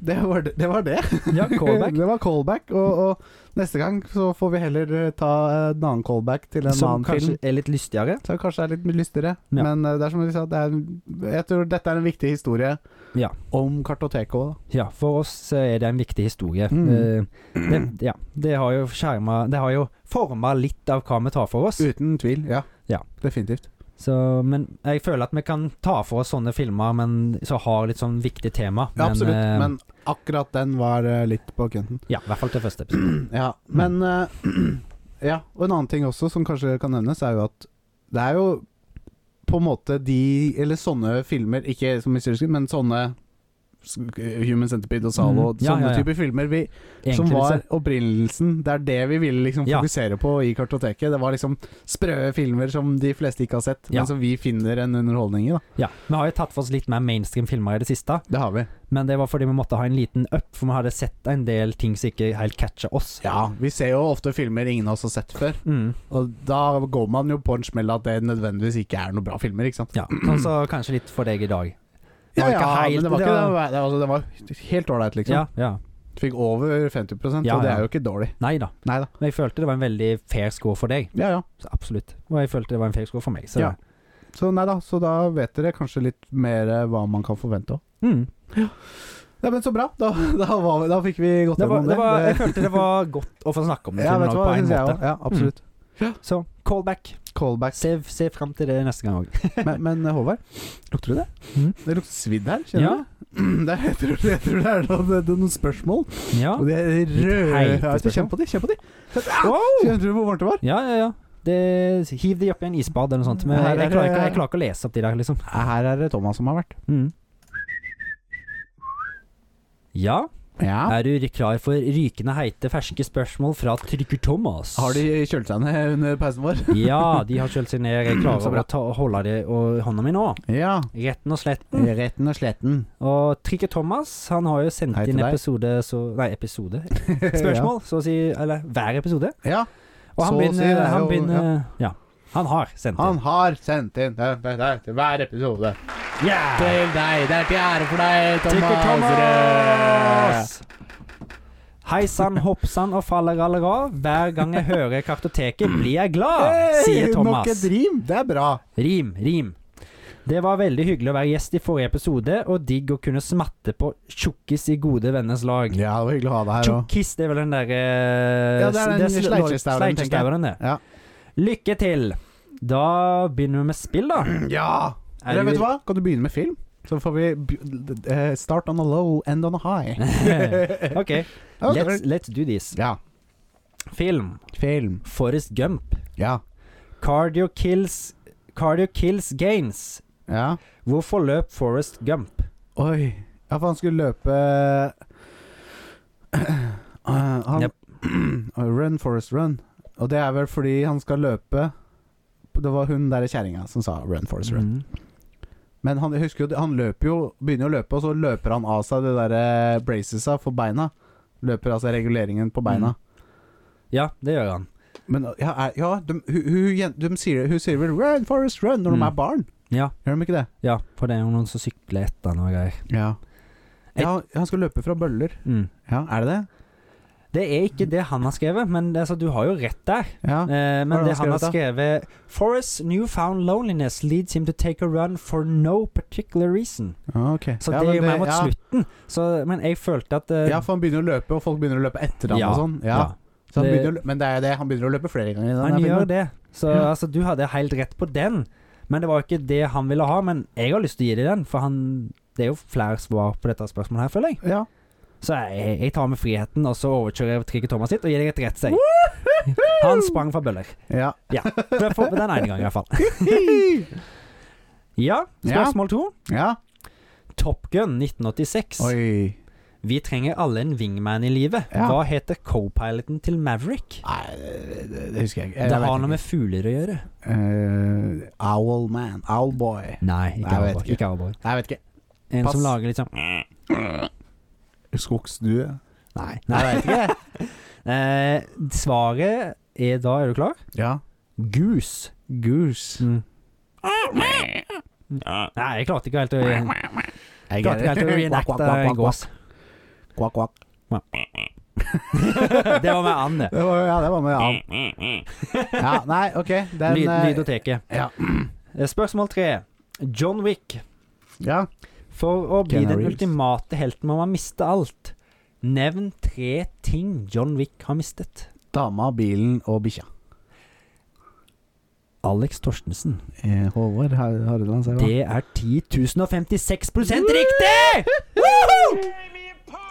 Speaker 1: Det var det. Det var, det.
Speaker 2: Ja, callback.
Speaker 1: det var callback. Og, og neste gang så får vi heller eh, ta en annen callback til en
Speaker 2: Som
Speaker 1: annen
Speaker 2: kanskje
Speaker 1: film.
Speaker 2: er litt lystigere.
Speaker 1: Så kanskje det er litt lystigere.
Speaker 2: Ja.
Speaker 1: Men eh, det er som vi sa, det er, en- jeg tror dette er en viktig historie
Speaker 2: Ja.
Speaker 1: om kartoteket òg.
Speaker 2: Ja, for oss eh, er det en viktig historie.
Speaker 1: Mm.
Speaker 2: Eh, Det, ja, det har jo skjerma Det har jo forma litt av hva vi tar for oss.
Speaker 1: Uten tvil. Ja.
Speaker 2: Ja.
Speaker 1: Definitivt.
Speaker 2: Så, men jeg føler at vi kan ta for oss sånne filmer men som har litt sånn viktig tema.
Speaker 1: Ja, absolutt.
Speaker 2: eh,
Speaker 1: Men akkurat den var eh, litt på kønten.
Speaker 2: Ja, i hvert fall til første episode.
Speaker 1: Ja, men eh, Ja, og en annen ting også som kanskje kan nevnes, er jo at det er jo på en måte de Eller sånne filmer, ikke som Mysterious Skin, men sånne s- eh, Human Centipede og Zalo,
Speaker 2: Mm. Ja,
Speaker 1: sånne
Speaker 2: ja, ja.
Speaker 1: typer filmer vi,
Speaker 2: Egentlig
Speaker 1: som var
Speaker 2: liksom.
Speaker 1: opprinnelsen. Det er det vi ville liksom
Speaker 2: Ja.
Speaker 1: fokusere på i kartoteket. Det var liksom sprø filmer som de fleste ikke har sett,
Speaker 2: Ja.
Speaker 1: men som vi finner en underholdning i. da
Speaker 2: Ja, Vi har jo tatt for oss litt mer mainstream filmer i det siste,
Speaker 1: Det har vi.
Speaker 2: men det var fordi vi måtte ha en liten up, for vi hadde sett en del ting som ikke helt catcha oss.
Speaker 1: Ja, Vi ser jo ofte filmer ingen av oss har sett før,
Speaker 2: Mm.
Speaker 1: og da går man jo på en smell at det nødvendigvis ikke er noe bra filmer, ikke sant.
Speaker 2: ja. Og så kanskje litt for deg i dag. Det
Speaker 1: Ja,
Speaker 2: var ikke
Speaker 1: ja,
Speaker 2: helt-
Speaker 1: men det var,
Speaker 2: det
Speaker 1: ikke,
Speaker 2: var-
Speaker 1: det var, det, altså, det var helt ålreit, liksom.
Speaker 2: Ja, ja.
Speaker 1: Fikk over 50
Speaker 2: Ja,
Speaker 1: og det
Speaker 2: ja.
Speaker 1: er jo ikke dårlig.
Speaker 2: Nei da.
Speaker 1: Nei da.
Speaker 2: Men jeg følte det var en veldig fair score for deg.
Speaker 1: Ja, ja.
Speaker 2: Så absolutt. Og jeg følte det var en fair score for meg. Så
Speaker 1: Ja. Så nei da, så da vet dere kanskje litt mer eh, hva man kan forvente òg.
Speaker 2: mm.
Speaker 1: Ja, men så bra. Da, da, var, vi- da fikk vi gått
Speaker 2: det var,
Speaker 1: gjennom
Speaker 2: det
Speaker 1: det.
Speaker 2: var, jeg følte det var godt å få snakke om
Speaker 1: det
Speaker 2: den
Speaker 1: ja,
Speaker 2: filmen
Speaker 1: vet du
Speaker 2: også
Speaker 1: hva,
Speaker 2: på
Speaker 1: det
Speaker 2: en
Speaker 1: syns jeg
Speaker 2: måte. Mm.
Speaker 1: òg. Ja, absolutt.
Speaker 2: Så callback.
Speaker 1: Callback.
Speaker 2: Se, se fram til det neste gang òg.
Speaker 1: Men, men eh, Håvard, lukter du det?
Speaker 2: Mhm.
Speaker 1: Det lukter svidd her, kjenner
Speaker 2: Ja.
Speaker 1: du det? Jeg tror, jeg tror det er noen, det er noen spørsmål.
Speaker 2: Ja.
Speaker 1: Og det er røde
Speaker 2: heite
Speaker 1: Ja,
Speaker 2: spørsmål.
Speaker 1: Kjenn på de, kjenn på de.
Speaker 2: Wow!
Speaker 1: Kjenner du hvor varmt det var?
Speaker 2: ja, ja, ja. Det, hiv det oppi en isbad eller noe sånt. Men
Speaker 1: Her
Speaker 2: jeg,
Speaker 1: er
Speaker 2: jeg, klarer ikke,
Speaker 1: det-
Speaker 2: jeg klarer ikke å lese opp de der, liksom.
Speaker 1: Her er det Thomas som har vært.
Speaker 2: Mm. Ja,
Speaker 1: Ja.
Speaker 2: er du klar for rykende heite ferske spørsmål fra Trykker Thomas?
Speaker 1: Har de kjølt seg ned under pausen vår?
Speaker 2: Ja, de har kjølt seg ned. Jeg
Speaker 1: Så
Speaker 2: klarer
Speaker 1: bra.
Speaker 2: å ta, holde det og hånda mi nå.
Speaker 1: Ja.
Speaker 2: Retten og sletten.
Speaker 1: Retten og sletten.
Speaker 2: Og Trikke Thomas han har jo sendt
Speaker 1: Hei til
Speaker 2: inn
Speaker 1: deg.
Speaker 2: episode så, Nei, episode. Spørsmål, så å si. Eller hver episode.
Speaker 1: ja.
Speaker 2: Og
Speaker 1: Så
Speaker 2: han
Speaker 1: å si,
Speaker 2: begynner
Speaker 1: det er
Speaker 2: han,
Speaker 1: jo-
Speaker 2: begynner ja. han har sendt
Speaker 1: Han
Speaker 2: inn.
Speaker 1: har sendt inn det, det, det, til hver episode.
Speaker 2: Yeah!
Speaker 1: Til deg. Det er til ære for deg,
Speaker 2: Trikke
Speaker 1: Thomas.
Speaker 2: Thomas! Hei sann, hopp sann og fallerallera. Hver gang jeg hører Kartoteket, blir jeg glad,
Speaker 1: Hey,
Speaker 2: sier Thomas.
Speaker 1: Nok et rim. Det er bra.
Speaker 2: Rim, rim. Det var veldig hyggelig å være gjest i forrige episode, og digg å kunne smatte på tjukkis i gode venners lag.
Speaker 1: Ja, det var hyggelig å ha deg her òg.
Speaker 2: Tjukkis, det er vel den der eh,
Speaker 1: Ja, det er den
Speaker 2: sl-
Speaker 1: sleikjestaven, tenker jeg.
Speaker 2: sleikjestaven, det.
Speaker 1: Ja.
Speaker 2: Lykke til! Da begynner vi med spill, da.
Speaker 1: Ja.
Speaker 2: Er
Speaker 1: Eller,
Speaker 2: du-
Speaker 1: vet du hva? Kan du begynne med film? Så får vi b- eh, start on a low, end on a high.
Speaker 2: ok,
Speaker 1: Ok.
Speaker 2: let's, let's do this.
Speaker 1: Ja.
Speaker 2: Film.
Speaker 1: Film.
Speaker 2: Forrest Gump.
Speaker 1: Ja.
Speaker 2: Cardio kills Cardio kills gains.
Speaker 1: Ja.
Speaker 2: Hvor forløp Forrest Gump?
Speaker 1: Oi. Ja, for han skulle løpe Eh, han,
Speaker 2: Yep.
Speaker 1: Run, Forest, run. Og det er vel fordi han skal løpe Det var hun der kjerringa som sa 'run, Forest, run'.
Speaker 2: Mm.
Speaker 1: Men han, jeg husker jo, det- han løper jo begynner å løpe, og så løper han av seg det derre bracesa for beina. Løper altså reguleringen på
Speaker 2: Mm.
Speaker 1: beina.
Speaker 2: Ja, det gjør han.
Speaker 1: Men ja, er, ja de, hun, hun, jen- de sier, hun sier vel 'run, Forest, run' når
Speaker 2: Mm.
Speaker 1: de er barn.
Speaker 2: Ja.
Speaker 1: Gjør de ikke det?
Speaker 2: Ja, for det er jo noen som sykler etter han og greier.
Speaker 1: Ja. ja. Han skal løpe fra bøller.
Speaker 2: Mm.
Speaker 1: Ja, er det det?
Speaker 2: Det er ikke det han har skrevet, men altså, du har jo rett der.
Speaker 1: Ja.
Speaker 2: Eh,
Speaker 1: Hva
Speaker 2: men
Speaker 1: er
Speaker 2: det
Speaker 1: det
Speaker 2: han
Speaker 1: han
Speaker 2: har skrevet Forrest's newfound loneliness leads him to take a run for no particular reason.
Speaker 1: Ah, ok.
Speaker 2: Så
Speaker 1: ja,
Speaker 2: det
Speaker 1: men
Speaker 2: er jo mer mot
Speaker 1: ja.
Speaker 2: slutten. Så, men jeg følte at eh,
Speaker 1: Ja, for han begynner å løpe, og folk begynner å løpe etter ham
Speaker 2: Ja,
Speaker 1: og sånn. Ja.
Speaker 2: ja.
Speaker 1: Så han
Speaker 2: Det-
Speaker 1: begynner å lø- men det er jo det, han begynner å løpe flere ganger. i
Speaker 2: Han
Speaker 1: denne
Speaker 2: gjør
Speaker 1: filmen.
Speaker 2: det. Så
Speaker 1: Ja.
Speaker 2: altså, du hadde helt rett på den. Men det var jo ikke det han ville ha. Men jeg har lyst til å gi deg den, for han, det er jo flere svar på dette spørsmålet her, føler jeg.
Speaker 1: Ja.
Speaker 2: Så jeg, jeg tar med friheten, og så overkjører jeg Trikke Thomas sitt og gir deg et rett seg. Han sprang fra bøller.
Speaker 1: ja.
Speaker 2: For for den ene gangen, i hvert fall. Ja, spørsmål to.
Speaker 1: ja.
Speaker 2: Top Gun 1986.
Speaker 1: Oi.
Speaker 2: Vi trenger alle en wingman i livet.
Speaker 1: Ja.
Speaker 2: Hva heter co-piloten til Maverick?
Speaker 1: Nei, det, det- det husker jeg ikke. Jeg
Speaker 2: Det
Speaker 1: vet
Speaker 2: har noe
Speaker 1: ikke.
Speaker 2: med fugler å gjøre.
Speaker 1: Eh, Owl Man. Owlboy.
Speaker 2: Nei, ikke
Speaker 1: Nei, jeg vet
Speaker 2: Owlboy.
Speaker 1: ikke.
Speaker 2: Ikke Owlboy.
Speaker 1: Nei, jeg vet ikke.
Speaker 2: En
Speaker 1: Pass.
Speaker 2: som lager litt sånn
Speaker 1: Skogsdue?
Speaker 2: Nei.
Speaker 1: Nei, jeg vet ikke.
Speaker 2: Eh, svaret er da, er du klar?
Speaker 1: ja.
Speaker 2: Goose.
Speaker 1: Goose.
Speaker 2: Mm. Nei, jeg klarte ikke helt å
Speaker 1: Jeg
Speaker 2: Klarte ikke helt å reenacte en gås.
Speaker 1: Kvakk, kvakk.
Speaker 2: Det var med and, det.
Speaker 1: Det var, ja, det var med
Speaker 3: Um.
Speaker 1: av. Ja, nei, ok. Den
Speaker 2: Lyd,
Speaker 1: eh,
Speaker 2: lydoteket.
Speaker 1: Ja.
Speaker 2: Eh, Spørsmål tre. John Wick.
Speaker 1: eh, ja.
Speaker 2: For å bli
Speaker 1: Keanu
Speaker 2: den
Speaker 1: Reeves.
Speaker 2: ultimate helten må man miste alt. Nevn tre ting John Wick har mistet.
Speaker 1: Dama, bilen og bikkja.
Speaker 2: Alex Torstensen.
Speaker 1: Eh, Håvard Har- Hardeland, sier hva?
Speaker 2: Det er 10.056 riktig! Woohoo!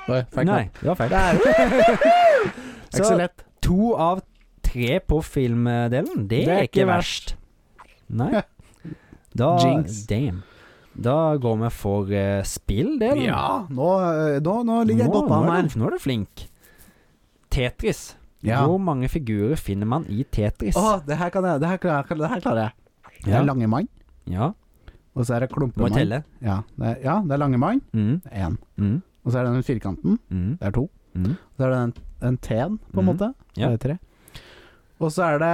Speaker 1: Oi, feil
Speaker 2: Nei,
Speaker 1: knapp.
Speaker 2: det var feil.
Speaker 1: Der.
Speaker 2: Så-
Speaker 1: Ikke så lett.
Speaker 2: To av tre på filmdelen. Det, er ikke verst. Nei. Da,
Speaker 1: Jinx.
Speaker 2: Damn. Da går vi for eh, spill, det. da.
Speaker 1: Ja, nå, eh, nå, nå ligger jeg
Speaker 2: Nå-
Speaker 1: godt an
Speaker 2: nå er
Speaker 1: her.
Speaker 2: du- Nå er du flink. Tetris.
Speaker 1: Ja.
Speaker 2: Hvor mange figurer finner man i Tetris?
Speaker 1: Å, det her kan jeg. Det her, kan jeg- det her klarer jeg. Det
Speaker 2: ja.
Speaker 1: er lange mann,
Speaker 2: ja.
Speaker 1: og så er det
Speaker 2: Må jeg
Speaker 1: klumpemann.
Speaker 2: telle?
Speaker 1: Ja, det er, ja, det er lange mann.
Speaker 2: Mm,
Speaker 1: Én.
Speaker 2: mm,
Speaker 1: Og så er det den firkanten.
Speaker 2: mm,
Speaker 1: Det er to.
Speaker 2: mm.
Speaker 1: Så er det den, den T-en, på en
Speaker 2: Mhm.
Speaker 1: måte.
Speaker 2: Ja.
Speaker 1: Det er tre. Og så er det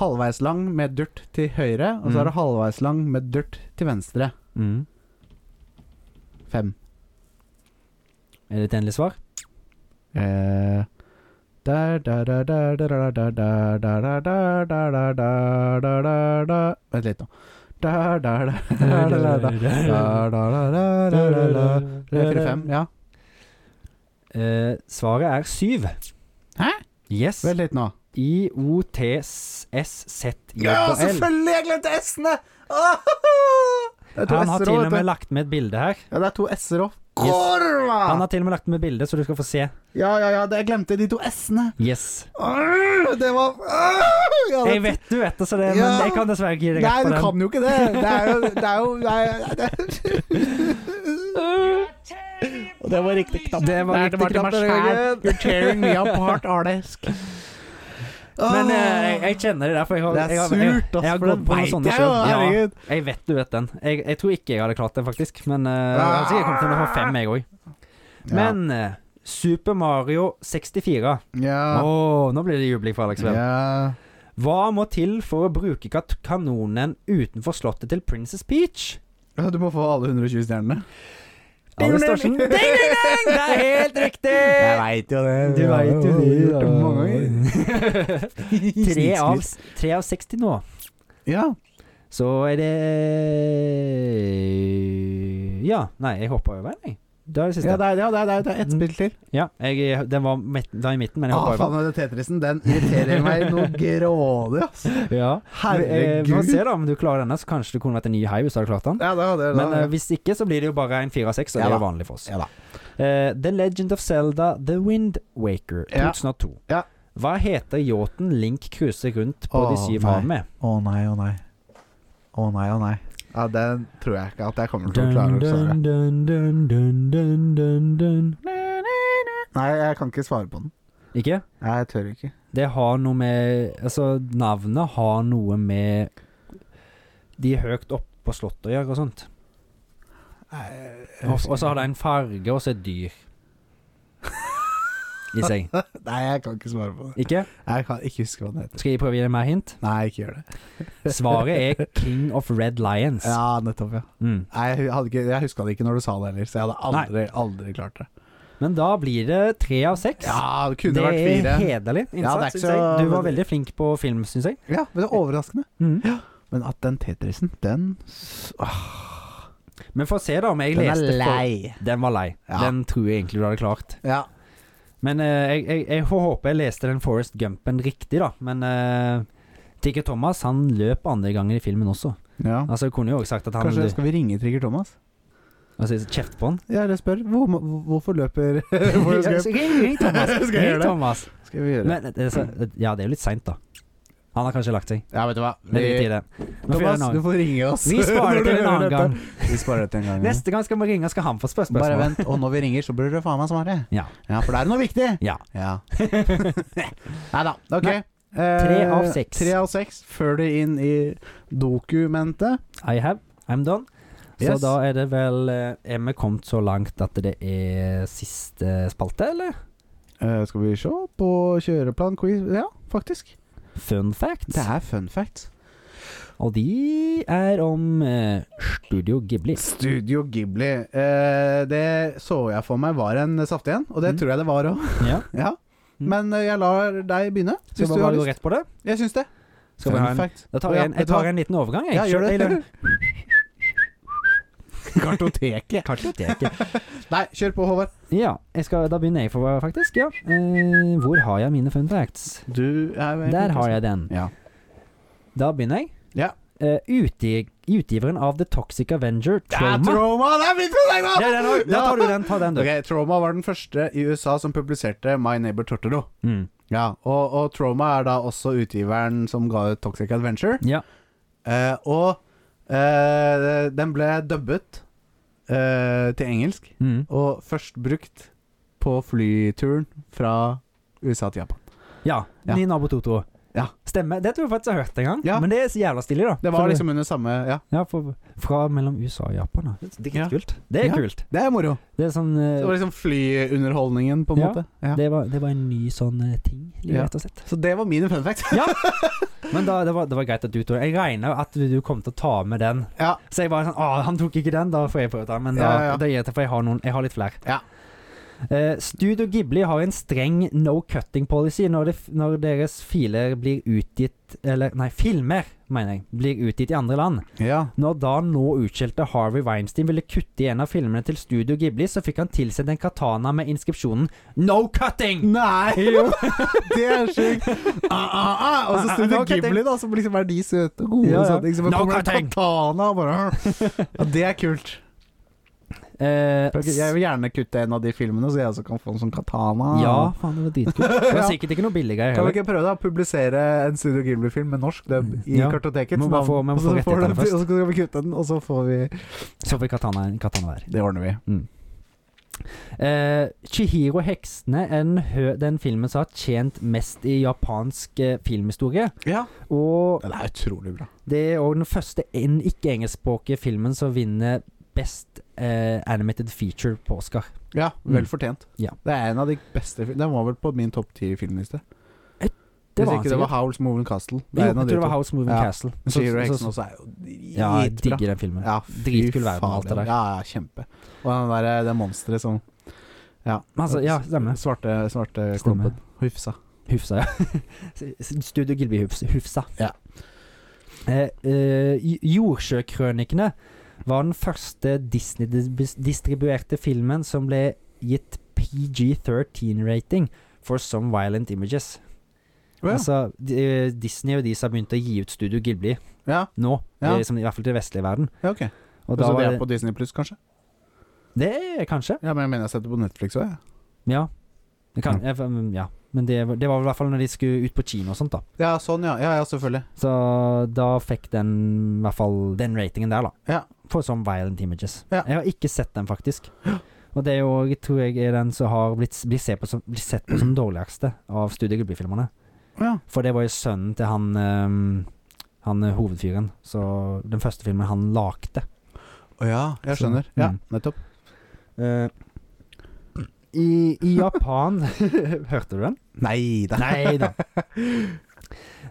Speaker 1: halvveis lang med durt til høyre, og så
Speaker 2: Mhm.
Speaker 1: er det halvveis lang med durt til venstre.
Speaker 2: mm.
Speaker 1: Fem.
Speaker 2: Er det et endelig svar?
Speaker 1: Eh, der, der, der, der, der, der, der, der, der, der, der, der, der, der, der, der, der. Vent litt nå. Der, der, der, der, der, der, der. Der, der, der, der, der, der. Tre, fire, fem. Ja,
Speaker 2: Eh, svaret er syv.
Speaker 1: Hæ?
Speaker 2: Yes.
Speaker 1: vent litt nå.
Speaker 2: I-O-T-S-Z-J-L.
Speaker 1: jeg glemte S-ene! Det er to
Speaker 2: Han har
Speaker 1: S-er
Speaker 2: til og
Speaker 1: òg,
Speaker 2: med
Speaker 1: vet du.
Speaker 2: lagt med et bilde her.
Speaker 1: Ja, det er to S-er òg.
Speaker 2: Yes.
Speaker 1: Korva!
Speaker 2: Han har til og med lagt med bilde, så du skal få se.
Speaker 1: Ja, ja, ja, det- jeg glemte de to S-ene.
Speaker 2: Yes.
Speaker 1: Arr, Det var Arr, ja, det-
Speaker 2: Jeg vet du vet det, så det, men
Speaker 1: Ja.
Speaker 2: jeg kan dessverre ikke gi deg
Speaker 1: Nei,
Speaker 2: rett
Speaker 1: du
Speaker 2: på den.
Speaker 1: kan jo ikke det. Det er jo, det er jo nei, det er- Og det var riktig knapp.
Speaker 2: Det var
Speaker 1: Nei, til
Speaker 2: riktig knapp
Speaker 1: meg
Speaker 2: denne
Speaker 1: selv. You're tearing me apart, Arnesk.
Speaker 2: Men eh, jeg, jeg kjenner det der, for jeg har,
Speaker 1: Det er
Speaker 2: jeg har, jeg,
Speaker 1: surt, ass,
Speaker 2: jeg har
Speaker 1: for
Speaker 2: gått
Speaker 1: det
Speaker 2: på noen
Speaker 1: vet
Speaker 2: sånne
Speaker 1: jeg jo,
Speaker 2: sjøl. Ja,
Speaker 1: herregud.
Speaker 2: jeg vet du vet den. Jeg, jeg tror ikke jeg hadde klart det, faktisk. Men
Speaker 1: Ah.
Speaker 2: eh, jeg hadde sikkert kommet til å få fem, jeg òg. Men eh, Super Mario 64 Åh,
Speaker 1: Ja.
Speaker 2: nå blir det jubling for Alex Vel.
Speaker 1: Ja.
Speaker 2: Hva må til for å bruke kat kanonen utenfor slottet til Princess Peach?
Speaker 1: Ja, Du må få alle 120 stjernene.
Speaker 2: Alex Dorsen. Ding, ding, ding! Det er helt riktig!
Speaker 1: veit sånn. jo det.
Speaker 2: Du
Speaker 1: Ja,
Speaker 2: veit jo
Speaker 1: jeg har gjort
Speaker 2: det.
Speaker 1: det mange ganger.
Speaker 2: ganger. tre, av, tre av 60 nå.
Speaker 1: Ja.
Speaker 2: Så er det Ja. Nei, jeg hoppa over den, jeg. Det er det
Speaker 1: Ja,
Speaker 2: siste.
Speaker 1: det er, ja, det er, det er ett spill til.
Speaker 2: Ja, jeg, den var midt, den var i midten, men Mm. jeg
Speaker 1: Ah,
Speaker 2: hoppa
Speaker 1: faen,
Speaker 2: over den.
Speaker 1: den Tetrisen den irriterer meg noe grådig, ass.
Speaker 2: Ja. Eh, Vi får
Speaker 1: Herregud.
Speaker 2: se da om du klarer denne, så kanskje det kunne vært en ny hei hvis du hadde klart den.
Speaker 1: Ja, da, det, da.
Speaker 2: Men eh, hvis ikke, så blir det jo bare en fire av seks, og
Speaker 1: Ja da.
Speaker 2: det er vanlig for oss.
Speaker 1: ja, da.
Speaker 2: Eh, The Legend of Zelda The Wind Waker
Speaker 1: Ja.
Speaker 2: 2002.
Speaker 1: Ja.
Speaker 2: Hva heter yachten Link cruiser rundt på de
Speaker 1: Åh,
Speaker 2: syv
Speaker 1: nei.
Speaker 2: hav med?
Speaker 1: Å nei, å nei. Å nei, å nei. Ja, Den tror jeg ikke at jeg kommer til å klare
Speaker 2: Dun,
Speaker 1: å svare.
Speaker 2: dun, dun, dun, dun, dun, dun, dun.
Speaker 1: Nei, jeg kan ikke svare på den.
Speaker 2: Ikke?
Speaker 1: Nei, jeg tør ikke.
Speaker 2: Det har noe med Altså, navnet har noe med De høyt oppe på slottet å gjøre og sånt.
Speaker 1: Nei,
Speaker 2: Og og så har det en farge, og så et dyr. I seg.
Speaker 1: Nei, jeg kan ikke svare på det.
Speaker 2: Ikke?
Speaker 1: Jeg kan ikke huske hva den heter.
Speaker 2: Skal jeg prøve å gi deg mer hint?
Speaker 1: Nei, ikke gjør det.
Speaker 2: Svaret er King of Red Lions.
Speaker 1: Ja, nettopp, ja.
Speaker 2: Mm.
Speaker 1: Nei, jeg, hadde ikke, jeg huska det ikke når du sa det heller, så jeg hadde aldri, aldri klart det.
Speaker 2: Men da blir det tre av seks.
Speaker 1: Ja, det
Speaker 2: det
Speaker 1: kunne vært fire.
Speaker 2: er hederlig
Speaker 1: Ja, det er
Speaker 2: innsats,
Speaker 1: ikke
Speaker 2: syns jeg.
Speaker 1: så-
Speaker 2: Du var veldig flink på film, syns jeg. Mm.
Speaker 1: Ja, men det er overraskende.
Speaker 2: Ja.
Speaker 1: Men at den Tetrisen, den Åh,
Speaker 2: Men få se, da, om jeg
Speaker 1: Den er
Speaker 2: leste for-
Speaker 1: lei.
Speaker 2: Den var lei.
Speaker 1: Ja.
Speaker 2: Den tror jeg egentlig du hadde klart.
Speaker 1: Ja.
Speaker 2: Men eh, jeg, jeg, jeg får håpe jeg leste den Forest Gumpen riktig, da. Men eh, Ticket Thomas han løp andre gangen i filmen også.
Speaker 1: ja.
Speaker 2: Altså Jeg kunne jo også sagt at han
Speaker 1: Kanskje skal vi ringe Trigger Thomas?
Speaker 2: Altså kjeft på han.
Speaker 1: Ja, eller spør hvor, hvorfor løper
Speaker 2: Ja, altså,
Speaker 1: hvor
Speaker 2: så
Speaker 1: skal,
Speaker 2: Ring ring Thomas.
Speaker 1: Skal jeg
Speaker 2: Ring
Speaker 1: gjøre det?
Speaker 2: Thomas.
Speaker 1: skal vi gjøre?
Speaker 2: Men, eh, det er så- ja, det er jo litt seint, da. Han har kanskje lagt seg.
Speaker 1: Ja, vet du hva.
Speaker 2: Vi driter i det. Nå får jeg
Speaker 1: Thomas,
Speaker 2: en
Speaker 1: du
Speaker 2: annen.
Speaker 1: får ringe oss.
Speaker 2: Vi sparer det til en annen gang.
Speaker 1: Vi sparer det til en gang. ja.
Speaker 2: Neste gang skal vi ringe, skal han få spørre
Speaker 1: Bare
Speaker 2: spørsmål.
Speaker 1: vent, og når vi ringer, så burde du faen meg svare.
Speaker 2: Ja.
Speaker 1: Ja, for det er noe viktig.
Speaker 2: Ja.
Speaker 1: Ja. Nei da. Ok.
Speaker 2: Nei. Tre av
Speaker 1: Eh,
Speaker 2: seks.
Speaker 1: Tre av seks. Før det inn i dokumentet.
Speaker 2: I have. I'm done. Så
Speaker 1: Yes.
Speaker 2: da er det vel eh, Er vi kommet så langt at det er siste spalte, eller?
Speaker 1: Eh, skal vi se på kjøreplan quiz Ja, faktisk.
Speaker 2: Fun facts.
Speaker 1: Det er fun fact.
Speaker 2: Og de er om eh, Studio Ghibli.
Speaker 1: Studio Ghibli. Eh, det så jeg for meg var en saftig en, og det
Speaker 2: Mm.
Speaker 1: tror jeg det var òg.
Speaker 2: Ja.
Speaker 1: ja.
Speaker 2: Mm.
Speaker 1: Men eh, jeg lar deg begynne,
Speaker 2: Skal vi
Speaker 1: hvis du
Speaker 2: bare
Speaker 1: har
Speaker 2: gå
Speaker 1: lyst.
Speaker 2: rett på det?
Speaker 1: Jeg syns det.
Speaker 2: Skal vi ha en,
Speaker 1: fact.
Speaker 2: da tar
Speaker 1: Og ja,
Speaker 2: jeg, en,
Speaker 1: vet
Speaker 2: jeg
Speaker 1: du hva?
Speaker 2: tar en liten overgang, jeg.
Speaker 1: Ja, gjør
Speaker 2: Kjør
Speaker 1: det.
Speaker 2: deg, Lund. Kartoteket.
Speaker 1: Nei, kjør på, Håvard.
Speaker 2: Ja, jeg skal, da begynner jeg, for, faktisk. Ja. Eh, hvor har jeg mine fun facts?
Speaker 1: Du er
Speaker 2: Der har jeg den.
Speaker 1: Ja.
Speaker 2: Da begynner jeg.
Speaker 1: Ja.
Speaker 2: Eh, utgi, utgiveren av The Toxic Avenger,
Speaker 1: Ja,
Speaker 2: Trauma.
Speaker 1: trauma! Det er mitt problem!
Speaker 2: Ja, den har- da tar du den. Ta den, du.
Speaker 1: Ok, Trauma var den første i USA som publiserte My Neighbor Tortoro.
Speaker 2: Mm.
Speaker 1: Ja, og, og Trauma er da også utgiveren som ga ut Toxic Adventure.
Speaker 2: Ja.
Speaker 1: Eh, og eh, den ble dubbet eh, til engelsk,
Speaker 2: Mm.
Speaker 1: og først brukt på flyturen fra USA til Japan.
Speaker 2: ja.
Speaker 1: Ja.
Speaker 2: Ny nabo Toto.
Speaker 1: Ja.
Speaker 2: Stemmer. Det tror jeg faktisk jeg har hørt en gang,
Speaker 1: Ja.
Speaker 2: men det er så jævla stilig, da.
Speaker 1: Det
Speaker 2: For-
Speaker 1: var liksom under samme Ja,
Speaker 2: Ja, for, fra mellom USA og Japan. Da. Det
Speaker 1: Ja.
Speaker 2: kult. Det er
Speaker 1: Ja.
Speaker 2: kult.
Speaker 1: det er moro.
Speaker 2: Det er sånn eh,
Speaker 1: Det var liksom flyunderholdningen, på en
Speaker 2: Ja.
Speaker 1: måte. Ja.
Speaker 2: det, var, det var en ny sånn eh, ting, litt
Speaker 1: Ja.
Speaker 2: rett og slett.
Speaker 1: Så det var mine fun facts.
Speaker 2: Men da, det, var, det var greit at du tok den. Jeg regner at du, du kom til å ta med den.
Speaker 1: Ja.
Speaker 2: Så jeg bare sånn Å, han tok ikke den, da får jeg prøve den. Men da,
Speaker 1: Ja, ja, ja.
Speaker 2: da gir jeg til, for jeg har, noen, jeg har litt flere.
Speaker 1: Ja.
Speaker 2: Eh, Studio Ghibli har en streng no cutting policy når, det, f- når deres filer blir utgitt Eller, nei, filmer, mener jeg, blir utgitt i andre land.
Speaker 1: ja.
Speaker 2: Når da nå utskjelte Harvey Weinstein ville kutte i en av filmene til Studio Ghibli, så fikk han tilsendt en katana med inskripsjonen 'No cutting'!
Speaker 1: Nei!
Speaker 2: Jo.
Speaker 1: det er sjukt. Ah, ah, ah. Og så Studio
Speaker 2: Ah, ah, ah,
Speaker 1: Ghibli, da, som liksom er de søte og gode.
Speaker 2: Ja,
Speaker 1: og
Speaker 2: ja.
Speaker 1: sånt, liksom,
Speaker 2: No
Speaker 1: kommer en
Speaker 2: cutting.
Speaker 1: katana og bare ja, Det er kult.
Speaker 2: Eh,
Speaker 1: Jeg vil gjerne kutte en av de filmene, så jeg også kan få en sånn katana.
Speaker 2: ja, faen, det var dritkult. Det var
Speaker 1: Ja.
Speaker 2: sikkert ikke noe billigere
Speaker 1: Kan vi
Speaker 2: heller.
Speaker 1: ikke prøve da å publisere en Studio Ghibli-film med norsk dub i
Speaker 2: Ja.
Speaker 1: kartoteket?
Speaker 2: Må bare
Speaker 1: Navn-
Speaker 2: få- må
Speaker 1: og så
Speaker 2: få
Speaker 1: får
Speaker 2: rettighetene
Speaker 1: den-
Speaker 2: først.
Speaker 1: Og så skal vi kutte den, og så får vi
Speaker 2: Så fikk katana en katana hver.
Speaker 1: Det ordner vi.
Speaker 2: Eh, Chihiro Heksene er den, hø den filmen som har tjent mest i japansk eh, filmhistorie.
Speaker 1: Ja.
Speaker 2: Og
Speaker 1: Det er utrolig bra.
Speaker 2: det er òg den første en- ikke-engelskspråklige filmen som vinner Best eh, Animated Feature på Oscar.
Speaker 1: Ja,
Speaker 2: Mm.
Speaker 1: vel fortjent.
Speaker 2: Ja.
Speaker 1: Det er en av de beste fil- Den var vel på min topp ti filmliste. Hvis
Speaker 2: Det var
Speaker 1: ikke
Speaker 2: han
Speaker 1: det var
Speaker 2: sikkert.
Speaker 1: Howls Moving Castle. Det
Speaker 2: Jo,
Speaker 1: er
Speaker 2: jeg
Speaker 1: en av
Speaker 2: tror
Speaker 1: de
Speaker 2: det
Speaker 1: to.
Speaker 2: var House Moving
Speaker 1: Ja.
Speaker 2: Castle. Så-
Speaker 1: Shiro
Speaker 2: så-
Speaker 1: Hexen
Speaker 2: så-
Speaker 1: også er jo
Speaker 2: Ja, jeg
Speaker 1: dritbra.
Speaker 2: digger den filmen.
Speaker 1: Ja, fy
Speaker 2: Dritkul verden og alt det
Speaker 1: fader.
Speaker 2: der.
Speaker 1: Ja, ja, kjempe. Og den der, eh, det monsteret som Ja,
Speaker 2: Men altså, ja, stemmer.
Speaker 1: svarte, svarte
Speaker 2: Stemmer.
Speaker 1: klumpen. Hufsa.
Speaker 2: Hufsa, ja. Studio Gilby Hufs, Hufsa.
Speaker 1: Ja.
Speaker 2: Eh, eh, J- Jordsjøkrønikene var den første Disney-distribuerte filmen som ble gitt PG-13-rating for some violent images.
Speaker 1: Å ja.
Speaker 2: Altså, de- Disney og de som har begynt å gi ut Studio Ghibli
Speaker 1: Ja,
Speaker 2: nå,
Speaker 1: Ja.
Speaker 2: eh, som, i hvert fall til den vestlige verden.
Speaker 1: ja, ok.
Speaker 2: Og da
Speaker 1: så det
Speaker 2: var
Speaker 1: er på Disney pluss, kanskje?
Speaker 2: det er kanskje
Speaker 1: Ja, men jeg mener jeg har sett det på Netflix òg, jeg.
Speaker 2: Ja. Det kan, jeg, mm, ja. Men det, var- det var i hvert fall når de skulle ut på kino og sånt, da.
Speaker 1: Ja, sånn, ja. Ja, ja, selvfølgelig.
Speaker 2: Så da fikk den i hvert fall den ratingen der, da.
Speaker 1: Ja.
Speaker 2: For sånn violent images.
Speaker 1: Ja.
Speaker 2: Jeg har ikke sett den, faktisk. Og det er jo, jeg tror jeg, er den som har blitt, blitt, sett, på som, blitt sett på som dårligste av Studio Gubbi-filmerne.
Speaker 1: Ja.
Speaker 2: For det var jo sønnen til han ehm, Han eh, hovedfyren. Så den første filmen han lagde.
Speaker 1: Å ja, jeg
Speaker 2: Så-
Speaker 1: skjønner. Ja,
Speaker 2: mm.
Speaker 1: nettopp.
Speaker 2: Eh, i, I Japan Hørte du den?
Speaker 1: Nei da.
Speaker 2: Nei da.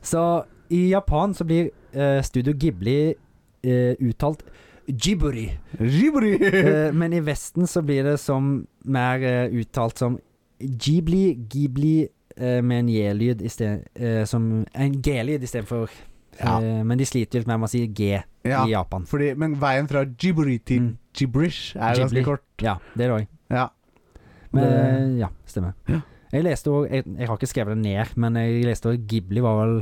Speaker 2: Så i Japan så blir eh, Studio Ghibli eh, uttalt Jiburi.
Speaker 1: Jibri!
Speaker 2: Eh, men i Vesten så blir det som mer eh, uttalt som Ghibli, Ghibli eh, med en J-lyd isted- eh, som En G-lyd istedenfor.
Speaker 1: Ja.
Speaker 2: Eh, men de sliter litt med å si G
Speaker 1: Ja,
Speaker 2: i Japan.
Speaker 1: fordi, men veien fra jibri til
Speaker 2: Mm.
Speaker 1: gibrish er jo
Speaker 2: Ghibli.
Speaker 1: ganske kort.
Speaker 2: Ja, det er det òg.
Speaker 1: Ja.
Speaker 2: Men, ja, stemmer.
Speaker 1: Ja.
Speaker 2: Jeg leste òg jeg, jeg har ikke skrevet det ned, men jeg leste òg Ghibli var vel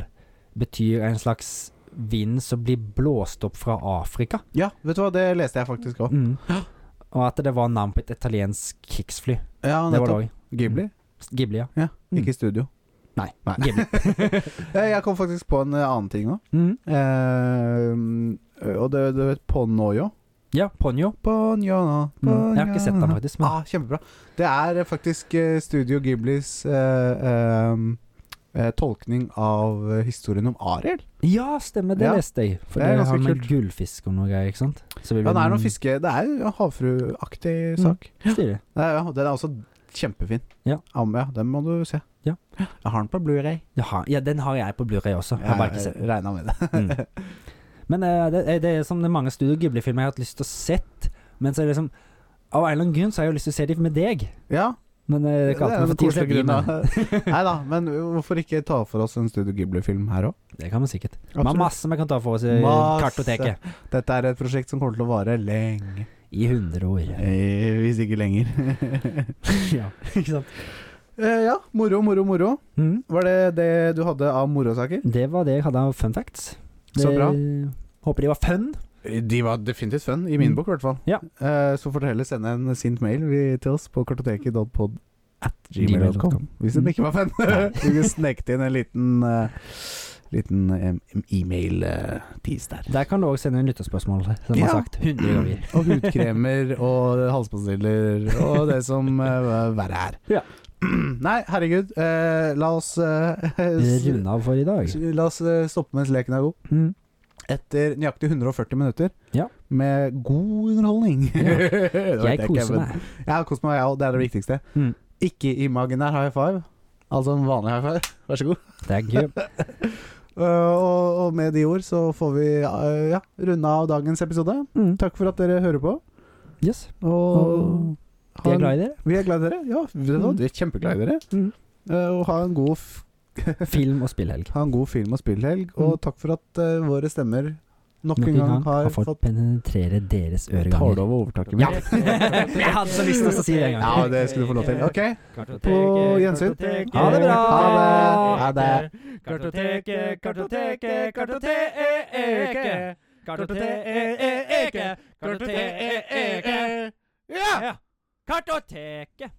Speaker 2: Betyr en slags vind som blir blåst opp fra Afrika.
Speaker 1: Ja, vet du hva, det leste jeg faktisk òg.
Speaker 2: Mm. Og at det var navn på et italiensk krigsfly.
Speaker 1: Ja,
Speaker 2: Det var det
Speaker 1: nettopp.
Speaker 2: òg.
Speaker 1: Ghibli?
Speaker 2: Ghibli, ja. Mm.
Speaker 1: Ikke studio. Nei. nei.
Speaker 2: Jevnlig.
Speaker 1: Eh, Jeg kom faktisk på en eh, annen ting nå.
Speaker 2: Mm.
Speaker 1: Eh, og det, du vet Ponyo?
Speaker 2: Ja, Ponyo.
Speaker 1: Ponyo nå.
Speaker 2: Mm. Jeg har ikke sett den faktisk, Mm. men
Speaker 1: Ah, kjempebra. Det er eh, faktisk eh, Studio Ghiblis eh, eh, eh, tolkning av eh, historien om Ariel.
Speaker 2: Ja, stemmer, det
Speaker 1: Ja.
Speaker 2: leste jeg. For
Speaker 1: Det
Speaker 2: det
Speaker 1: er
Speaker 2: er
Speaker 1: ganske
Speaker 2: han med
Speaker 1: kult.
Speaker 2: gullfisk og noe greier, ikke sant? Så vil
Speaker 1: Ja, det er noe
Speaker 2: den
Speaker 1: fiske Det er jo en havfrueaktig
Speaker 2: Mm.
Speaker 1: sak.
Speaker 2: styre.
Speaker 1: Det er, ja, den er også kjempefin.
Speaker 2: Ja.
Speaker 1: men ja, den må du se.
Speaker 2: Ja.
Speaker 1: Jeg har den på Blu-ray
Speaker 2: Jaha, ja, den har jeg på Blu-ray også. Jeg har bare ikke sett den.
Speaker 1: regna med det.
Speaker 2: Mm. Men eh, det, er- det er som det er mange Studio Ghibli-filmer jeg har hatt lyst til å sett, men så er det liksom Av en eller annen grunn så har jeg jo lyst til å se dem med deg.
Speaker 1: Ja,
Speaker 2: Men eh, det er ikke alltid man får tid til å bli med.
Speaker 1: Nei da, men hvorfor ikke ta for oss en Studio Ghibli-film her òg?
Speaker 2: Det kan man sikkert. Vi har masse vi kan ta for oss i
Speaker 1: Masse.
Speaker 2: kartoteket.
Speaker 1: Dette er et prosjekt som kommer til å vare lenge.
Speaker 2: I 100 år.
Speaker 1: Eh, hvis ikke lenger.
Speaker 2: ja, ikke sant?
Speaker 1: eh, ja, moro, moro, moro.
Speaker 2: Mm.
Speaker 1: Var det det du hadde av morosaker?
Speaker 2: Det var det jeg hadde av fun facts. Det,
Speaker 1: Så bra.
Speaker 2: Håper de var fun.
Speaker 1: De var definitivt fun, i
Speaker 2: Mm.
Speaker 1: min bok i hvert fall.
Speaker 2: Ja.
Speaker 1: Eh, så får dere heller sende en sint mail vi- til oss på kartoteket.pod.
Speaker 2: gmail.com.
Speaker 1: Gmail.com. Hvis den ikke var fun.
Speaker 2: Mm.
Speaker 1: du kunne sneket inn en liten eh, Liten em, em, e-mail-tease der.
Speaker 2: Der kan du òg sende inn lytterspørsmål, som jeg
Speaker 1: Ja.
Speaker 2: har sagt 100 ganger.
Speaker 1: og hudkremer og halspastiller og det som uh, verre er.
Speaker 2: Ja.
Speaker 1: Nei, herregud. eh, la oss eh, s-
Speaker 2: Runde av for i dag.
Speaker 1: La oss eh, stoppe mens leken er god.
Speaker 2: Mm.
Speaker 1: Etter nøyaktig 140 minutter
Speaker 2: Ja.
Speaker 1: med god underholdning.
Speaker 2: Ja.
Speaker 1: Det vet
Speaker 2: Jeg
Speaker 1: ikke,
Speaker 2: koser
Speaker 1: men-
Speaker 2: meg.
Speaker 1: Jeg har kost meg, jeg òg. Det er det viktigste.
Speaker 2: Mm.
Speaker 1: Ikke imaginær high five. Altså en vanlig high five. Vær så god.
Speaker 2: Thank you.
Speaker 1: Eh, og, og med de ord så får vi eh, ja, runde av dagens episode.
Speaker 2: Mm.
Speaker 1: Takk for at dere hører på.
Speaker 2: Yes.
Speaker 1: Og
Speaker 2: Og Vi er glad i dere.
Speaker 1: Vi er glad i dere. Ja, vi
Speaker 2: Mm.
Speaker 1: vi er kjempeglad i dere.
Speaker 2: Mm.
Speaker 1: Eh, og ha en god, f
Speaker 2: Film- og spillhelg.
Speaker 1: ha en god film- og spillhelg. Og
Speaker 2: Mm.
Speaker 1: takk for at eh, våre stemmer nok
Speaker 2: Nok
Speaker 1: en gang har,
Speaker 2: fått
Speaker 1: fått
Speaker 2: penetrere deres
Speaker 1: Tar du
Speaker 2: øreganger.
Speaker 1: over overtaket
Speaker 2: Ja.
Speaker 1: mitt?
Speaker 2: Jeg hadde så lyst til å si det en gang.
Speaker 1: Ja, det skulle du få lov til. OK.
Speaker 4: På gjensyn. Ha det bra!
Speaker 1: Ha det. Ha
Speaker 4: Kartoteket, kartoteket, kartoteket. Kartoteket, kartoteket.
Speaker 2: Kartoteket.
Speaker 4: Ja! Kartoteket.